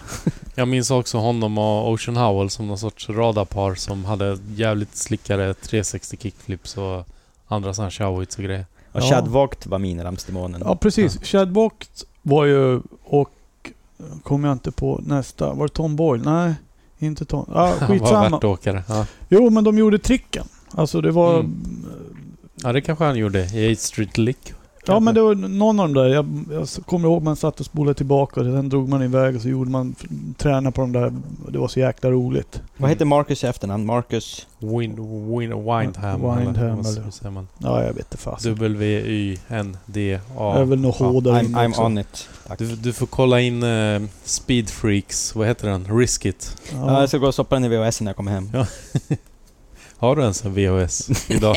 Speaker 1: Jag minns också honom och Ocean Howell som någon sorts radarpar som hade jävligt slickade 360 kickflips och andra sådana showits och grejer.
Speaker 4: Och
Speaker 3: Ja.
Speaker 4: Chad Vogt var miniramsdemonen.
Speaker 3: Ja, precis. Chad Bocht var ju och... Kommer jag inte på nästa. Var det Tom Boyle? Nej, inte Tom. Ja,
Speaker 1: Han var
Speaker 3: skitsamma.
Speaker 1: värtåkare. Ja.
Speaker 3: Jo, men de gjorde tricken. Alltså det var...
Speaker 4: Mm.
Speaker 1: ja, det kanske han gjorde i 8 Street Lick.
Speaker 3: Ja men det var någon av de där. Jag, jag kommer ihåg man satt och spolade tillbaka och sen drog man iväg och så gjorde man träna på de där. Det var så jäkla roligt.
Speaker 4: Vad hette Marcus i efternamn? Marcus?
Speaker 1: Wind, wind, Windham. eller
Speaker 3: Windham,
Speaker 1: vad-
Speaker 3: eller-
Speaker 1: hur säger man?
Speaker 3: Ja jag vet inte
Speaker 1: Alltså,
Speaker 3: fasen. Det är
Speaker 1: W-Y-N-D-A.
Speaker 3: väl något H där
Speaker 4: I'm,
Speaker 3: inne
Speaker 4: I'm
Speaker 3: också.
Speaker 4: on it. Tack.
Speaker 1: Du, du får kolla in eh, Speed Freaks, vad heter den? Risk It.
Speaker 4: Ja,
Speaker 3: Ja.
Speaker 4: jag ska gå och stoppa den i VHS när jag kommer hem.
Speaker 1: Ja. Har du ens en VHS idag?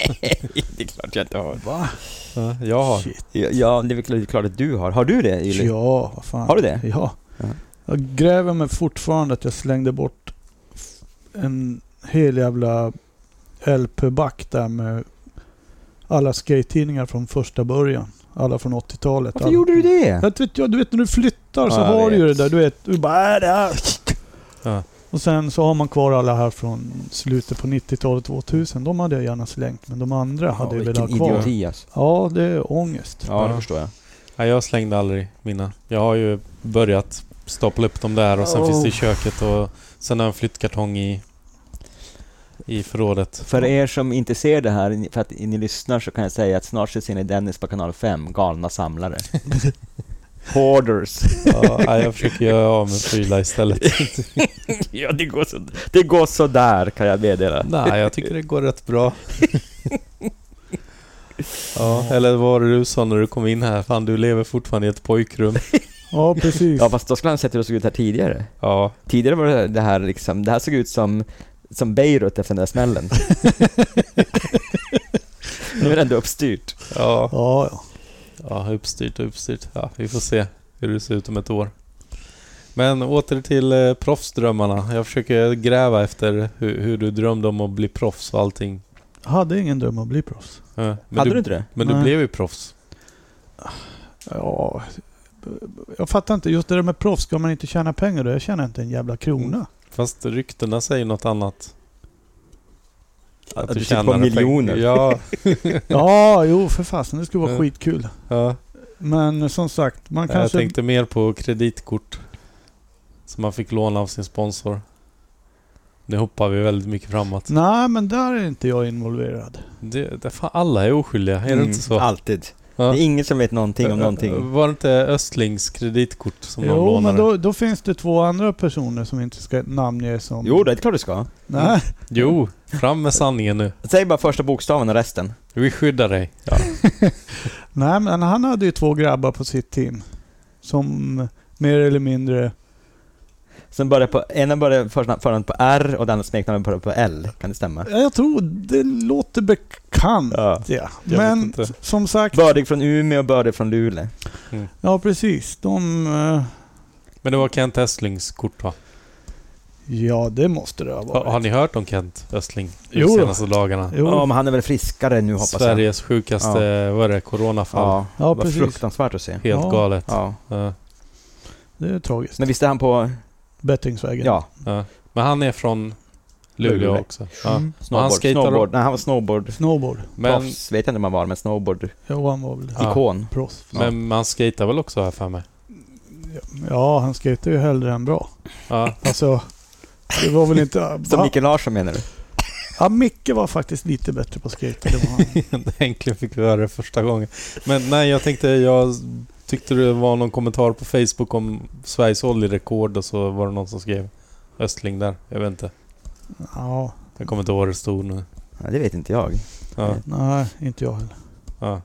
Speaker 4: det är klart jag inte har.
Speaker 3: Va?
Speaker 1: ja, jag har.
Speaker 3: Shit.
Speaker 4: Ja, det är väl klart- det är klart att du har. Har du det, Ylly?
Speaker 3: Ja, vad fan.
Speaker 4: Har du det?
Speaker 3: Ja.
Speaker 4: Ja.
Speaker 3: Jag gräver mig fortfarande att jag slängde bort f- en hel jävla LP-back där med alla skate-tidningar från första början. Alla från 80-talet.
Speaker 4: Varför
Speaker 3: alla-
Speaker 4: gjorde du det?
Speaker 3: Jag vet, jag, du vet när du flyttar så
Speaker 4: Ja, jag
Speaker 3: har du ju det
Speaker 4: vet.
Speaker 3: där. Du vet, du bara äh, det här.
Speaker 1: Ja.
Speaker 3: Och sen så har man kvar alla här från slutet på 90-talet, 2000. De hade jag gärna slängt, men de andra hade jag velat ha
Speaker 4: vilken
Speaker 3: kvar.
Speaker 4: idioti alltså.
Speaker 3: Ja, det är ångest.
Speaker 4: Ja, det
Speaker 1: Ja.
Speaker 4: förstår jag.
Speaker 1: Nej, jag slängde aldrig mina. Jag har ju börjat stapla upp dem där och sen
Speaker 4: Oh.
Speaker 1: finns det i köket och sen har jag en flyttkartong i, i förrådet.
Speaker 4: För er som inte ser det här, för att ni lyssnar, så kan jag säga att snart så ser ni Dennis på kanal 5, galna samlare. Hoarders.
Speaker 1: Ja, nej, jag försöker göra av med prylar istället.
Speaker 4: ja, det går, så, det går så där kan jag meddela.
Speaker 1: Nej, jag tycker det går rätt bra. Ja, eller vad var det du sa när du kom in här? Fan, du lever fortfarande i ett pojkrum.
Speaker 3: Ja, precis.
Speaker 4: Ja, fast då skulle han sett hur det såg ut här tidigare.
Speaker 1: Ja,
Speaker 4: Tidigare var det det här liksom, det här såg ut som, som Beirut efter den där smällen. nu är det ändå uppstyrt.
Speaker 1: ja.
Speaker 3: Ja, ja.
Speaker 1: Ja, uppstyrt och uppstyrt. Ja, vi får se hur det ser ut om ett år. Men åter till eh, proffsdrömmarna. Jag försöker gräva efter hur, hur du drömde om att bli proffs och allting.
Speaker 3: Jag hade ingen dröm om att bli proffs.
Speaker 1: Eh, Men
Speaker 4: Hade
Speaker 1: du,
Speaker 4: du inte det?
Speaker 1: Men du
Speaker 3: Nej.
Speaker 1: blev ju proffs.
Speaker 3: Ja, jag fattar inte. Just det där med proffs, ska man Mm. inte tjäna pengar då? Jag tjänar inte en jävla krona.
Speaker 1: Fast ryktena säger något annat. Att
Speaker 2: Att
Speaker 1: du
Speaker 2: du sitter
Speaker 1: tjänar
Speaker 2: på miljoner.
Speaker 1: pengar. Ja,
Speaker 3: Ja, jo för fasen. Det skulle vara
Speaker 1: Ja.
Speaker 3: skitkul.
Speaker 1: ja.
Speaker 3: Men som sagt, man
Speaker 1: Jag
Speaker 3: kanske...
Speaker 1: tänkte mer på kreditkort. Som man fick låna av sin sponsor. Nu hoppar vi väldigt mycket framåt.
Speaker 3: Nej, men där är inte jag involverad.
Speaker 1: Det, det, fan, alla är oskyldiga, är det
Speaker 2: Mm,
Speaker 1: inte så?
Speaker 2: Alltid.
Speaker 1: Ja.
Speaker 2: Det är ingen som vet någonting om någonting.
Speaker 1: Var det inte Östlings kreditkort som någon
Speaker 3: Jo,
Speaker 1: lånade?
Speaker 3: men då, då finns det två andra personer som inte ska namnges som...
Speaker 2: Jo, det är klart du ska.
Speaker 3: Nej,
Speaker 1: Jo, fram med sanningen nu.
Speaker 2: Säg bara första bokstaven och resten.
Speaker 1: Vi skyddar dig.
Speaker 3: nej, men han hade ju två grabbar på sitt team. Som mer eller mindre...
Speaker 2: Sen börjar på, ena börjar första- förnamnet på R och den andra smeknamnet börjar på L. Kan det stämma?
Speaker 3: Jag tror det låter bekant.
Speaker 2: Ja.
Speaker 3: Ja.
Speaker 1: Jag vet
Speaker 3: Men
Speaker 1: inte.
Speaker 3: s- som sagt,
Speaker 2: Bördig från Umeå och bördig från Luleå.
Speaker 3: ja precis. De... eh,
Speaker 1: Men det var Kent Östlings kort va?
Speaker 3: Ja, det måste det ha
Speaker 1: Har,
Speaker 3: varit.
Speaker 1: har ni hört om Kent Östling de
Speaker 3: Jo då.
Speaker 1: senaste dagarna?
Speaker 3: Jo.
Speaker 2: Ja, men han är väl friskare nu hoppas jag.
Speaker 1: Sveriges sjukaste, vad är det, coronafall?
Speaker 2: Ja,
Speaker 3: Ja,
Speaker 2: det var
Speaker 3: precis.
Speaker 2: fruktansvärt att se.
Speaker 1: Helt
Speaker 3: Ja.
Speaker 1: galet.
Speaker 2: Ja.
Speaker 1: Ja.
Speaker 3: Det är tragiskt.
Speaker 2: Men visst är han på...
Speaker 3: Bettingsvägen.
Speaker 2: Ja,
Speaker 1: Ja. Men han är från Luleå,
Speaker 2: Luleå.
Speaker 1: också. Ja.
Speaker 3: Mm.
Speaker 1: Och han
Speaker 2: snowboard.
Speaker 1: skatar
Speaker 2: snowboard. Nej, han var snowboard.
Speaker 3: Snowboard.
Speaker 1: Men,
Speaker 2: Proffs vet jag inte om han var, men snowboard-ikon.
Speaker 3: Jo, han var väl
Speaker 1: Ja.
Speaker 3: proffs.
Speaker 1: men man skejtar väl också här för mig?
Speaker 3: Ja, han skejtar ju hellre än bra.
Speaker 1: Ja.
Speaker 3: Alltså, det var väl inte...
Speaker 2: Som Mikael Larsson menar du?
Speaker 3: Ja, Micke var faktiskt lite bättre på skate. än vad han-
Speaker 1: Äntligen fick vi höra det första gången. Men nej, jag tänkte, jag tyckte det var någon kommentar på Facebook om Sveriges oljerekord och så var det någon som skrev Östling där. Jag vet inte.
Speaker 3: Ja,
Speaker 1: Jag kommer inte ihåg vad det stod nu.
Speaker 2: Ja, det vet inte jag.
Speaker 1: Ja,
Speaker 3: nej, inte jag heller.
Speaker 1: ja.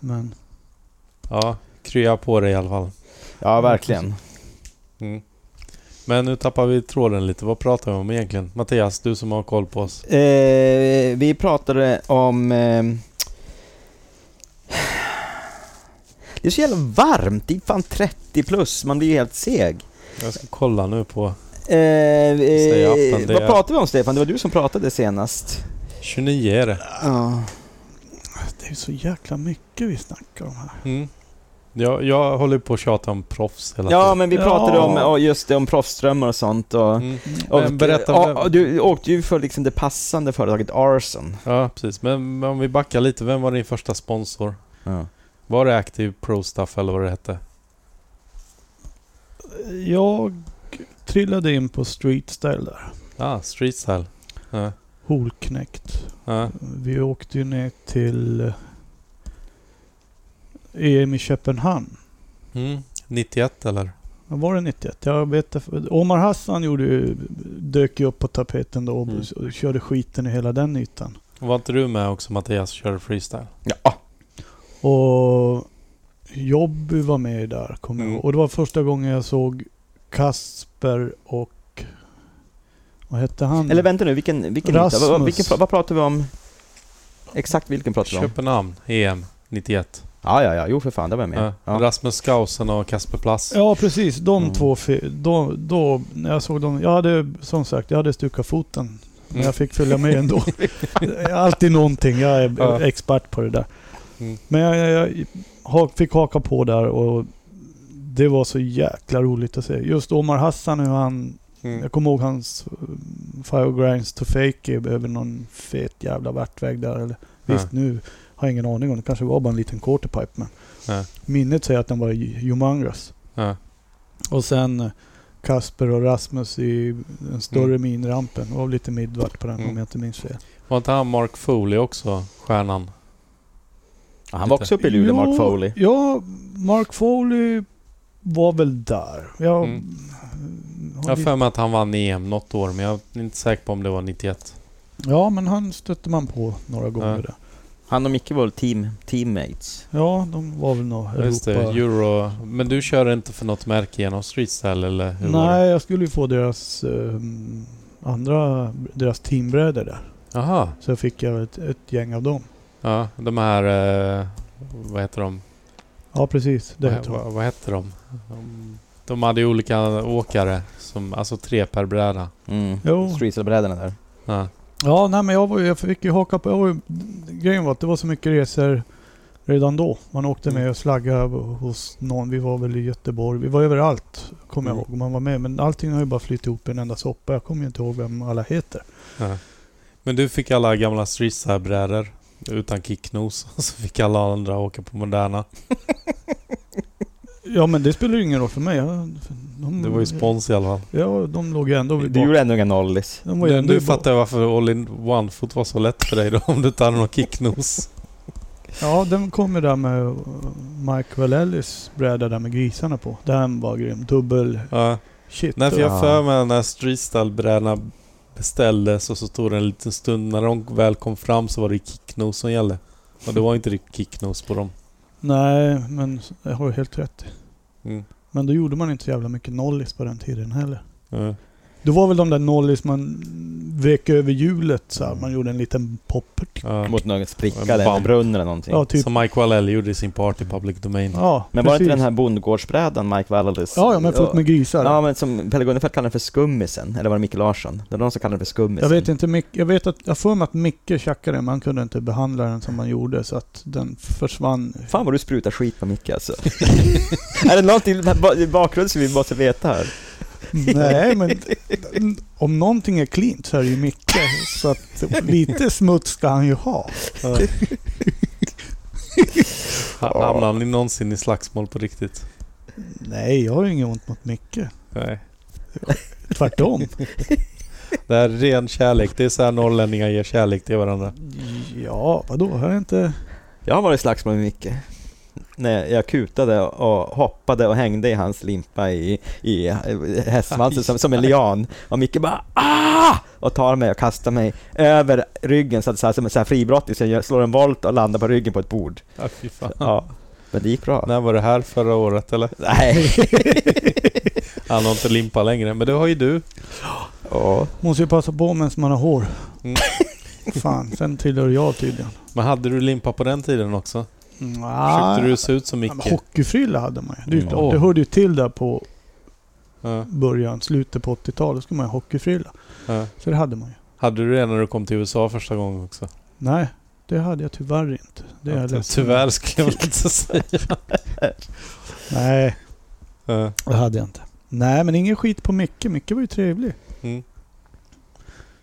Speaker 3: Men
Speaker 1: ja. krya på dig i alla fall.
Speaker 2: Ja, verkligen.
Speaker 1: Mm. Men nu tappar vi tråden lite. Vad pratar vi om egentligen? Mattias, du som har koll på oss.
Speaker 2: Eh, vi pratade om... Eh, det är så jävla varmt, det är fan 30 plus, man blir ju helt seg.
Speaker 1: Jag ska kolla nu på
Speaker 2: Eh,
Speaker 1: Säg afton,
Speaker 2: eh,
Speaker 1: det
Speaker 2: vad
Speaker 1: är-
Speaker 2: pratade vi om Stefan? Det var du som pratade senast.
Speaker 1: 29 är det.
Speaker 2: Ja.
Speaker 3: det är så jäkla mycket vi snackar om här.
Speaker 1: Mm. Jag, jag håller på att tjata om proffs hela
Speaker 2: Ja,
Speaker 1: tiden.
Speaker 2: men vi
Speaker 3: Ja.
Speaker 2: pratade om ja, just det, om proffsdrömmar och sånt. Och,
Speaker 1: Mm.
Speaker 2: och,
Speaker 1: Men berätta
Speaker 2: ja,
Speaker 1: vem-
Speaker 2: och Du åkte ju för liksom det passande företaget Arson.
Speaker 1: Ja, precis. Men men om vi backar lite. Vem var din första sponsor? Var det Active Pro Stuff eller vad det hette?
Speaker 3: Jag trillade in på street style där.
Speaker 1: Ah, Street Style. Ja,
Speaker 3: Holknekt.
Speaker 1: ja,
Speaker 3: Vi åkte ju ner till eh, EM i Köpenhamn.
Speaker 1: mm. 91 eller?
Speaker 3: Ja, Var det 91? Jag vet inte. Omar Hassan gjorde ju, dök ju upp på tapeten då och
Speaker 1: Mm.
Speaker 3: och körde skiten i hela den ytan.
Speaker 1: Var inte du med också Mattias och körde freestyle?
Speaker 2: Ja.
Speaker 3: Och Jobby var med där, kommer jag
Speaker 1: Mm.
Speaker 3: ihåg. Och det var första gången jag såg Kasper och... Vad hette han?
Speaker 2: Eller vänta nu, vilken, vilken yta? Vad- Vad,
Speaker 3: Rasmus.
Speaker 2: vilken, vad pratar vi om? Exakt vilken pratar vi om?
Speaker 1: Köpenhamn, EM 91.
Speaker 2: Ja, ja, ja, jo för fan, det var jag
Speaker 1: Ja.
Speaker 2: med. Ja.
Speaker 1: Rasmus Skausen och Kasper Plass.
Speaker 3: Ja, precis. De
Speaker 2: Mm.
Speaker 3: två... fi- Då, då, när jag såg dem... Jag hade, som sagt, jag hade stukat foten.
Speaker 1: Mm.
Speaker 3: Men jag fick följa med ändå. Alltid någonting. Jag är
Speaker 1: Ja.
Speaker 3: expert på det där.
Speaker 1: Mm.
Speaker 3: Men jag, jag, jag ha- fick haka på där och det var så jäkla roligt att se. Just Omar Hassan, hur han
Speaker 1: Mm.
Speaker 3: Jag kommer ihåg hans eh, Five Grinds to Fake över någon fet jävla värtväg där. Eller, visst, nu har jag ingen aning om det. kanske var bara en liten quarterpipe. Men
Speaker 1: Ja.
Speaker 3: Minnet säger att den var ju- humongous.
Speaker 1: Ja.
Speaker 3: Och sen eh, Kasper och Rasmus i den större minirampen. Det var lite midvart på den
Speaker 1: Mm.
Speaker 3: om jag inte minns fel.
Speaker 1: Var inte han Mark Foley också, stjärnan?
Speaker 2: Ja, han var också uppe i Luleå, Mark
Speaker 3: Jo,
Speaker 2: Foley.
Speaker 3: Ja, Mark Foley var väl där. Jag,
Speaker 1: Mm.
Speaker 3: har
Speaker 1: Jag har
Speaker 3: lite-
Speaker 1: för mig att han vann EM något år, men jag är inte säker på om det var 91.
Speaker 3: ja, men han stötte man på några gånger där.
Speaker 2: Han och Micke var väl team, teammates.
Speaker 3: Ja, de var väl nog Europa...
Speaker 1: Just det, Euro... Men du kör inte för något märke genom Streetstyle eller hur var det?
Speaker 3: Nej, jag skulle ju få deras ehm, andra, deras teambröder där.
Speaker 1: Jaha.
Speaker 3: Så fick jag ett, ett gäng av dem.
Speaker 1: Ja, de här... Eh, vad heter de?
Speaker 3: Ja, precis. Det
Speaker 1: vad,
Speaker 3: heter de.
Speaker 1: vad, vad heter de? De- De hade ju olika åkare, som, alltså tre per bräda.
Speaker 2: Mm.
Speaker 3: Jo.
Speaker 2: Streetstyle-brädorna där.
Speaker 1: Ja.
Speaker 3: Ja, nej men jag, var, ju- jag fick ju haka på... Jag var, ju- grejen var att det var så mycket resor redan då. Man åkte med och slaggade hos någon. Vi var väl i Göteborg. Vi var överallt, kommer jag
Speaker 1: Mm.
Speaker 3: ihåg. Man var med. Men allting har ju bara flyttat ihop i en enda soppa. Jag kommer ju inte ihåg vem alla heter.
Speaker 1: Ja. Men du fick alla gamla streetside-brädor utan kicknos och så fick alla andra åka på moderna.
Speaker 3: Ja men det spelar ju ingen roll för mig. Jag- De,
Speaker 1: Det var ju spons i alla fall.
Speaker 3: Ja, de låg ju ändå
Speaker 4: Du,
Speaker 3: bak.
Speaker 4: du gjorde ändå inga nollis.
Speaker 3: De var ju
Speaker 1: Du,
Speaker 3: ändå
Speaker 1: du
Speaker 3: bak.
Speaker 1: fattar jag varför all-in one-foot var så lätt för dig då om du inte hade någon kicknos.
Speaker 3: Ja, den kom ju där med eh, Mike Valellis bräda där med grisarna på. Den var grym. Dubbel
Speaker 1: Ja.
Speaker 3: shit.
Speaker 1: Nej, för
Speaker 4: Ja.
Speaker 1: jag för mig när streetstyle-brädorna beställdes och så tog det en liten stund. När de väl kom fram så var det kicknos som gällde. Och det var inte riktigt kicknos på dem.
Speaker 3: Nej, men s- jag har ju helt rätt.
Speaker 1: Mm.
Speaker 3: Men då gjorde man inte så jävla mycket nollis på den tiden heller.
Speaker 1: Ja.
Speaker 3: Det var väl de där nollis man vek över hjulet så här. Man gjorde en liten popper.
Speaker 1: Ja.
Speaker 4: Mot någon spricka
Speaker 1: Bam.
Speaker 4: eller en brunn eller någonting.
Speaker 3: Ja, typ.
Speaker 1: Som Mike Wallell gjorde i sin part i Public Domain.
Speaker 3: Ja,
Speaker 4: men var det
Speaker 3: precis.
Speaker 4: inte den här bondgårdsbrädan Mike Wallace?
Speaker 3: Ja, ja men fullt med grisar.
Speaker 4: Ja, men som Pelle Gunnefelt kallade den för skummisen, eller var det Micke Larsson? Det var någon som kallade den för skummisen.
Speaker 3: jag vet inte, Mick, jag vet att, jag får mig att Micke tjackade men han kunde inte behandla den som man gjorde så att den försvann.
Speaker 4: Fan vad du sprutar skit på Micke alltså. är det någonting i ba- i bakgrunden som vi måste veta här?
Speaker 3: Nej, men om någonting är klint så är det ju Micke. Så att lite smuts ska han ju ha.
Speaker 1: Ja. Ha- Hamnade ni någonsin i slagsmål på riktigt?
Speaker 3: Nej, jag har ju inget ont mot Micke.
Speaker 1: Nej.
Speaker 3: Tvärtom.
Speaker 1: Det här är ren kärlek. Det är så här norrlänningar ger kärlek till varandra.
Speaker 3: Ja, vadå? Har jag inte...
Speaker 4: Jag har varit i slagsmål med Micke. Nej, jag kutade och hoppade och hängde i hans limpa i, i hästsvansen som, som en lian. Och Micke bara ah! Och tar mig och kastar mig över ryggen så att så här, som en så här fribrottis. Jag slår en volt och landar på ryggen på ett bord.
Speaker 1: Ja, fy fan.
Speaker 4: Ja. Men det gick bra.
Speaker 1: När var det här? Förra året eller?
Speaker 4: Nej.
Speaker 1: Han har inte limpa längre, men det har ju du.
Speaker 4: Ja.
Speaker 3: Måste ju passa på medan man har hår.
Speaker 1: Mm.
Speaker 3: Fan, sen tillhör jag tydligen.
Speaker 1: Men hade du limpa på den tiden också?
Speaker 3: Nja,
Speaker 1: Försökte du se ut som
Speaker 3: ja, men
Speaker 1: Micke?
Speaker 3: hockeyfrilla hade man ju. Det, är ju-
Speaker 1: Mm.
Speaker 3: det hörde ju till där på
Speaker 1: Ja,
Speaker 3: början, slutet på 80-talet. skulle man ju ha hockeyfrilla.
Speaker 1: ja.
Speaker 3: Så det hade man ju.
Speaker 1: Hade du det när du kom till USA första gången också?
Speaker 3: Nej, det hade jag tyvärr inte. Det är jag
Speaker 1: Ty-
Speaker 3: ledsen
Speaker 1: Tyvärr skulle jag väl inte säga.
Speaker 3: Nej.
Speaker 1: Ja.
Speaker 3: Det hade jag inte. Nej, men ingen skit på Micke. Micke var ju trevlig.
Speaker 1: Mm.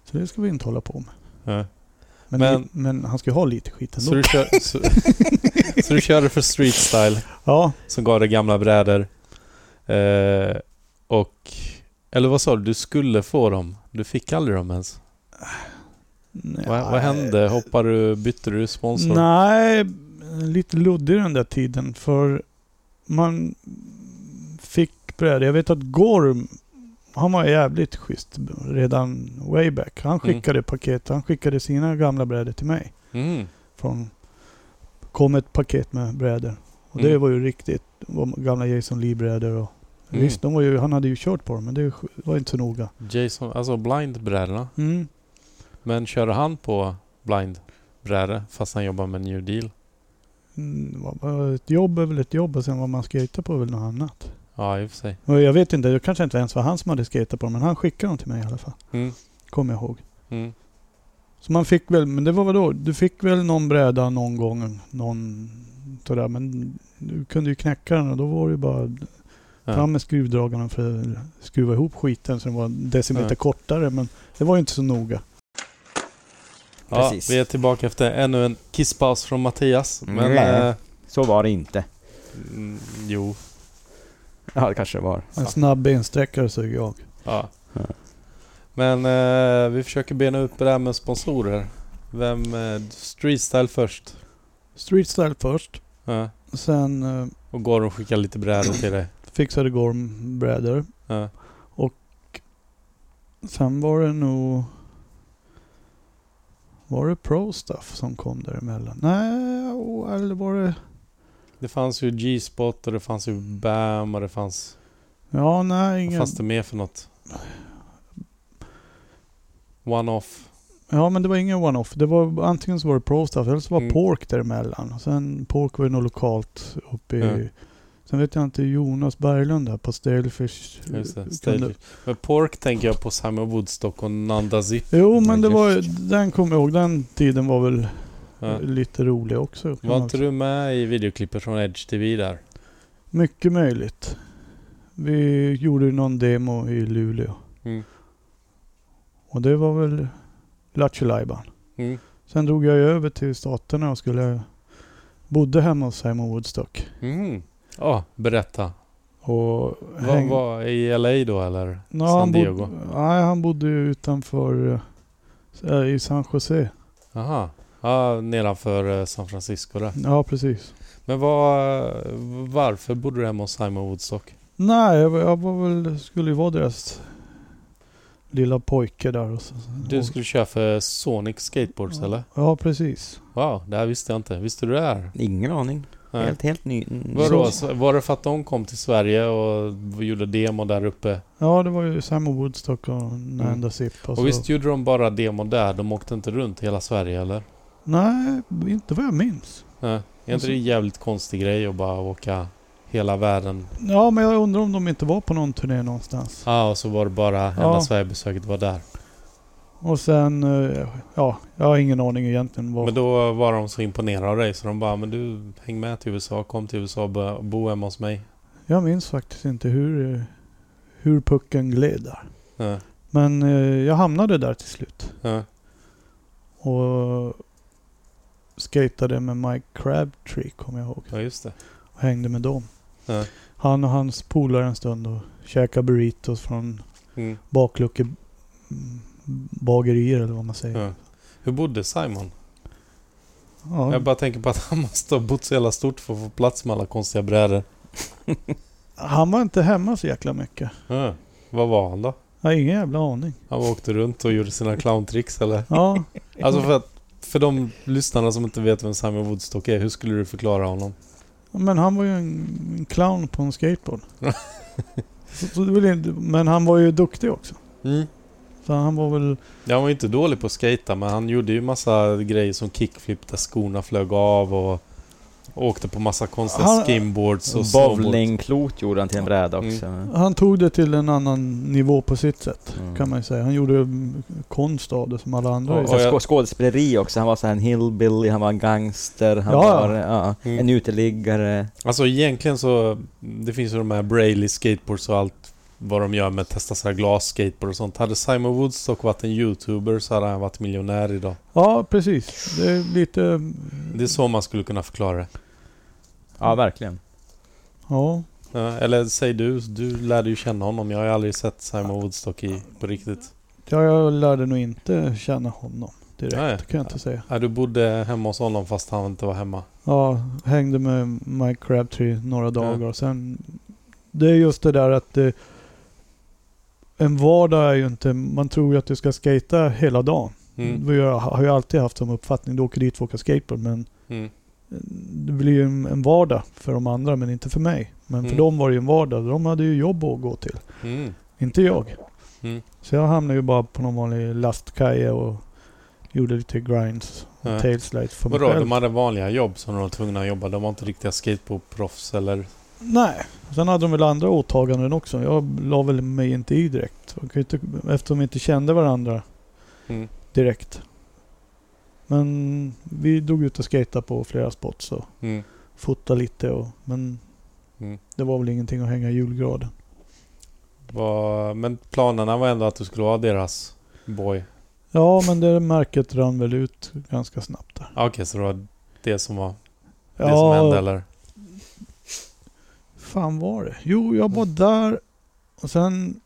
Speaker 3: Så det ska vi inte hålla på med.
Speaker 1: Ja.
Speaker 3: Men, men,
Speaker 1: Men-
Speaker 3: han ska ju ha lite skit ändå.
Speaker 1: Så, du kör, så, så du körde för street style
Speaker 3: Ja,
Speaker 1: som gav dig gamla brädor. Eh, och... Eller vad sa du? Du skulle få dem. Du fick aldrig dem ens.
Speaker 3: nej,
Speaker 1: Vad, Alltså- vad hände? Hoppade du? Bytte du sponsor?
Speaker 3: Nej, lite luddig den där tiden. För man fick brädor. Jag vet att Gorm, han var jävligt schysst redan way back. Han
Speaker 1: Mm.
Speaker 3: skickade paket. Han skickade sina gamla brädor till mig.
Speaker 1: Mm.
Speaker 3: Från, kom ett paket med brädor. Och det
Speaker 1: Mm.
Speaker 3: var ju riktigt. Det var gamla Jason Lee-brädor och
Speaker 1: Mm.
Speaker 3: Visst, de var ju, han hade ju kört på dem, men det var inte så noga.
Speaker 1: Jason, alltså blindbrädorna. Men körde han på blindbrädor fast han jobbar med New Deal?
Speaker 3: Mm, vad- vad- ett jobb är väl ett jobb och sen vad man skejtar på är väl något annat.
Speaker 1: Ja, i och för sig.
Speaker 3: Och jag vet inte, det kanske inte ens var han som hade skejtat på dem, men han skickade dem till mig i alla fall.
Speaker 1: Mm.
Speaker 3: Kommer jag ihåg.
Speaker 1: Mm.
Speaker 3: Så man fick väl, men det var vadå? Du fick väl någon bräda någon gång, någon sådär, men du kunde ju knäcka den och då var det ju bara
Speaker 1: Ja.
Speaker 3: fram med skruvdragarna för att skruva ihop skiten så den var en decimeter
Speaker 1: Ja.
Speaker 3: kortare, men det var ju inte så noga.
Speaker 1: Ja,
Speaker 4: Precis.
Speaker 1: vi är tillbaka efter ännu en kisspaus från Mattias. Men...
Speaker 4: Nej.
Speaker 1: Eh,
Speaker 4: Så var det inte.
Speaker 1: mm, jo.
Speaker 4: Ja, det kanske det var.
Speaker 3: En snabb bensträckare sög jag.
Speaker 1: Ja.
Speaker 4: Ja.
Speaker 1: Men eh, vi försöker bena upp det här med sponsorer. Vem... Eh, Streetstyle först.
Speaker 3: Streetstyle först.
Speaker 1: Ja.
Speaker 3: Sen eh,
Speaker 1: Och går och skickar lite brädor till dig.
Speaker 3: fixade Gorm brädor.
Speaker 1: Ja.
Speaker 3: Sen var det nog... Var det Pro Stuff som kom däremellan? Nej, åh, eller var det...
Speaker 1: Det fanns ju G-spot och det fanns ju BAM och det fanns...
Speaker 3: Ja, nej,
Speaker 1: Vad
Speaker 3: ingen...
Speaker 1: fanns det mer för något? One-off.
Speaker 3: Ja, men det var ingen one-off. Det var antingen så var det Pro Stuff eller så var
Speaker 1: Mm.
Speaker 3: Pork däremellan. Sen Pork var ju något lokalt uppe i...
Speaker 1: Ja.
Speaker 3: Sen vet jag inte, Jonas Berglund där på Stalefish...
Speaker 1: Just det.
Speaker 3: kunde-
Speaker 1: Stage. Men Pork tänker jag på Simon Woodstock och Nanda Zip.
Speaker 3: Jo, men
Speaker 1: Ja,
Speaker 3: det var ju-
Speaker 1: just
Speaker 3: Den kommer jag ihåg. Den tiden var väl
Speaker 1: Ja.
Speaker 3: lite rolig också. kan
Speaker 1: Var
Speaker 3: man
Speaker 1: inte du med i videoklippet från Edge TV där?
Speaker 3: Mycket möjligt. Vi gjorde ju någon demo i Luleå.
Speaker 1: Mm.
Speaker 3: Och det var väl... Lattjo-Lajban.
Speaker 1: Mm.
Speaker 3: Sen drog jag ju över till Staterna och skulle... Bodde hemma hos Simon Woodstock.
Speaker 1: Mm. Ja, berätta.
Speaker 3: Och
Speaker 1: Vad var i LA då eller
Speaker 3: Ja,
Speaker 1: San
Speaker 3: han bod-
Speaker 1: Diego?
Speaker 3: nej, han bodde ju utanför... eh, I San Jose.
Speaker 1: Aha. Ja, nedanför eh, San Francisco där.
Speaker 3: Ja, precis.
Speaker 1: Men vad, varför bodde du hemma hos Simon Woodstock?
Speaker 3: Nej, jag var- jag var väl, skulle ju vara deras lilla pojke där. Och så,
Speaker 1: Du skulle köra för Sonic Skateboards eller?
Speaker 3: Ja, precis.
Speaker 1: Wow, det här visste jag inte. Visste du det
Speaker 3: Mm.
Speaker 1: här?
Speaker 4: Ingen aning.
Speaker 1: Nej.
Speaker 4: Helt, helt ny. mm,
Speaker 1: Vadå?
Speaker 4: så-
Speaker 1: Så- Var det för att de kom till Sverige och gjorde demo där uppe?
Speaker 3: Ja, det var ju Simon Woodstock och Nanda Zip. Och, så.
Speaker 1: Mm. Och visst gjorde de bara demo där? De åkte inte runt hela Sverige eller?
Speaker 3: Nej, inte vad jag minns.
Speaker 1: Nej. Är
Speaker 3: Och
Speaker 1: inte
Speaker 3: så-
Speaker 1: det en jävligt konstig grej att bara åka hela världen?
Speaker 3: Ja, men jag undrar om de inte var på någon turné någonstans.
Speaker 1: Ja, och så var det bara enda
Speaker 3: Ja.
Speaker 1: Sverigebesöket var där.
Speaker 3: Och sen, eh, ja, jag har ingen aning egentligen vad...
Speaker 1: Men då var de så imponerade av dig så de bara Men du, häng med till USA, kom till USA och börja bo hemma hos mig.
Speaker 3: Jag minns faktiskt inte hur, eh, hur pucken gled där.
Speaker 1: Ja,
Speaker 3: Men eh, jag hamnade där till slut.
Speaker 1: ja.
Speaker 3: Och skatade med Mike Crabtree, kommer jag ihåg.
Speaker 1: ja just det.
Speaker 3: Och hängde med dem.
Speaker 1: Ja.
Speaker 3: Han och hans polare en stund och käkade burritos från
Speaker 1: Mm.
Speaker 3: baklucke... mm, Bagerier eller vad man säger.
Speaker 1: Ja. Hur bodde Simon?
Speaker 3: Ja.
Speaker 1: Jag bara tänker på att han måste ha bott så jävla stort för att få plats med alla konstiga brädor.
Speaker 3: Han var inte hemma så jäkla mycket.
Speaker 1: Ja. Vad var han då?
Speaker 3: Jag har ingen jävla aning.
Speaker 1: Han åkte runt och gjorde sina clowntricks eller?
Speaker 3: Ja,
Speaker 1: Alltså för att för de lyssnarna som inte vet vem Simon Woodstock är, hur skulle du förklara honom?
Speaker 3: men han var ju en, en clown på en skateboard. så, så det är väl inte, men han var ju duktig också.
Speaker 1: Mm.
Speaker 3: Så han var väl...
Speaker 1: Ja, han var ju inte dålig på att skata, men han gjorde ju massa grejer som kickflip där skorna flög av och åkte på massa konstiga
Speaker 3: Han-
Speaker 1: skimboards och snowboard.
Speaker 4: Bowlingklot gjorde han till en bräda också.
Speaker 3: Han tog det till en annan nivå på sitt sätt.
Speaker 4: Mm.
Speaker 3: Kan man ju säga. Han gjorde mm, konst av det som alla andra.
Speaker 1: Ja,
Speaker 3: gör.
Speaker 4: Och sen
Speaker 1: jag-
Speaker 4: skå- skådespeleri också. Han var så här en hillbilly, han var en gangster, han
Speaker 3: Ja, ja.
Speaker 4: var ja,
Speaker 1: Mm.
Speaker 4: en uteliggare.
Speaker 1: Alltså egentligen så, det finns ju de här Braille skateboards och allt vad de gör med att testa sådana här glasskateboard och sånt. Hade Simon Woodstock varit en YouTuber så hade han varit miljonär idag.
Speaker 3: ja, precis. Det är lite...
Speaker 1: Det är så man skulle kunna förklara det.
Speaker 4: Ja, verkligen.
Speaker 3: Ja.
Speaker 1: Ja, Eller säg du, du lärde ju känna honom. Jag har ju aldrig sett Simon Woodstock i, på riktigt.
Speaker 3: Ja, Jag lärde nog inte känna honom direkt.
Speaker 1: Nej.
Speaker 3: kan jag inte säga.
Speaker 1: Ja, du bodde hemma hos honom fast han inte var hemma.
Speaker 3: Ja, hängde med Mike Crabtree några dagar och sen... Det är just det där att det, en vardag är ju inte... Man tror ju att du ska skata hela dagen.
Speaker 1: Mm.
Speaker 3: Vi har- har ju alltid haft som uppfattning, du åker dit för att åka skateboard men
Speaker 1: Mm.
Speaker 3: det blir ju en en vardag för de andra men inte för mig. Men för
Speaker 1: Mm.
Speaker 3: dem var det ju en vardag. De hade ju jobb att gå till.
Speaker 1: Mm.
Speaker 3: Inte jag.
Speaker 1: Mm.
Speaker 3: Så jag hamnade ju bara på någon vanlig lastkaja och gjorde lite grinds och
Speaker 1: Ja.
Speaker 3: tailslides för mig
Speaker 1: Vadå,
Speaker 3: själv.
Speaker 1: de hade vanliga jobb som de var tvungna att jobba? De var inte riktiga skateboardproffs eller?
Speaker 3: Nej. Sen hade de väl andra åtaganden också. Jag la väl mig inte i direkt. Jag kan ju inte- Eftersom vi inte kände varandra
Speaker 1: Mm.
Speaker 3: direkt. Men vi drog ut och skatade på flera spots och
Speaker 1: Mm.
Speaker 3: fotade lite. Och, men
Speaker 1: Mm.
Speaker 3: det var väl ingenting att hänga i julgraden.
Speaker 1: Vad- men planerna var ändå att du skulle vara deras boy?
Speaker 3: Ja, men det märket rann väl ut ganska snabbt där.
Speaker 1: Ah, Okej, så det var det som var det
Speaker 3: ja,
Speaker 1: som hände eller?
Speaker 3: fan var det? Jo, jag var där och sen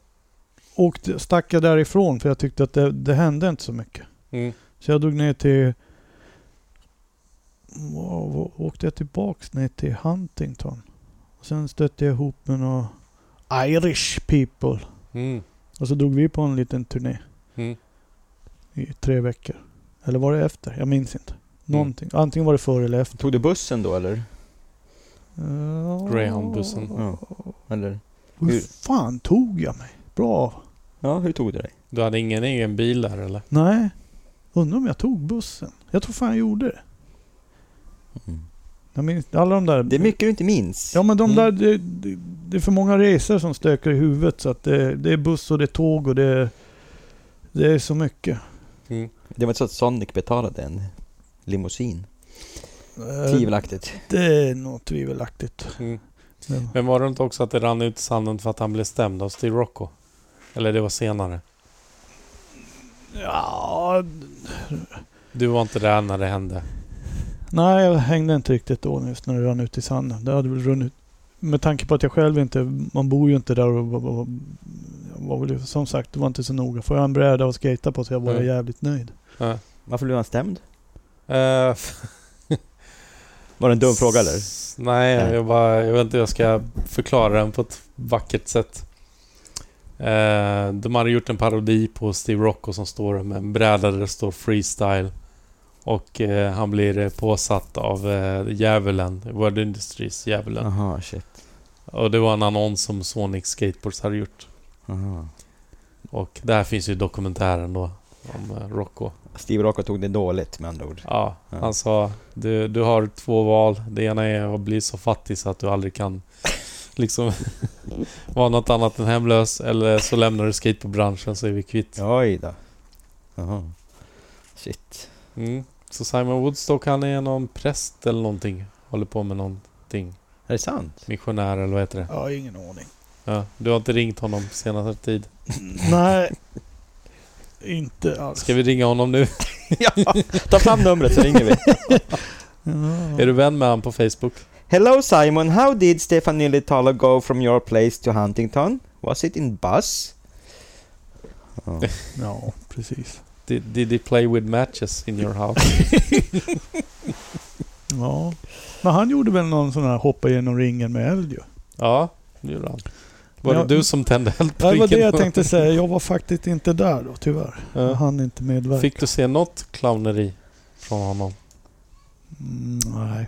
Speaker 3: åkte, stack jag därifrån för jag tyckte att det, det hände inte så mycket.
Speaker 1: Mm.
Speaker 3: Så jag drog ner till... Wow, åkte jag tillbaks ner till Huntington. Och sen stötte jag ihop med några Irish people.
Speaker 1: Mm.
Speaker 3: Och så drog vi på en liten turné
Speaker 1: Mm.
Speaker 3: i tre veckor. Eller var det efter? Jag minns
Speaker 1: Mm.
Speaker 3: inte. Någonting. Antingen var det före eller efter.
Speaker 4: Tog du bussen då eller?
Speaker 3: Ja.
Speaker 1: Greyhoundbussen.
Speaker 4: Ja. Eller?
Speaker 3: Hur
Speaker 4: Hur-
Speaker 3: fan tog jag mig? Bra.
Speaker 4: Ja, hur tog du dig?
Speaker 1: Du hade ingen egen bil där eller?
Speaker 3: Nej. Undrar om jag tog bussen. Jag tror fan jag gjorde det. Jag minns, alla de där...
Speaker 4: Mm. Det är mycket du inte minns.
Speaker 3: Ja men de
Speaker 1: Mm.
Speaker 3: där... Det, det, det är för många resor som stökar i huvudet så att det, det är buss och det är tåg och det är... Det är så mycket.
Speaker 1: Mm.
Speaker 4: Det var inte så att Sonic betalade en limousin.
Speaker 3: Eh,
Speaker 4: Mm. Tvivelaktigt.
Speaker 3: Det är nog tvivelaktigt.
Speaker 1: Mm.
Speaker 3: Ja.
Speaker 1: Men var det inte också att det rann ut i sanden för att han blev stämd av Steve Rocco? Eller det var senare?
Speaker 3: Ja,
Speaker 1: Du var inte där när det hände.
Speaker 3: Nej, jag hängde inte riktigt då just när det rann ut i sanden. Det hade väl runnit... Med tanke på att jag själv inte... Man bor ju inte där och... var- var- var väl, som sagt, det var inte så noga. Får jag en bräda att skata på så jag var
Speaker 1: Mm.
Speaker 3: jävligt nöjd.
Speaker 4: Varför blev han stämd?
Speaker 1: Eh,
Speaker 4: Var det en dum fråga eller?
Speaker 1: S- Nej,
Speaker 4: Nej.
Speaker 1: Jag, bara, jag vet inte hur jag ska förklara den på ett vackert sätt. Eh, de hade gjort en parodi på Steve Rocco som står med en bräda där det står freestyle. Och eh, han blir eh, påsatt av eh, djävulen, World Industries djävulen.
Speaker 4: Jaha, shit.
Speaker 1: Och det var en annons som Sonic Skateboards hade gjort.
Speaker 4: Aha.
Speaker 1: Och där finns ju dokumentären då om eh, Rocco.
Speaker 4: Steve Rocco tog det dåligt med andra
Speaker 3: typ.
Speaker 4: ord.
Speaker 1: Ja,
Speaker 4: Ja.
Speaker 1: han sa du, du har två val. Det ena är att bli så fattig så att du aldrig kan liksom vara något annat än hemlös eller så lämnar du skateboardbranschen så är vi kvitt.
Speaker 4: Oj då. Jaha. Shit.
Speaker 1: Mm. Så Simon Woodstock han är någon präst eller någonting. Håller på med någonting.
Speaker 4: Är det sant?
Speaker 1: Missionär eller vad heter det?
Speaker 3: Jag har ingen aning.
Speaker 1: Ja. Du har inte ringt honom på senare tid.
Speaker 3: Nej. Inte alls.
Speaker 1: Ska vi ringa honom
Speaker 3: Mm.
Speaker 1: nu?
Speaker 4: Ta fram numret så ringer vi.
Speaker 3: Ja.
Speaker 1: Är du vän med honom på Facebook?
Speaker 4: Hello Simon, how did Stefan Nilitalo go from your place to Huntington? Was it in bus? Ja.
Speaker 3: Ja, precis.
Speaker 1: Did, did he play with matches in your house?
Speaker 3: Ja. Men han gjorde väl någon sån här hoppa genom ringen med eld ju.
Speaker 1: Ja, det gjorde han. Var
Speaker 3: Ja.
Speaker 1: det du som tände eld på
Speaker 3: Det var det
Speaker 1: ringen?
Speaker 3: jag tänkte säga. Jag var faktiskt inte där då tyvärr.
Speaker 1: Ja.
Speaker 3: Jag hann inte medverka.
Speaker 1: Fick du se något clowneri från honom?
Speaker 3: Mm, nej,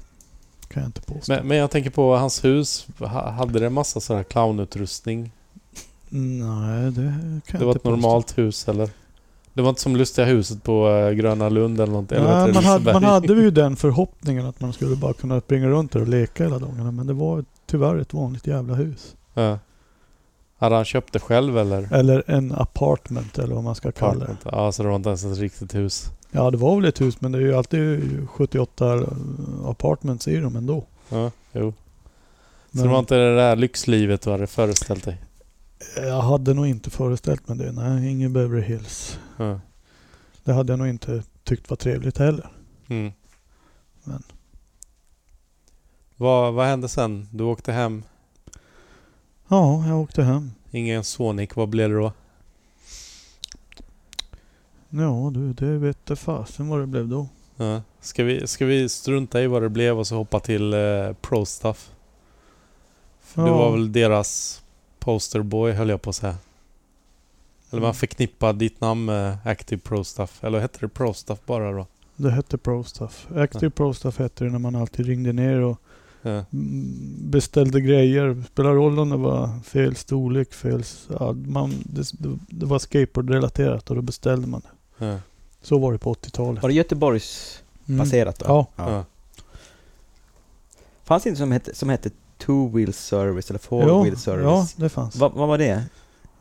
Speaker 3: kan jag inte påstå.
Speaker 1: Men, men jag tänker på hans hus. Ha- Hade det massa sådär clownutrustning?
Speaker 3: nej, det
Speaker 1: Det
Speaker 3: kan jag
Speaker 1: var
Speaker 3: inte
Speaker 1: ett
Speaker 3: påstå.
Speaker 1: normalt hus eller? Det var inte som Lustiga huset på eh, Gröna Lund eller något? Eller vad heter det,
Speaker 3: Nej, man, hade, man
Speaker 1: Liseberg?
Speaker 3: hade ju den förhoppningen att man skulle bara kunna springa runt där och leka hela dagarna. Men det var tyvärr ett vanligt jävla hus.
Speaker 1: Ja. Hade han köpt det själv eller?
Speaker 3: Eller en apartment eller vad man ska kalla det.
Speaker 1: Apartment. Ja, så det var inte ens ett riktigt hus.
Speaker 3: Ja, det var väl ett hus men det är ju alltid 78 apartments i dem ändå.
Speaker 1: Ja, jo. Så
Speaker 3: Men
Speaker 1: det var inte det där lyxlivet du hade föreställt dig?
Speaker 3: Jag hade nog inte föreställt mig det. Nej, ingen Beverly Hills.
Speaker 1: Ja.
Speaker 3: Det hade jag nog inte tyckt var trevligt heller.
Speaker 1: Mm.
Speaker 3: Men-
Speaker 1: Vad, vad hände sen? Du åkte hem.
Speaker 3: Ja, jag åkte hem.
Speaker 1: Ingen Sonic. Vad blev det då?
Speaker 3: Ja du, det vete fasen vad det blev då.
Speaker 1: Ja. Ska, vi, ska vi strunta i vad det blev och så hoppa till eh, Pro Stuff? För Du
Speaker 3: Ja.
Speaker 1: var väl deras posterboy höll jag på att säga. Eller man förknippar ditt namn med Active Pro Stuff. Eller hette det Pro Stuff bara då?
Speaker 3: Det hette ProStuff. Active ProStuff hette det när man alltid ringde ner och
Speaker 1: Ja.
Speaker 3: mm, beställde grejer. Spelar roll om det var fel storlek, fel... s- ja, Man, det, det var skateboardrelaterat och då beställde man det.
Speaker 1: Ja.
Speaker 3: Så var det på 80-talet.
Speaker 4: Var det Göteborgs
Speaker 3: Mm.
Speaker 4: baserat då?
Speaker 3: Ja.
Speaker 1: Ja.
Speaker 4: Fanns det inte som hette, som hette two wheel service eller four
Speaker 3: Jo,
Speaker 4: wheel service?
Speaker 3: ja, det fanns.
Speaker 4: Va, vad var det?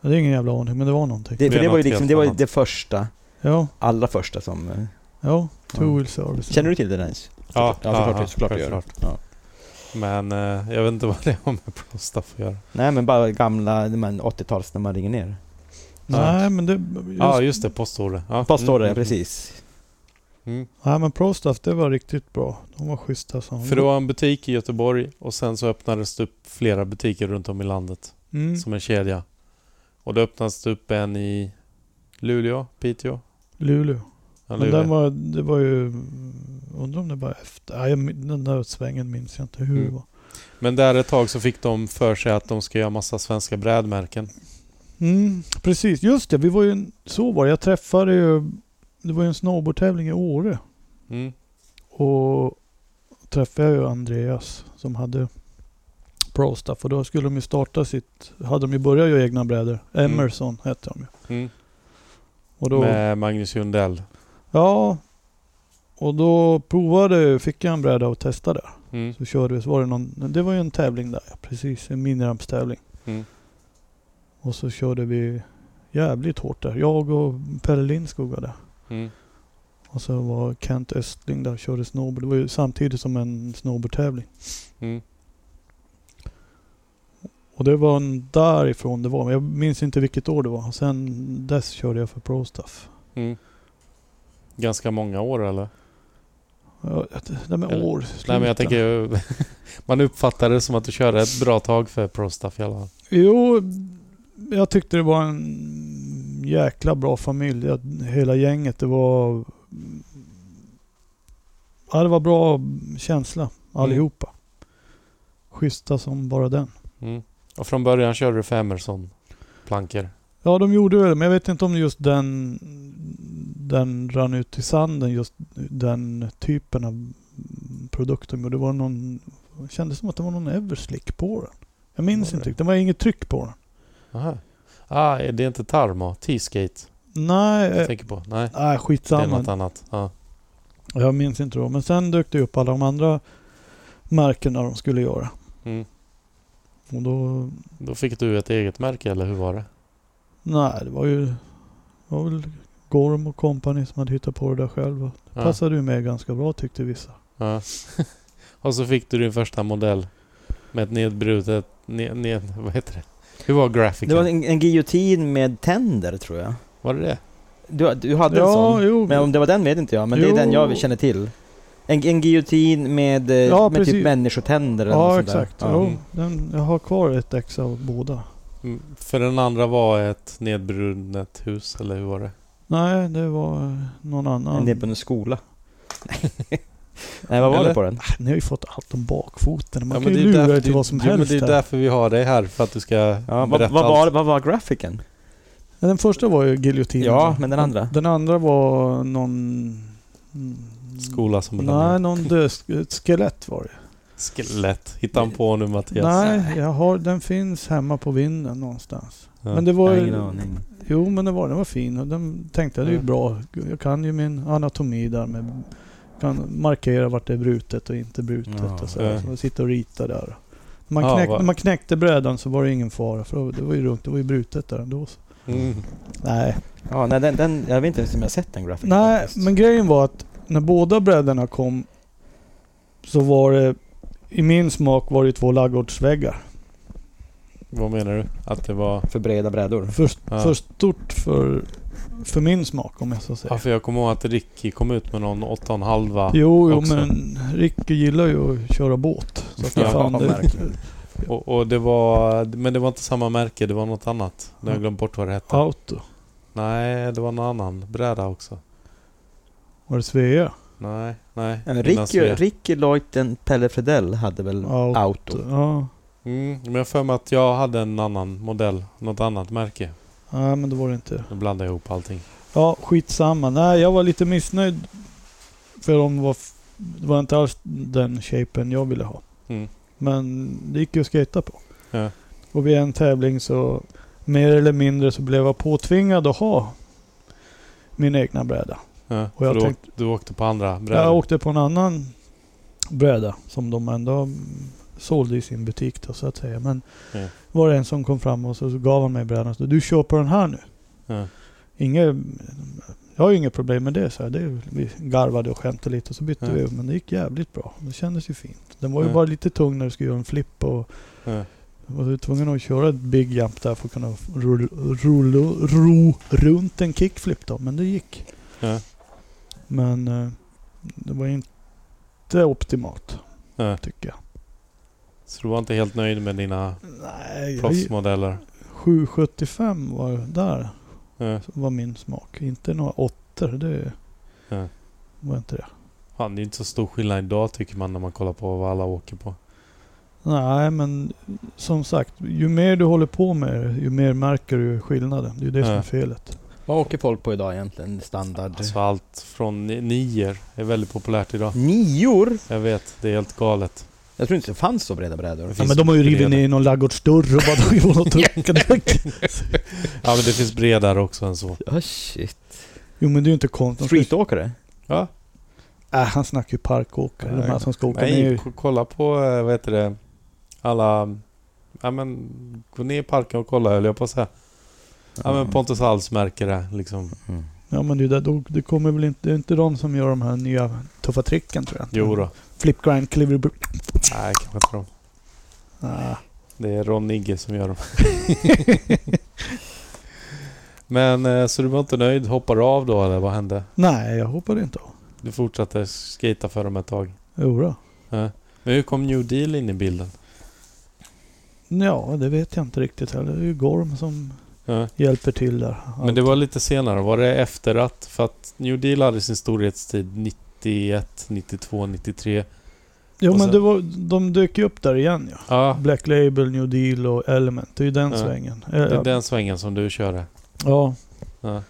Speaker 3: Det är ingen jävla aning, men det var någonting.
Speaker 4: Det,
Speaker 1: Det
Speaker 4: för
Speaker 1: är
Speaker 4: det var ju
Speaker 1: något
Speaker 4: liksom,
Speaker 1: helt
Speaker 4: det var ju
Speaker 1: annat.
Speaker 4: det första,
Speaker 3: Ja,
Speaker 4: allra första som... eh,
Speaker 3: ja.
Speaker 4: Ja.
Speaker 3: Two wheel service.
Speaker 4: Känner du till det ens?
Speaker 1: Ja,
Speaker 4: ja, såklart,
Speaker 1: ja,
Speaker 4: såklart du gör.
Speaker 1: självklart.
Speaker 4: Ja.
Speaker 1: Men eh, jag vet inte vad det har med Pro Stuff att göra.
Speaker 4: Nej men bara gamla, de här 80-tals när man ringer ner.
Speaker 3: Nej, men det...
Speaker 1: Ja,
Speaker 3: Just,
Speaker 1: just det. Postorder. Ja.
Speaker 4: Vad står det?
Speaker 1: Mm, mm,
Speaker 4: Precis.
Speaker 1: mm.
Speaker 3: nej, men ProStuff, det var riktigt bra. De var schyssta som...
Speaker 1: För det var en butik i Göteborg och sen så öppnades det upp flera butiker runt om i landet.
Speaker 3: Mm.
Speaker 1: som en kedja. Och då öppnades det upp en i Luleå, Piteå.
Speaker 3: Luleå.
Speaker 1: Ja,
Speaker 3: Men
Speaker 1: Luleå.
Speaker 3: den var, det var ju... Undrar om det var efter... Nej, jag min- den där svängen minns jag inte hur det
Speaker 1: Mm.
Speaker 3: var.
Speaker 1: Men där ett tag så fick de för sig att de ska göra massa svenska brädmärken.
Speaker 3: Mm, precis, just det. Vi var ju... en- Så var det. Jag träffade ju... Det var ju en snowboardtävling i Åre.
Speaker 1: Mm.
Speaker 3: Och träffade jag ju Andreas som hade ProStuff. Och då skulle de ju starta sitt... Hade de ju börjat göra egna brädor. Emerson hette de ju.
Speaker 1: Mm.
Speaker 3: Och då...
Speaker 1: Med Magnus Jundell.
Speaker 3: Ja. Och då provade... Fick jag en bräda och testade.
Speaker 1: Mm.
Speaker 3: Så körde vi, så var det någon, det var ju en tävling där, ja, precis. En miniramstävling.
Speaker 1: Mm.
Speaker 3: Och så körde vi jävligt hårt där. Jag och Pelle Lindskog var där.
Speaker 1: Mm.
Speaker 3: Och så var Kent Östling där och körde snowboard. Det var ju samtidigt som en snowboardtävling.
Speaker 1: Mm.
Speaker 3: Och det var en därifrån det var. Men Jag minns inte vilket år det var. Sen dess körde jag för ProStuff.
Speaker 1: Mm. Ganska många år eller?
Speaker 3: Ja, Det där med
Speaker 1: Eller-
Speaker 3: år.
Speaker 1: Nej men
Speaker 3: sluta.
Speaker 1: jag tänker ju- Man uppfattar det som att du körde ett bra tag för Prostaff i alla fall.
Speaker 3: Jo, jag tyckte det var en jäkla bra familj. Jag, hela gänget. Det var... Ja, det var bra känsla. Allihopa. Schyssta som bara den.
Speaker 1: Mm. Och från början körde du för Emerson plankor.
Speaker 3: Ja, de gjorde väl det, men jag vet inte om just den, den rann ut i sanden, just den typen av produkt de gjorde. Det var någon, det kändes som att det var någon Everslick på den. Jag minns
Speaker 1: Var det?
Speaker 3: inte riktigt, det var inget tryck på den.
Speaker 1: Aha. Ah, det är inte Tarma, T-skate
Speaker 3: Nej,
Speaker 1: jag
Speaker 3: eh,
Speaker 1: tänker på. Nej,
Speaker 3: nej
Speaker 1: det är något
Speaker 3: skitsamma.
Speaker 1: annat. Ja.
Speaker 3: Jag minns inte då. Men sen dök det upp alla de andra märkena de skulle göra.
Speaker 1: Mm.
Speaker 3: Och då,
Speaker 1: Då fick du ett eget märke eller hur var det?
Speaker 3: nej, det var ju, det var väl Gorm och kompani som hade hittat på det där själva. Det
Speaker 1: Ja.
Speaker 3: passade ju med ganska bra tyckte vissa.
Speaker 1: Ja. Och så fick du din första modell med ett nedbrutet... Ned, ned, vad heter det? Hur var
Speaker 4: Det
Speaker 1: grafiken?
Speaker 4: var
Speaker 1: Var,
Speaker 4: en, en giljotin med tänder tror jag.
Speaker 1: det det?
Speaker 4: Du, du hade en
Speaker 3: ja,
Speaker 4: sån?
Speaker 3: jo.
Speaker 4: Men om det var den vet inte jag, men det
Speaker 3: Jo.
Speaker 4: är den jag känner till. En, en giljotin med, eh,
Speaker 3: Ja,
Speaker 4: med
Speaker 3: precis.
Speaker 4: typ människotänder eller något
Speaker 3: Ja,
Speaker 4: sånt där.
Speaker 3: exakt.
Speaker 4: Ja.
Speaker 3: Jo,
Speaker 1: Mm.
Speaker 3: den, jag har kvar ett ex av båda.
Speaker 1: Mm, För den andra var ett nedbrutet hus, eller hur var det?
Speaker 3: Nej, det var eh, någon annan.
Speaker 4: En del på en skola. Nej, vad var
Speaker 1: Eller?
Speaker 4: det på den?
Speaker 3: Ah, Ni har ju fått allt om bakfoten. Man
Speaker 1: Ja, men
Speaker 3: kan ju
Speaker 1: det är
Speaker 3: lura
Speaker 1: därför-
Speaker 3: er till
Speaker 1: det-
Speaker 3: vad som
Speaker 1: jo,
Speaker 3: helst.
Speaker 1: men det är
Speaker 3: där.
Speaker 1: därför vi har dig här, för att du ska
Speaker 4: Ja, vad,
Speaker 1: berätta
Speaker 4: vad,
Speaker 1: allt.
Speaker 4: var, vad var grafiken?
Speaker 3: Den första var ju giljotinen.
Speaker 4: Ja, men den andra?
Speaker 3: Den andra var någon... mm,
Speaker 1: Skola som
Speaker 3: Nej, någon död, ett skelett var det.
Speaker 1: Skelett. Hitta han på nu Mattias.
Speaker 3: Nej, jag har, den finns hemma på vinden någonstans.
Speaker 1: Ja.
Speaker 3: Men det
Speaker 4: Jag
Speaker 3: var
Speaker 4: har
Speaker 3: ju,
Speaker 4: ingen aning.
Speaker 3: Jo, men det var, den var fin och den tänkte jag, det är ju
Speaker 1: Ja.
Speaker 3: bra. Jag kan ju min anatomi där med kan markera vart det är brutet och inte brutet
Speaker 4: Ja, eh.
Speaker 3: och så, här.
Speaker 1: ja.
Speaker 3: så man sitter och ritar där. När man,
Speaker 1: Ja,
Speaker 3: knäck,
Speaker 1: vad-
Speaker 3: när man knäckte brädan så var det ingen fara för det var ju runt, det var ju brutet där ändå. Så.
Speaker 1: Mm.
Speaker 3: Nej.
Speaker 4: Ja, nej, den, den, jag vet inte ens om jag har sett den grafiken
Speaker 3: Nej,
Speaker 4: faktiskt.
Speaker 3: men grejen var att när båda brädorna kom så var det, i min smak var det ju två laggårdsväggar.
Speaker 1: Vad menar du? Att det var...
Speaker 4: För breda brädor.
Speaker 3: För,
Speaker 1: Ja.
Speaker 3: för stort för, för min smak om jag så säger.
Speaker 1: Ja, för jag kommer ihåg att Ricky kom ut med någon 8,5
Speaker 3: Jo, jo
Speaker 1: också.
Speaker 3: men Ricky gillar ju att köra båt. Så att det
Speaker 1: Ja,
Speaker 3: fan, det,
Speaker 4: verkligen.
Speaker 1: och, och det var... Men det var inte samma märke, det var något annat. Nu har jag glömt bort vad det hette.
Speaker 3: auto.
Speaker 1: Nej, det var någon annan bräda också.
Speaker 3: Var det Svea?
Speaker 1: Nej, nej.
Speaker 4: Ja, men
Speaker 1: Innan
Speaker 4: Ricky,
Speaker 1: Svea.
Speaker 4: Ricky Leuten Pelle Fredell hade väl
Speaker 3: Auto.
Speaker 4: auto?
Speaker 3: Ja.
Speaker 1: Mm, men jag har för mig att jag hade en annan modell. Något annat märke.
Speaker 3: Nej, men det var det inte.
Speaker 1: Nu blandar jag ihop allting.
Speaker 3: Ja, skitsamma. Nej, jag var lite missnöjd. För de var, f- det var inte alls den shapen jag ville ha.
Speaker 1: Mm.
Speaker 3: Men det gick ju att skata på.
Speaker 1: Ja.
Speaker 3: Och vid en tävling så mer eller mindre så blev jag påtvingad att ha min egna bräda.
Speaker 1: Ja,
Speaker 3: Och jag
Speaker 1: för du,
Speaker 3: tänkte-
Speaker 1: åkte, du åkte på andra brädor.
Speaker 3: Jag åkte på en annan bräda som de ändå mm, sålde i sin butik då, så att säga. Men
Speaker 1: Ja.
Speaker 3: var det en som kom fram och så så gav han mig brädan och sa du kör på den här nu.
Speaker 1: Ja.
Speaker 3: Inge, jag har ju inget problem med det, så här. det. är- Vi garvade och skämtade lite och så bytte
Speaker 1: Ja.
Speaker 3: vi. Men det gick jävligt bra. Det kändes ju fint. Den var ju
Speaker 1: Ja.
Speaker 3: bara lite tung när du skulle göra en flipp och
Speaker 1: Ja.
Speaker 3: jag var ju tvungen att köra ett big jump där för att kunna rulla, rulla, ro runt en kickflip då, men det gick.
Speaker 1: Ja.
Speaker 3: Men eh, det var inte optimalt,
Speaker 1: Ja.
Speaker 3: tycker jag.
Speaker 1: Så du var inte helt nöjd med dina
Speaker 3: Nej, jag-
Speaker 1: proffsmodeller?
Speaker 3: 775 var där,
Speaker 1: Ja.
Speaker 3: var min smak. Inte några åttor, det
Speaker 1: Ja.
Speaker 3: var inte det.
Speaker 1: Fan, det är inte så stor skillnad idag tycker man när man kollar på vad alla åker på.
Speaker 3: Nej, men som sagt, ju mer du håller på med det, ju mer märker du skillnaden. Det är ju det som
Speaker 1: Ja.
Speaker 3: är felet.
Speaker 4: Vad åker folk på idag egentligen? Standard?
Speaker 1: Alltså allt från ni- nior är väldigt populärt idag.
Speaker 4: Nior?
Speaker 1: Jag vet, det är helt galet.
Speaker 4: Jag tror inte det fanns så breda brädor.
Speaker 1: Det
Speaker 3: Ja,
Speaker 1: finns-
Speaker 3: men de har ju rivit
Speaker 1: breda.
Speaker 3: ner någon ladugårdsdörr och bara dragit på något huckadäck.
Speaker 1: Ja men det finns bredare också än så.
Speaker 4: Ja, Ah, shit.
Speaker 3: Jo men det är ju inte konstigt. De ska-
Speaker 4: Streetåkare?
Speaker 1: Ja.
Speaker 3: Äh, han snackar ju parkåkare. De här som ska åka
Speaker 1: Nej,
Speaker 3: ner.
Speaker 1: ko- kolla på, eh, vad heter det, alla... Ja men, gå ner i parken och kolla höll jag på att säga. Ja men Pontus Hals märker det liksom.
Speaker 4: Mm.
Speaker 3: Ja men det, är ju där, då, det kommer väl inte... Det är inte de som gör de här nya tuffa tricken tror jag.
Speaker 1: Jo då.
Speaker 3: Flip grind, kliver... br-
Speaker 1: Nej, kanske inte de.
Speaker 3: Ah,
Speaker 1: Det är Ron Nigge som gör dem. Men eh, så du var inte nöjd, hoppar av då eller vad hände?
Speaker 3: Nej, jag hoppade inte av.
Speaker 1: Du fortsatte skata för dem ett tag.
Speaker 3: Jodå.
Speaker 1: Ja. Men hur kom New Deal in i bilden?
Speaker 3: Ja, det vet jag inte riktigt heller. Det är ju Gorm som
Speaker 1: Ja.
Speaker 3: hjälper till där.
Speaker 1: Men det var lite senare, var det efter att? För att New Deal hade sin storhetstid 91, 92, 93.
Speaker 3: jo,
Speaker 1: och
Speaker 3: men
Speaker 1: sen-
Speaker 3: det var, de dök ju upp där igen ja.
Speaker 1: Alltså- Ja,
Speaker 3: Black Label, New Deal och Element. Det är ju den
Speaker 1: Ja.
Speaker 3: svängen. Eh,
Speaker 1: det är den svängen som du körde.
Speaker 3: Ja,
Speaker 1: Ja.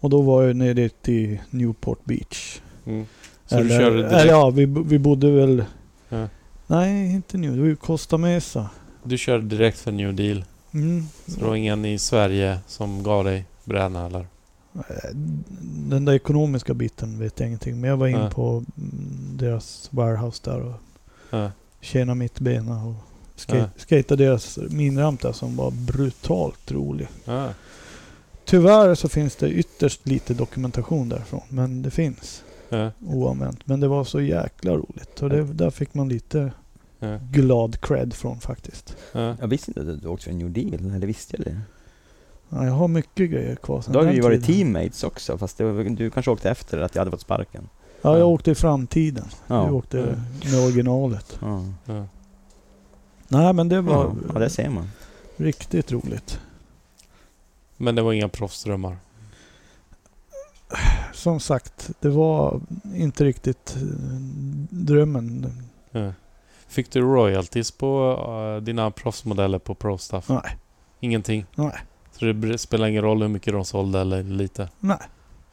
Speaker 3: och då var jag nere i Newport Beach.
Speaker 1: Mm. Så du körde
Speaker 3: eller,
Speaker 1: direkt,
Speaker 3: Ja, vi, bo- vi bodde väl...
Speaker 1: Ja.
Speaker 3: Nej, inte nu. Det var ju Costa Mesa.
Speaker 1: du körde direkt för New Deal?
Speaker 3: Mm.
Speaker 1: Så det var ingen i Sverige som gav dig bräna eller?
Speaker 3: Den där ekonomiska biten vet jag ingenting. Men jag var in
Speaker 1: Nej.
Speaker 3: på mm, deras warehouse där och
Speaker 1: Ja.
Speaker 3: tjänade mitt bena och
Speaker 1: Ja.
Speaker 3: skate, skatade deras minramp där som var brutalt rolig.
Speaker 1: Ja.
Speaker 3: Tyvärr så finns det ytterst lite dokumentation därifrån. Men det finns
Speaker 1: Ja.
Speaker 3: oanvänt. Men det var så jäkla roligt. Och det, där fick man lite
Speaker 1: Ja.
Speaker 3: glad cred från faktiskt.
Speaker 1: Ja.
Speaker 4: Jag visste inte att du åkte för New Deal, eller visste jag det?
Speaker 3: Ja, jag har mycket grejer kvar sen
Speaker 4: Då har
Speaker 3: den
Speaker 4: vi ju varit
Speaker 3: tiden.
Speaker 4: teammates också, fast det var, du kanske åkte efter att jag hade fått sparken?
Speaker 3: Ja,
Speaker 1: Ja.
Speaker 3: jag åkte i framtiden.
Speaker 4: Ja.
Speaker 3: Du åkte med originalet.
Speaker 4: Ja,
Speaker 1: Ja.
Speaker 3: Nej, men det var
Speaker 4: ja. ja det ser man.
Speaker 3: riktigt roligt.
Speaker 1: Men det var inga proffsdrömmar?
Speaker 3: Som sagt, det var inte riktigt eh, drömmen.
Speaker 1: Ja. Fick du royalties på eh, dina proffsmodeller på Pro Stuff?
Speaker 3: Nej.
Speaker 1: Ingenting?
Speaker 3: Nej.
Speaker 1: Så det br- spelar ingen roll hur mycket de sålde eller lite
Speaker 3: Nej.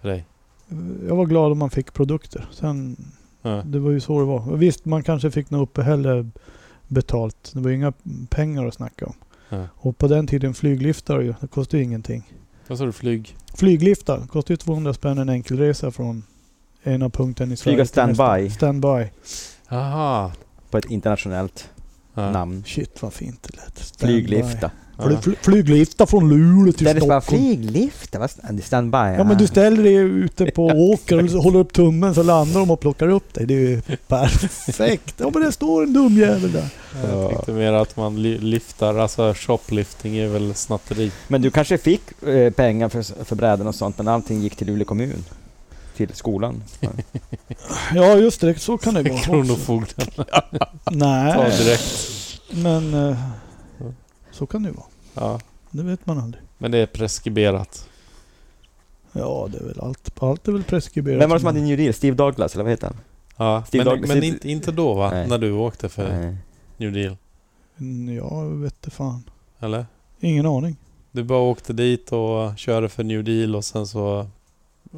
Speaker 1: för dig?
Speaker 3: Jag var glad om man fick produkter. Sen,
Speaker 1: Ja.
Speaker 3: det var ju så det var. Visst, man kanske fick något uppehälle betalt. Det var ju inga pengar att snacka om.
Speaker 1: Ja.
Speaker 3: Och på den tiden flygliftar ju, det kostade ju ingenting.
Speaker 1: Vad sa du? Flyg?
Speaker 3: Flygliftar kostar ju 200 spänn en enkelresa från ena punkten i Sverige. till
Speaker 4: standby.
Speaker 3: nästa. Standby.
Speaker 1: Aha.
Speaker 4: På ett internationellt
Speaker 1: Ja.
Speaker 4: namn.
Speaker 3: Shit vad fint det lät. Standby.
Speaker 4: Flyglifta.
Speaker 3: Fly,
Speaker 1: Ja.
Speaker 3: fly, flyglifta från Luleå till
Speaker 4: Där det bara
Speaker 3: Stockholm.
Speaker 4: flyglifta, vad stand- standby?
Speaker 3: Ja men du ställer dig ute på åker och håller upp tummen så landar de och plockar upp dig. Det är ju perfekt. Ja men det står en dum jävel där.
Speaker 1: Jag tänkte mer att man li- lyftar, alltså shoplifting är väl snatteri?
Speaker 4: Men du kanske fick eh, pengar för, för bräden och sånt, men allting gick till Luleå kommun? Till skolan?
Speaker 3: Ja just det, så kan det Äh. gå.
Speaker 1: Kronofogden tar
Speaker 3: Nej,
Speaker 1: direkt.
Speaker 3: men eh, så kan det ju vara.
Speaker 1: Ja.
Speaker 3: Det vet man aldrig.
Speaker 1: Men det är preskriberat.
Speaker 3: Ja det är väl allt. Allt är väl preskriberat.
Speaker 4: Vem var det som hade New Deal? Steve Douglas, eller vad heter han?
Speaker 1: Ja.
Speaker 4: Steve
Speaker 1: Men,
Speaker 4: Douglas-
Speaker 1: men inte, inte då va?
Speaker 4: Nej.
Speaker 1: När du åkte för
Speaker 4: Nej.
Speaker 1: New Deal?
Speaker 3: Ja, vet det fan.
Speaker 1: Eller?
Speaker 3: Ingen aning.
Speaker 1: Du bara åkte dit och körde för New Deal och sen så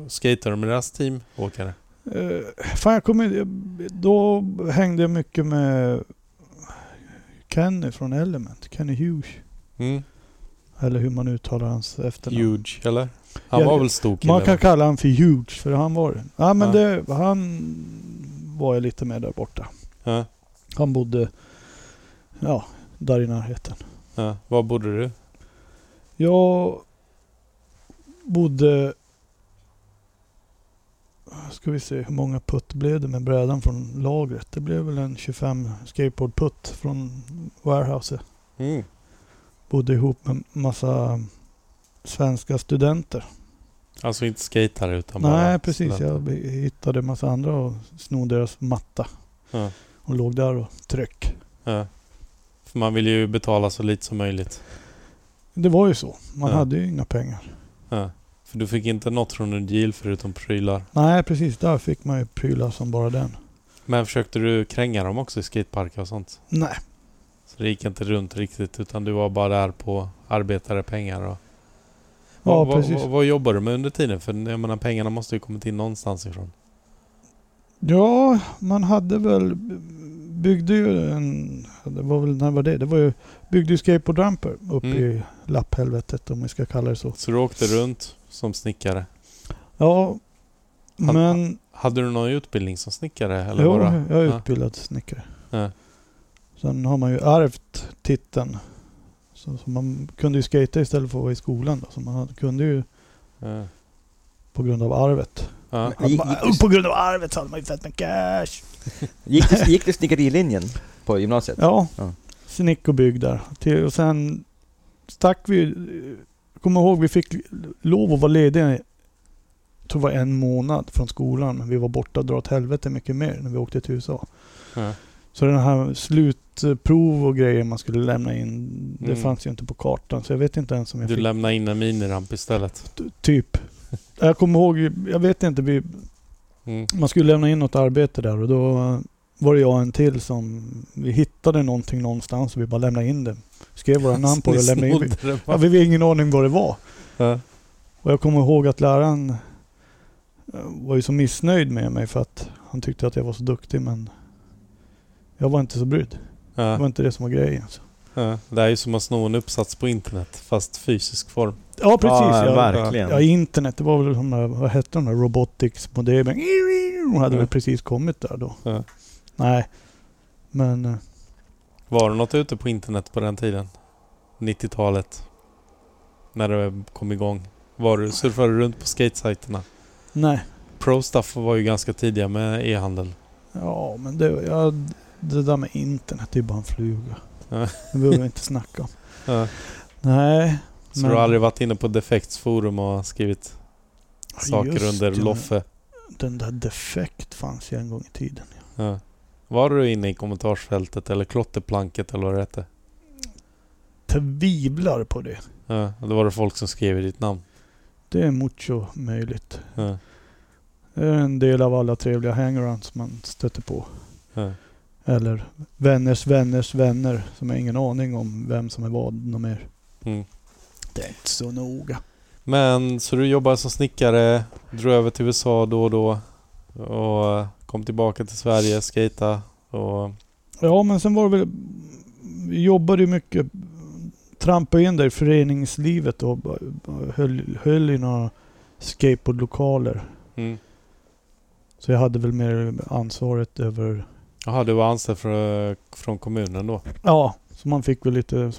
Speaker 1: skatade du med deras team åkare?
Speaker 3: Eh, fan jag kommer Då hängde jag mycket med Kenny från Element. Kenny Hughes.
Speaker 1: Mm.
Speaker 3: Eller hur man uttalar hans efternamn.
Speaker 1: Huge, eller? Han
Speaker 3: Ja,
Speaker 1: var
Speaker 3: det-
Speaker 1: väl stor kille?
Speaker 3: Man kan
Speaker 1: va?
Speaker 3: kalla han för Huge för han var det. Ja men
Speaker 1: Ja.
Speaker 3: det, han var jag lite med där borta.
Speaker 1: Ja,
Speaker 3: Han bodde ja, där i närheten.
Speaker 1: ja. Var bodde du?
Speaker 3: Jag bodde... Ska vi se, hur många putt blev det med brädan från lagret? Det blev väl en 25 skateboardputt från warehouset.
Speaker 1: Mm.
Speaker 3: Bodde ihop med massa svenska studenter.
Speaker 1: Alltså inte skatare utan bara...
Speaker 3: Nej, precis. Jag hittade massa andra och snodde deras matta.
Speaker 1: Ja.
Speaker 3: Och låg där och tryck.
Speaker 1: Ja. För man vill ju betala så lite som möjligt.
Speaker 3: Det var ju så. Man
Speaker 1: Ja.
Speaker 3: hade ju inga pengar.
Speaker 1: Ja. För du fick inte något från New Deal förutom prylar.
Speaker 3: Nej, precis. Där fick man ju prylar som bara den.
Speaker 1: Men försökte du kränga dem också i skateparker och sånt?
Speaker 3: Nej,
Speaker 1: Så det gick inte runt riktigt utan du var bara där på arbetarepengar och...
Speaker 3: ja
Speaker 1: vad, vad-
Speaker 3: precis.
Speaker 1: Vad, vad jobbar du med under tiden? För jag menar pengarna måste ju kommit in någonstans ifrån.
Speaker 3: Ja, man hade väl byggde ju en, det var väl, när var det? Det var ju, byggde ju skateboardramper uppe
Speaker 1: Mm.
Speaker 3: i lapphelvetet om vi ska kalla det så.
Speaker 1: Så du åkte runt som snickare.
Speaker 3: Ja,
Speaker 1: Han-
Speaker 3: men
Speaker 1: Hade du någon utbildning som snickare? Eller
Speaker 3: jo,
Speaker 1: bara?
Speaker 3: jag är
Speaker 1: Ja.
Speaker 3: utbildad snickare.
Speaker 1: Ja.
Speaker 3: Sen har man ju ärvt titeln. Så, så man kunde ju skata istället för att vara i skolan då. Så man hade- kunde ju
Speaker 1: Ja.
Speaker 3: på grund av arvet.
Speaker 1: Ja.
Speaker 4: Men gick-
Speaker 3: Man-
Speaker 4: gick-
Speaker 3: på grund av arvet så hade man ju fett med cash.
Speaker 4: Gick du, gick du snickerilinjen på gymnasiet?
Speaker 3: Ja,
Speaker 4: Ja.
Speaker 3: snick och bygg där. Till, och sen stack vi eh, kommer ihåg vi fick lov att vara lediga jag tror det var en månad från skolan, men vi var borta och dra åt helvete mycket mer när vi åkte till USA.
Speaker 1: Ja.
Speaker 3: Så den här slutprov och grejer man skulle lämna in, det
Speaker 1: Mm.
Speaker 3: fanns ju inte på kartan. Så jag vet inte ens om jag
Speaker 1: Du
Speaker 3: fick
Speaker 1: lämnar in en miniramp istället.
Speaker 3: typ. Jag kommer ihåg, jag vet inte, vi,
Speaker 1: Mm.
Speaker 3: man skulle lämna in något arbete där och då var det jag och en till som, vi hittade någonting någonstans och vi bara lämnade in det. Skrev våra namn på det och lämnade in det.
Speaker 1: Snodde den
Speaker 3: Ja,
Speaker 1: bara.
Speaker 3: vi hade ingen aning vad det var.
Speaker 1: Ja.
Speaker 3: Och jag kommer ihåg att läraren eh, var ju så missnöjd med mig för att han tyckte att jag var så duktig men jag var inte så brydd. Det var
Speaker 1: Ja.
Speaker 3: inte det som var grejen. Så.
Speaker 1: Ja. Det här är ju som att sno en uppsats på internet, fast fysisk form.
Speaker 3: Ja precis.
Speaker 4: Ja,
Speaker 3: ja,
Speaker 4: verkligen.
Speaker 3: ja, internet. Det var väl de där, vad hette de där robotics-modemen? De hade
Speaker 1: Mm.
Speaker 3: väl precis kommit där då.
Speaker 1: Ja.
Speaker 3: Nej. Men eh,
Speaker 1: Var det något ute på internet på den tiden? 90-talet? När det kom igång? Var du, surfade du runt på skatesajterna?
Speaker 3: nej.
Speaker 1: ProStuff var ju ganska tidiga med e-handel.
Speaker 3: Ja men det, ja, det där med internet det är bara en fluga.
Speaker 1: Ja.
Speaker 3: Det behöver vi inte snacka om.
Speaker 1: Ja.
Speaker 3: Nej.
Speaker 1: Så
Speaker 3: Men-
Speaker 1: du har aldrig varit inne på Defects forum och skrivit saker
Speaker 3: Just
Speaker 1: under
Speaker 3: det.
Speaker 1: Loffe?
Speaker 3: Den där defekt fanns ju en gång i tiden.
Speaker 1: Ja. Var du inne i kommentarsfältet eller klotterplanket eller vad det hette?
Speaker 3: tvivlar på det.
Speaker 1: Ja. och Då var det folk som skrev i ditt namn.
Speaker 3: Det är mucho möjligt.
Speaker 1: Ja.
Speaker 3: Det är en del av alla trevliga hangarounds man stöter på.
Speaker 1: Ja.
Speaker 3: Eller vänners vänners vänner som har ingen aning om vem som är vad de mer.
Speaker 1: Mm.
Speaker 3: Det är inte så noga.
Speaker 1: Men så du jobbade som snickare, drog över till USA då och då och kom tillbaka till Sverige, skata och...
Speaker 3: Ja, men sen var det väl... Vi jobbade ju mycket. Trampade in där i föreningslivet och höll, höll i några skateboardlokaler.
Speaker 1: Mm.
Speaker 3: Så jag hade väl mer ansvaret över
Speaker 1: Jaha, du var anställd från, från kommunen då?
Speaker 3: Ja, så man fick väl lite...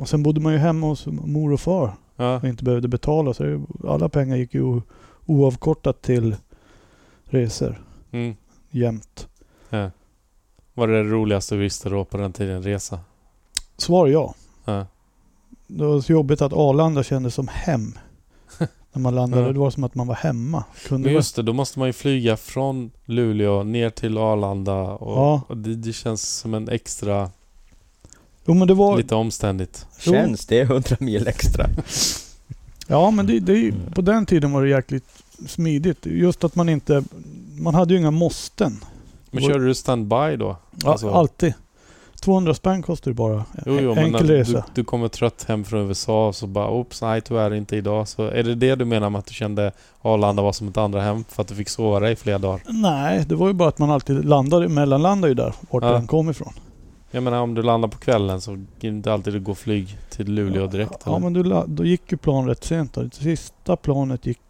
Speaker 3: Och sen bodde man ju hemma hos mor och far
Speaker 1: Ja,
Speaker 3: och inte behövde betala. Så det- alla pengar gick ju o- oavkortat till resor
Speaker 1: mm.
Speaker 3: jämt.
Speaker 1: Var det det roligaste du visste då på den tiden, resa?
Speaker 3: Svar ja.
Speaker 1: Ja.
Speaker 3: Det var så jobbigt att Arlanda kändes som hem. När man landade.
Speaker 1: Ja.
Speaker 3: Det var som att man var hemma. Kunde
Speaker 1: Men just det, då måste man ju flyga från Luleå ner till Arlanda och,
Speaker 3: Ja.
Speaker 1: och det, det känns som en extra,
Speaker 3: vara- Jo men det var...
Speaker 1: lite omständigt.
Speaker 3: Jo.
Speaker 4: Känns det 100 mil extra?
Speaker 3: Ja men det, det, är ju- på den tiden var det jäkligt smidigt. Just att man inte... Man hade ju inga måsten.
Speaker 1: Men
Speaker 3: Vår-
Speaker 1: körde du standby då?
Speaker 3: Ja,
Speaker 1: Alltså-
Speaker 3: Alltid. 200 spänn kostar det bara.
Speaker 1: Jo, jo, men
Speaker 3: Enkel
Speaker 1: när
Speaker 3: resa.
Speaker 1: du, du kommer trött hem från USA och så bara oops, nej tyvärr inte idag. Så är det det du menar med att du kände Arlanda var som ett andra hem för att du fick sova dig i flera dagar?
Speaker 3: Nej, det var ju bara att man alltid landade, mellanlandade ju där, vart
Speaker 1: Ja.
Speaker 3: man kom ifrån.
Speaker 1: Jag menar om du landar på kvällen så är det inte alltid du går flyg till Luleå direkt
Speaker 3: Ja,
Speaker 1: eller?
Speaker 3: men du, la- då gick ju plan rätt sent då. Det sista planet gick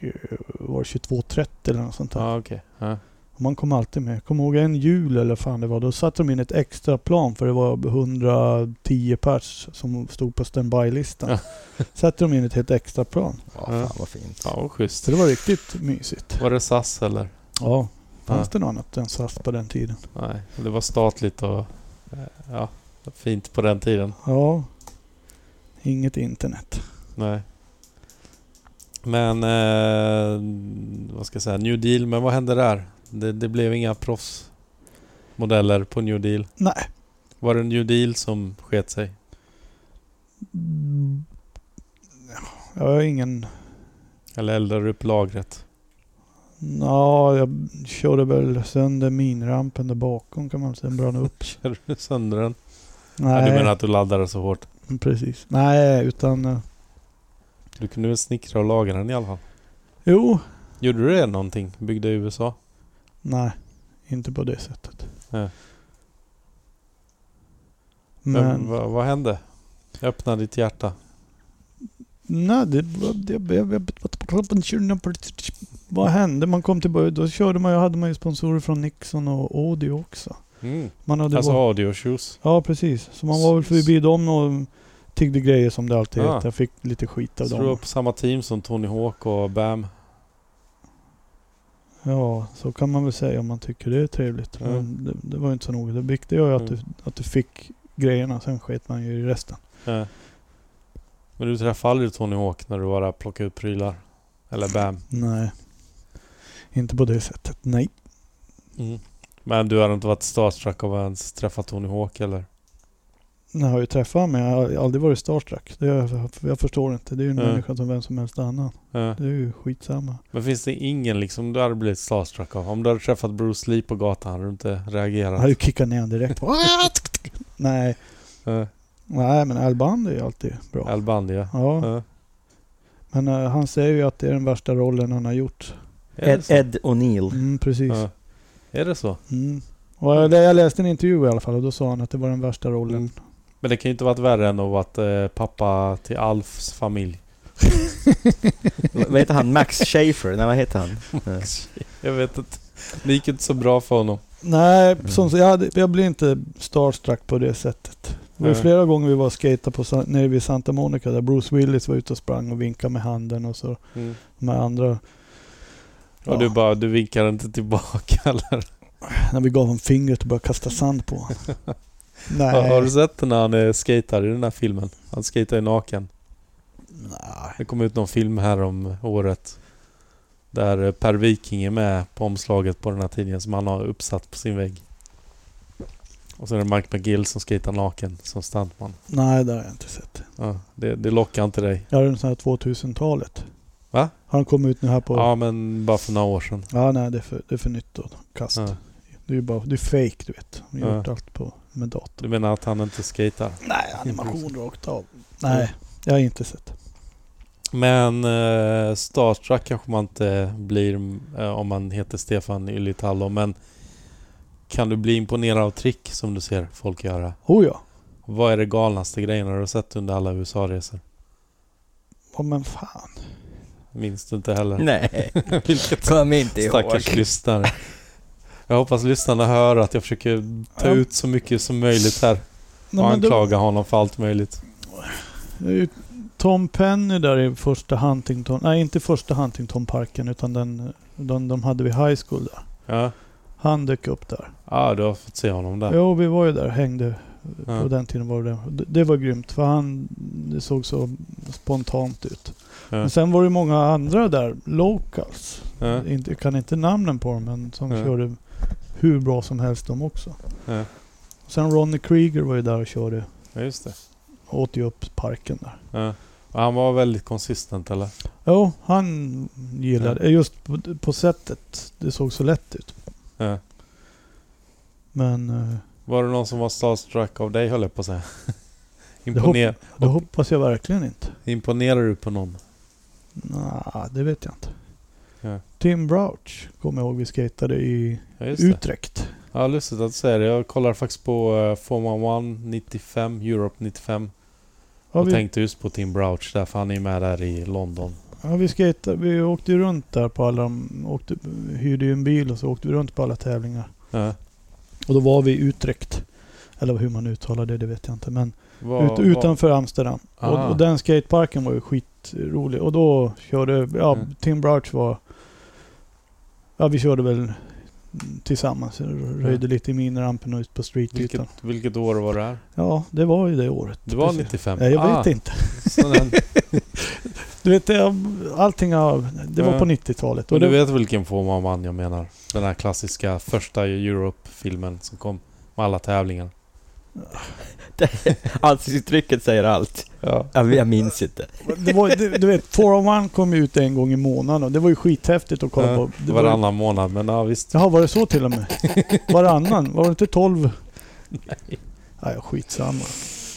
Speaker 3: eh, var 22.30 eller något sånt där.
Speaker 1: Ja, okej. Ja.
Speaker 3: Och Man kom alltid med. Jag kommer ihåg en jul eller fan det var, då satte de in ett extra plan för det var 110 pers som stod på standby-listan. satte de in ett helt extra plan.
Speaker 4: Ja, fan vad fint.
Speaker 1: Ja, vad schysst.
Speaker 3: Så det var riktigt mysigt.
Speaker 1: Var det SAS eller?
Speaker 3: Ja, fanns
Speaker 1: Ja.
Speaker 3: det något annat än SAS på den tiden?
Speaker 1: Nej, det var statligt och eh, ja, fint på den tiden.
Speaker 3: Ja, inget internet.
Speaker 1: Nej. Men eh, vad ska jag säga, New Deal, men vad hände där? Det, det blev inga proffsmodeller på New Deal.
Speaker 3: Nej.
Speaker 1: Var det New Deal som sket sig?
Speaker 3: Mm. Jag har ingen...
Speaker 1: Eller eldade upp lagret?
Speaker 3: Ja, jag körde väl sönder minrampen där bakom kan man säga. Den brann upp.
Speaker 1: Körde du sönder den? Ja,
Speaker 3: Nej,
Speaker 1: du menar att du laddade så hårt?
Speaker 3: precis. Nej, utan... eh,
Speaker 1: Du kunde väl snickra och laga den i alla fall?
Speaker 3: Jo,
Speaker 1: Gjorde du det någonting? Byggde i USA?
Speaker 3: nej. Inte på det sättet.
Speaker 1: Nej. Men...
Speaker 3: Men...
Speaker 1: Vad, vad hände? Öppna ditt hjärta.
Speaker 3: Nej, det... det- jag- jag- Vad hände? Man kom tillbaka. Då körde man, ju- hade man ju sponsorer från Nixon och Audi också.
Speaker 1: Mm.
Speaker 3: Man hade
Speaker 1: Alltså
Speaker 3: varit-
Speaker 1: audio shoes.
Speaker 3: Ja, precis. Så man var väl förbi dem och tiggde grejer som det alltid
Speaker 1: Ah.
Speaker 3: heter. Jag fick lite skit av
Speaker 1: Så
Speaker 3: dem.
Speaker 1: du var på samma team som Tony Hawk och Bam?
Speaker 3: Ja, så kan man väl säga om man tycker det är trevligt.
Speaker 1: Ja. Mm.
Speaker 3: Men det, det var ju inte så noga. Det viktiga var ju att, du, att du fick grejerna, sen sket man ju i resten.
Speaker 1: Eh. Men du träffade aldrig Tony Hawk när du bara plockade ut prylar? Eller BAM?
Speaker 3: Nej. Inte på det sättet. Nej.
Speaker 4: Mm.
Speaker 1: Men du har inte varit starstruck av att ens träffa Tony Hawk eller?
Speaker 3: Jag har ju träffat honom men jag har aldrig varit starstruck. Det, jag, jag förstår inte. Det är ju en
Speaker 1: Nej.
Speaker 3: människa som vem som helst annan.
Speaker 1: Ja.
Speaker 3: Det är ju skitsamma.
Speaker 1: Men finns det ingen liksom du hade blivit starstruck av? Om du hade träffat Bruce Lee på gatan hade du inte
Speaker 3: Jag hade ju
Speaker 1: reagerat?
Speaker 3: kickat ner honom direkt. Nej.
Speaker 1: Ja.
Speaker 3: Nej men Al Bundy är ju alltid bra.
Speaker 1: Al Bundy ja.
Speaker 3: Ja.
Speaker 1: Ja.
Speaker 3: Men eh, han säger ju att det är den värsta rollen han har gjort.
Speaker 1: Är det
Speaker 4: Ed,
Speaker 1: så?
Speaker 4: Ed O'Neill.
Speaker 3: Mm, precis.
Speaker 1: Ja. Är det så?
Speaker 3: Mm. Och jag, jag läste en intervju i alla fall och då sa han att det var den värsta rollen.
Speaker 1: Mm. Men det kan ju inte varit värre än att vara eh, pappa till Alfs familj.
Speaker 4: vad heter han? Max Schaefer? Nej, vad heter han?
Speaker 1: Jag vet inte. Det gick inte så bra för honom.
Speaker 3: Nej,
Speaker 1: Mm.
Speaker 3: som, jag, hade, jag blev inte starstruck på det sättet. Det var ju
Speaker 1: Nej.
Speaker 3: flera gånger vi var och skatade på Sa- nere vid Santa Monica där Bruce Willis var ute och sprang och vinkade med handen och så
Speaker 1: Mm.
Speaker 3: de här andra.
Speaker 1: Och du bara, du vinkar inte tillbaka eller?
Speaker 3: När vi gav honom fingret och började kasta sand på honom.
Speaker 1: Har, har du
Speaker 3: Nej.
Speaker 1: sett när han eh, skatar i den här filmen? Han skatar ju naken.
Speaker 3: Nej.
Speaker 1: Det kom ut någon film här om året. Där eh, Per Viking är med på omslaget på den här tidningen som han har uppsatt på sin vägg. Och så är det Mike McGill som skejtar naken som stuntman.
Speaker 3: Nej, det har jag inte sett.
Speaker 1: Ja, det, det lockar inte dig.
Speaker 3: Jag har den sån här 2000-talet.
Speaker 1: Va?
Speaker 3: Har den kommit ut nu här på...
Speaker 1: Ja, men bara för några år sedan.
Speaker 3: Ja, nej det är för, det är för nytt då. Kast.
Speaker 1: Ja.
Speaker 3: Det är ju bara, det är fake du vet. De har
Speaker 1: Ja.
Speaker 3: gjort allt på, med dator.
Speaker 1: Du menar att han inte skater?
Speaker 3: Nej,
Speaker 1: animation
Speaker 3: rakt av. Nej, jag har inte sett.
Speaker 1: Men eh, starstruck kanske man inte blir eh, om man heter Stefan Ylitallo, men kan du bli imponerad av trick som du ser folk göra?
Speaker 3: Oh ja.
Speaker 1: Vad är det galnaste grejerna du har sett under alla USA-resor?
Speaker 3: Ja men fan.
Speaker 1: Minns du inte heller?
Speaker 4: Nej,
Speaker 1: Vilket
Speaker 4: kom inte
Speaker 1: stackars
Speaker 4: ihåg.
Speaker 1: lyssnare. Jag hoppas lyssnarna hör att jag försöker ta
Speaker 3: Ja.
Speaker 1: ut så mycket som möjligt här
Speaker 3: Nej,
Speaker 1: och
Speaker 3: men det,
Speaker 1: anklaga honom för allt möjligt.
Speaker 3: det är ju Tom Penny där i första Huntington. Nej, inte första Huntingtonparken utan den, den de hade vid high school där.
Speaker 1: Ja,
Speaker 3: Han dök upp där.
Speaker 1: ja du har fått se honom där.
Speaker 3: Jo, vi var ju där och hängde.
Speaker 1: Ja.
Speaker 3: På den tiden var det det. Det var grymt för han det såg så spontant ut.
Speaker 1: Ja.
Speaker 3: Men sen var det ju många andra där, locals.
Speaker 1: Ja.
Speaker 3: Inte, jag kan inte namnen på dem men som
Speaker 1: Ja.
Speaker 3: körde hur bra som helst de också.
Speaker 1: Ja.
Speaker 3: Sen Ronny Krieger var ju där och körde.
Speaker 1: ja, just det.
Speaker 3: Och åt ju upp parken där.
Speaker 1: Ja. Och Han var väldigt konsistent eller?
Speaker 3: Jo, han gillade eh, Just på, på sättet. Det såg så lätt ut.
Speaker 1: Ja.
Speaker 3: Men eh,
Speaker 1: Var det någon som var starstruck av dig höll jag på att säga?
Speaker 3: hopp-
Speaker 1: Imponer-
Speaker 3: det
Speaker 1: Och-
Speaker 3: hoppas jag verkligen inte.
Speaker 1: Imponerar du på någon?
Speaker 3: Nej, det vet jag inte.
Speaker 1: Ja.
Speaker 3: Tim Brouch kommer jag ihåg vi skatade i
Speaker 1: Ja, just det.
Speaker 3: Utrecht.
Speaker 1: Ja, lustigt att du säger det. Jag kollar faktiskt på eh, Formula 1 95, Europe 95.
Speaker 3: Ja,
Speaker 1: och
Speaker 3: vi,
Speaker 1: tänkte just på Tim Brouch där, för han är ju med där i London.
Speaker 3: ja, vi, skatade, vi åkte ju runt där på alla de, åkte, hyrde ju en bil och så åkte vi runt på alla tävlingar.
Speaker 1: Ja.
Speaker 3: Och då var vi i Utrecht. Eller hur man uttalar det, det vet jag inte. Men
Speaker 1: Vad-
Speaker 3: Ut, utanför Amsterdam.
Speaker 1: Ah.
Speaker 3: Och, och den skateparken var ju skitrolig. Och då körde, ja,
Speaker 1: Mm.
Speaker 3: Tim Brouch var... Ja, vi körde väl tillsammans. Röjde lite i minirampen och ut på streetytan.
Speaker 1: vilket, vilket år var det här?
Speaker 3: Ja, det var ju det året.
Speaker 1: Det var
Speaker 3: Precis.
Speaker 1: 95?
Speaker 3: Nej, jag vet
Speaker 1: Ah,
Speaker 3: inte.
Speaker 1: sån här-
Speaker 3: Du vet, jag- allting av, Det var
Speaker 1: Ja.
Speaker 3: på 90-talet.
Speaker 1: Och
Speaker 3: Och
Speaker 1: du
Speaker 3: det-
Speaker 1: vet vilken Formula 1 jag menar? Den här klassiska första Europe-filmen som kom med alla tävlingar.
Speaker 4: Ansiktsuttrycket säger allt.
Speaker 1: Ja.
Speaker 4: Jag, jag minns inte.
Speaker 3: Det var, du, du vet, 401 kom ju ut en gång i månaden och det var ju skithäftigt att kolla
Speaker 1: Ja,
Speaker 3: på. Det var-
Speaker 1: Varannan månad, men ja visst.
Speaker 3: Jaha, var det så till och med? Varannan? Var det inte 12? Nej. Nej, skitsamma.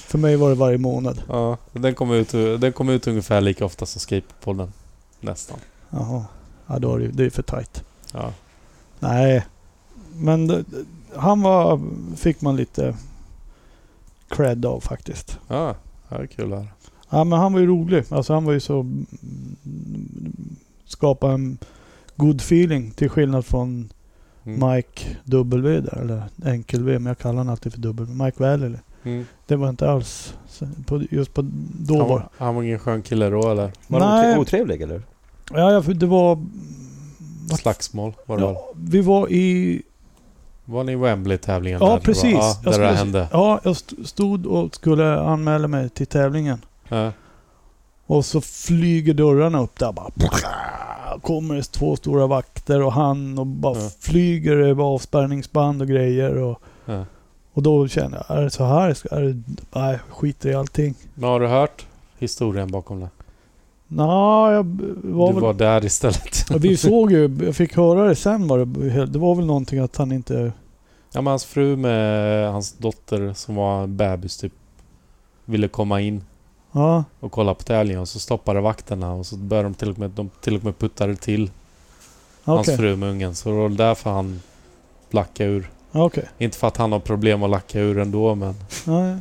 Speaker 3: För mig var det varje månad.
Speaker 1: Ja, den kom ut, den kom ut ungefär lika ofta som Skatepodden. Nästan.
Speaker 3: Jaha. Ja, då är det, det är för tajt.
Speaker 1: Ja.
Speaker 3: Nej. Men det, han var... Fick man lite cred av faktiskt.
Speaker 1: Ja, det är kul här.
Speaker 3: Ja, men han var ju rolig. Alltså han var ju så... mm, Skapa en good feeling till skillnad från
Speaker 1: Mm.
Speaker 3: Mike W där, eller enkel V, men jag kallar honom alltid för W. Mike Valley.
Speaker 1: Mm.
Speaker 3: Det var inte alls... så- På, just på då
Speaker 1: Han,
Speaker 3: var...
Speaker 1: var, han var ingen skön kille då eller?
Speaker 4: Var
Speaker 3: Nej.
Speaker 4: han otrevlig eller?
Speaker 3: Ja, ja, för det var... Vad-
Speaker 1: Slagsmål var det väl?
Speaker 3: Ja, vi var i...
Speaker 1: Var ni i Wembley-tävlingen?
Speaker 3: Ja,
Speaker 1: där, tror jag?
Speaker 3: precis.
Speaker 1: Ja,
Speaker 3: Jag
Speaker 1: där det
Speaker 3: skulle-
Speaker 1: hände.
Speaker 3: Ja, jag st- stod och skulle anmäla mig till tävlingen.
Speaker 1: Ja.
Speaker 3: Och så flyger dörrarna upp där bara. Kommer det två stora vakter och han och bara
Speaker 1: Ja.
Speaker 3: flyger över avspärrningsband och grejer. Och,
Speaker 1: Ja.
Speaker 3: och då känner jag, är det så här? Ska- Är det, nej, skiter i allting.
Speaker 1: Men har du hört historien bakom det?
Speaker 3: Nå, jag b- var
Speaker 1: du
Speaker 3: väl...
Speaker 1: var där istället.
Speaker 3: Ja, Vi såg ju, jag fick höra det sen var det, det var väl någonting att han inte...
Speaker 1: Ja, men hans fru med hans dotter som var en bebis typ ville komma in
Speaker 3: Ja,
Speaker 1: och kolla på tävlingen och så stoppade vakterna och så började de till och med, de till och med puttade till hans
Speaker 3: okej.
Speaker 1: fru med ungen. Så det var därför han lackade ur.
Speaker 3: Ja, okej.
Speaker 1: Inte för att han har problem att lacka ur ändå men...
Speaker 3: Nej.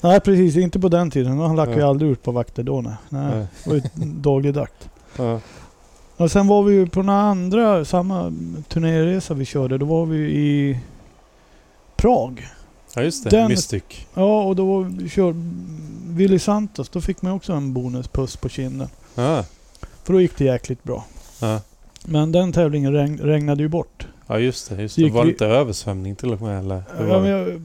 Speaker 3: nej, precis. Inte på den tiden. Han lackade ju
Speaker 1: Ja.
Speaker 3: aldrig ut på vakter då. Nej. nej.
Speaker 1: Nej.
Speaker 3: Det var ju daglig akt.
Speaker 1: eh, Ja.
Speaker 3: Ja, sen var vi ju på några andra, samma turnéresa vi körde, då var vi ju i Prag.
Speaker 1: Ja just det,
Speaker 3: Den-
Speaker 1: Mystic.
Speaker 3: Ja, och då var vi kör Willy Santos, då fick man ju också en bonuspuss på kinden.
Speaker 1: Ja.
Speaker 3: För då gick det jäkligt bra.
Speaker 1: Ja.
Speaker 3: Men den tävlingen regn, regnade ju bort.
Speaker 1: ja just det, just
Speaker 3: Så
Speaker 1: det.
Speaker 3: gick
Speaker 1: Var
Speaker 3: vi-
Speaker 1: det inte översvämning till och med eller? Det
Speaker 3: Ja,
Speaker 1: var...
Speaker 3: men jag,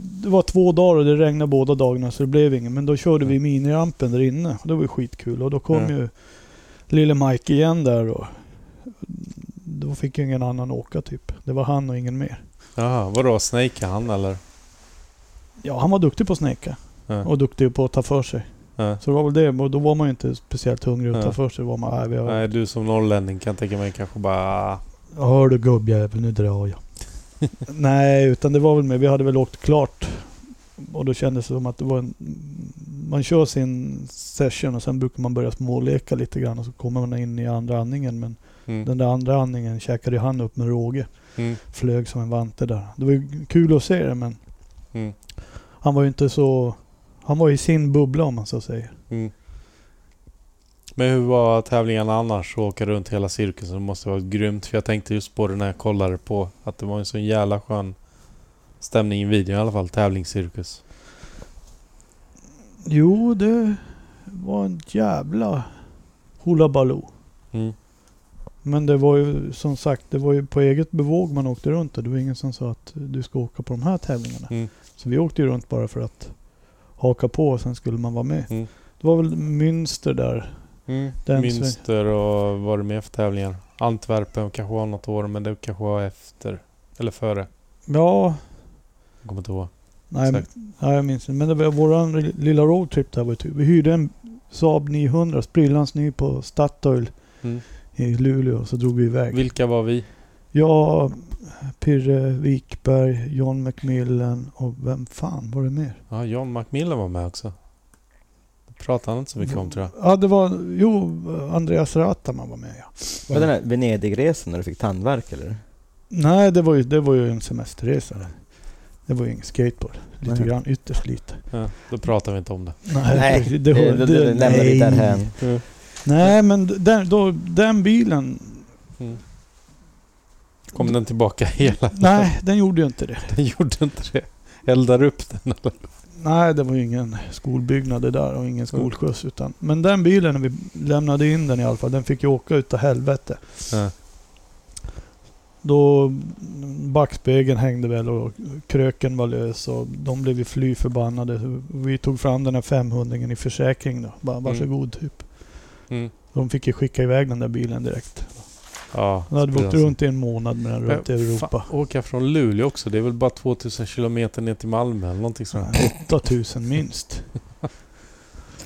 Speaker 3: det var två dagar och det regnade båda dagarna så det blev inget. Men då körde vi minirampen där inne. Det var ju skitkul. Och då kom
Speaker 1: Ja.
Speaker 3: ju lille Mike igen där och då fick ju ingen annan åka typ. Det var han och ingen mer.
Speaker 1: Jaha, vadå? Snake han eller?
Speaker 3: Ja, han var duktig på att snäcka.
Speaker 1: Ja.
Speaker 3: Och duktig på att ta för sig.
Speaker 1: Ja.
Speaker 3: Så det var väl det. Och då var man ju inte speciellt hungrig att
Speaker 1: Ja.
Speaker 3: ta för sig. Då Var man, nej, vi har,
Speaker 1: Nej, du som norrlänning kan jag tänka mig kanske bara...
Speaker 3: Hör du gubbjävel, nu drar jag. nej, utan det var väl mer. Vi hade väl åkt klart. Och då kändes det som att det var en... Man kör sin session och sen brukar man börja småleka lite grann och så kommer man in i andra andningen. Men
Speaker 1: Mm.
Speaker 3: den där andra andningen käkade ju han upp med råge.
Speaker 1: Mm.
Speaker 3: Flög som en vante där. Det var ju kul att se det men
Speaker 1: Mm.
Speaker 3: han var ju inte så... Han var i sin bubbla om man så säger.
Speaker 1: Mm. Men hur var tävlingarna annars? Att åka runt hela cirkusen det måste vara grymt. För jag tänkte just på det när jag kollade på att det var en sån jävla skön stämning i videon i alla fall. Tävlingscirkus.
Speaker 3: Jo, det var en jävla hullabaloo.
Speaker 1: Mm.
Speaker 3: Men det var ju som sagt, det var ju på eget bevåg man åkte runt och det var ingen som sa att du ska åka på de här tävlingarna.
Speaker 1: Mm.
Speaker 3: Så vi åkte ju runt bara för att haka på och sen skulle man vara med.
Speaker 1: Mm.
Speaker 3: Det var väl Münster där.
Speaker 1: Mm.
Speaker 3: Den
Speaker 1: Münster och vad var det mer för tävlingar? Antwerpen kanske var något år men det kanske var efter. Eller före.
Speaker 3: Ja,
Speaker 1: Jag kommer inte ihåg.
Speaker 3: nej,
Speaker 1: Exakt.
Speaker 3: nej jag minns inte. Men det var våran lilla roadtrip där var ju typ. Vi hyrde en Saab 900, sprillans ny på Statoil
Speaker 1: Mm.
Speaker 3: i Luleå. Så drog vi iväg.
Speaker 1: Vilka var vi?
Speaker 3: Ja, Pirre Wikberg, John McMillan och vem fan var det mer?
Speaker 1: Ja, John Macmillan var med också. Det pratade han inte så mycket om tror jag.
Speaker 3: Ja, det var... Jo, Andreas Rattaman var med ja.
Speaker 4: Var det den här Venedigresan när du fick tandvärk eller?
Speaker 3: Nej, det var ju, det var ju en semesterresa. Det, det var ju ingen skateboard. Lite
Speaker 4: Nej.
Speaker 3: grann, ytterst lite.
Speaker 1: Ja, då pratar vi inte om det.
Speaker 4: Nej,
Speaker 3: det,
Speaker 4: det- det- det lämnar vi därhän.
Speaker 1: Mm.
Speaker 3: Nej, men den, då, den bilen...
Speaker 1: Mm. Kom den tillbaka hela?
Speaker 3: Nej, den gjorde ju inte det.
Speaker 1: Den gjorde inte det. Eldar upp den eller?
Speaker 3: Nej, det var ju ingen skolbyggnad det där och ingen skolskjuts. Utan, men den bilen, när vi lämnade in den i alla fall, den fick ju åka utav helvete.
Speaker 1: Ja.
Speaker 3: Då backspegeln hängde väl och kröken var lös och de blev ju fly förbannade. Så Vi tog fram den här 500 i försäkring då. Bara, varsågod typ.
Speaker 1: Mm.
Speaker 3: De fick ju skicka iväg den där bilen direkt.
Speaker 1: Ja,
Speaker 3: Då hade vi åkt
Speaker 1: sprillans.
Speaker 3: runt i en månad med den runt i
Speaker 1: Ja,
Speaker 3: Europa.
Speaker 1: Fan, åka från Luleå också. Det är väl bara 2000 kilometer ner till Malmö eller någonting sånt.
Speaker 3: 8000 minst.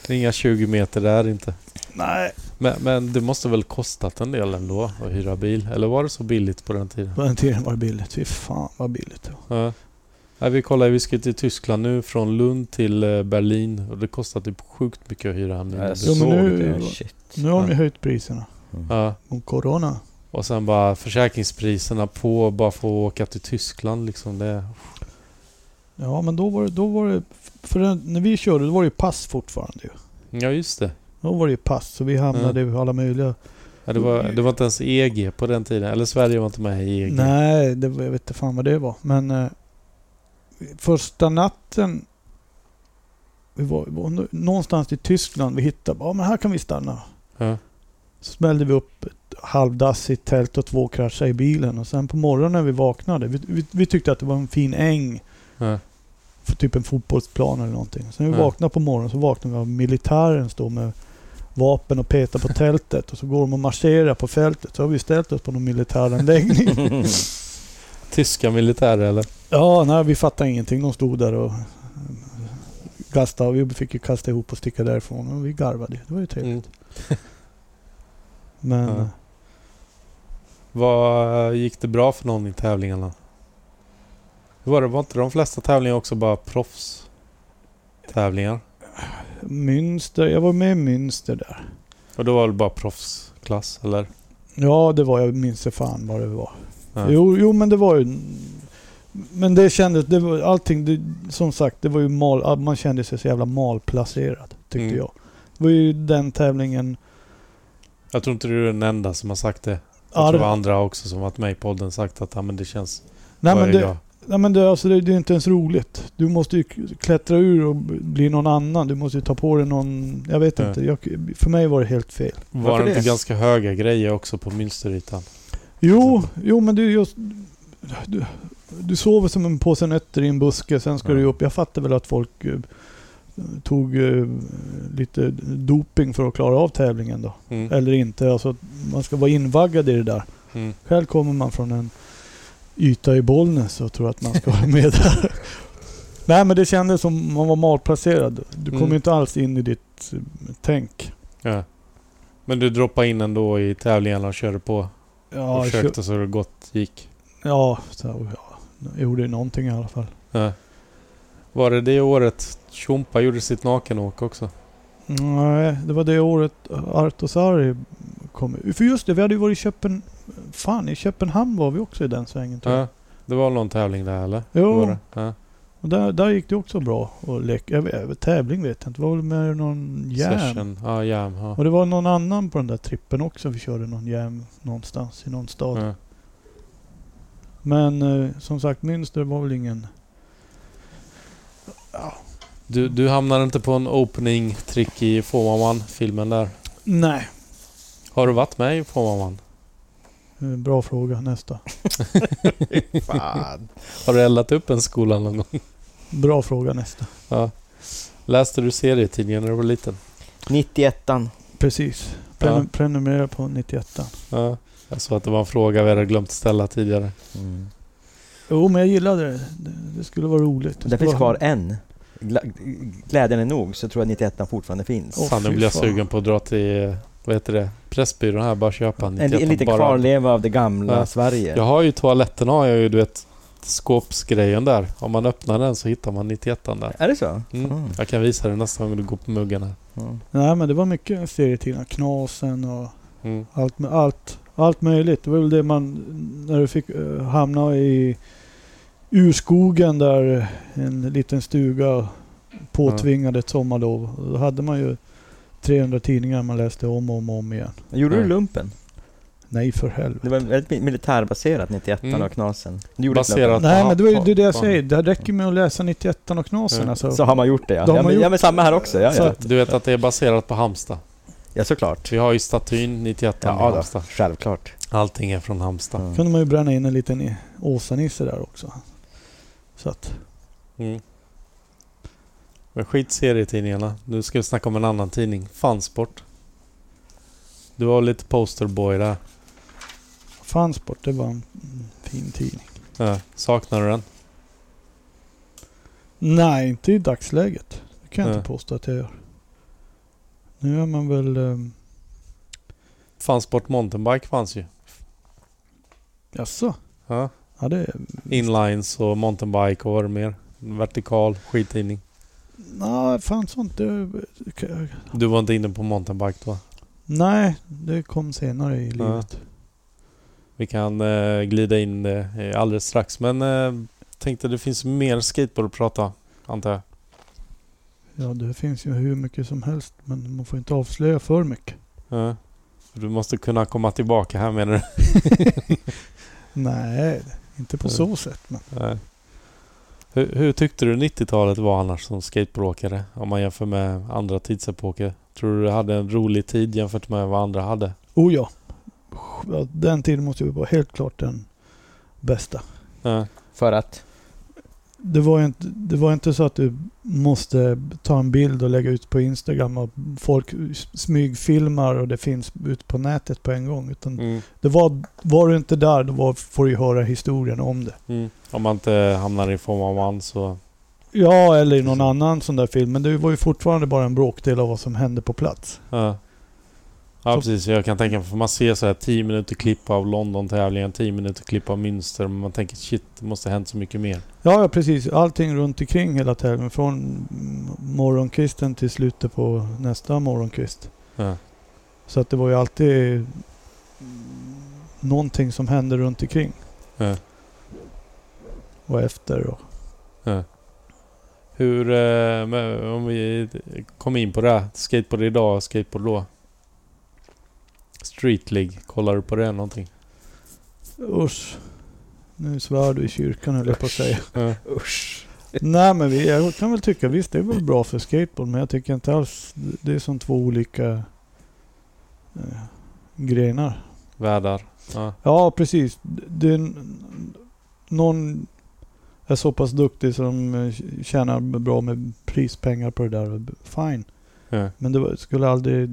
Speaker 1: Det är inga 20 meter där inte.
Speaker 3: Nej,
Speaker 1: Men, men det måste väl kostat en del ändå att hyra bil? Eller var det så billigt på den tiden?
Speaker 3: på den tiden var det billigt. Fy fan vad billigt det var.
Speaker 1: Ja. Nej, vi kollar, vi ska till Tyskland nu från Lund till eh, Berlin och det kostar typ sjukt mycket att hyra en
Speaker 4: Jag
Speaker 1: minibuss.
Speaker 3: Jo, men
Speaker 4: såg
Speaker 3: nu-
Speaker 4: det. Shit.
Speaker 3: Nu har de ju höjt priserna.
Speaker 1: Ja.
Speaker 3: Om corona.
Speaker 1: Och sen bara försäkringspriserna på bara få åka till Tyskland liksom. Det,
Speaker 3: Ja, men då var det... Då var det för den, när vi körde, då var det ju pass fortfarande ju.
Speaker 1: ja just det.
Speaker 3: Då var det ju pass, så vi hamnade i alla möjliga...
Speaker 1: Ja, det, var, det var inte ens EG på den tiden. Eller Sverige var inte med i E EG.
Speaker 3: Nej, det, var- jag vet inte fan vad det var. Men eh, första natten... Vi var, var nå- någonstans i Tyskland. Vi hittade bara, "Ja, men här kan vi stanna.
Speaker 1: Ja.
Speaker 3: Så smällde vi upp ett halvdassigt tält och två kraschade i bilen. Och sen på morgonen när vi vaknade, vi, vi, vi tyckte att det var en fin äng.
Speaker 1: Ja.
Speaker 3: för typ en fotbollsplan eller någonting. Sen när vi
Speaker 1: Ja.
Speaker 3: vaknar på morgonen så vaknar vi av militären står med vapen och petar på tältet och så går de och marscherar på fältet. Så har vi ställt oss på någon militäranläggning.
Speaker 1: Tyska militärer eller?
Speaker 3: Ja, nej, vi fattade ingenting. De stod där och eh, kastade. och Vi fick ju kasta ihop och sticka därifrån och vi garvade. ju. Det var ju trevligt.
Speaker 1: Mm.
Speaker 3: Men
Speaker 1: Ja. Vad eh, gick det bra för någon i tävlingarna? Hur var det? Var inte de flesta tävlingar också bara proffs? Tävlingar?
Speaker 3: Münster, jag var med i Münster där.
Speaker 1: Och då var det bara proffsklass eller?
Speaker 3: Ja, det var jag. minns inte fan vad det var.
Speaker 1: Ja.
Speaker 3: Jo, jo, men det var ju... Men det kändes... Det var, allting, det, som sagt, det var ju mal, man kände sig så jävla malplacerad, tyckte
Speaker 1: Mm.
Speaker 3: jag. Det var ju den tävlingen...
Speaker 1: Jag tror inte du är den enda som har sagt det. Jag
Speaker 3: Ja,
Speaker 1: tror det
Speaker 3: det-
Speaker 1: var andra också som varit med i podden sagt att ja, men det känns...
Speaker 3: Nej,
Speaker 1: vad
Speaker 3: men
Speaker 1: är det
Speaker 3: det,
Speaker 1: jag?
Speaker 3: Nej men det, alltså det, det är inte ens roligt. Du måste ju k- klättra ur och b- bli någon annan. Du måste ju ta på dig någon... Jag vet
Speaker 1: Ja.
Speaker 3: inte. Jag, för mig var det helt fel.
Speaker 1: Var
Speaker 4: Varför
Speaker 1: det inte
Speaker 4: det?
Speaker 1: ganska höga grejer också på mönsterytan?
Speaker 3: Jo, jo men du just... Du, du sover som en påse nötter i en buske, sen ska
Speaker 1: Ja.
Speaker 3: du upp. Jag fattar väl att folk eh, tog eh, lite doping för att klara av tävlingen då.
Speaker 1: Mm.
Speaker 3: Eller inte. Alltså, man ska vara invaggad i det där.
Speaker 1: Mm.
Speaker 3: Själv kommer man från en yta i Bollnäs och tror att man ska vara med där. Nej men det kändes som man var malplacerad. Du kom
Speaker 1: Mm.
Speaker 3: ju inte alls in i ditt eh, tänk.
Speaker 1: Ja. Men du droppade in ändå i tävlingarna och körde på.
Speaker 3: Ja,
Speaker 1: och
Speaker 3: jag kö-
Speaker 1: försökte så det gott gick.
Speaker 3: ja, så, ja, jag gjorde ju någonting i alla fall.
Speaker 1: Ja. Var det det året Tjompa gjorde sitt nakenåk också?
Speaker 3: Nej, det var det året Artosari kom. För just det, vi hade ju varit i Köpen... Fan, i Köpenhamn var vi också i den svängen tror jag.
Speaker 1: Ja. Det var någon tävling där eller?
Speaker 3: Jo.
Speaker 1: Var det? Ja.
Speaker 3: Och där, där gick det också bra och leka. Jag vet, tävling vet jag inte. Det var väl med någon järn.
Speaker 1: Session. Ja, jam. Ja.
Speaker 3: Och det var någon annan på den där trippen också. Vi körde någon jam någonstans i någon stad.
Speaker 1: Ja.
Speaker 3: Men eh, som sagt, Münster var väl ingen...
Speaker 1: Du, du hamnade inte på en opening trick i Fåmaman filmen där?
Speaker 3: Nej.
Speaker 1: Har du varit med i Fåmaman?
Speaker 3: Eh, Bra fråga. Nästa.
Speaker 4: Fan.
Speaker 1: Har du eldat upp en skola någon gång?
Speaker 3: Bra fråga nästa.
Speaker 1: Ja. Läste du serietidningen när du var liten?
Speaker 4: 91an.
Speaker 3: Precis. Prenum-
Speaker 1: Ja.
Speaker 3: Prenumerera på 91
Speaker 1: Ja. Jag såg att det var en fråga vi hade glömt ställa tidigare.
Speaker 4: Mm.
Speaker 3: Jo, men jag gillade det. Det, det skulle vara roligt.
Speaker 4: Det finns
Speaker 3: skulle
Speaker 4: kvar
Speaker 3: vara-
Speaker 4: en. Gla- Glädjande nog så tror jag 91an fortfarande finns.
Speaker 3: Åh,
Speaker 1: Fan, nu
Speaker 3: fy
Speaker 1: blir jag
Speaker 3: fan.
Speaker 1: sugen på att dra till, eh, vad heter det, Pressbyrån här, bara köpa en.
Speaker 4: en, en
Speaker 1: 91
Speaker 4: liten
Speaker 1: bara.
Speaker 4: kvarleva av det gamla
Speaker 1: Ja.
Speaker 4: Sverige.
Speaker 1: Jag har ju toaletten har jag ju, du vet, skåpsgrejen där. Om man öppnar den så hittar man 91 där.
Speaker 4: Är det så?
Speaker 1: Mm.
Speaker 4: Mm.
Speaker 1: Jag kan visa dig nästa gång du går på muggen här.
Speaker 4: Mm.
Speaker 3: Nej, men det var mycket serietidningar. Knasen och
Speaker 1: Mm.
Speaker 3: allt, med- allt, allt möjligt. Det var väl det man... När du fick eh, hamna i urskogen där en liten stuga påtvingade ett sommarlov. Då hade man ju 300 tidningar man läste om och om, och om igen.
Speaker 4: Gjorde
Speaker 1: Nej.
Speaker 4: du lumpen?
Speaker 3: Nej för
Speaker 4: Det
Speaker 3: helvete.
Speaker 4: var väldigt mi- militärbaserat 91an
Speaker 1: Mm.
Speaker 4: och Knasen. Du gjorde
Speaker 1: Baserat.
Speaker 4: lumpen.
Speaker 3: Nej men det var ju det, är det jag
Speaker 1: Ja.
Speaker 3: säger. Det räcker med att läsa 91 och Knasen
Speaker 1: Ja.
Speaker 3: alltså.
Speaker 4: Mm. Så har man gjort det ja.
Speaker 3: Då har
Speaker 4: Ja
Speaker 3: man
Speaker 4: men,
Speaker 3: gjort-
Speaker 4: ja men samma här också. Ja,
Speaker 3: Så
Speaker 4: ja.
Speaker 3: att-
Speaker 1: Du vet att det är baserat på Hamsta.
Speaker 4: ja såklart.
Speaker 1: Vi har ju statyn 91 i
Speaker 4: Ja, då.
Speaker 1: Halmstad.
Speaker 4: Självklart.
Speaker 1: Allting är från Halmstad.
Speaker 4: Mm.
Speaker 3: kunde man ju bränna in en liten i- Åsa-Nisse där också. Så att,
Speaker 1: Mm. Men skit serietidningarna. Nu ska vi snacka om en annan tidning. Fansport. Du var lite posterboy där.
Speaker 3: Fansport, det var en mm, fin tidning.
Speaker 1: Ja. Saknar du den?
Speaker 3: Nej, inte i dagsläget. Det kan jag
Speaker 1: Nej.
Speaker 3: inte påstå att jag gör. Nu är man väl... Um,
Speaker 1: Fansport mountainbike fanns ju.
Speaker 3: jaså?
Speaker 1: Ja.
Speaker 3: Ja, det...
Speaker 1: Inlines och mountainbike och vad det mer? Vertikal skittidning.
Speaker 3: Nej, fan sånt. Det,
Speaker 1: Du var inte inne på mountainbike då?
Speaker 3: nej, det kom senare i
Speaker 1: Ja.
Speaker 3: livet.
Speaker 1: Vi kan eh, glida in eh, alldeles strax. Men eh, tänkte det finns mer skateboard att prata, antar jag.
Speaker 3: Ja, det finns ju hur mycket som helst. Men man får inte avslöja för mycket.
Speaker 1: Ja. Du måste kunna komma tillbaka här menar du?
Speaker 3: Nej, inte på
Speaker 1: Nej.
Speaker 3: så sätt. Men
Speaker 1: Nej. Hur, hur tyckte du 90-talet var annars som skateboardåkare? Om man jämför med andra tidsepoker. Tror du du hade en rolig tid jämfört med vad andra hade?
Speaker 3: Oh ja. Ja, Den tiden måste ju vara helt klart den bästa.
Speaker 1: Ja.
Speaker 4: För att?
Speaker 3: det var, ju inte, det var inte så att du måste ta en bild och lägga ut på Instagram och folk smygfilmar och det finns ut på nätet på en gång. Utan
Speaker 1: Mm.
Speaker 3: det var, var du inte där, då var, får du ju höra historien om det.
Speaker 1: Mm. Om man inte hamnar i form av man så...
Speaker 3: Ja, eller i någon annan sån där film. Men det var ju fortfarande bara en bråkdel av vad som hände på plats.
Speaker 1: Ja, ja
Speaker 3: Så-
Speaker 1: precis. Jag kan tänka mig, för man ser så här 10 minuter klipp av London-tävlingen, 10 minuter klipp av Münster, men man tänker shit, det måste ha hänt så mycket mer.
Speaker 3: Ja, ja precis. Allting runt omkring hela tävlingen. Från mm, morgonkvisten till slutet på nästa morgonkvist.
Speaker 1: Ja.
Speaker 3: Så att det var ju alltid mm, någonting som hände runt omkring.
Speaker 1: Ja.
Speaker 3: Och efter och...
Speaker 1: Hur, eh, men om vi kom in på det, här, skateboard idag, skateboard då? Street League, kollar du på det någonting?
Speaker 3: Usch. Nu svär du i kyrkan höll jag på att säga.
Speaker 1: Ja.
Speaker 4: Usch.
Speaker 3: Nej men vi, jag kan väl tycka visst det är väl bra för skateboard men jag tycker inte alls det är som två olika eh, grenar.
Speaker 1: Världar? Ja.
Speaker 3: Ja, precis. Det är n- någon är så pass duktig som eh, tjänar bra med prispengar på det där. Fine.
Speaker 1: Ja.
Speaker 3: Men det var- skulle aldrig...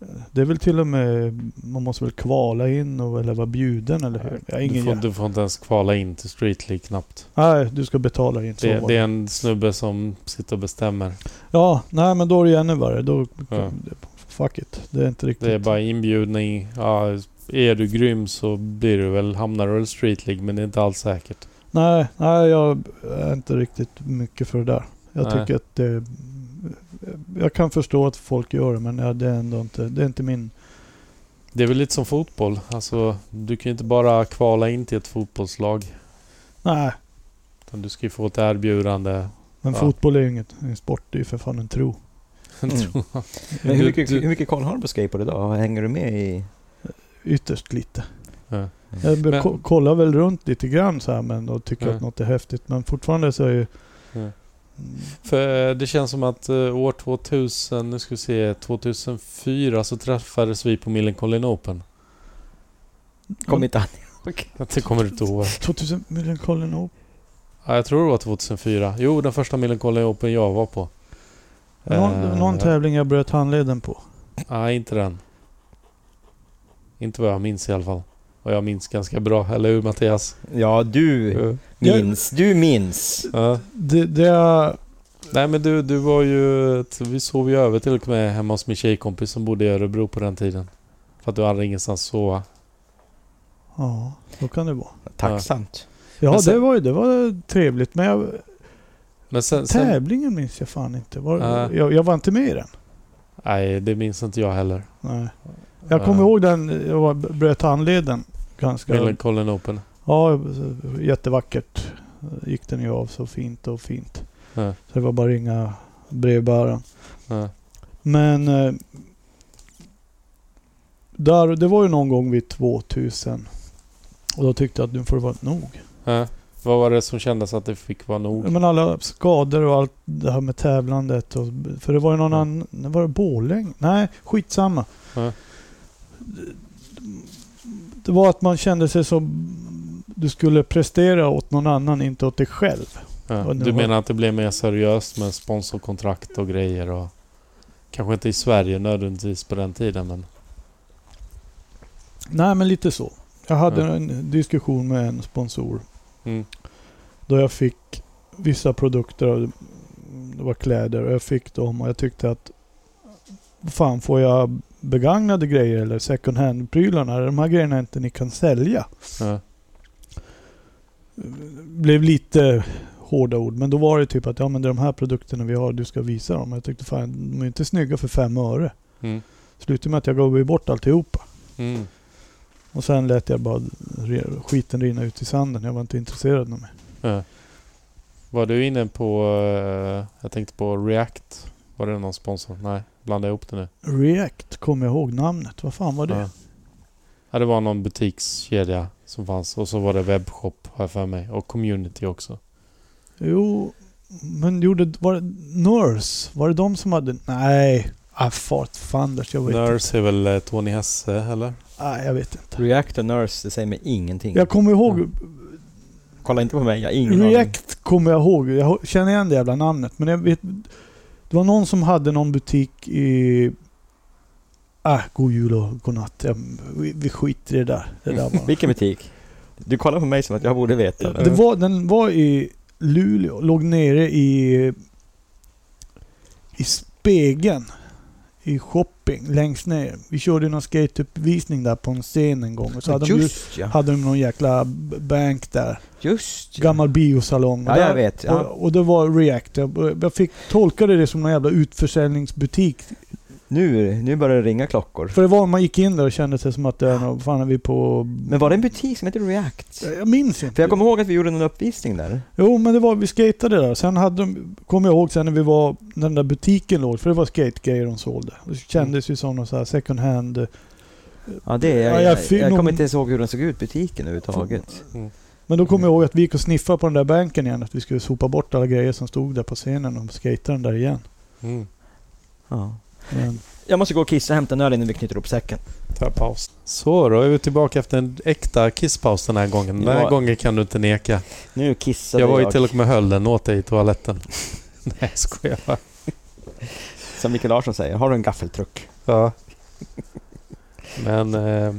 Speaker 3: eh, Det är väl till och med... Man måste väl kvala in och, eller vara bjuden eller hur? Jag har
Speaker 1: Du,
Speaker 3: ingen
Speaker 1: får,
Speaker 3: jä-
Speaker 1: du får inte ens kvala in till Street League knappt.
Speaker 3: Nej, du ska betala in. Så
Speaker 1: Det,
Speaker 3: var
Speaker 1: det är en snubbe som sitter och bestämmer.
Speaker 3: Ja, nej men då är det ännu värre. Då,
Speaker 1: Ja.
Speaker 3: Fuck it. Det är inte riktigt...
Speaker 1: Det är bara inbjudning. Ja, är du grym så blir du väl, hamnar du väl i Street League, men det är inte alls säkert.
Speaker 3: Nej, nej, jag är inte riktigt mycket för det där. Jag
Speaker 1: Nej.
Speaker 3: tycker att det... Jag kan förstå att folk gör det, men ja, det är ändå inte, det är inte min...
Speaker 1: Det är väl lite som fotboll. Alltså, du kan ju inte bara kvala in till ett fotbollslag.
Speaker 3: Nej,
Speaker 1: Utan du ska ju få ett erbjudande.
Speaker 3: men
Speaker 1: Ja.
Speaker 3: fotboll är ju inget, en sport, det är ju för fan en tro.
Speaker 4: Mm.
Speaker 3: Mm.
Speaker 1: Tror jag.
Speaker 4: Men hur
Speaker 1: Du-
Speaker 4: mycket,
Speaker 1: du-
Speaker 4: hur mycket koll har du på skateboard idag? Hänger du med i...
Speaker 3: Ytterst lite.
Speaker 1: Ja.
Speaker 3: Jag
Speaker 1: Men-
Speaker 3: ko- kollar väl runt lite grann så här, men och tycker
Speaker 1: Ja.
Speaker 3: att något är häftigt. Men fortfarande så är ju...
Speaker 1: Ja. För eh, det känns som att eh, år 2000, nu ska vi se, 2004 så träffades vi på Millencolin Open.
Speaker 4: Kom inte an.
Speaker 1: Det kommer du inte ihåg.
Speaker 3: 2000 Million Colin Open.
Speaker 1: Ja, jag tror det var 2004. Jo, den första Millencolin Open jag var på.
Speaker 3: Någon,
Speaker 1: Eh,
Speaker 3: någon tävling jag bröt handleden på.
Speaker 1: Nej, inte den. Inte vad jag minns i alla fall. Och jag minns ganska bra, eller hur Mattias?
Speaker 4: Ja, du
Speaker 1: Ja.
Speaker 4: minns. Du minns.
Speaker 1: Ja.
Speaker 3: Det, det är...
Speaker 1: Nej men du, du var ju... Vi sov ju över till och med hemma hos min tjejkompis som bodde i Örebro på den tiden. För att du hade ingenstans att sova.
Speaker 3: Ja, så kan det vara.
Speaker 4: Tacksamt.
Speaker 3: Ja,
Speaker 1: Men sen-
Speaker 3: det var ju det var trevligt. Men jag,
Speaker 1: Men sen... sen
Speaker 3: Tävlingen minns jag fan inte. Var,
Speaker 1: Nej.
Speaker 3: jag, jag var inte med i den.
Speaker 1: nej, det minns inte jag heller.
Speaker 3: Nej. Jag kommer ihåg den, jag var, bröt handleden ganska...
Speaker 1: Millencolin Open.
Speaker 3: Ja, jättevackert. Gick den ju av så fint och fint.
Speaker 1: Ja.
Speaker 3: Så det var bara ringa brevbäraren.
Speaker 1: Ja.
Speaker 3: Men... eh, Där, det var ju någon gång vid 2000. Och då tyckte jag att nu får det vara nog.
Speaker 1: Ja. Vad var det som kändes att det fick vara nog?
Speaker 3: Men alla skador och allt det här med tävlandet. Och, för det var ju någon
Speaker 1: Ja.
Speaker 3: annan... Var det Borlänge? Nej, skitsamma.
Speaker 1: Ja.
Speaker 3: Det var att man kände sig som... Du skulle prestera åt någon annan, inte åt dig själv.
Speaker 1: Ja.
Speaker 3: Och nu
Speaker 1: Du
Speaker 3: har-
Speaker 1: menar att det blev mer seriöst med sponsorkontrakt och grejer och... Kanske inte i Sverige nödvändigtvis på den tiden men...
Speaker 3: Nej, men lite så. Jag hade
Speaker 1: Ja.
Speaker 3: en diskussion med en sponsor.
Speaker 1: Mm.
Speaker 3: Då jag fick vissa produkter. och Det var kläder och jag fick dem och jag tyckte att... Fan, får jag begagnade grejer eller second hand-prylarna? De här grejerna inte ni kan sälja.
Speaker 1: Ja.
Speaker 3: blev lite hårda ord. Men då var det typ att ja, men det är de här produkterna vi har, du ska visa dem. Jag tyckte fan, de är inte snygga för fem öre.
Speaker 1: Mm.
Speaker 3: Slutade med att jag gav ju bort alltihopa.
Speaker 1: Mm.
Speaker 3: Och sen lät jag bara re- skiten rinna ut i sanden. Jag var inte intresserad av mig.
Speaker 1: Ja. Var du inne på... eh, jag tänkte på React. Var det någon sponsor? Nej, blandade jag ihop det nu.
Speaker 3: React kommer jag ihåg namnet. Vad fan var det?
Speaker 1: Ja. Ja, det var någon butikskedja som fanns. Och så var det webbshop, har jag för mig. Och community också.
Speaker 3: Jo, men gjorde... Var det Nurse? Var det de som hade... Nej. Ah, fart fanders. Jag vet inte.
Speaker 1: Nurse är väl eh, Tony Hesse, eller?
Speaker 3: Ah, jag vet inte.
Speaker 4: React och Nurse, det säger mig ingenting.
Speaker 3: Jag kommer ihåg
Speaker 4: Kolla inte på mig, jag har ingen aning.
Speaker 3: React kommer jag ihåg. Jag känner igen det jävla namnet. Men jag vet, det var någon som hade någon butik i... Äh, god jul och god natt. Jag, vi, vi skiter i det där. Det, där bara.
Speaker 4: Vilken butik? Du kollar på mig som att jag borde veta.
Speaker 3: det var, den var i Luleå. Låg nere i... I spegeln. I shopping. Längst ner. Vi körde ju någon skateuppvisning där på en scen en gång. Och så hade, de, ju-
Speaker 4: just ja,
Speaker 3: hade de någon jäkla b- bank där.
Speaker 4: just ja.
Speaker 3: gammal biosalong.
Speaker 4: Ja,
Speaker 3: Och
Speaker 4: jag
Speaker 3: där-
Speaker 4: vet, ja.
Speaker 3: Och, och det var React. Jag, jag fick tolkade det som någon jävla utförsäljningsbutik.
Speaker 4: Nu, nu börjar det ringa klockor.
Speaker 3: För det var man gick in där och kände sig som att det är någon, fan är vi på...
Speaker 4: Men var det en butik som heter React?
Speaker 3: Jag minns inte.
Speaker 4: För jag kommer ihåg att vi gjorde någon uppvisning där.
Speaker 3: Jo, men det var, vi skatade där. Sen hade de, kom jag ihåg sen när vi var, när den där butiken låg, för det var skategrejer de sålde. Det kändes ju som någon så här second hand.
Speaker 4: Ja, det, jag,
Speaker 3: Ja, jag
Speaker 4: jag,
Speaker 3: fick
Speaker 4: jag
Speaker 3: nog-
Speaker 4: kommer inte ens ihåg hur den såg ut, butiken överhuvudtaget.
Speaker 3: Men då kom jag ihåg att vi gick och sniffade på den där banken igen, att vi skulle sopa bort alla grejer som stod där på scenen och skataren där igen.
Speaker 1: Mm.
Speaker 4: Ja.
Speaker 3: Men,
Speaker 4: Jag måste gå och kissa och hämta en öl innan vi knyter upp säcken.
Speaker 1: Ta paus. Så, då är vi tillbaka efter en äkta kisspaus den här gången. Den här
Speaker 4: Ja.
Speaker 1: gången kan du inte neka.
Speaker 4: Nu kissade
Speaker 1: jag
Speaker 4: jag,
Speaker 1: var ju till och med höll den åt dig i toaletten. Nej, jag skojar bara.
Speaker 4: som Mikael Larsson säger, har du en gaffeltruck?
Speaker 1: Ja. Men... Eh,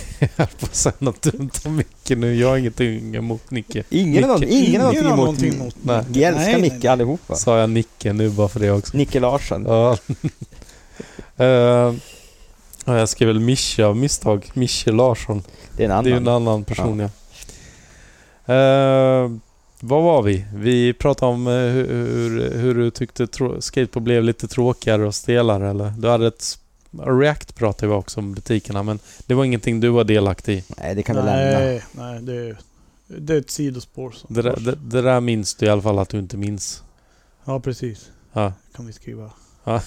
Speaker 1: jag höll på att säga något dumt om Micke nu. Jag har ingenting emot Nicke.
Speaker 4: Ingen, har någon-
Speaker 1: Micke.
Speaker 4: ingen, har någonting emot...
Speaker 3: emot.
Speaker 1: Nej.
Speaker 4: Vi älskar
Speaker 3: Nej, nej,
Speaker 4: Micke allihopa.
Speaker 1: Sa jag Nicke nu bara för det också?
Speaker 4: Nicke Larsson.
Speaker 1: Ja. Eh, ja, jag skrev väl Mischa av misstag. Mische Larsson.
Speaker 4: Det är en
Speaker 1: Det är ju
Speaker 4: annan.
Speaker 1: en annan person ja. Eh, vad var vi? Vi pratade om eh, hur, hur, hur du tyckte trå- skateboard blev lite tråkigare och stelare eller? Du hade ett... React pratade vi också om butikerna men det var ingenting du var delaktig i.
Speaker 4: Nej, det kan vi lämna.
Speaker 3: Nej, nej det, är, det är ett sidospår. Som
Speaker 1: Det där, det, det där minns du i alla fall att du inte minns.
Speaker 3: Ja, precis.
Speaker 1: Ja,
Speaker 3: kan vi skriva.
Speaker 1: Ja.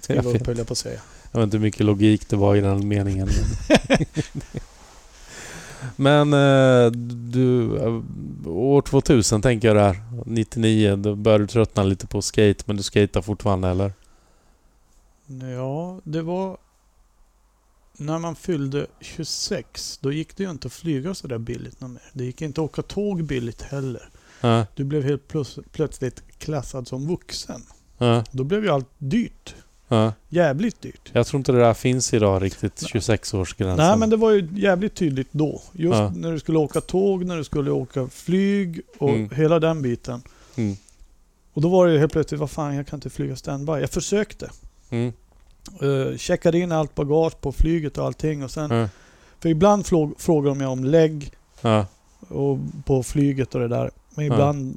Speaker 3: Skriva
Speaker 1: Jag vet.
Speaker 3: upp höll jag på att säga.
Speaker 1: jag vet inte hur mycket logik det var i den meningen. men eh, du, eh, år 2000 tänker jag där. 99, då började du tröttna lite på skate men du skatar fortfarande eller?
Speaker 3: Ja, det var... När man fyllde 26, då gick det ju inte att flyga så där billigt någon mer. Det gick inte att åka tåg billigt heller.
Speaker 1: Ja,
Speaker 3: Du blev helt plus, plötsligt klassad som vuxen.
Speaker 1: ja,
Speaker 3: Då blev ju allt dyrt.
Speaker 1: ja.
Speaker 3: Jävligt dyrt.
Speaker 1: Jag tror inte det där finns idag riktigt,
Speaker 3: Nej.
Speaker 1: 26-årsgränsen.
Speaker 3: Nej, men det var ju jävligt tydligt då. Just
Speaker 1: Alltså. Ja.
Speaker 3: när du skulle åka tåg, när du skulle åka flyg och
Speaker 1: Mm.
Speaker 3: hela den biten.
Speaker 1: Mm.
Speaker 3: Och då var det ju helt plötsligt, vad fan, jag kan inte flyga standby. Jag försökte.
Speaker 1: Mm.
Speaker 3: Eh, checkade in allt bagage på flyget och allting. Och sen,
Speaker 1: Ja.
Speaker 3: För ibland flå- frågar de mig om lägg
Speaker 1: mm, Ja.
Speaker 3: och, på flyget och det där. Men
Speaker 1: Ja.
Speaker 3: ibland,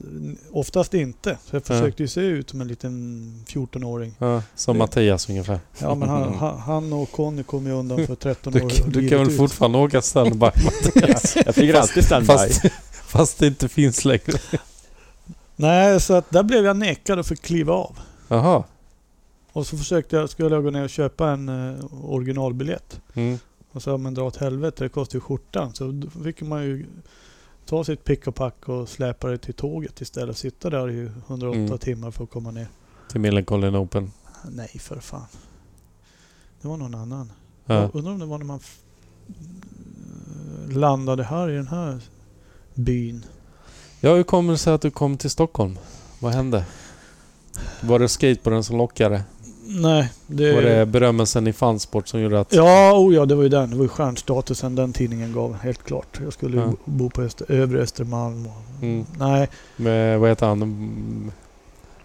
Speaker 3: oftast inte. Så jag
Speaker 1: Ja.
Speaker 3: försökte ju se ut som en liten 14-åring.
Speaker 1: Ja. Som
Speaker 3: Det-
Speaker 1: Mattias ungefär.
Speaker 3: Ja men han, han- han och Conny kom ju undan för 13
Speaker 1: Mm. Du,
Speaker 3: år.
Speaker 1: kan- du
Speaker 3: livet
Speaker 1: kan väl
Speaker 3: ut.
Speaker 1: fortfarande åka standby Mattias?
Speaker 4: Jag flyger alltid standby.
Speaker 1: fast, fast det inte finns längre.
Speaker 3: Nej, så att där blev jag nekad och fick kliva av.
Speaker 1: Jaha.
Speaker 3: Och så försökte jag, skulle jag gå ner och köpa en eh, originalbiljett.
Speaker 1: Mm.
Speaker 3: Och så, men dra åt helvete, det kostar ju skjortan. Så då fick man ju ta sitt pick och pack och släpa det till tåget istället. och Sitta där i 108
Speaker 1: Mm.
Speaker 3: timmar för att komma ner.
Speaker 1: Till Millencolin Open.
Speaker 3: Nej, för fan. Det var någon annan.
Speaker 1: Ja.
Speaker 3: Jag undrar om det var när man f- landade här i den här byn.
Speaker 1: ja, hur kommer det sig att du kom till Stockholm? Vad hände? Var det skateboarden som lockade?
Speaker 3: Nej, det...
Speaker 1: Var det berömmelsen i fansport som gjorde att...
Speaker 3: Ja, oh ja, det var ju den. Det var ju stjärnstatusen den tidningen gav, helt klart. Jag skulle ju
Speaker 1: Ja.
Speaker 3: bo- bo på Öster, övre Östermalm. Och,
Speaker 1: Mm.
Speaker 3: Nej,
Speaker 1: Med, vad heter han? Mm,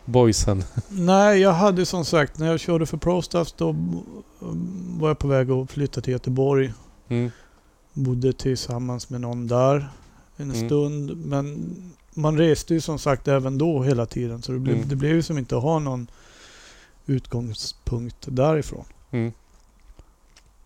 Speaker 1: Boysen.
Speaker 3: Nej, jag hade som sagt, när jag körde för ProStuffs då mm, var jag på väg att flytta till Göteborg.
Speaker 1: Mm.
Speaker 3: Bodde tillsammans med någon där en
Speaker 1: Mm.
Speaker 3: stund. Men man reste ju som sagt även då hela tiden. Så det blev,
Speaker 1: Mm.
Speaker 3: det blev ju som inte att ha någon utgångspunkt därifrån.
Speaker 1: Mm.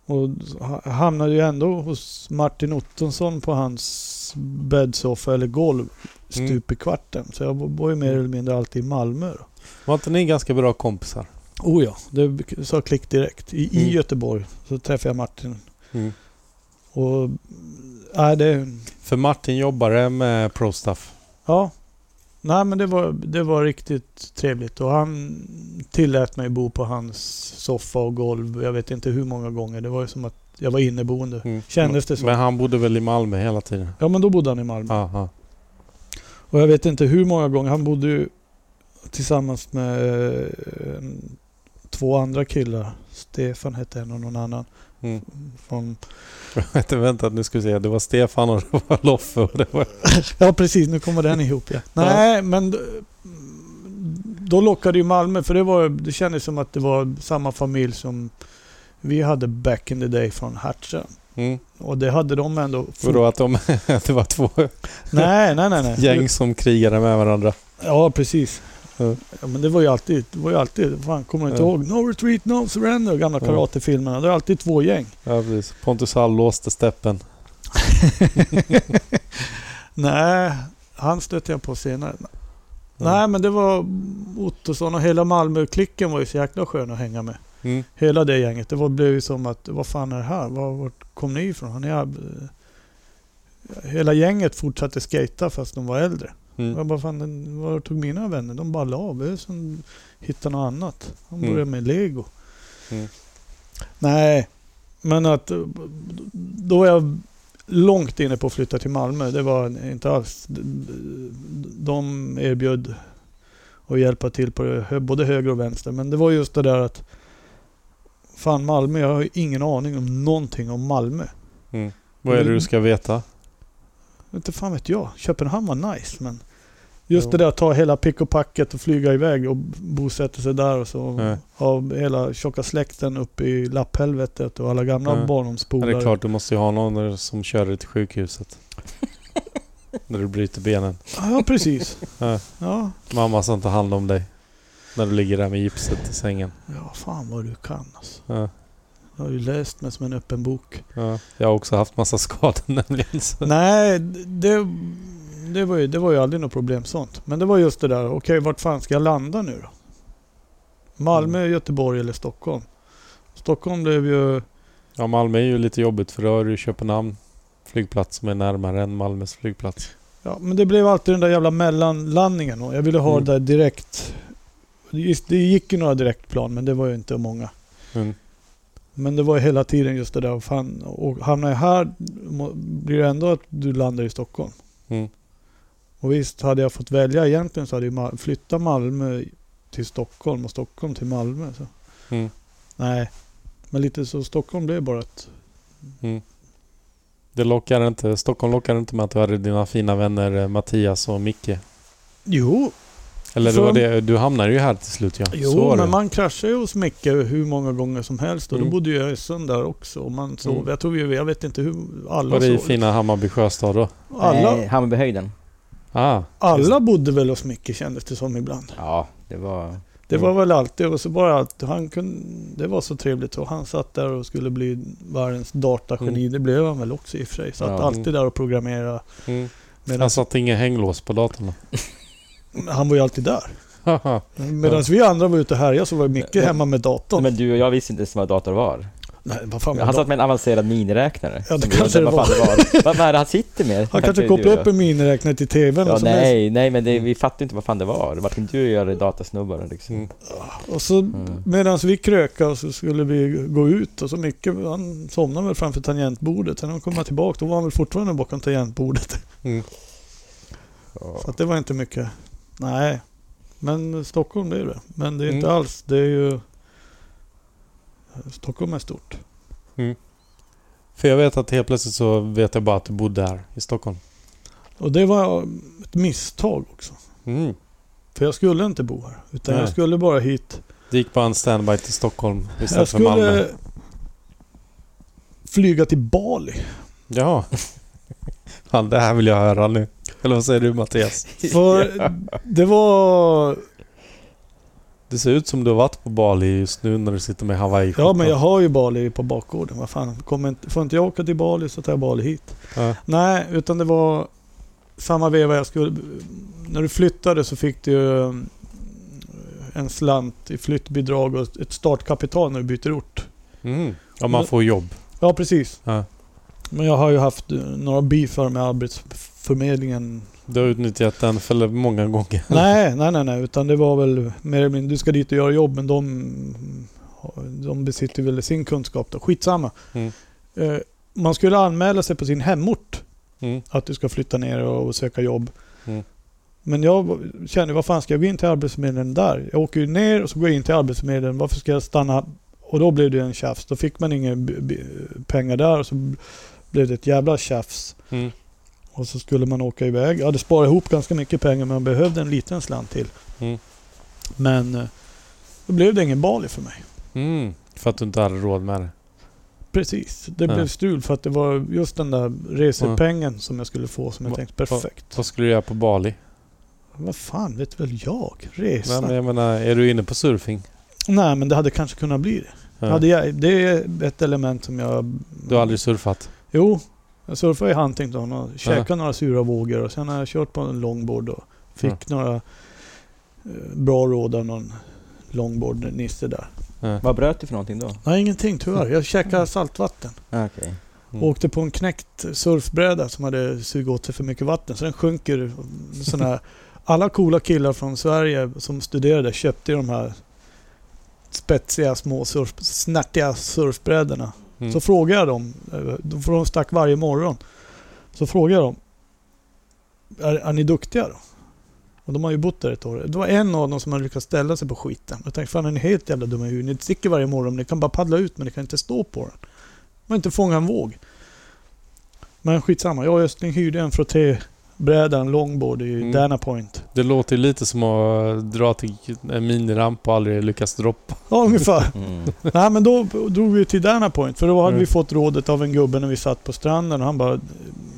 Speaker 3: Och ha- hamnade ju ändå hos Martin Ottosson på hans bäddsoffa eller golv
Speaker 1: Mm.
Speaker 3: stup i kvarten. Så jag var ju mer eller mindre alltid i Malmö då.
Speaker 1: Var inte ni ganska bra kompisar?
Speaker 3: Oh ja, det sa klick direkt. I, i
Speaker 1: Mm.
Speaker 3: Göteborg så träffade jag Martin. Och, nej, det,
Speaker 1: För Martin jobbade med ProStuff.
Speaker 3: ja. Nej men det var, det var riktigt trevligt och han tillät mig bo på hans soffa och golv. Jag vet inte hur många gånger. Det var ju som att jag var
Speaker 1: Mm.
Speaker 3: inneboende. Kändes det så?
Speaker 1: Men han bodde väl i Malmö hela tiden?
Speaker 3: Ja men då bodde han i Malmö.
Speaker 1: Aha.
Speaker 3: Och jag vet inte hur många gånger, han bodde ju tillsammans med eh, två andra killar. Stefan hette en och någon annan.
Speaker 1: Mm.
Speaker 3: Från,
Speaker 1: Vänta, vänta, nu ska vi se. Det var Stefan och det var Loffe och det var...
Speaker 3: ja precis, nu kommer den ihop ja. Nej, men d- då lockade ju Malmö för det, var, det kändes som att det var samma familj som vi hade back in the day från Hertsön.
Speaker 1: Mm.
Speaker 3: Och det hade de ändå.
Speaker 1: Vadå att, de, att det var två
Speaker 3: Nej, nej, nej. nej.
Speaker 1: gäng som krigade med varandra?
Speaker 3: Ja, precis.
Speaker 1: Ja.
Speaker 3: Ja, men det var ju alltid, det var ju alltid, fan kommer du inte
Speaker 1: Ja.
Speaker 3: ihåg? No retreat, no surrender, gamla
Speaker 1: Ja.
Speaker 3: karatefilmerna. Det är alltid två gäng.
Speaker 1: Ja, precis. Pontus Hall låste steppen.
Speaker 3: Nej, han stötte jag på senare. Nej, men det var Ottosson och hela Malmöklicken var ju så jäkla skön att hänga med.
Speaker 1: Mm.
Speaker 3: Hela det gänget. Det var, blev ju som att, vad fan är det här? Var, vart kom ni ifrån? Han är, ab- eh, hela gänget fortsatte skata fast de var äldre.
Speaker 1: Mm.
Speaker 3: Jag bara, fan, den- var tog mina vänner? De bara la av. Det är som hitta något annat. De
Speaker 1: Mm.
Speaker 3: började med lego.
Speaker 1: Mm.
Speaker 3: Nej, men att eh, då var jag långt inne på att flytta till Malmö. Det var inte alls. De erbjöd att hjälpa till på hö- både höger och vänster. Men det var just det där att fan Malmö, jag har ju ingen aning om någonting om Malmö.
Speaker 1: Vad är det du ska veta?
Speaker 3: Inte fan vet jag. Köpenhamn var nice men just
Speaker 1: Jo.
Speaker 3: det där att ta hela pick och packet och flyga iväg och bosätta sig där och så.
Speaker 1: Nej.
Speaker 3: Ha hela tjocka släkten uppe i lapphelvetet och alla gamla
Speaker 1: Ja. Ja,
Speaker 3: barndomspolare.
Speaker 1: det är klart, du måste ju ha någon som kör dig till sjukhuset. När du bryter benen.
Speaker 3: Ja precis.
Speaker 1: Ja.
Speaker 3: ja.
Speaker 1: Mamma som tar hand om dig. När du ligger där med gipset i sängen.
Speaker 3: ja, fan vad du kan alltså.
Speaker 1: Ja,
Speaker 3: Jag har ju läst mig som en öppen bok.
Speaker 1: ja. Jag har också haft massa skador nämligen. Så.
Speaker 3: Nej, det, det, var ju, det var ju aldrig något problem sånt. Men det var just det där, okej vart fan ska jag landa nu då? Malmö,
Speaker 1: Mm.
Speaker 3: Göteborg eller Stockholm? Stockholm blev ju...
Speaker 1: Ja, Malmö är ju lite jobbigt för då har du ju Köpenhamn flygplats som är närmare än Malmös flygplats.
Speaker 3: Ja, men det blev alltid den där jävla mellanlandningen. och Jag ville ha
Speaker 1: Mm.
Speaker 3: det där direkt. Just- Det gick ju några direktplan, men det var ju inte många.
Speaker 1: Mm.
Speaker 3: Men det var ju hela tiden just det där, fan, och hamnar jag här må- blir det ändå att du landar i Stockholm.
Speaker 1: Mm.
Speaker 3: Och visst, hade jag fått välja egentligen så hade jag ma- flyttat Malmö till Stockholm och Stockholm till Malmö. Så.
Speaker 1: Mm.
Speaker 3: Nej, men lite så Stockholm blev bara ett...
Speaker 1: Det lockar inte, Stockholm lockar inte med att du hade dina fina vänner eh, Mattias och Micke.
Speaker 3: Jo,
Speaker 1: Eller det
Speaker 3: Så-
Speaker 1: var det, du hamnade ju här till slut ja. Så
Speaker 3: Jo,
Speaker 1: var
Speaker 3: men
Speaker 1: det.
Speaker 3: man kraschar ju hos Micke hur många gånger som helst och
Speaker 1: Mm.
Speaker 3: då bodde ju jag i Östersund där också. Och man sov,
Speaker 1: Mm.
Speaker 3: jag, tror vi, jag vet inte hur alla
Speaker 1: Var det i
Speaker 3: sov.
Speaker 1: fina Hammarby sjöstad då?
Speaker 3: Alla,
Speaker 2: Nej, Hammarbyhöjden.
Speaker 1: Ah,
Speaker 3: alla bodde väl hos Micke kändes det som ibland.
Speaker 2: Ja, det var...
Speaker 3: Det
Speaker 1: Mm.
Speaker 3: var väl alltid och så bara att han kunde, det var så trevligt och han satt där och skulle bli världens datageni. Det blev han väl också i och för sig. Satt
Speaker 2: Ja.
Speaker 1: Mm.
Speaker 3: alltid där och programmerade.
Speaker 1: mm.
Speaker 3: Medan
Speaker 1: Han satte inga hänglås på datorn då.
Speaker 3: Han var ju alltid där.
Speaker 1: Haha.
Speaker 3: Medan vi andra var ute här, jag så var Micke
Speaker 2: Men-
Speaker 3: hemma med datorn.
Speaker 2: Men du och jag visste inte ens vad dator var.
Speaker 3: Nej, vad fan var
Speaker 2: Han
Speaker 3: datorn?
Speaker 2: satt med en avancerad miniräknare.
Speaker 3: Ja, det
Speaker 2: Som vi
Speaker 3: kanske
Speaker 2: undrade
Speaker 3: det
Speaker 2: vad fan det var. vad, vad är det han sitter med?
Speaker 3: Han kanske
Speaker 2: Du
Speaker 3: kopplade
Speaker 2: och
Speaker 3: upp en miniräknare till TVn
Speaker 2: Ja,
Speaker 3: och så läste-
Speaker 2: nej, nej men det, vi fattade inte vad fan det var. Varken du och jag är datasnubbar liksom. Mm.
Speaker 1: Mm.
Speaker 3: Och så medan vi krökade så skulle vi gå ut och så Micke han somnade väl framför tangentbordet. Sen när han kom tillbaka då var han väl fortfarande bakom tangentbordet.
Speaker 1: Mm.
Speaker 3: Så att det var inte mycket. Nej, men Stockholm det är det. Men det är inte
Speaker 1: Mm.
Speaker 3: alls. Det är ju... Stockholm är stort.
Speaker 1: För jag vet att helt plötsligt så vet jag bara att du bodde här i Stockholm.
Speaker 3: Och det var ett misstag också.
Speaker 1: Mm.
Speaker 3: För jag skulle inte bo här. Utan
Speaker 1: Nej.
Speaker 3: jag skulle bara hit.
Speaker 1: Det gick bara en standby till Stockholm
Speaker 3: Jag
Speaker 1: istället för Malmö.
Speaker 3: skulle flyga till Bali.
Speaker 1: Ja. Fan, det här vill jag höra nu. Eller vad säger du Mattias?
Speaker 3: För det var...
Speaker 1: Det ser ut som du har varit på Bali just nu när du sitter med hawaii
Speaker 3: Ja, men jag har ju Bali på bakgården. Vad fan, kommer inte, får inte jag åka till Bali så tar jag Bali hit.
Speaker 1: Ja.
Speaker 3: Nej, utan det var samma veva jag skulle... När du flyttade så fick du ju mm, en slant i flyttbidrag och ett startkapital när du byter ort.
Speaker 1: Mm. Ja, man får jobb.
Speaker 3: Ja, precis.
Speaker 1: Ja.
Speaker 3: Men jag har ju haft eh, några beefar med arbetsförmedlingen
Speaker 1: Du har utnyttjat den för många gånger.
Speaker 3: Nej, nej, nej, nej. Utan det var väl mer eller mindre, du ska dit och göra jobb, men de, de besitter väl sin kunskap då. Skitsamma.
Speaker 1: Mm.
Speaker 3: Eh, Man skulle anmäla sig på sin hemort
Speaker 1: Mm.
Speaker 3: att du ska flytta ner och söka jobb.
Speaker 1: Mm.
Speaker 3: Men jag kände, vad fan ska jag gå in till Arbetsförmedlingen där? Jag åker ju ner och så går jag in till Arbetsförmedlingen. Varför ska jag stanna? Och då blev det en tjafs. Då fick man inga b- b- pengar där och så b- blev det ett jävla tjafs.
Speaker 1: Mm.
Speaker 3: Och så skulle man åka iväg. Jag hade sparat ihop ganska mycket pengar men man behövde en liten slant till.
Speaker 1: Mm.
Speaker 3: Men eh, då blev det ingen Bali för mig.
Speaker 1: Mm. För att du inte hade råd med det.
Speaker 3: Precis. Det
Speaker 1: Ja.
Speaker 3: blev stul för att det var just den där resepengen som jag skulle få som jag
Speaker 1: Va-
Speaker 3: tänkte perfekt.
Speaker 1: Vad skulle du göra på Bali?
Speaker 3: Vad fan vet väl jag? Resa?
Speaker 1: Nej, men jag menar, är du inne på surfing?
Speaker 3: Nej, men det hade kanske kunnat bli det.
Speaker 1: Ja.
Speaker 3: Hade jag, det är ett element som jag...
Speaker 1: Du har aldrig surfat?
Speaker 3: Jo, alltså jag surfade i Huntington och käkade några sura vågor och sen har jag kört på en longboard och fick
Speaker 1: Ja.
Speaker 3: några eh, bra råd av någon longboard-nisse där.
Speaker 4: Vad bröt du för någonting då?
Speaker 3: Nej, ingenting tyvärr. Jag käkade saltvatten.
Speaker 4: Okej.
Speaker 1: Mm.
Speaker 3: Åkte på en knäckt surfbräda som hade sugit åt sig för mycket vatten så den sjunker. Sån här, alla coola killar från Sverige som studerade köpte ju de här spetsiga små surf, snärtiga surfbrädorna.
Speaker 1: Mm.
Speaker 3: Så frågade jag dem, eh, de- för de stack varje morgon. Så frågade jag dem, är, är ni duktiga då? Och de har ju bott där ett år. Det var en av dem som hade lyckats ställa sig på skiten. Jag tänkte, fan är ni helt jävla dumma i huvudet? Ni sticker varje morgon, ni kan bara paddla ut men ni kan inte stå på den. Man kan inte fånga en våg. Men skitsamma, jag och Östling hyrde en frottébräda, en longboard i
Speaker 1: Mm.
Speaker 3: Dana Point.
Speaker 1: Det låter ju lite som att dra till en miniramp och aldrig lyckas droppa.
Speaker 3: Ja, ungefär.
Speaker 4: Mm.
Speaker 3: Nej men då drog vi till Dana Point för då hade
Speaker 1: Mm.
Speaker 3: vi fått rådet av en gubbe när vi satt på stranden och han bara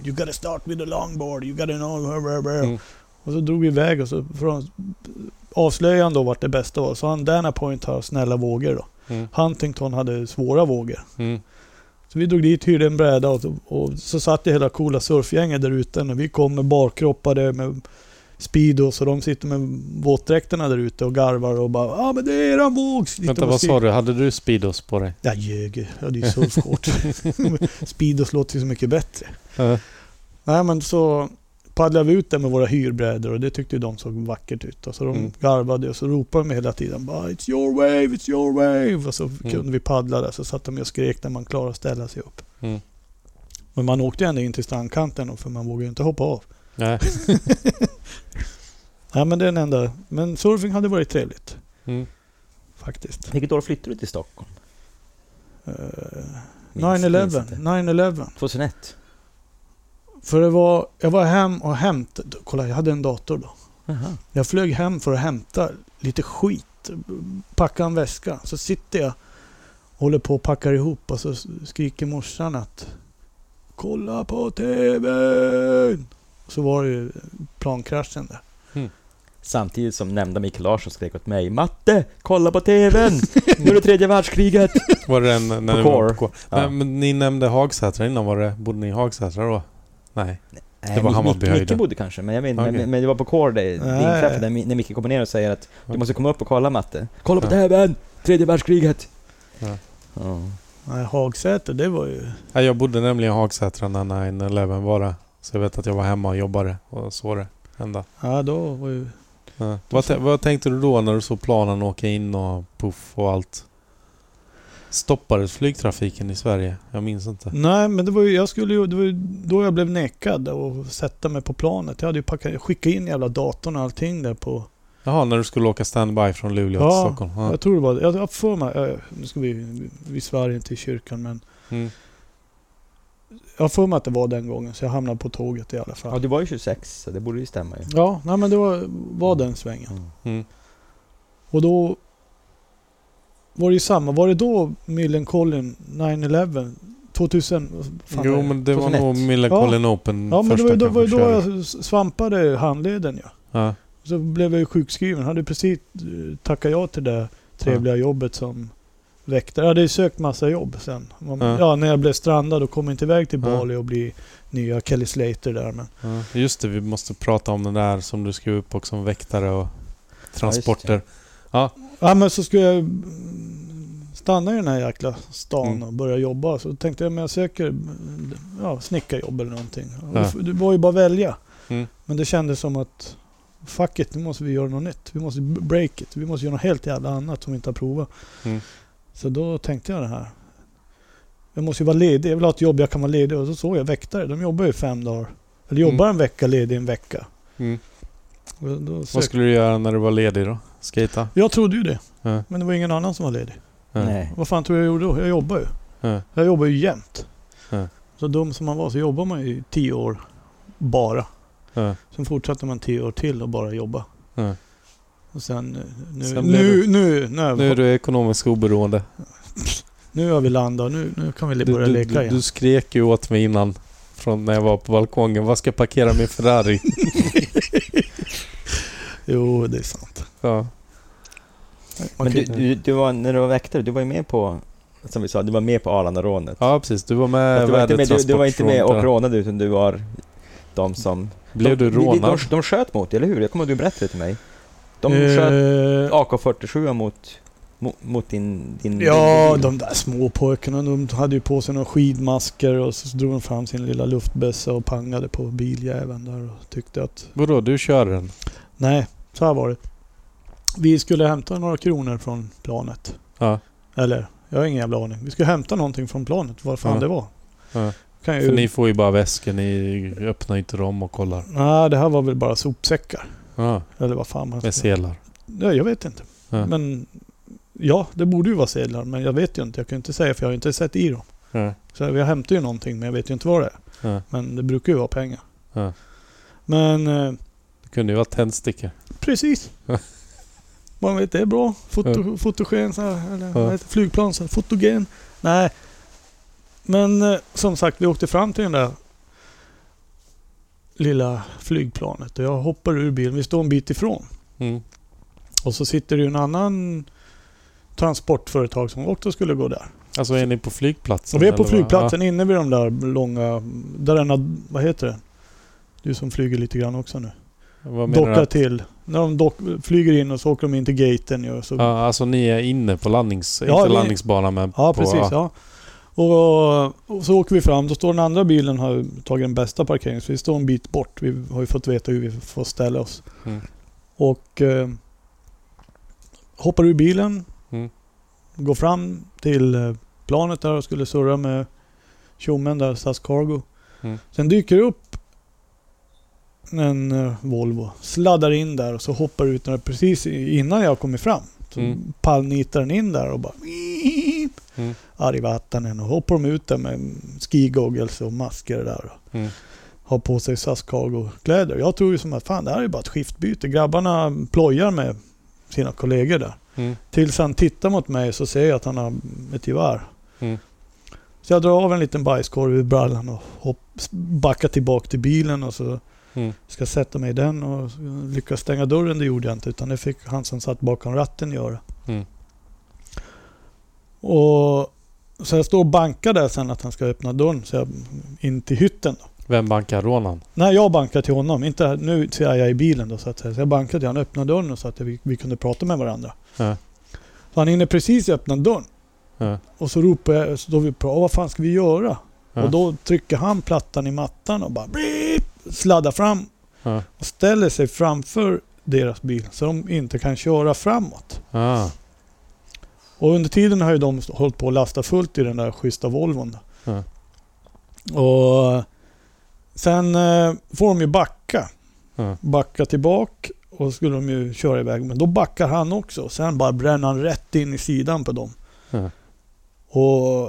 Speaker 3: You gotta start with a longboard, you gotta know...
Speaker 1: Mm.
Speaker 3: Och så drog vi iväg och så från, avslöjade han då vart det bästa var. Så han Dana Point har snälla vågor då.
Speaker 1: Mm.
Speaker 3: Huntington hade svåra vågor.
Speaker 1: Mm.
Speaker 3: Så vi drog dit, hyrde en bräda och, och så satt det hela coola surfgänget där ute. När vi kom med barkroppade med Speedos och de sitter med våtdräkterna där ute och garvar och bara Ja ah, men det är eran våg! Sitter
Speaker 1: Vänta,
Speaker 3: och
Speaker 1: vad
Speaker 3: ser-
Speaker 1: sa du? Hade du Speedos på dig?
Speaker 3: jag ljög Jag hade ju surfkort. Speedos låter ju så mycket bättre.
Speaker 1: Ja.
Speaker 3: Nej men så paddlade vi ut där med våra hyrbrädor och det tyckte ju de såg vackert ut. Och så de
Speaker 1: Mm.
Speaker 3: garvade och så ropade de hela tiden bara It's your wave, it's your wave. Och så
Speaker 4: Mm.
Speaker 3: kunde vi paddla där så satt de och skrek när man klarade att ställa sig upp.
Speaker 1: Mm.
Speaker 3: Men man åkte ju ända in till strandkanten då, för man vågade ju inte hoppa av.
Speaker 1: Nej.
Speaker 3: Nej men det är den enda. Men surfing hade varit trevligt
Speaker 1: Mm.
Speaker 3: faktiskt.
Speaker 4: Vilket år flyttade du till Stockholm?
Speaker 3: Eh,
Speaker 4: Minns- minns
Speaker 3: 9-11,
Speaker 4: inte.
Speaker 3: 9-11.
Speaker 4: 2001?
Speaker 3: För det var, jag var hem och hämtade, kolla jag hade en dator då.
Speaker 4: Jaha.
Speaker 3: Jag flög hem för att hämta lite skit, packa en väska. Så sitter jag och håller på och packar ihop och så skriker morsan att Kolla på TVn! Så var det ju plankraschen där.
Speaker 4: Samtidigt som nämnda Mikael Larsson skrek åt mig Matte, kolla på TVn! Nu är det tredje världskriget!
Speaker 1: Var det en... när
Speaker 4: På
Speaker 1: ni var
Speaker 4: Core.
Speaker 1: Nej,
Speaker 4: Ja.
Speaker 1: men ni nämnde Hagsätra innan. Var det, bodde ni i Hagsätra då? Nej.
Speaker 4: Nej,
Speaker 1: var
Speaker 4: Mic-
Speaker 1: Hammarbyhöjden.
Speaker 4: Micke bodde kanske, men jag vet inte.
Speaker 1: Okej.
Speaker 4: Men, men det var på Core Day,
Speaker 3: Nej.
Speaker 4: din träff, där Mi- när Micke kommer ner och säger att du
Speaker 1: Ja.
Speaker 4: måste komma upp och kolla Matte. Kolla på
Speaker 1: Ja.
Speaker 4: TVn! Tredje världskriget!
Speaker 1: Ja.
Speaker 4: Ja.
Speaker 3: Nej, Hagsäter, det var ju...
Speaker 1: Nej, jag bodde nämligen i Hagsätra när 9-11 var det. Så jag vet att jag var hemma och jobbade och såg det hända.
Speaker 3: Ja, då var ju...
Speaker 1: Ja. Vad, tä- vad tänkte du då när du såg planen åka in och puff och allt? Stoppades flygtrafiken i Sverige? Jag minns inte.
Speaker 3: Nej, men det var ju, jag skulle ju, det var ju då jag blev nekad att sätta mig på planet. Jag hade ju packat, skickat in jävla datorn och allting där på...
Speaker 1: Jaha, när du skulle åka standby från Luleå till
Speaker 3: Ja,
Speaker 1: Stockholm? Ja.
Speaker 3: Jag tror det var Jag har för mig... eh, Nu ska vi... Vi svär inte i kyrkan, men...
Speaker 1: Mm.
Speaker 3: Jag har för mig att det var den gången, så jag hamnade på tåget i alla
Speaker 4: ja,
Speaker 3: fall.
Speaker 4: du var ju 26, så det borde ju stämma ju.
Speaker 3: Ja, nej men det var, var den svängen.
Speaker 4: Mm.
Speaker 1: Mm.
Speaker 3: Och då var det ju samma. Var det då Millencolin 9-11? 2000? vad fan är
Speaker 1: Jo,
Speaker 3: det?
Speaker 1: men det var
Speaker 4: 2001.
Speaker 1: nog Millencolin Open
Speaker 3: ja, men det
Speaker 1: första
Speaker 3: var ju då, var
Speaker 1: kanske körde.
Speaker 3: ju då jag s- svampade handleden ja.
Speaker 1: Ja.
Speaker 3: Så blev jag ju sjukskriven. Hade precis eh, tackat ja till det trevliga jobbet som väktare. Jag hade ju sökt massa jobb sen. Man,
Speaker 1: Ja.
Speaker 3: ja. när jag blev strandad och kom inte iväg till
Speaker 1: Ja.
Speaker 3: Bali och bli nya Kelly Slater där. Men
Speaker 1: Ja, just det, vi måste prata om den där som du skrev upp också om väktare och transporter.
Speaker 3: Ja men så skulle jag mm, stanna i den här jäkla stan
Speaker 1: Mm.
Speaker 3: och börja jobba. Så tänkte jag, men jag söker mm, ja, snickarjobb eller någonting. Och
Speaker 1: Ja.
Speaker 3: f- Det var ju bara att välja.
Speaker 1: Mm.
Speaker 3: Men det kändes som att fuck it, nu måste vi göra något nytt. Vi måste b- break it. Vi måste göra något helt jävla annat som vi inte har provat.
Speaker 1: Mm.
Speaker 3: Så då tänkte jag det här. Jag måste ju vara ledig. Jag vill ha ett jobb jag kan vara ledig. Och så såg jag väktare. De jobbar ju fem dagar. Eller jobbar en vecka, ledig en vecka.
Speaker 1: Mm.
Speaker 3: Och Då
Speaker 1: Vad
Speaker 3: sökte-
Speaker 1: skulle du göra när du var ledig då? Skata?
Speaker 3: jag trodde ju det.
Speaker 1: Ja.
Speaker 3: Men det var ingen annan som var ledig.
Speaker 2: Nej.
Speaker 3: Vad fan tror jag jag gjorde då? Jag jobbar ju.
Speaker 1: Ja.
Speaker 3: Jag jobbar ju jämt.
Speaker 1: Ja.
Speaker 3: Så dum som man var så jobbar man ju i tio år bara.
Speaker 1: Ja.
Speaker 3: Sen fortsatte man tio år till och bara jobba.
Speaker 1: Ja.
Speaker 3: Och sen eh, nu,
Speaker 1: Sen blev
Speaker 3: nu, nu, nu,
Speaker 1: Nu är
Speaker 3: nu,
Speaker 1: du ekonomiskt oberoende.
Speaker 3: nu har vi landat. Nu, nu kan vi
Speaker 1: Du,
Speaker 3: börja
Speaker 1: du,
Speaker 3: leka
Speaker 1: du, du
Speaker 3: igen.
Speaker 1: skrek ju åt mig innan, från när jag var på balkongen. Var ska jag parkera min Ferrari?
Speaker 3: Jo, det är sant.
Speaker 1: Ja.
Speaker 3: Man kan-
Speaker 4: Men du, du, du var, när du var väktare, du var ju med på, som vi sa, du var med på Arlandarånet.
Speaker 1: ja, precis. Du var med
Speaker 4: Fast du, var inte med, du, du var inte med och
Speaker 1: värdetransportfronten.
Speaker 4: rånade utan du var de som...
Speaker 1: Blev du
Speaker 4: de, de, de,
Speaker 1: rånad?
Speaker 4: de sköt mot dig, eller hur? Jag kommer ihåg att du berättade till mig. De
Speaker 3: Eh,
Speaker 4: sköt AK47 mot, mot, mot din, din...
Speaker 3: Ja,
Speaker 4: din bil.
Speaker 3: de där små pojkarna, de hade ju på sig några skidmasker och så drog de fram sin lilla luftbössa och pangade på biljäveln där och tyckte att
Speaker 1: Vadå, du kör den?
Speaker 3: nej, så här var det. Vi skulle hämta några kronor från planet.
Speaker 1: Ja.
Speaker 3: Eller, jag har ingen jävla aning. Vi skulle hämta någonting från planet, vad fan
Speaker 1: Ja.
Speaker 3: det var.
Speaker 1: Ja.
Speaker 3: Kan jag
Speaker 1: För
Speaker 3: ju...
Speaker 1: ni får ju bara väskor, ni öppnar inte dem och kollar.
Speaker 3: Nej, det här var väl bara sopsäckar.
Speaker 1: Ja,
Speaker 3: Eller vad fan man
Speaker 1: med sedlar.
Speaker 3: Ja, jag vet inte.
Speaker 1: Ja.
Speaker 3: Men ja, det borde ju vara sedlar, men jag vet ju inte. Jag kan ju inte säga för jag har ju inte sett i dem.
Speaker 1: Ja.
Speaker 3: Så jag hämtar ju någonting, men jag vet ju inte vad det är.
Speaker 1: Ja.
Speaker 3: Men det brukar ju vara pengar.
Speaker 1: Ja.
Speaker 3: Men eh,
Speaker 1: Det kunde ju vara tändstickor.
Speaker 3: precis. Man vet, det är bra. Foto, Fotogen, så här, eller
Speaker 1: Ja.
Speaker 3: vad heter det? flygplan, så här, fotogen. Nej. Men eh, som sagt, vi åkte fram till den där lilla flygplanet och jag hoppar ur bilen. Vi står en bit ifrån.
Speaker 1: Mm.
Speaker 3: Och så sitter det ju en annan transportföretag som också skulle gå där.
Speaker 1: Alltså är ni på flygplatsen?
Speaker 3: Och vi är på
Speaker 1: eller vad?
Speaker 3: flygplatsen inne vid de där långa... Där denna, vad heter det? Du som flyger lite grann också nu.
Speaker 1: Ja. Vad menar
Speaker 3: Dockar
Speaker 1: du?
Speaker 3: till. När de dock, flyger in och så åker de in till gaten. ju, Och så, ja,
Speaker 1: Ja, alltså ni är inne på landnings...
Speaker 3: Ja,
Speaker 1: inte
Speaker 3: vi-
Speaker 1: landningsbanan men på...
Speaker 3: precis. Ja. Och, och så åker vi fram. Då står den andra bilen har ju tagit den bästa parkeringen. Så vi står en bit bort. Vi har ju fått veta hur vi får ställa oss.
Speaker 1: Mm.
Speaker 3: Och eh, hoppar ur bilen.
Speaker 1: Mm.
Speaker 3: Går fram till eh, planet där och skulle surra med tjommen där, SAS Cargo.
Speaker 1: Mm.
Speaker 3: Sen dyker det upp en eh, Volvo. Sladdar in där och så hoppar ut när precis i- innan jag kommer fram. Så
Speaker 1: Mm.
Speaker 3: pallnitar den in där och bara...
Speaker 1: Mm.
Speaker 3: Arg i vattnen och hoppar de ut där med ski goggles och masker där.
Speaker 1: Mm.
Speaker 3: Har på sig SAS Cargo-kläder. Jag tror ju som att fan det här är bara ett skiftbyte. Grabbarna plojar med sina kollegor där.
Speaker 1: Mm.
Speaker 3: Tills han tittar mot mig så ser jag att han har ett gevär.
Speaker 1: Mm.
Speaker 3: Så jag drar av en liten bajskorv ur brallan och hopp, backar tillbaka till bilen och så
Speaker 1: Mm.
Speaker 3: ska jag sätta mig i den och lyckas stänga dörren. Det gjorde jag inte utan det fick han som satt bakom ratten göra.
Speaker 1: Mm.
Speaker 3: Och så jag står och bankar där sen att han ska öppna dörren så jag, in till hytten. Då.
Speaker 1: Vem bankar rånaren?
Speaker 3: Nej, jag bankar till honom. Inte, nu ser jag i bilen då så att säga. Så jag bankade till honom, öppnade dörren och så att vi, vi kunde prata med varandra.
Speaker 1: Ja.
Speaker 3: Så han hinner precis öppna dörren.
Speaker 1: Ja.
Speaker 3: Och så ropar jag, så då vi pratar, vad fan ska vi göra?
Speaker 1: Ja.
Speaker 3: Och då trycker han plattan i mattan och bara blip, sladdar fram
Speaker 1: Ja.
Speaker 3: och ställer sig framför deras bil så de inte kan köra framåt.
Speaker 1: Ah.
Speaker 3: Och under tiden har ju de hållit på att lasta fullt i den där schyssta Volvon.
Speaker 1: Ja.
Speaker 3: Och sen eh, får de ju backa.
Speaker 1: Ja.
Speaker 3: Backa tillbaka och skulle de ju köra iväg. Men då backar han också. Och sen bara bränner han rätt in i sidan på dem.
Speaker 1: Ja.
Speaker 3: Och,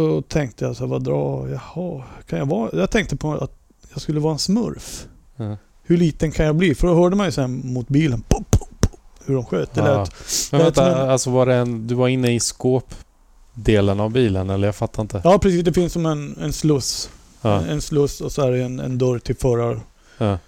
Speaker 3: och tänkte jag så här, vad dra, jaha, kan jag vara? Jag tänkte på att jag skulle vara en smurf.
Speaker 1: Ja.
Speaker 3: Hur liten kan jag bli? För då hörde man ju sen mot bilen, pop, pop, pop, hur de sköt. Det
Speaker 1: Ja.
Speaker 3: lät
Speaker 1: Men
Speaker 3: Nej,
Speaker 1: vänta,
Speaker 3: jag tror-
Speaker 1: alltså var det en, du var inne i skåpdelen av bilen eller? Jag fattar inte.
Speaker 3: Ja, precis. Det finns som en, en sluss.
Speaker 1: Ja.
Speaker 3: En sluss och så är det en, en dörr till förar...
Speaker 1: Ja.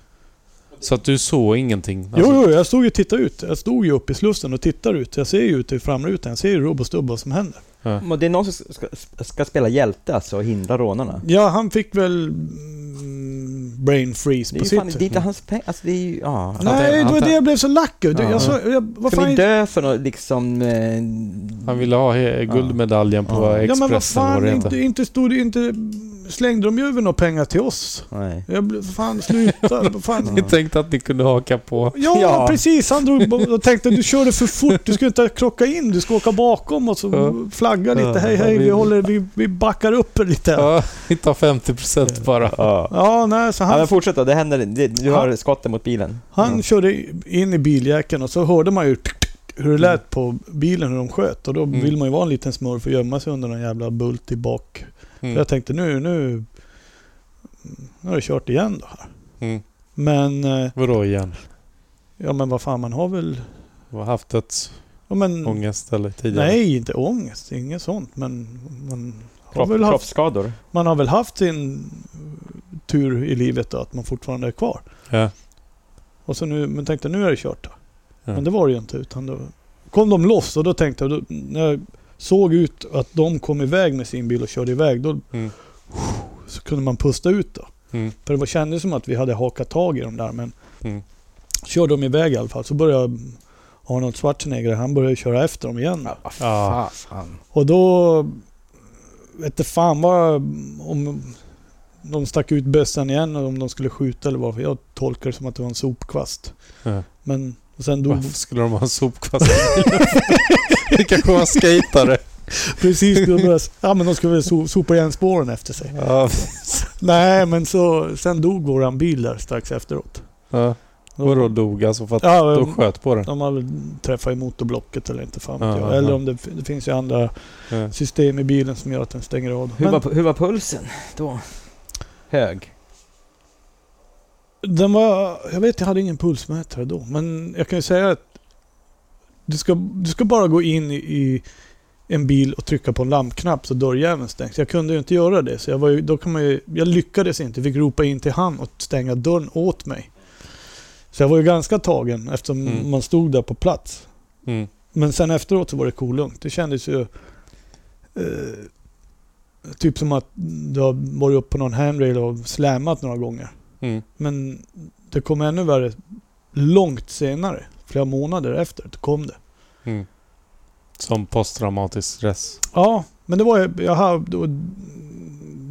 Speaker 1: Så att du såg ingenting? Alltså,
Speaker 3: Jo, jo, jag stod ju och tittade ut. Jag stod ju uppe i slussen och tittar ut. Jag ser ju ut i framrutan. Jag ser ju rubb och stubb vad som händer.
Speaker 4: Men det är någon som ska, ska spela hjälte alltså och hindra rånarna.
Speaker 3: Ja, han fick väl mm, brain freeze
Speaker 4: Det
Speaker 3: på
Speaker 4: är, ju fan,
Speaker 3: sitt.
Speaker 4: det är inte hans pengar. Alltså det är ju... Ja.
Speaker 3: Nej, det var det jag blev så lack över.
Speaker 4: Ja.
Speaker 3: Jag sa, jag, vad
Speaker 4: Ska
Speaker 3: fan...
Speaker 4: vi dö för något liksom... Eh,
Speaker 1: Han ville ha he- guldmedaljen på
Speaker 3: Ja,
Speaker 4: Ja.
Speaker 3: men vad
Speaker 1: Expressen vad
Speaker 3: fan,
Speaker 1: det heter.
Speaker 3: inte, inte stod det inte slängde de ju över några pengar till oss.
Speaker 4: Nej.
Speaker 3: Jag blev, fan sluta. Fan.
Speaker 1: Ni tänkte att ni kunde haka på.
Speaker 3: Ja,
Speaker 4: Ja.
Speaker 3: precis. Han drog bo- och tänkte du körde för fort. Du skulle inte ha krockat in. Du skulle åka bakom och så
Speaker 1: Ja.
Speaker 3: flagga lite.
Speaker 1: Ja,
Speaker 3: Hej, hej.
Speaker 1: vi-
Speaker 3: Vi, håller, vi, vi backar upp lite.
Speaker 1: Ja, ni tar 50% bara.
Speaker 4: Ja.
Speaker 3: Ja, nej, så
Speaker 4: ja
Speaker 3: han,
Speaker 4: men fortsätt då, det händer, det, du
Speaker 3: Ja.
Speaker 4: hör skotten mot bilen.
Speaker 3: han körde in i biljäkeln och så hörde man ju hur det lät på bilen hur de sköt. Och då
Speaker 1: Mm.
Speaker 3: vill man ju vara en liten smurf och gömma sig under någon jävla bult i bak. För
Speaker 1: Mm.
Speaker 3: jag tänkte nu, nu, nu har jag kört igen då. här.
Speaker 1: Mm.
Speaker 3: Men, eh,
Speaker 1: Vadå igen?
Speaker 3: ja men vad fan man har väl...
Speaker 1: Du har haft dödsångest
Speaker 3: Ja, men,
Speaker 1: eller tidigare?
Speaker 3: nej, inte ångest, inget sånt. Men man har,
Speaker 4: Kropp,
Speaker 3: väl haft,
Speaker 4: kroppsskador.
Speaker 3: man har väl haft sin tur i livet då, att man fortfarande är kvar.
Speaker 1: Ja.
Speaker 3: Och så nu, men tänkte nu är det kört då.
Speaker 1: Ja.
Speaker 3: Men det var det ju inte. Utan då kom de loss och då tänkte jag, då, när jag såg ut att de kom iväg med sin bil och körde iväg, då
Speaker 1: Mm.
Speaker 3: så kunde man pusta ut då.
Speaker 1: Mm.
Speaker 3: För det var, kändes som att vi hade hakat tag i dem där men
Speaker 1: Mm.
Speaker 3: körde de iväg i alla fall. Så började Arnold Schwarzenegger, han började köra efter dem igen.
Speaker 2: Ja,
Speaker 1: Ja.
Speaker 2: fan.
Speaker 3: Och då vet du fan vad om de stack ut bössan igen och om de skulle skjuta eller vad. För jag tolkar det som att det var en sopkvast.
Speaker 1: Ja.
Speaker 3: Men och sen dog
Speaker 1: Varför skulle de ha en sopkvast i bilen? Det kanske var en skejtare.
Speaker 3: precis då började, ja men de skulle väl so, sopa igen spåren efter sig.
Speaker 1: Ja.
Speaker 3: Nej men så sen dog våran bil där strax efteråt.
Speaker 1: Ja. Vadå dog alltså för att
Speaker 3: Ja,
Speaker 1: de sköt på den?
Speaker 3: De har väl träffat i motorblocket eller inte fan vet
Speaker 1: Ja,
Speaker 3: jag.
Speaker 1: ja,
Speaker 3: Eller
Speaker 1: ja.
Speaker 3: om det, det finns ju andra
Speaker 1: Ja.
Speaker 3: system i bilen som gör att den stänger av.
Speaker 4: Hur,
Speaker 3: Men
Speaker 4: var, hur var pulsen då? Hög.
Speaker 3: den var, jag vet jag hade ingen pulsmätare då, men jag kan ju säga att du ska, du ska bara gå in i, i en bil och trycka på en lampknapp så dörrjäveln stängs. Jag kunde ju inte göra det, så jag, var ju, då kan man ju, jag lyckades inte. Fick ropa in till han och stänga dörren åt mig. Så jag var ju ganska tagen eftersom
Speaker 1: Mm.
Speaker 3: man stod där på plats.
Speaker 1: Mm.
Speaker 3: Men sen efteråt så var det kolugnt. Det kändes ju... Eh, typ som att du har varit uppe på någon handrail och slämat några gånger.
Speaker 1: Mm.
Speaker 3: Men det kom ännu värre långt senare. Flera månader efter det kom det.
Speaker 1: Mm. Som posttraumatisk stress.
Speaker 3: Ja, men det var ju... Jag hade, då-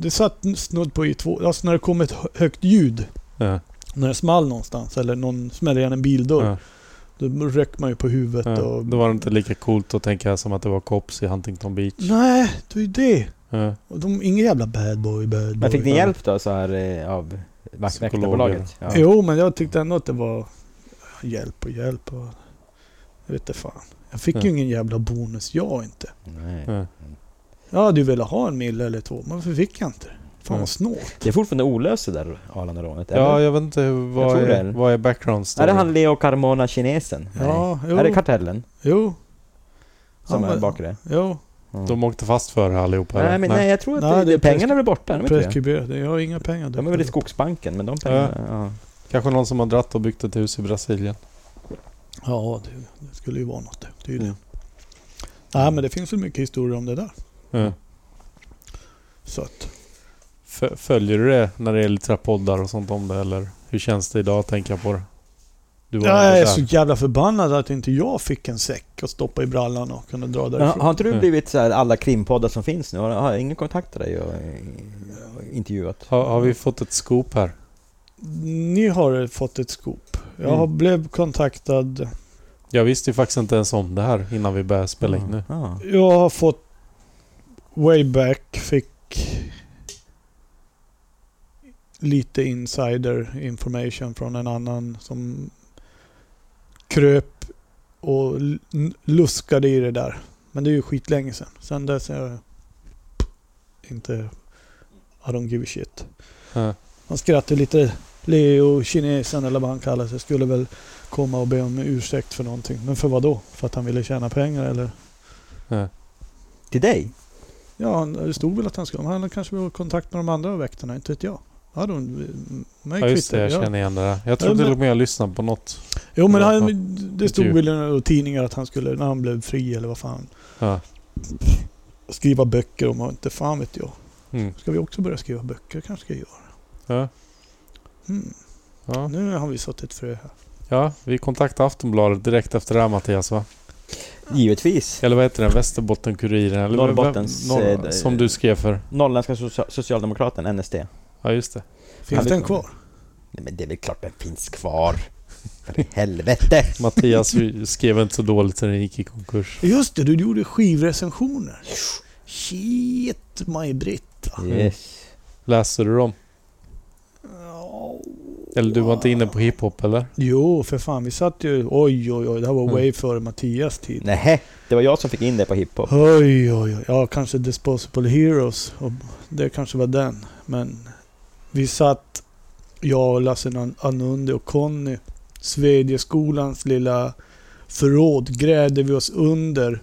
Speaker 3: det satt snudd på i två... Alltså när det kom ett hö- högt ljud.
Speaker 1: Ja.
Speaker 3: När det small någonstans eller någon smällde igen en bildörr.
Speaker 1: Ja.
Speaker 3: Då ryckte man ju på huvudet
Speaker 1: Ja.
Speaker 3: och...
Speaker 1: Då var det inte lika coolt att tänka som att det var cops i Huntington Beach.
Speaker 3: Nej, det är ju det.
Speaker 1: Ja.
Speaker 3: Och de, ingen jävla bad boy, bad boy.
Speaker 4: Men fick ni
Speaker 3: bad
Speaker 4: hjälp då så här eh, av vakt- väktarbolaget? Ja.
Speaker 3: Jo, men jag tyckte ändå att det var hjälp och hjälp. Och, jag vet inte fan. Jag fick ju
Speaker 1: Ja.
Speaker 3: ingen jävla bonus, jag inte.
Speaker 4: Nej.
Speaker 1: Ja.
Speaker 3: Jag hade ju velat ha en mille eller två, men varför fick jag inte det?
Speaker 4: Mm.
Speaker 3: Fan
Speaker 1: Ja.
Speaker 3: vad snålt.
Speaker 4: Det är fortfarande olöst det där Arlandarånet, eller?
Speaker 1: Ja, jag vet inte hur- vad,
Speaker 4: tror det
Speaker 1: är,
Speaker 4: är-
Speaker 1: vad är background
Speaker 4: Är
Speaker 1: story?
Speaker 4: det han Leo Carmona, kinesen? Nej.
Speaker 3: Ja, jo.
Speaker 4: Är det kartellen
Speaker 3: jo.
Speaker 4: som
Speaker 3: Ja,
Speaker 4: är
Speaker 3: men-
Speaker 4: bakom det?
Speaker 3: Jo,
Speaker 4: Mm.
Speaker 1: De åkte fast för det allihopa
Speaker 4: nej,
Speaker 1: eller?
Speaker 4: men nej, jag tror att
Speaker 3: Nej,
Speaker 4: det,
Speaker 3: det är
Speaker 4: pengarna blev borta. är de inte det?
Speaker 3: preskriberade. Jag har inga pengar.
Speaker 4: De är väl i Skogsbanken, men de pengarna... Ja.
Speaker 1: Kanske någon som har dratt och byggt ett hus i Brasilien.
Speaker 3: Ja, det, det skulle ju vara något det, tydligen. Nej, men det finns väl mycket historier om det där.
Speaker 1: Ja.
Speaker 3: Så att,
Speaker 1: Fö- Följer du det när det gäller lite poddar och sånt om det eller? Hur känns det idag att tänka på det? Du var
Speaker 3: jag
Speaker 1: ändå
Speaker 3: är
Speaker 1: där.
Speaker 3: så jävla förbannad att inte jag fick en säck att stoppa i brallan och kunna dra
Speaker 4: Men
Speaker 3: därifrån.
Speaker 4: har inte du
Speaker 1: Ja.
Speaker 4: blivit så här alla krimpoddar som finns nu? Har, har ingen kontaktat dig och eh, intervjuat?
Speaker 1: Har, har vi fått ett scoop här?
Speaker 3: Ni har fått ett scoop. Jag har
Speaker 4: Mm.
Speaker 3: blev kontaktad.
Speaker 1: Jag visste ju faktiskt inte ens om det här innan vi började spela in nu.
Speaker 4: Ja.
Speaker 3: Jag har fått... Wayback fick lite insider information från en annan som kröp och l- n- luskade i det där. Men det är ju skitlänge sedan. Sen dess är jag inte... I don't give a shit.
Speaker 1: Ja.
Speaker 3: Han skrattade lite. Leo, kinesen eller vad han kallar sig, skulle väl komma och be om ursäkt för någonting. Men för vad då? För att han ville tjäna pengar eller?
Speaker 4: Till dig?
Speaker 3: Ja, han- det stod väl att han skulle... Han kanske var i kontakt med de andra väktarna, inte vet jag. Ja, då, mig
Speaker 1: ja just det,
Speaker 3: kvittar
Speaker 1: jag
Speaker 3: det, ja.
Speaker 1: känner igen det där. Jag tror
Speaker 3: Ja, men-
Speaker 1: till och med jag lyssnade på något.
Speaker 3: Jo, men
Speaker 1: Ja,
Speaker 3: han, det stod
Speaker 1: intervju.
Speaker 3: väl i några tidningar att han skulle, när han blev fri eller vad fan,
Speaker 1: Ja.
Speaker 3: skriva böcker om och inte fan vet jag.
Speaker 1: Mm.
Speaker 3: Ska vi också börja skriva böcker? kanske ska jag göra.
Speaker 1: Ja.
Speaker 3: Mm.
Speaker 1: Ja.
Speaker 3: Nu har vi sått ett frö här.
Speaker 1: ja, vi kontaktade Aftonbladet direkt efter det här Mattias va?
Speaker 4: Givetvis.
Speaker 1: Eller vad heter den? Västerbotten-Kuriren? Eller vad-
Speaker 4: Norrbottens,
Speaker 1: vad-
Speaker 4: eh,
Speaker 1: som du skrev för.
Speaker 4: Norrländska socia- Socialdemokraten, NSD.
Speaker 1: Ja, just det.
Speaker 3: Finns
Speaker 4: Ja,
Speaker 3: den
Speaker 4: det-
Speaker 3: kvar?
Speaker 4: Nej, men det är väl klart den finns kvar. För helvete!
Speaker 1: Mattias ju- skrev inte så dåligt sen den gick i konkurs.
Speaker 3: Just det, du gjorde skivrecensioner. Shit, Maj-Britt.
Speaker 4: Yes.
Speaker 1: Läste du dem?
Speaker 3: Ja.
Speaker 1: Eller du var inte inne på hiphop eller?
Speaker 3: Jo, för fan. Vi satt ju... Oj, oj, oj. Det här var
Speaker 1: Mm.
Speaker 3: way före Mattias tid.
Speaker 4: Nej, det var jag som fick in det på hiphop.
Speaker 3: Oj, oj, oj. Ja, kanske Disposable Heroes. Och det kanske var den. Men vi satt, jag och Lasse Nan- Anundi och Conny, Svedjeskolans lilla förråd grävde vi oss under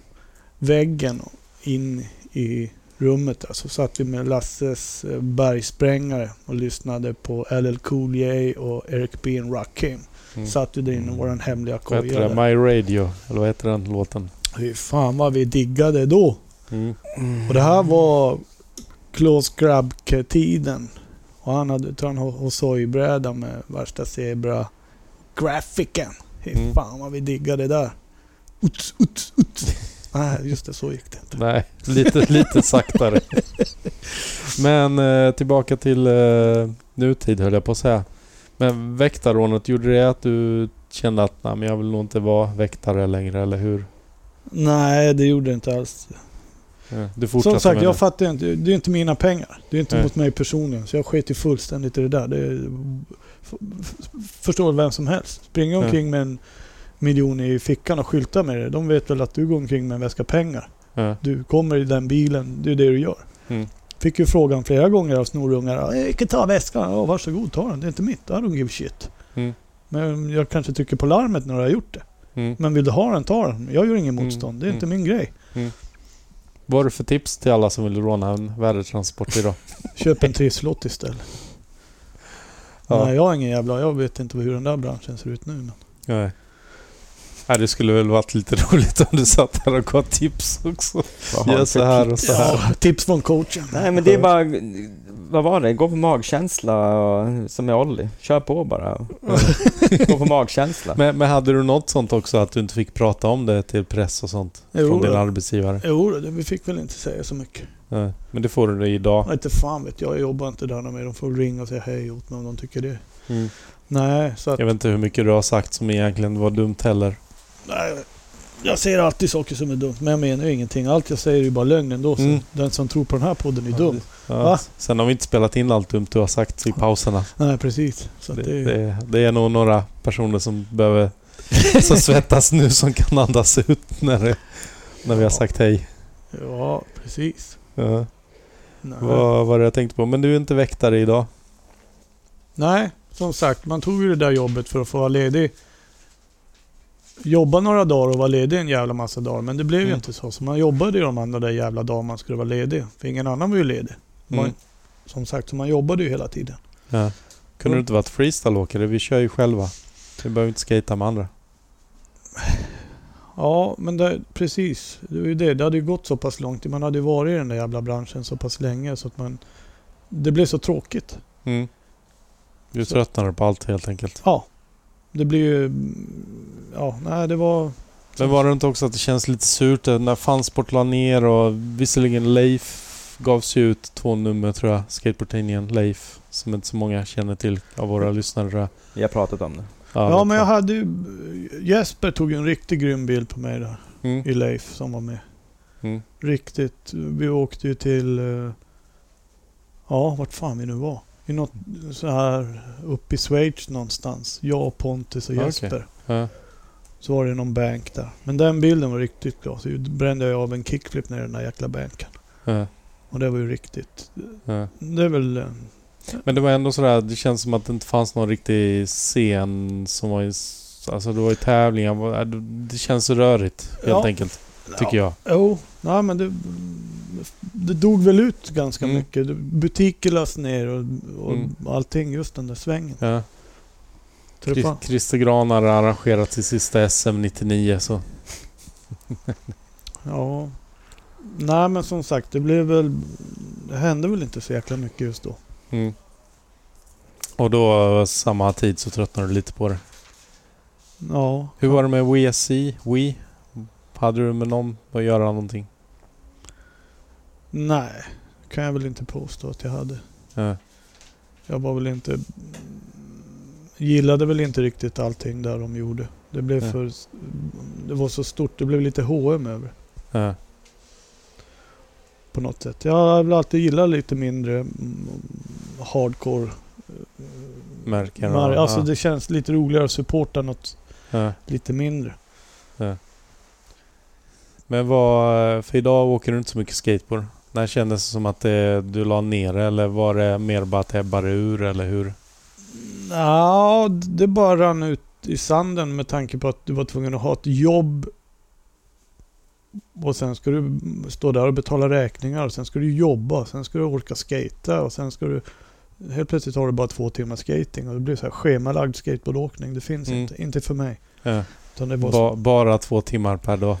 Speaker 3: väggen och in i rummet. Där. Så satt vi med Lasses eh, bergsprängare och lyssnade på LL Cool J och Eric B and Rakim.
Speaker 1: Mm.
Speaker 3: Satt vi där inne i vår hemliga
Speaker 1: Vad heter
Speaker 3: koja.
Speaker 1: det? My
Speaker 3: där.
Speaker 1: Radio? Eller vad heter den låten?
Speaker 3: Fy fan vad vi diggade då.
Speaker 1: Mm.
Speaker 3: Och det här var Klaus Grabke-tiden. Och han hade tror han Hosoi-bräda med värsta zebra grafiken. Fy
Speaker 1: Mm.
Speaker 3: fan vad vi diggade det där. Uts, uts, uts. Nej, just det. Så gick det inte.
Speaker 1: Nej, lite, lite saktare. Men eh, tillbaka till eh, nutid höll jag på att säga. Men väktarrånet, gjorde det att du kände att nej, men jag vill nog inte vara väktare längre, eller hur?
Speaker 3: Nej, det gjorde det inte alls.
Speaker 1: Eh, Du fortsatte
Speaker 3: Som sagt,
Speaker 1: med
Speaker 3: jag
Speaker 1: det.
Speaker 3: fattar ju inte. Det är inte mina pengar. Det är inte
Speaker 1: Nej.
Speaker 3: mot mig personligen. Så jag sket ju fullständigt i det där. Det är, f- f- förstår vem som helst. Springa
Speaker 1: Ja.
Speaker 3: omkring med en miljon i fickan och skylta med det. De vet väl att du går omkring med en väska pengar.
Speaker 1: Eh,
Speaker 3: Du kommer i den bilen, det är det du gör.
Speaker 1: Mm.
Speaker 3: Fick ju frågan flera gånger av snorungar. Jag kan ta väskan. Ja, varsågod, ta den. Det är inte mitt. I don't give a shit.
Speaker 1: Mm.
Speaker 3: Men jag kanske trycker på larmet när du har gjort det.
Speaker 1: Mm.
Speaker 3: Men vill du ha den, ta den. Jag gör ingen
Speaker 1: Mm.
Speaker 3: motstånd. Det är inte min grej.
Speaker 1: Vad har du för tips till alla som vill råna en värdetransport idag?
Speaker 3: Köp en trisslott istället.
Speaker 1: Ja.
Speaker 3: Nej, jag har ingen jävla... Jag vet inte hur den där branschen ser ut nu. Men.
Speaker 1: Nej. Nej, det skulle väl varit lite roligt om du satt här och gav tips också.
Speaker 4: Vad har
Speaker 1: Gör
Speaker 4: du
Speaker 1: så
Speaker 4: för
Speaker 1: här
Speaker 4: tips?
Speaker 1: och så här.
Speaker 3: Ja, tips från coachen.
Speaker 4: Nej men det är bara, vad var det? Gå på magkänsla och, som med Olli. Kör på bara. Gå på magkänsla.
Speaker 1: Men, men hade du något sånt också att du inte fick prata om det till press och sånt?
Speaker 3: Jo,
Speaker 1: från din
Speaker 3: då.
Speaker 1: arbetsgivare?
Speaker 3: Jo, det- vi fick väl inte säga så mycket.
Speaker 1: Nej. Men det får du idag.
Speaker 3: Nej, inte fan vet jag. Jag jobbar inte där med. De får ringa och säga hej åt mig om de tycker det.
Speaker 1: Mm.
Speaker 3: Nej, så att...
Speaker 1: Jag vet inte hur mycket du har sagt som egentligen var dumt heller.
Speaker 3: Nej, jag säger alltid saker som är dumt, men jag menar ju ingenting. Allt jag säger är ju bara lögn ändå. Så
Speaker 1: Mm.
Speaker 3: Den som tror på den här podden är
Speaker 1: Ja,
Speaker 3: dum.
Speaker 1: Ja.
Speaker 3: Va?
Speaker 1: Sen har vi inte spelat in allt dumt du har sagt i pauserna.
Speaker 3: Nej, precis. Så att
Speaker 1: Det,
Speaker 3: det,
Speaker 1: det, det är nog några personer som behöver som svettas nu som kan andas ut när, det, när vi har sagt hej.
Speaker 3: Ja, precis.
Speaker 1: Ja.
Speaker 3: Nej.
Speaker 1: Vad var det jag tänkte på? Men du är inte väktare idag?
Speaker 3: Nej, som sagt. Man tog ju det där jobbet för att få vara ledig. Jobba några dagar och vara ledig en jävla massa dagar. Men det blev ju
Speaker 1: Mm.
Speaker 3: inte så. Så man jobbade ju de andra där jävla dagarna man skulle vara ledig. För ingen annan var ju ledig. Man,
Speaker 1: Mm.
Speaker 3: Som sagt, så man jobbade ju hela tiden.
Speaker 1: Ja. Kunde du inte varit freestyleåkare? Vi kör ju själva. Vi behöver inte skata med andra.
Speaker 3: Ja, men det, precis. Det var ju det. Det hade ju gått så pass långt. Man hade ju varit i den där jävla branschen så pass länge så att man... Det blev så tråkigt.
Speaker 1: Mm. Du
Speaker 3: Så-
Speaker 1: tröttnade på allt helt enkelt.
Speaker 3: Ja. Det blir ju... Ja, nej det var...
Speaker 1: Men var det inte också att det känns lite surt eh, när fansport la ner och visserligen Leif gavs ju ut två nummer tror jag, skateboardtidningen Leif, som inte så många känner till av våra lyssnare tror jag.
Speaker 4: Vi har pratat om det.
Speaker 1: Ja,
Speaker 3: Mm. Ja,
Speaker 1: vet
Speaker 3: men jag hade ju... Jesper tog ju en riktigt grym bild på mig där.
Speaker 1: Mm.
Speaker 3: I Leif som var med.
Speaker 1: Mm.
Speaker 3: Riktigt. Vi åkte ju till... eh, Ja, vart fan vi nu var. I något så här... Uppe i Schweiz någonstans. Jag, Pontus och
Speaker 1: Ja, okej.
Speaker 3: Jesper.
Speaker 1: Ja.
Speaker 3: Så var det någon bank där. Men den bilden var riktigt bra. Så brände jag av en kickflip ner i den där jäkla banken.
Speaker 1: Ja.
Speaker 3: Och det var ju riktigt...
Speaker 1: Ja.
Speaker 3: Det är väl... eh,
Speaker 1: Men det var ändå sådär, det känns som att det inte fanns någon riktig scen som var i... Alltså det var ju tävlingar, det känns så rörigt helt
Speaker 3: Ja.
Speaker 1: enkelt, tycker jag.
Speaker 3: Jo, nej men det... Det dog väl ut ganska
Speaker 1: Mm.
Speaker 3: mycket. Det- Butiker lades ner och, och
Speaker 1: Mm.
Speaker 3: allting. Just den där svängen.
Speaker 1: Ja.
Speaker 3: Tror
Speaker 1: Chris-
Speaker 3: fan.
Speaker 1: Christer Gran har arrangerat sitt sista SM 99 så...
Speaker 3: Ja. Nej men som sagt, det blev väl... Det hände väl inte så jäkla mycket just då.
Speaker 1: Mm. Och då eh, samma tid så tröttnade du lite på det.
Speaker 3: Ja.
Speaker 1: Hur var det med WSC? We? Hade du med någon att göra någonting?
Speaker 3: Nej, kan jag väl inte påstå att jag hade.
Speaker 1: Nej.
Speaker 3: Jag var väl inte... Gillade väl inte riktigt allting där de gjorde. Det blev
Speaker 1: Nej.
Speaker 3: för... Det var så stort. Det blev lite H&M över
Speaker 1: Nej.
Speaker 3: på något sätt. Jag har väl alltid gillat lite mindre mm, hardcore.
Speaker 1: Märken och-
Speaker 3: Mar- alltså
Speaker 1: ja.
Speaker 3: det känns lite roligare att supporta något
Speaker 1: Ja.
Speaker 3: lite mindre.
Speaker 1: Men vad... För idag åker du inte så mycket skateboard. När kändes det som att det, du la ner eller var det mer bara att det ebbade ur eller hur?
Speaker 3: Ja, det bara rann ut i sanden med tanke på att du var tvungen att ha ett jobb. Och sen ska du stå där och betala räkningar. Och sen ska du jobba. Sen ska du orka skata och sen ska du... Helt plötsligt har du bara två timmar skating och det blir så här schemalagd skateboardåkning. Det finns
Speaker 1: Mm.
Speaker 3: inte. Inte för mig.
Speaker 1: Ja.
Speaker 3: Utan det var så-
Speaker 1: Äh, Ba, bara två timmar per dag.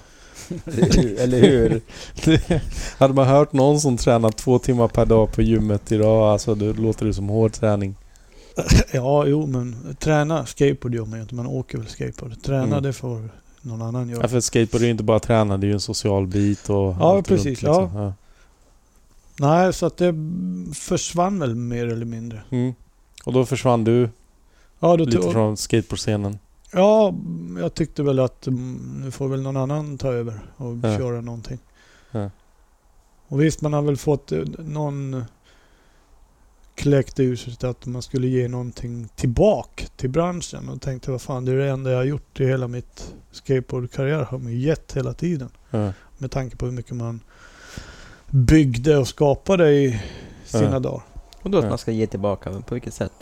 Speaker 2: Eller hur?
Speaker 1: Det, hade man hört någon som tränat två timmar per dag på gymmet idag, alltså det låter det som hård träning.
Speaker 3: Ja, jo men träna skateboard gör man ju inte. Man åker väl skateboard. Träna
Speaker 1: Mm.
Speaker 3: det får någon annan göra.
Speaker 1: Ja. För skateboard är ju inte bara träna, det är ju en social bit och
Speaker 3: Ja,
Speaker 1: allt
Speaker 3: precis,
Speaker 1: liksom. ja.
Speaker 3: Nej, så att det försvann väl mer eller mindre.
Speaker 1: Mm. Och då försvann du
Speaker 3: Ja, då
Speaker 1: lite
Speaker 3: tog,
Speaker 1: från skateboardscenen.
Speaker 3: ja, jag tyckte väl att mm, nu får väl någon annan ta över och
Speaker 1: Ja.
Speaker 3: köra någonting.
Speaker 1: Ja.
Speaker 3: Och visst, man har väl fått eh, någon kläckte ur sig att man skulle ge någonting tillbaka till branschen och tänkte vad fan det är det enda jag har gjort i hela mitt skateboardkarriär har man ju gett hela tiden.
Speaker 1: Ja.
Speaker 3: Med tanke på hur mycket man byggde och skapade i sina
Speaker 1: Ja.
Speaker 3: dagar.
Speaker 2: Och då att
Speaker 1: Ja.
Speaker 2: man ska ge tillbaka, men på vilket sätt?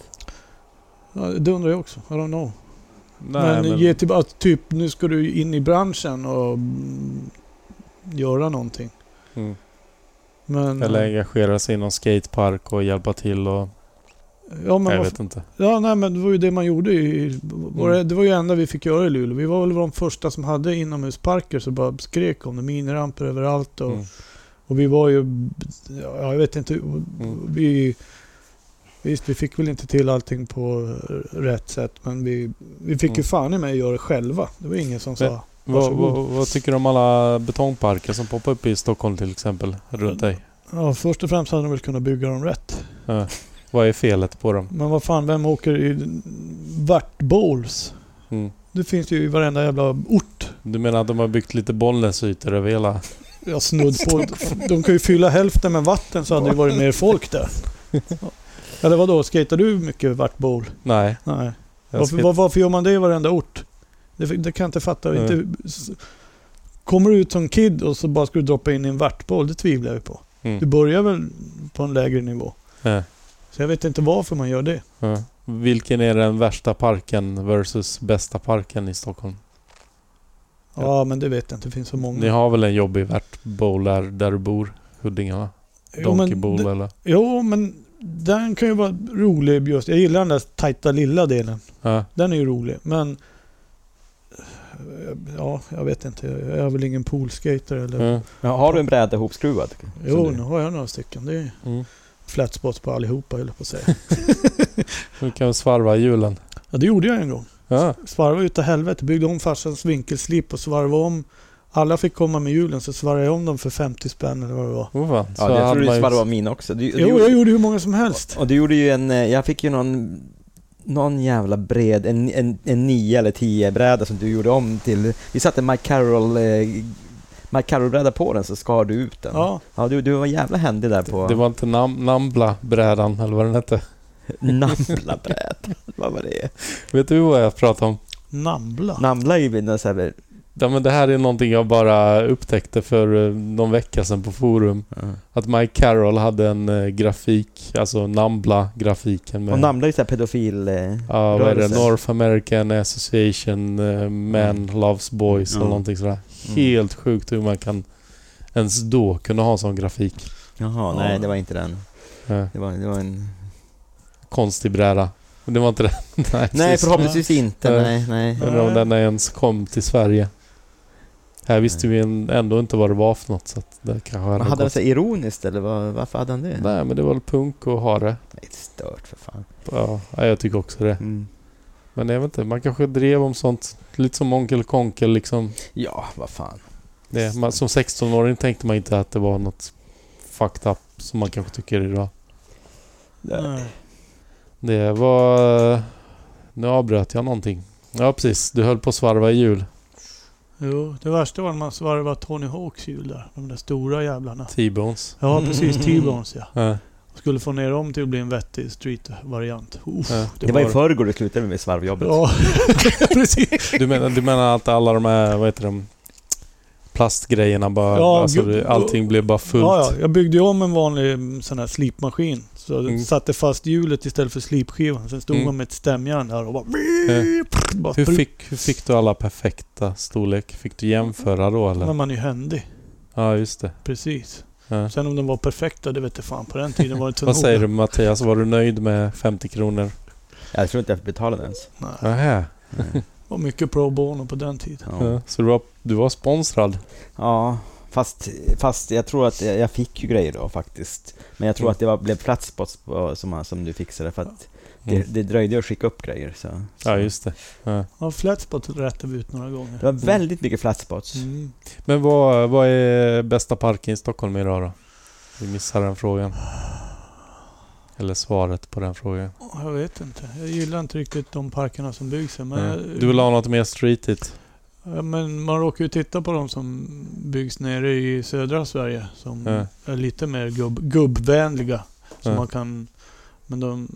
Speaker 3: Ja, det undrar jag också. I don't know.
Speaker 1: Nej,
Speaker 3: men, ge tillbaka, typ nu ska du in i branschen och mm, göra någonting.
Speaker 1: Mm.
Speaker 3: Men, eh,
Speaker 1: Eller engagera sig i någon skatepark och hjälpa till och...
Speaker 3: ja, men
Speaker 1: jag
Speaker 3: vad,
Speaker 1: vet Mm. inte.
Speaker 3: ja, nej, men det var ju det man gjorde. I, var det- Det var ju det enda vi fick göra i Luleå. Vi var väl de första som hade inomhusparker så bara skrek om det. Miniramper överallt och,
Speaker 1: Mm.
Speaker 3: och vi var ju... Ja, jag vet inte.
Speaker 1: Mm.
Speaker 3: Vi, visst, vi fick väl inte till allting på eh, rätt sätt men vi, vi fick ju
Speaker 1: Mm.
Speaker 3: fan i mig göra det själva. Det var ingen som sa...
Speaker 1: Vad,
Speaker 3: Varsågod.
Speaker 1: vad, vad tycker du om alla betongparker som poppar upp i Stockholm till exempel, runt dig?
Speaker 3: Ja, först och främst hade de väl kunnat bygga dem rätt.
Speaker 1: Ja. Vad är felet på dem?
Speaker 3: Men vad fan, vem åker i Vart-bowls?
Speaker 1: Mm.
Speaker 3: Det finns ju i varenda jävla ort.
Speaker 1: Du menar att de har byggt lite Bollnäsytor över hela...
Speaker 3: Jag snudd på. De kan ju fylla hälften med vatten så hade det varit mer folk där. Eller vadå, skater du mycket Vart-bowl?
Speaker 1: Nej.
Speaker 3: Nej.
Speaker 1: jag
Speaker 3: Varför,
Speaker 1: skate-
Speaker 3: var, varför gör man det i varenda ort? Det, det kan jag inte fatta.
Speaker 1: Nej.
Speaker 3: Inte, s- kommer du ut som kid och så bara ska du droppa in i en Vart-bowl? Det tvivlar jag ju på. Du
Speaker 1: Mm.
Speaker 3: börjar väl på en lägre nivå.
Speaker 1: Ja.
Speaker 3: Så jag vet inte varför man gör det.
Speaker 1: Ja. Vilken är den värsta parken versus bästa parken i Stockholm?
Speaker 3: Ja, men det vet jag inte. Det finns så många.
Speaker 1: Ni har väl en jobbig värtbowl där, där du bor? Huddinge va?
Speaker 3: jo,
Speaker 1: Donkey
Speaker 3: men,
Speaker 1: Bowl
Speaker 3: d-
Speaker 1: eller?
Speaker 3: jo, men den kan ju vara rolig just. Jag gillar den där tajta lilla delen.
Speaker 1: Ja.
Speaker 3: Den är ju rolig, men... eh, Ja, jag vet inte. Jag är väl ingen poolskater eller...
Speaker 1: Ja. Mm,
Speaker 4: Men har du en bräda hopskruvad?
Speaker 3: Jo,
Speaker 4: Som
Speaker 3: nu har jag några stycken. Det är
Speaker 1: Mm.
Speaker 3: flatspots på allihopa, höll jag på att säga.
Speaker 1: Du kan svarva hjulen.
Speaker 3: Ja, det gjorde jag en gång.
Speaker 1: Ja.
Speaker 3: Svarva utav helvete. Byggde om farsans vinkelslip och svarva om. Alla fick komma med hjulen, så svarvade jag om dem för 50 spänn eller vad det var.
Speaker 1: Oh, fan.
Speaker 4: Ja, jag
Speaker 1: hade
Speaker 4: tror
Speaker 1: man
Speaker 4: du
Speaker 1: ju-
Speaker 4: svarade var min också. Du, du
Speaker 3: Jo, jag gjorde hur många som helst.
Speaker 4: Och du gjorde ju en, eh, jag fick ju någon, någon jävla bred, en, en, en 9 eller 10 bräda som du gjorde om till, vi satte Mike Carroll, eh, Mike Carroll-bräda på den så skar du ut den.
Speaker 3: Ja,
Speaker 4: Ja, du, du var jävla händig där på
Speaker 1: Det var inte nam- Nambla-brädan eller vad den hette.
Speaker 4: Namla-brädan. vad var det?
Speaker 1: Vet du vad jag pratar om?
Speaker 3: Nambla.
Speaker 4: Namla är ju mina så här,
Speaker 1: Ja, men det här är någonting jag bara upptäckte för eh, någon vecka sedan på forum. Att Mike Carroll hade en eh, grafik, alltså Nambla-grafiken med...
Speaker 4: och Namla är ju så här pedofil... eh,
Speaker 1: Ja, vad är det?
Speaker 4: rörelse.
Speaker 1: North American Association eh, Men Loves Boys eller
Speaker 4: Mm. Ja.
Speaker 1: någonting sådär.
Speaker 4: Mm.
Speaker 1: Helt sjukt hur man kan ens då kunna ha sån grafik.
Speaker 4: Jaha, nej det var inte den.
Speaker 1: Eh,
Speaker 4: Det var, det var en...
Speaker 1: konstig bräda. Men Det var inte det. Nej,
Speaker 4: Nej,
Speaker 1: precis.
Speaker 4: förhoppningsvis inte,
Speaker 1: Nej.
Speaker 4: nej, nej.
Speaker 1: Undrar om
Speaker 3: Nej.
Speaker 1: den ens kom till Sverige. Här visste vi en- ändå inte vad det var för något så att det kanske
Speaker 4: Men
Speaker 1: hade
Speaker 4: hade han
Speaker 1: gått.
Speaker 4: så här ironiskt eller vad, varför hade han det? Nej,
Speaker 1: Nej men det var väl punk och hare.
Speaker 4: det är stört för fan.
Speaker 1: Ja, ja, jag tycker också det.
Speaker 4: Mm.
Speaker 1: Men jag vet inte, man kanske drev om sånt. Lite som Onkel Konkel liksom.
Speaker 4: Ja, vad fan.
Speaker 1: Det, man, som 16-åring tänkte man inte att det var något fucked up som man kanske tycker idag.
Speaker 3: Nej.
Speaker 1: Det var... Nu avbröt jag någonting. Ja, precis. Du höll på att svarva i jul.
Speaker 3: Jo, det värsta var när man svarvade Tony Hawks hjul där. De där stora jävlarna.
Speaker 1: T-bones.
Speaker 3: Ja, precis. T-bones ja.
Speaker 1: Ja.
Speaker 3: Skulle få ner dem till att bli en vettig street-variant. Uff,
Speaker 1: Ja.
Speaker 4: Det, var ju förrgår du slutade med svarvjobbet.
Speaker 3: Ja, precis.
Speaker 1: Du menar, du menar att alla de här, vad heter de, plastgrejerna bara...
Speaker 3: Ja,
Speaker 1: alltså,
Speaker 3: gud.
Speaker 1: det- allting blev bara fullt.
Speaker 3: Ja, ja, jag byggde ju om en vanlig mm, sån här slipmaskin. Så jag
Speaker 1: Mm.
Speaker 3: satte fast hjulet istället för slipskivan. Sen stod
Speaker 1: Mm.
Speaker 3: man med ett stämjärn där och bara... bara
Speaker 1: Hur, fick, hur fick du alla perfekta storlek? Fick du jämföra då eller?
Speaker 3: Men man är ju händig.
Speaker 1: Ja, just det.
Speaker 3: Precis.
Speaker 1: Ja.
Speaker 3: Sen om de var perfekta, det vet jag fan. På den tiden var det inte så
Speaker 1: Vad säger du Mattias, var du nöjd med 50 kronor?
Speaker 4: Jag tror inte jag betalade ens.
Speaker 3: Nej, det
Speaker 1: Nähä.
Speaker 3: var mycket pro bono på den tiden.
Speaker 4: Ja.
Speaker 1: Ja. Så du var, du var sponsrad?
Speaker 4: Ja, fast, fast jag tror att jag jag fick ju grejer då faktiskt. Men jag tror
Speaker 1: Mm.
Speaker 4: att det var, blev plats på, på, som, som du fixade för att
Speaker 1: Mm.
Speaker 4: det, det dröjde att skicka upp grejer. Så. så.
Speaker 1: Ja, just det. Ja.
Speaker 3: Ja, flatspot rättade vi ut några gånger.
Speaker 4: Det var väldigt mycket flatspots.
Speaker 3: Mm.
Speaker 1: Men vad, vad är bästa parken i Stockholm idag då? Vi missar den frågan. Eller svaret på den frågan.
Speaker 3: Jag vet inte. Jag gillar inte riktigt de parkerna som byggs här. Men, eh,
Speaker 1: Ja. Mm. Du vill ha något mer streetigt?
Speaker 3: Ja, men man råkar ju titta på de som byggs nere i södra Sverige som
Speaker 1: Ja.
Speaker 3: är lite mer gubb, gubbvänliga. Som
Speaker 1: Ja.
Speaker 3: man kan... Men de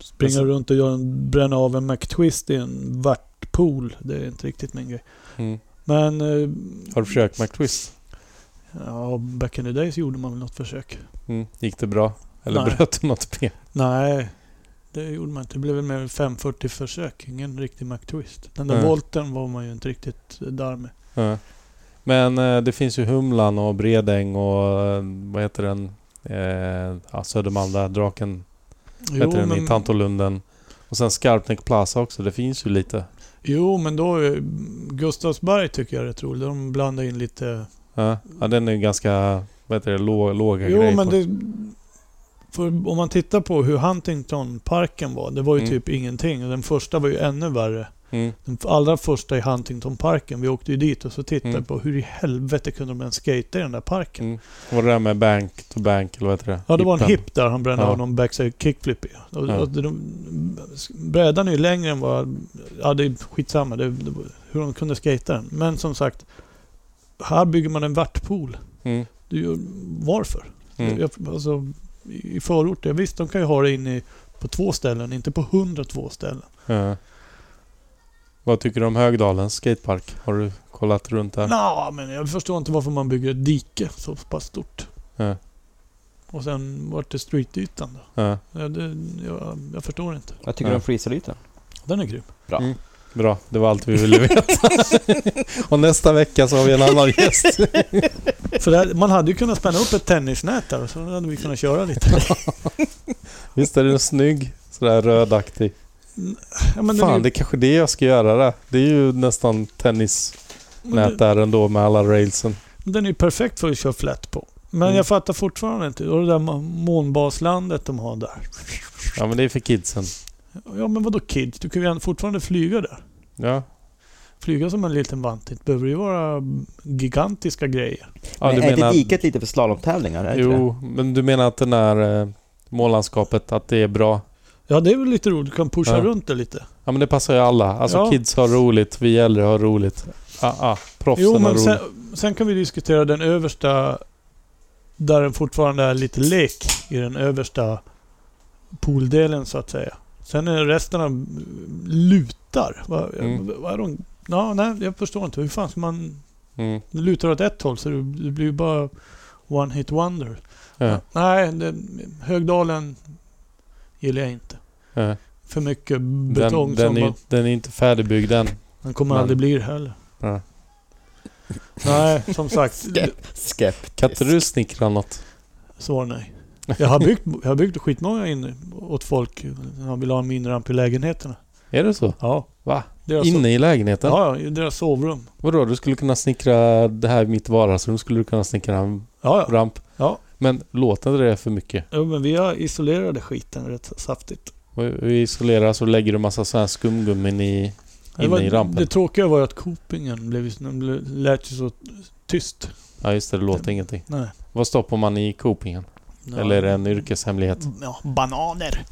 Speaker 3: springer runt och gör en, bränner av en McTwist i en vart pool. Det är inte riktigt min grej.
Speaker 1: Mm.
Speaker 3: Men... eh,
Speaker 1: Har du försökt McTwist?
Speaker 3: Ja, back in the days gjorde man väl något försök.
Speaker 1: Mm. Gick det bra? Eller
Speaker 3: Nej.
Speaker 1: bröt du något ben?
Speaker 3: Nej, det gjorde man inte. Det blev väl mer 540-försök. Ingen riktig McTwist. Den där
Speaker 1: Nej.
Speaker 3: volten var man ju inte riktigt eh, där med.
Speaker 1: Ja. Men eh, det finns ju Humlan och Bredäng och eh, vad heter den? Eh, ja, Södermalm där, Draken
Speaker 3: Jo,
Speaker 1: heter den
Speaker 3: men-
Speaker 1: i Tantolunden. Och sen Skarpnäck Plaza också, det finns ju lite.
Speaker 3: Jo, men då... är- Gustavsberg tycker jag är rätt roligt. De blandar in lite...
Speaker 1: Ja, ja den är ju ganska, vad heter det, lå, låga
Speaker 3: Jo,
Speaker 1: grejer
Speaker 3: men
Speaker 1: på.
Speaker 3: det... För om man tittar på hur Huntingtonparken var. Det var ju
Speaker 1: Mm.
Speaker 3: typ ingenting. Och Den första var ju ännu värre.
Speaker 1: Mm.
Speaker 3: Den allra första i Huntingtonparken. Vi åkte ju dit och så tittade
Speaker 1: Mm.
Speaker 3: på hur i helvete kunde de ens skata i den där parken?
Speaker 1: Mm. Var det där med bank to bank eller vad heter det?
Speaker 3: Ja, det var en
Speaker 1: Hippen.
Speaker 3: hip där han brände
Speaker 1: Ja.
Speaker 3: av någon backside kickflip i. Och,
Speaker 1: Ja.
Speaker 3: och de, brädan är ju längre än vad... Ja, det är skitsamma det, det, hur de kunde skata den. Men som sagt, här bygger man en vartpool.
Speaker 1: Mm.
Speaker 3: Du, gör- varför?
Speaker 1: Mm.
Speaker 3: Jag, alltså, I i förorter, visst de kan ju ha det inne i- på två ställen, inte på 102 ställen.
Speaker 1: Ja. Vad tycker du om Högdalens skatepark? Har du kollat runt där?
Speaker 3: Nå, men jag förstår inte varför man bygger ett dike så pass stort.
Speaker 1: Ja.
Speaker 3: Och sen vart det streetytan då?
Speaker 1: Ja.
Speaker 3: Ja, det, jag, jag förstår inte.
Speaker 4: Vad tycker du om freezerytan?
Speaker 3: Den är grym.
Speaker 1: Bra, det var allt vi ville veta. och nästa vecka så har vi en annan gäst.
Speaker 3: För där, man hade ju kunnat spänna upp ett tennisnät där och så hade vi kunnat köra lite.
Speaker 1: Visst är den snygg? Sådär rödaktig.
Speaker 3: Ja, men
Speaker 1: Fan,
Speaker 3: den
Speaker 1: det är kanske det jag ska göra där. Det är ju nästan tennisnät
Speaker 3: är, men den,
Speaker 1: där ändå med alla railsen.
Speaker 3: den är ju perfekt för att köra flat på. Men
Speaker 1: Mm.
Speaker 3: jag fattar fortfarande inte. Och det där ma- månbaslandet de har där.
Speaker 1: Ja, men det är för kidsen.
Speaker 3: Ja men vadå kids? Du kan ju fortfarande flyga där.
Speaker 1: Ja,
Speaker 3: Flyga som en liten vantit. behöver ju vara gigantiska grejer.
Speaker 1: ja
Speaker 4: men är inte diket lite för slalomtävlingar? Är det inte
Speaker 1: Jo, men du menar att den här eh, månlandskapet, att det är bra?
Speaker 3: Ja det är väl lite roligt. Du kan pusha
Speaker 1: Ja.
Speaker 3: runt det lite.
Speaker 1: Ja, men det passar ju alla. Alltså
Speaker 3: Ja.
Speaker 1: kids har roligt, vi äldre har roligt. Ah, ah, proffsen
Speaker 3: Jo
Speaker 1: har
Speaker 3: men
Speaker 1: roligt.
Speaker 3: sen, sen kan vi diskutera den översta... Där den fortfarande är lite lek i den översta pooldelen så att säga. Sen är resten av lutar. Vad,
Speaker 1: Mm.
Speaker 3: vad är de? Ja, nej, jag förstår inte. Hur fan ska man...
Speaker 1: Mm,
Speaker 3: Du lutar åt ett håll så det det blir ju bara one hit wonder.
Speaker 1: ja,
Speaker 3: Nej, det, Högdalen gillar jag inte.
Speaker 1: ja.
Speaker 3: För mycket betong
Speaker 1: Den, den, är,
Speaker 3: som
Speaker 1: ju-
Speaker 3: bara,
Speaker 1: den är inte färdigbyggd än.
Speaker 3: den kommer
Speaker 1: men-
Speaker 3: aldrig bli det heller.
Speaker 1: Ja.
Speaker 3: Nej, som sagt.
Speaker 4: Skepp.
Speaker 1: Kan inte du snickra något?
Speaker 3: Svar nej. Jag har byggt, jag har byggt skitmånga in åt folk när de vill ha en miniramp i lägenheterna.
Speaker 1: Är det så?
Speaker 3: Ja.
Speaker 1: Va?
Speaker 3: Deras so-
Speaker 1: Inne i lägenheten?
Speaker 3: Ja, ja, i deras sovrum.
Speaker 1: Vadå, du skulle kunna snickra det här i mitt vardagsrum, skulle du kunna snickra en
Speaker 3: Ja, ja.
Speaker 1: ramp?
Speaker 3: Ja.
Speaker 1: Men låt inte det för mycket.
Speaker 3: Jo, men vi har isolerade skiten rätt saftigt.
Speaker 1: Vi- Vi isolerar så lägger du massa sådana här skumgummin i... Inne
Speaker 3: var,
Speaker 1: i rampen.
Speaker 3: det tråkiga var ju att Copingen blev, den blev, lät ju så tyst.
Speaker 1: Ja, just det. Det låter ingenting.
Speaker 3: Nej.
Speaker 1: Vad stoppar man i copingen?
Speaker 3: Ja.
Speaker 1: Eller är det en yrkeshemlighet?
Speaker 3: Ja, bananer.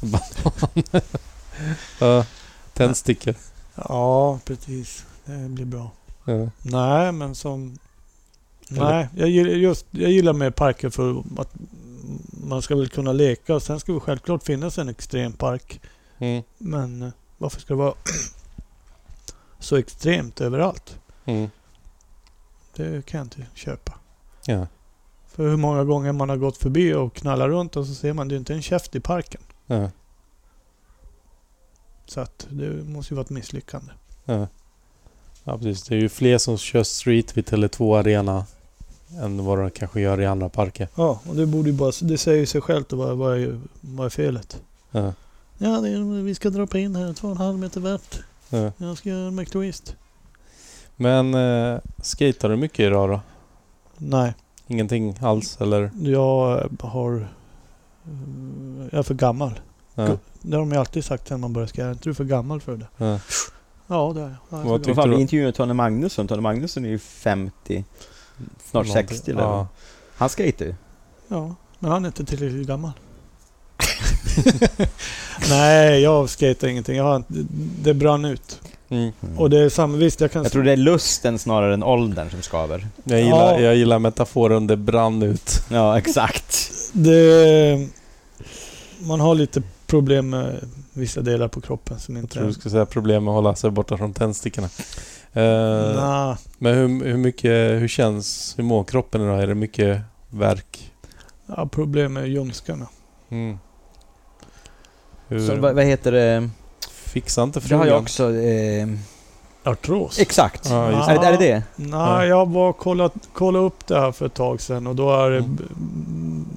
Speaker 1: Ja, tändstickor.
Speaker 3: Ja, precis. Det blir bra.
Speaker 1: Ja.
Speaker 3: Nej, men som...
Speaker 1: Eller-
Speaker 3: Nej, jag gillar, just, jag gillar mer parker för att man ska väl kunna leka. Och sen ska det självklart finnas en extrempark.
Speaker 1: Mm.
Speaker 3: Men eh, varför ska det vara så extremt överallt?
Speaker 1: Mm.
Speaker 3: Det kan jag inte köpa.
Speaker 1: Ja.
Speaker 3: För hur många gånger man har gått förbi och knallat runt och så ser man det är inte en käft i parken.
Speaker 1: Ja.
Speaker 3: Så att det måste ju vara ett misslyckande.
Speaker 1: Ja. ja, precis. Det är ju fler som kör street vid Tele2 Arena än vad de kanske gör i andra parker.
Speaker 3: Ja, och det borde ju bara... Det säger ju sig självt och vad, vad, är, vad är felet?
Speaker 1: Ja.
Speaker 3: Ja, det är, vi ska droppa in här. Två och en halv meter värt.
Speaker 1: Ja.
Speaker 3: Jag ska göra en McTwist.
Speaker 1: Men eh, skater du mycket idag då?
Speaker 3: Nej,
Speaker 1: Ingenting alls eller?
Speaker 3: jag har... Jag är för gammal.
Speaker 1: Ja.
Speaker 3: Go- Det har de ju alltid sagt sedan man började skrära. Är inte du för gammal för det?
Speaker 1: Ja.
Speaker 3: Ja, det är
Speaker 1: Vad
Speaker 3: jag. jag. är för gammal.
Speaker 4: Vad
Speaker 1: tyckte
Speaker 4: fan,
Speaker 1: du-
Speaker 4: vi intervjuade Tony Magnusson. Tony Magnusson är ju 50, snart 60 eller?
Speaker 1: ja.
Speaker 4: Han skejtar ju.
Speaker 3: Ja, men han är inte tillräckligt gammal. Nej, jag skejtar ingenting. Jag har, inte- det brann ut.
Speaker 1: mm.
Speaker 3: Och det är samma, visst jag kan...
Speaker 4: Jag tror det är lusten snarare än åldern som skaver.
Speaker 1: jag, gillar,
Speaker 3: Ja.
Speaker 1: jag gillar metaforen det brann ut.
Speaker 4: Ja, exakt.
Speaker 3: det, man har lite problem med vissa delar på kroppen som
Speaker 1: Jag
Speaker 3: inte...
Speaker 1: tror du skulle säga problem med att hålla sig borta från tändstickorna. Eh,
Speaker 3: Nja,
Speaker 1: Men hur, hur mycket, hur känns, hur mår kroppen idag? Är det mycket värk?
Speaker 3: ja, problem med ljumskarna.
Speaker 1: Mm.
Speaker 4: Så
Speaker 1: Hur,
Speaker 4: vad, vad heter det?
Speaker 1: fixa inte
Speaker 4: Det har
Speaker 1: frugan.
Speaker 4: jag också. Eh,
Speaker 3: Artros?
Speaker 4: exakt.
Speaker 1: Ja, just.
Speaker 3: Ja.
Speaker 1: det.
Speaker 4: Är, det- är det det?
Speaker 1: Ja.
Speaker 3: Nej, jag var kollat, kollade upp det här för ett tag sedan och då är det...
Speaker 1: Mm.
Speaker 3: b- mm,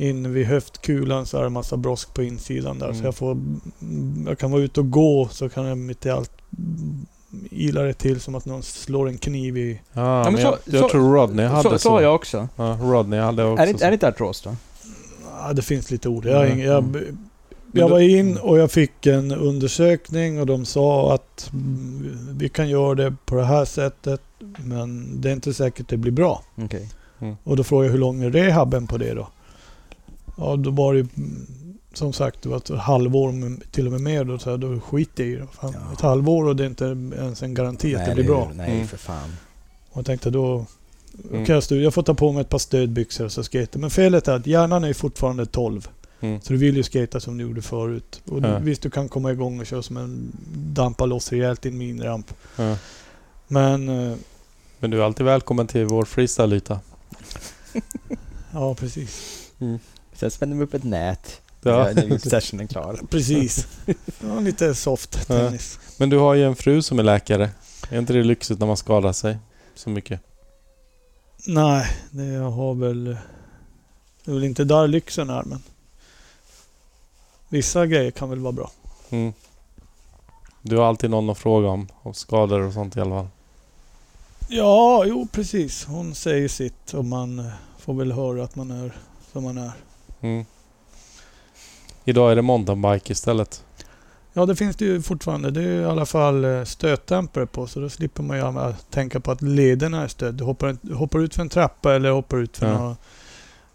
Speaker 3: In vid höftkulan så är det massa brosk på insidan där.
Speaker 1: Mm.
Speaker 3: Så jag får... mm, Jag kan vara ute och gå så kan jag mitt i allt mm, ila det till som att någon slår en kniv i...
Speaker 1: Ja,
Speaker 4: men
Speaker 1: men jag,
Speaker 4: så-
Speaker 1: jag
Speaker 4: så-
Speaker 1: tror Rodney hade
Speaker 4: så,
Speaker 1: så.
Speaker 4: så har jag också.
Speaker 1: Ja, Rodney hade också
Speaker 4: Är det, inte- är det inte artros då?
Speaker 3: Ja, det finns lite ord. Jag, har
Speaker 1: Mm.
Speaker 3: ing- jag, jag var in och jag fick en undersökning och de sa att mm, vi kan göra det på det här sättet men det är inte säkert det blir bra.
Speaker 4: Okej.
Speaker 3: Och då frågade jag hur lång är rehaben på det då? Ja, då var det ju, mm, som sagt det var ett halvår, med- till och med mer. Då, så här, då skiter jag i det. Fan,
Speaker 2: Ja.
Speaker 3: Ett halvår och det är inte ens en garanti att det blir bra.
Speaker 2: Nej,
Speaker 1: Mm.
Speaker 2: för fan.
Speaker 3: Och jag tänkte då,
Speaker 1: Mm.
Speaker 3: okej okay, jag får ta på mig ett par stödbyxor och så skejta. Men felet är att hjärnan är ju fortfarande 12.
Speaker 1: Mm.
Speaker 3: Så du vill ju skata som du gjorde förut. Och du,
Speaker 1: Ja.
Speaker 3: visst, du kan komma igång och köra som en dampa loss rejält i en miniramp.
Speaker 1: Ja.
Speaker 3: Men, eh,
Speaker 1: Men du är alltid välkommen till vår freestyle-yta.
Speaker 3: ja precis.
Speaker 4: Sen spänner vi upp ett nät.
Speaker 1: Ja.
Speaker 4: Ja. När sessionen är klar.
Speaker 3: Precis. Ja, lite soft
Speaker 1: Ja.
Speaker 3: tennis.
Speaker 1: Men du har ju en fru som är läkare. Är inte det lyxigt när man skadar sig så mycket?
Speaker 3: Nej, det jag har väl... Det är väl inte där lyxen är, men... Vissa grejer kan väl vara bra.
Speaker 1: Mm. Du har alltid någon att fråga om, om skador och sånt i alla fall.
Speaker 3: Ja, jo precis. Hon säger sitt och man eh, får väl höra att man är som man är.
Speaker 1: Mm. Idag är det mountainbike istället.
Speaker 3: Ja, det finns det ju fortfarande. Det är ju i alla fall eh, stötdämpare på, så då slipper man ju alla tänka på att lederna är stöd. Du hoppar, en- hoppar ut för en trappa eller hoppar ut för
Speaker 1: Ja.
Speaker 3: nå-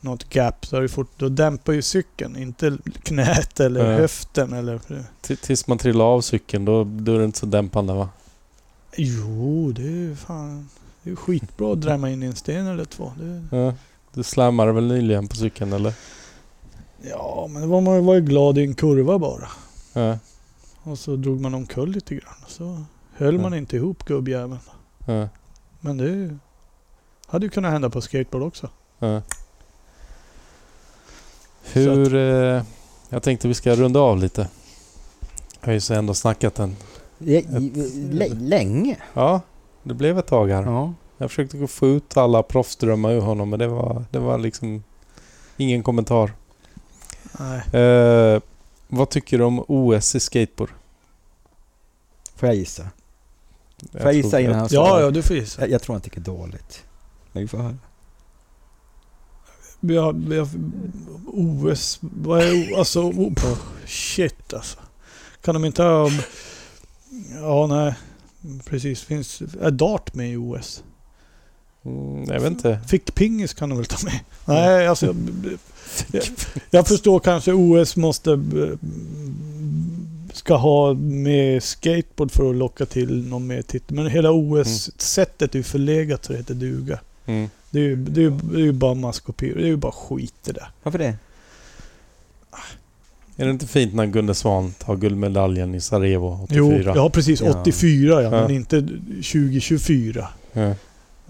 Speaker 3: något gap, så är det fort, då dämpar ju cykeln. Inte knät eller
Speaker 1: Ja.
Speaker 3: höften eller...
Speaker 1: T- tills man trillar av cykeln, då, då är det inte så dämpande va?
Speaker 3: Jo, det är ju fan... Det är ju skitbra att drämma in i en sten eller två. Det,
Speaker 1: Ja. Du slammade väl nyligen på cykeln eller?
Speaker 3: ja, men det var man var ju glad i en kurva bara.
Speaker 1: Ja.
Speaker 3: Och så drog man omkull lite grann. Så höll man inte ihop gubbjäveln.
Speaker 1: Ja.
Speaker 3: Men det är ju- hade ju kunnat hända på skateboard också.
Speaker 1: Ja. Hur... Eh, jag tänkte vi ska runda av lite. Jag har ju så ändå snackat en...
Speaker 2: länge.
Speaker 1: Ja, det blev ett tag här.
Speaker 2: Ja.
Speaker 1: Jag försökte gå- få ut alla proffsdrömmar ur honom men det var, det var liksom ingen kommentar.
Speaker 3: Nej.
Speaker 1: Eh, vad tycker du om OS i skateboard?
Speaker 4: Får jag gissa?
Speaker 1: Jag
Speaker 4: Får jag gissa
Speaker 1: tror-
Speaker 4: innan
Speaker 2: Alltså,
Speaker 4: han
Speaker 3: Ja,
Speaker 4: svarar?
Speaker 3: ja, du får gissa.
Speaker 4: Jag, jag tror han tycker dåligt. Men vi får höra.
Speaker 3: Vi har, vi har OS... Vad är o, Alltså... Oh, pff, shit alltså. Kan de inte ha... Ja, nej. Precis. Finns, är dart med i OS?
Speaker 1: Mm, jag vet inte.
Speaker 3: Fick pingis kan de väl ta med? Nej, alltså... Jag, jag, jag förstår kanske OS måste... b- Ska ha med skateboard för att locka till någon mer titel. Men hela OS-sättet är ju förlegat så det heter duga.
Speaker 1: Mm.
Speaker 3: Det är ju, det är ju, det är ju bara maskopior. Det är ju bara skit det där.
Speaker 4: Varför det?
Speaker 1: Är det inte fint när Gunde Svan tar guldmedaljen i Sarajevo 84?
Speaker 3: Jo, ja precis.
Speaker 4: Ja.
Speaker 3: 84 ja,
Speaker 1: Ja.
Speaker 3: men inte 2024.
Speaker 1: Ja.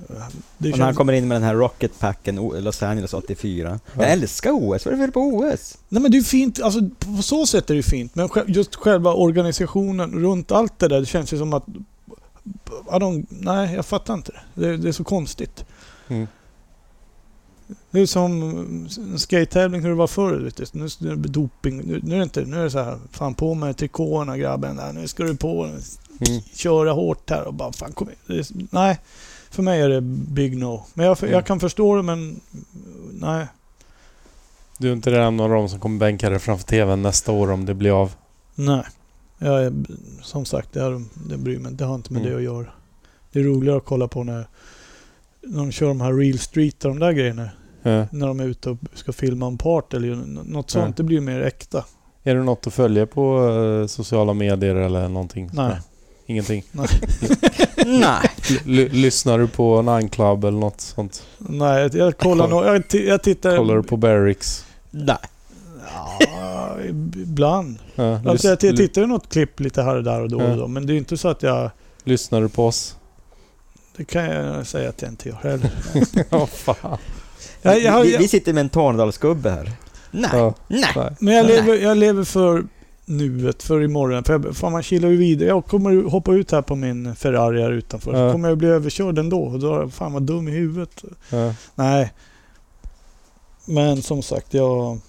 Speaker 3: Det
Speaker 4: Och när han
Speaker 3: känns...
Speaker 4: kommer in med den här rocketpacken O- Los Angeles 84.
Speaker 1: Ja.
Speaker 4: Jag älskar OS, vad är det för på OS?
Speaker 3: Nej men det är ju fint, alltså på så sätt är det ju fint. Men sj- just själva organisationen runt allt det där, det känns ju som att... Ja, de, nej, jag fattar inte det. Det, det är så konstigt.
Speaker 1: Mm.
Speaker 3: Det är som en skate-tävling hur det var förr. Vet du. Nu nu är det doping. Nu, nu är det inte... Nu är det så här, fan på med trikåerna grabben. Där. Nu ska du på
Speaker 1: Mm.
Speaker 3: köra hårt här och bara fan kom igen. Det är- Nej, för mig är det big no. Men jag,
Speaker 1: Mm.
Speaker 3: jag kan förstå det men... Nej.
Speaker 1: Du är inte redan någon av dem som kommer bänka dig framför TVn nästa år om det blir av?
Speaker 3: Nej. Jag är, som sagt, det, här, det bryr mig inte. Det har inte med
Speaker 1: Mm.
Speaker 3: det att göra. Det är roligare att kolla på när, när de kör de här real street och de där grejerna.
Speaker 1: Ja.
Speaker 3: När de är ute och ska filma en part eller n- något sånt.
Speaker 1: Ja.
Speaker 3: Det blir ju mer äkta.
Speaker 1: Är det något att följa på eh, sociala medier eller någonting?
Speaker 3: Nej.
Speaker 1: Ingenting?
Speaker 4: Nej.
Speaker 1: L- lyssnar du på Nine Club eller något sånt?
Speaker 3: Nej, jag, jag kollar
Speaker 1: Kolla-
Speaker 3: nog. Jag, ti- jag tittar...
Speaker 1: Kollar du på Barracks?
Speaker 4: Nej.
Speaker 3: Ja, ibland.
Speaker 1: Ja.
Speaker 3: Alltså,
Speaker 1: lys-
Speaker 3: jag ti-
Speaker 1: ly-
Speaker 3: tittar ju något klipp lite här och där och då
Speaker 1: Ja.
Speaker 3: och då. Men det är ju inte så att jag...
Speaker 1: lyssnar du på oss?
Speaker 3: Det kan jag säga att jag inte gör heller.
Speaker 1: Ja, fan.
Speaker 3: Jag, jag, har-
Speaker 4: vi, vi
Speaker 3: jag,
Speaker 4: sitter med en Tornedalsgubbe här. Nej,
Speaker 1: Ja.
Speaker 4: nej.
Speaker 1: Nej.
Speaker 3: men jag
Speaker 4: Nej.
Speaker 3: lever, jag lever för nuet, för imorgon. För jag, fan, man kilar ju vidare. Jag kommer ju hoppa ut här på min Ferrari här utanför.
Speaker 1: Ja.
Speaker 3: Så kommer jag bli överkörd ändå. Och då, fan vad dum i huvudet.
Speaker 1: Ja.
Speaker 3: Nej. Men som sagt, jag...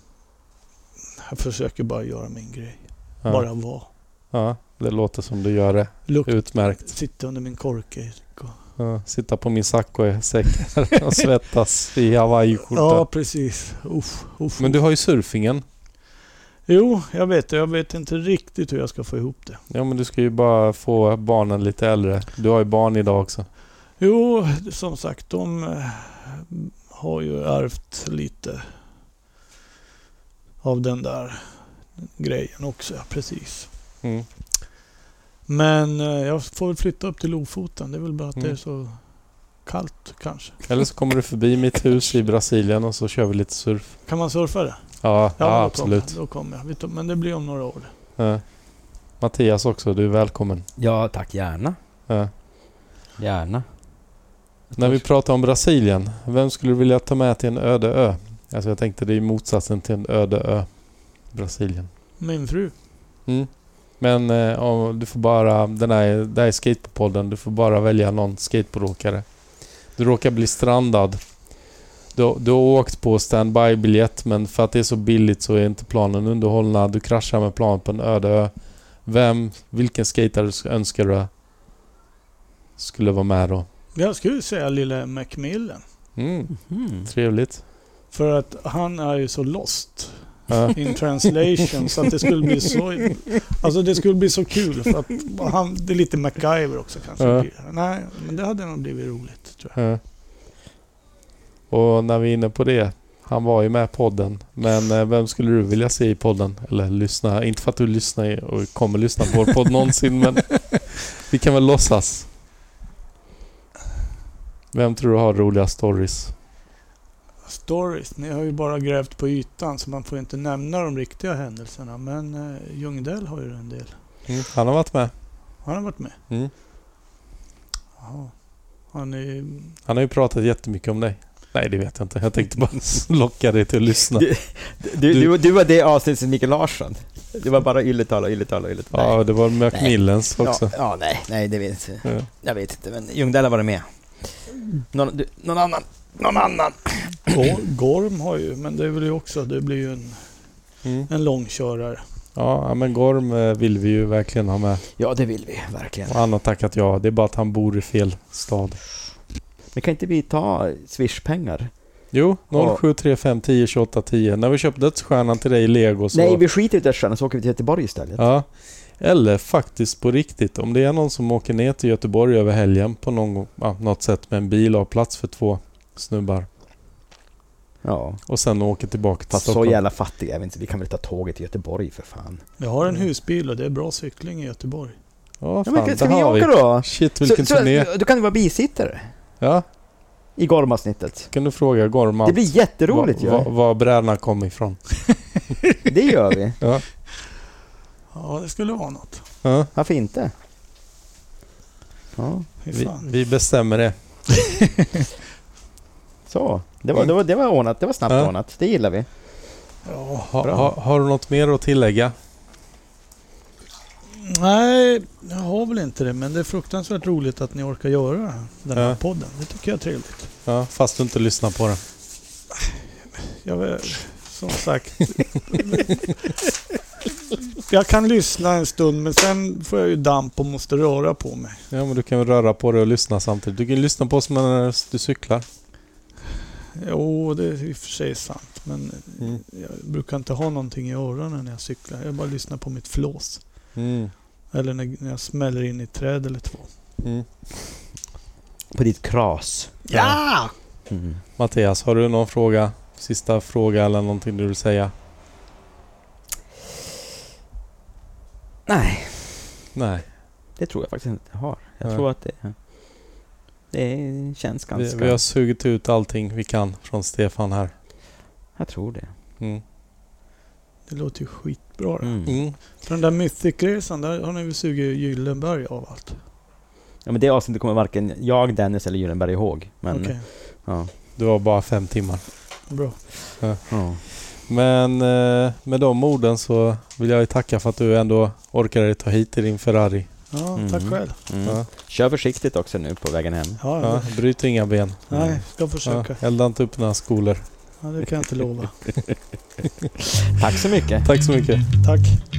Speaker 3: Jag försöker bara göra min grej.
Speaker 1: Ja.
Speaker 3: Bara vara.
Speaker 1: Ja. Det låter som du gör det.
Speaker 3: Lukt,
Speaker 1: Utmärkt.
Speaker 3: sitta under min korke.
Speaker 1: Ja, sitta på min Sakko-säck och svettas i hawaiiskjorta.
Speaker 3: Ja, precis. Uff, uff,
Speaker 1: Men du har ju surfingen.
Speaker 3: Jo, jag vet det. Jag vet inte riktigt hur jag ska få ihop det.
Speaker 1: Ja, men du ska ju bara få barnen lite äldre. Du har ju barn idag också.
Speaker 3: Jo, som sagt, de eh, har ju ärvt lite av den där grejen också, ja, precis.
Speaker 1: Mm.
Speaker 3: Men eh, jag får väl flytta upp till Lofoten. Det är väl bara att det är
Speaker 1: Mm.
Speaker 3: så kallt kanske.
Speaker 1: Eller så kommer du förbi mitt hus i Brasilien och så kör vi lite surf.
Speaker 3: Kan man surfa det?
Speaker 1: Ja, ja,
Speaker 3: men då
Speaker 1: absolut.
Speaker 3: Kommer, jag, då kommer jag. Vi tar- Men det blir om några år.
Speaker 1: Ja. Mattias också, du är välkommen.
Speaker 2: Ja, tack. Gärna.
Speaker 1: Ja.
Speaker 2: Gärna.
Speaker 1: När vi pratar om Brasilien, vem skulle du vilja ta med till en öde ö? Alltså jag tänkte det är ju motsatsen till en öde ö. Brasilien.
Speaker 3: Min fru.
Speaker 1: Mm. Men eh, om du får bara, den här, det här är skateboardpodden, du får bara välja någon skateboardåkare. Du råkar bli strandad. Du, du har åkt på standby-biljett men för att det är så billigt så är inte planen underhållna. Du kraschar med planet på en öde ö. Vem, vilken skatare sk- önskar du skulle vara med då?
Speaker 3: Jag skulle säga lille Macmillan.
Speaker 1: Mm,
Speaker 2: Mhm.
Speaker 1: trevligt.
Speaker 3: För att han är ju så lost.
Speaker 1: Ja.
Speaker 3: in translation. så att det skulle bli så... Alltså det skulle bli så kul för att han, det är lite MacGyver också kanske.
Speaker 1: Ja.
Speaker 3: blir. Nej, men det hade nog blivit roligt tror jag.
Speaker 1: Ja. Och när vi är inne på det. Han var ju med i podden. Men eh, vem skulle du vilja se i podden? Eller lyssna? Inte för att du lyssnar i- och kommer lyssna på vår podd någonsin men vi kan väl låtsas. Vem tror du har roliga stories?
Speaker 3: Stories, ni har ju bara grävt på ytan så man får inte nämna de riktiga händelserna. Men eh, Ljungdell har ju en del.
Speaker 1: Mm, Han har varit med.
Speaker 3: Har han varit med?
Speaker 1: Mm.
Speaker 3: Jaha. Han är
Speaker 1: Han har ju pratat jättemycket om dig. Nej, det vet jag inte. Jag tänkte bara locka dig till att lyssna.
Speaker 4: Du- Du, du, du var det avsnittet som Mikael Larsson. Det var bara ylletala, ylletala, ylletala.
Speaker 1: Ja, det var Macmillans också.
Speaker 4: Ja, ja, nej, nej, det vet jag inte.
Speaker 1: Ja.
Speaker 4: Jag vet inte, men Ljungdell har varit med. Någon, du, någon annan. Någon annan.
Speaker 3: Gor- Gorm har ju, men det är väl ju också, det blir ju en,
Speaker 1: Mm.
Speaker 3: en långkörare.
Speaker 1: Ja, men Gorm eh, vill vi ju verkligen ha med.
Speaker 4: Ja, det vill vi verkligen.
Speaker 1: Och han har tackat ja. Det är bara att han bor i fel stad.
Speaker 4: Men kan inte vi ta Swish-pengar?
Speaker 1: Jo, 0735 10 28 10. När vi köpte dödsstjärnan till dig i lego så...
Speaker 4: Nej, vi skiter i Dödsstjärnan så åker vi till Göteborg istället.
Speaker 1: Ja. Eller faktiskt på riktigt, om det är någon som åker ner till Göteborg över helgen på någon, ja, något sätt med en bil och har plats för två snubbar
Speaker 4: Ja.
Speaker 1: och sen åker tillbaka till
Speaker 4: Fast så
Speaker 1: Stockholm.
Speaker 4: jävla fattiga är vi inte. Vi kan väl ta tåget till Göteborg för fan.
Speaker 3: Vi har
Speaker 1: Mm.
Speaker 3: en husbil och det är bra cykling i Göteborg.
Speaker 1: Ja,
Speaker 4: Ja,
Speaker 1: fan,
Speaker 4: men, ska
Speaker 1: det
Speaker 4: vi
Speaker 1: har vi.
Speaker 4: åka då?
Speaker 1: Shit, vilken
Speaker 4: så,
Speaker 1: turné.
Speaker 4: så, du kan ju vara bisittare
Speaker 1: Ja,
Speaker 4: i Gormasnittet.
Speaker 1: kan du fråga Gorman
Speaker 4: Det blir jätteroligt ju.
Speaker 1: va- va- var brädorna kom ifrån.
Speaker 4: Det gör vi.
Speaker 3: Ja, det skulle vara något.
Speaker 1: Ja,
Speaker 4: Varför inte? Ja,
Speaker 3: Fy
Speaker 1: vi,
Speaker 3: fan.
Speaker 1: vi bestämmer det.
Speaker 4: så. Det var, det var, det var ordnat. Det var snabbt
Speaker 1: Ja.
Speaker 4: ordnat. Det gillar vi.
Speaker 3: Ja.
Speaker 1: Ha,
Speaker 4: Bra.
Speaker 1: ha, har du något mer att tillägga?
Speaker 3: Nej, jag har väl inte det. Men det är fruktansvärt roligt att ni orkar göra den här
Speaker 1: Ja.
Speaker 3: podden. Det tycker jag är trevligt.
Speaker 1: Ja, fast du inte lyssnar på det.
Speaker 3: Jag, vet- som sagt. jag kan lyssna en stund men sen får jag ju damp och måste röra på mig.
Speaker 1: Ja, men du kan väl röra på dig och lyssna samtidigt. Du kan ju lyssna på oss när du cyklar.
Speaker 3: Jo, det är i och för sig sant. Men
Speaker 1: Mm.
Speaker 3: jag brukar inte ha någonting i öronen när jag cyklar. Jag bara lyssnar på mitt flås.
Speaker 1: Mm.
Speaker 3: Eller när när jag smäller in i ett träd eller två.
Speaker 1: Mm.
Speaker 4: På ditt kras.
Speaker 3: Ja!
Speaker 4: Mm.
Speaker 1: Mattias, har du någon fråga? Sista fråga eller någonting du vill säga?
Speaker 4: Nej,
Speaker 1: Nej,
Speaker 4: det tror jag faktiskt inte jag har. Jag
Speaker 1: Nej.
Speaker 4: tror att det, det känns
Speaker 1: vi,
Speaker 4: ganska...
Speaker 1: vi har sugit ut allting vi kan från Stefan här.
Speaker 4: Jag tror det.
Speaker 1: Mm.
Speaker 3: Det låter ju skitbra det.
Speaker 4: Mm.
Speaker 1: Mm.
Speaker 3: För den där Mythic-resan, där har ni väl sugit Gyllenberg av allt?
Speaker 4: Ja, men det avsnittet kommer varken jag, Dennis eller Gyllenberg ihåg. Men,
Speaker 3: Okej,
Speaker 4: ja.
Speaker 1: Du har bara fem timmar.
Speaker 3: bra.
Speaker 4: Ja.
Speaker 1: Men eh, med de orden så vill jag ju tacka för att du ändå orkade ta hit i din Ferrari.
Speaker 3: Ja, tack
Speaker 4: Mm.
Speaker 3: själv.
Speaker 4: Mm.
Speaker 1: Ja,
Speaker 4: Kör försiktigt också nu på vägen hem.
Speaker 3: Ja,
Speaker 1: ja, bryt inga ben.
Speaker 3: Nej, ska
Speaker 1: Ja,
Speaker 3: försöka.
Speaker 1: elda inte upp några skolor.
Speaker 3: Ja, det kan jag inte lova.
Speaker 4: Tack så mycket.
Speaker 1: Tack så mycket.
Speaker 3: Tack.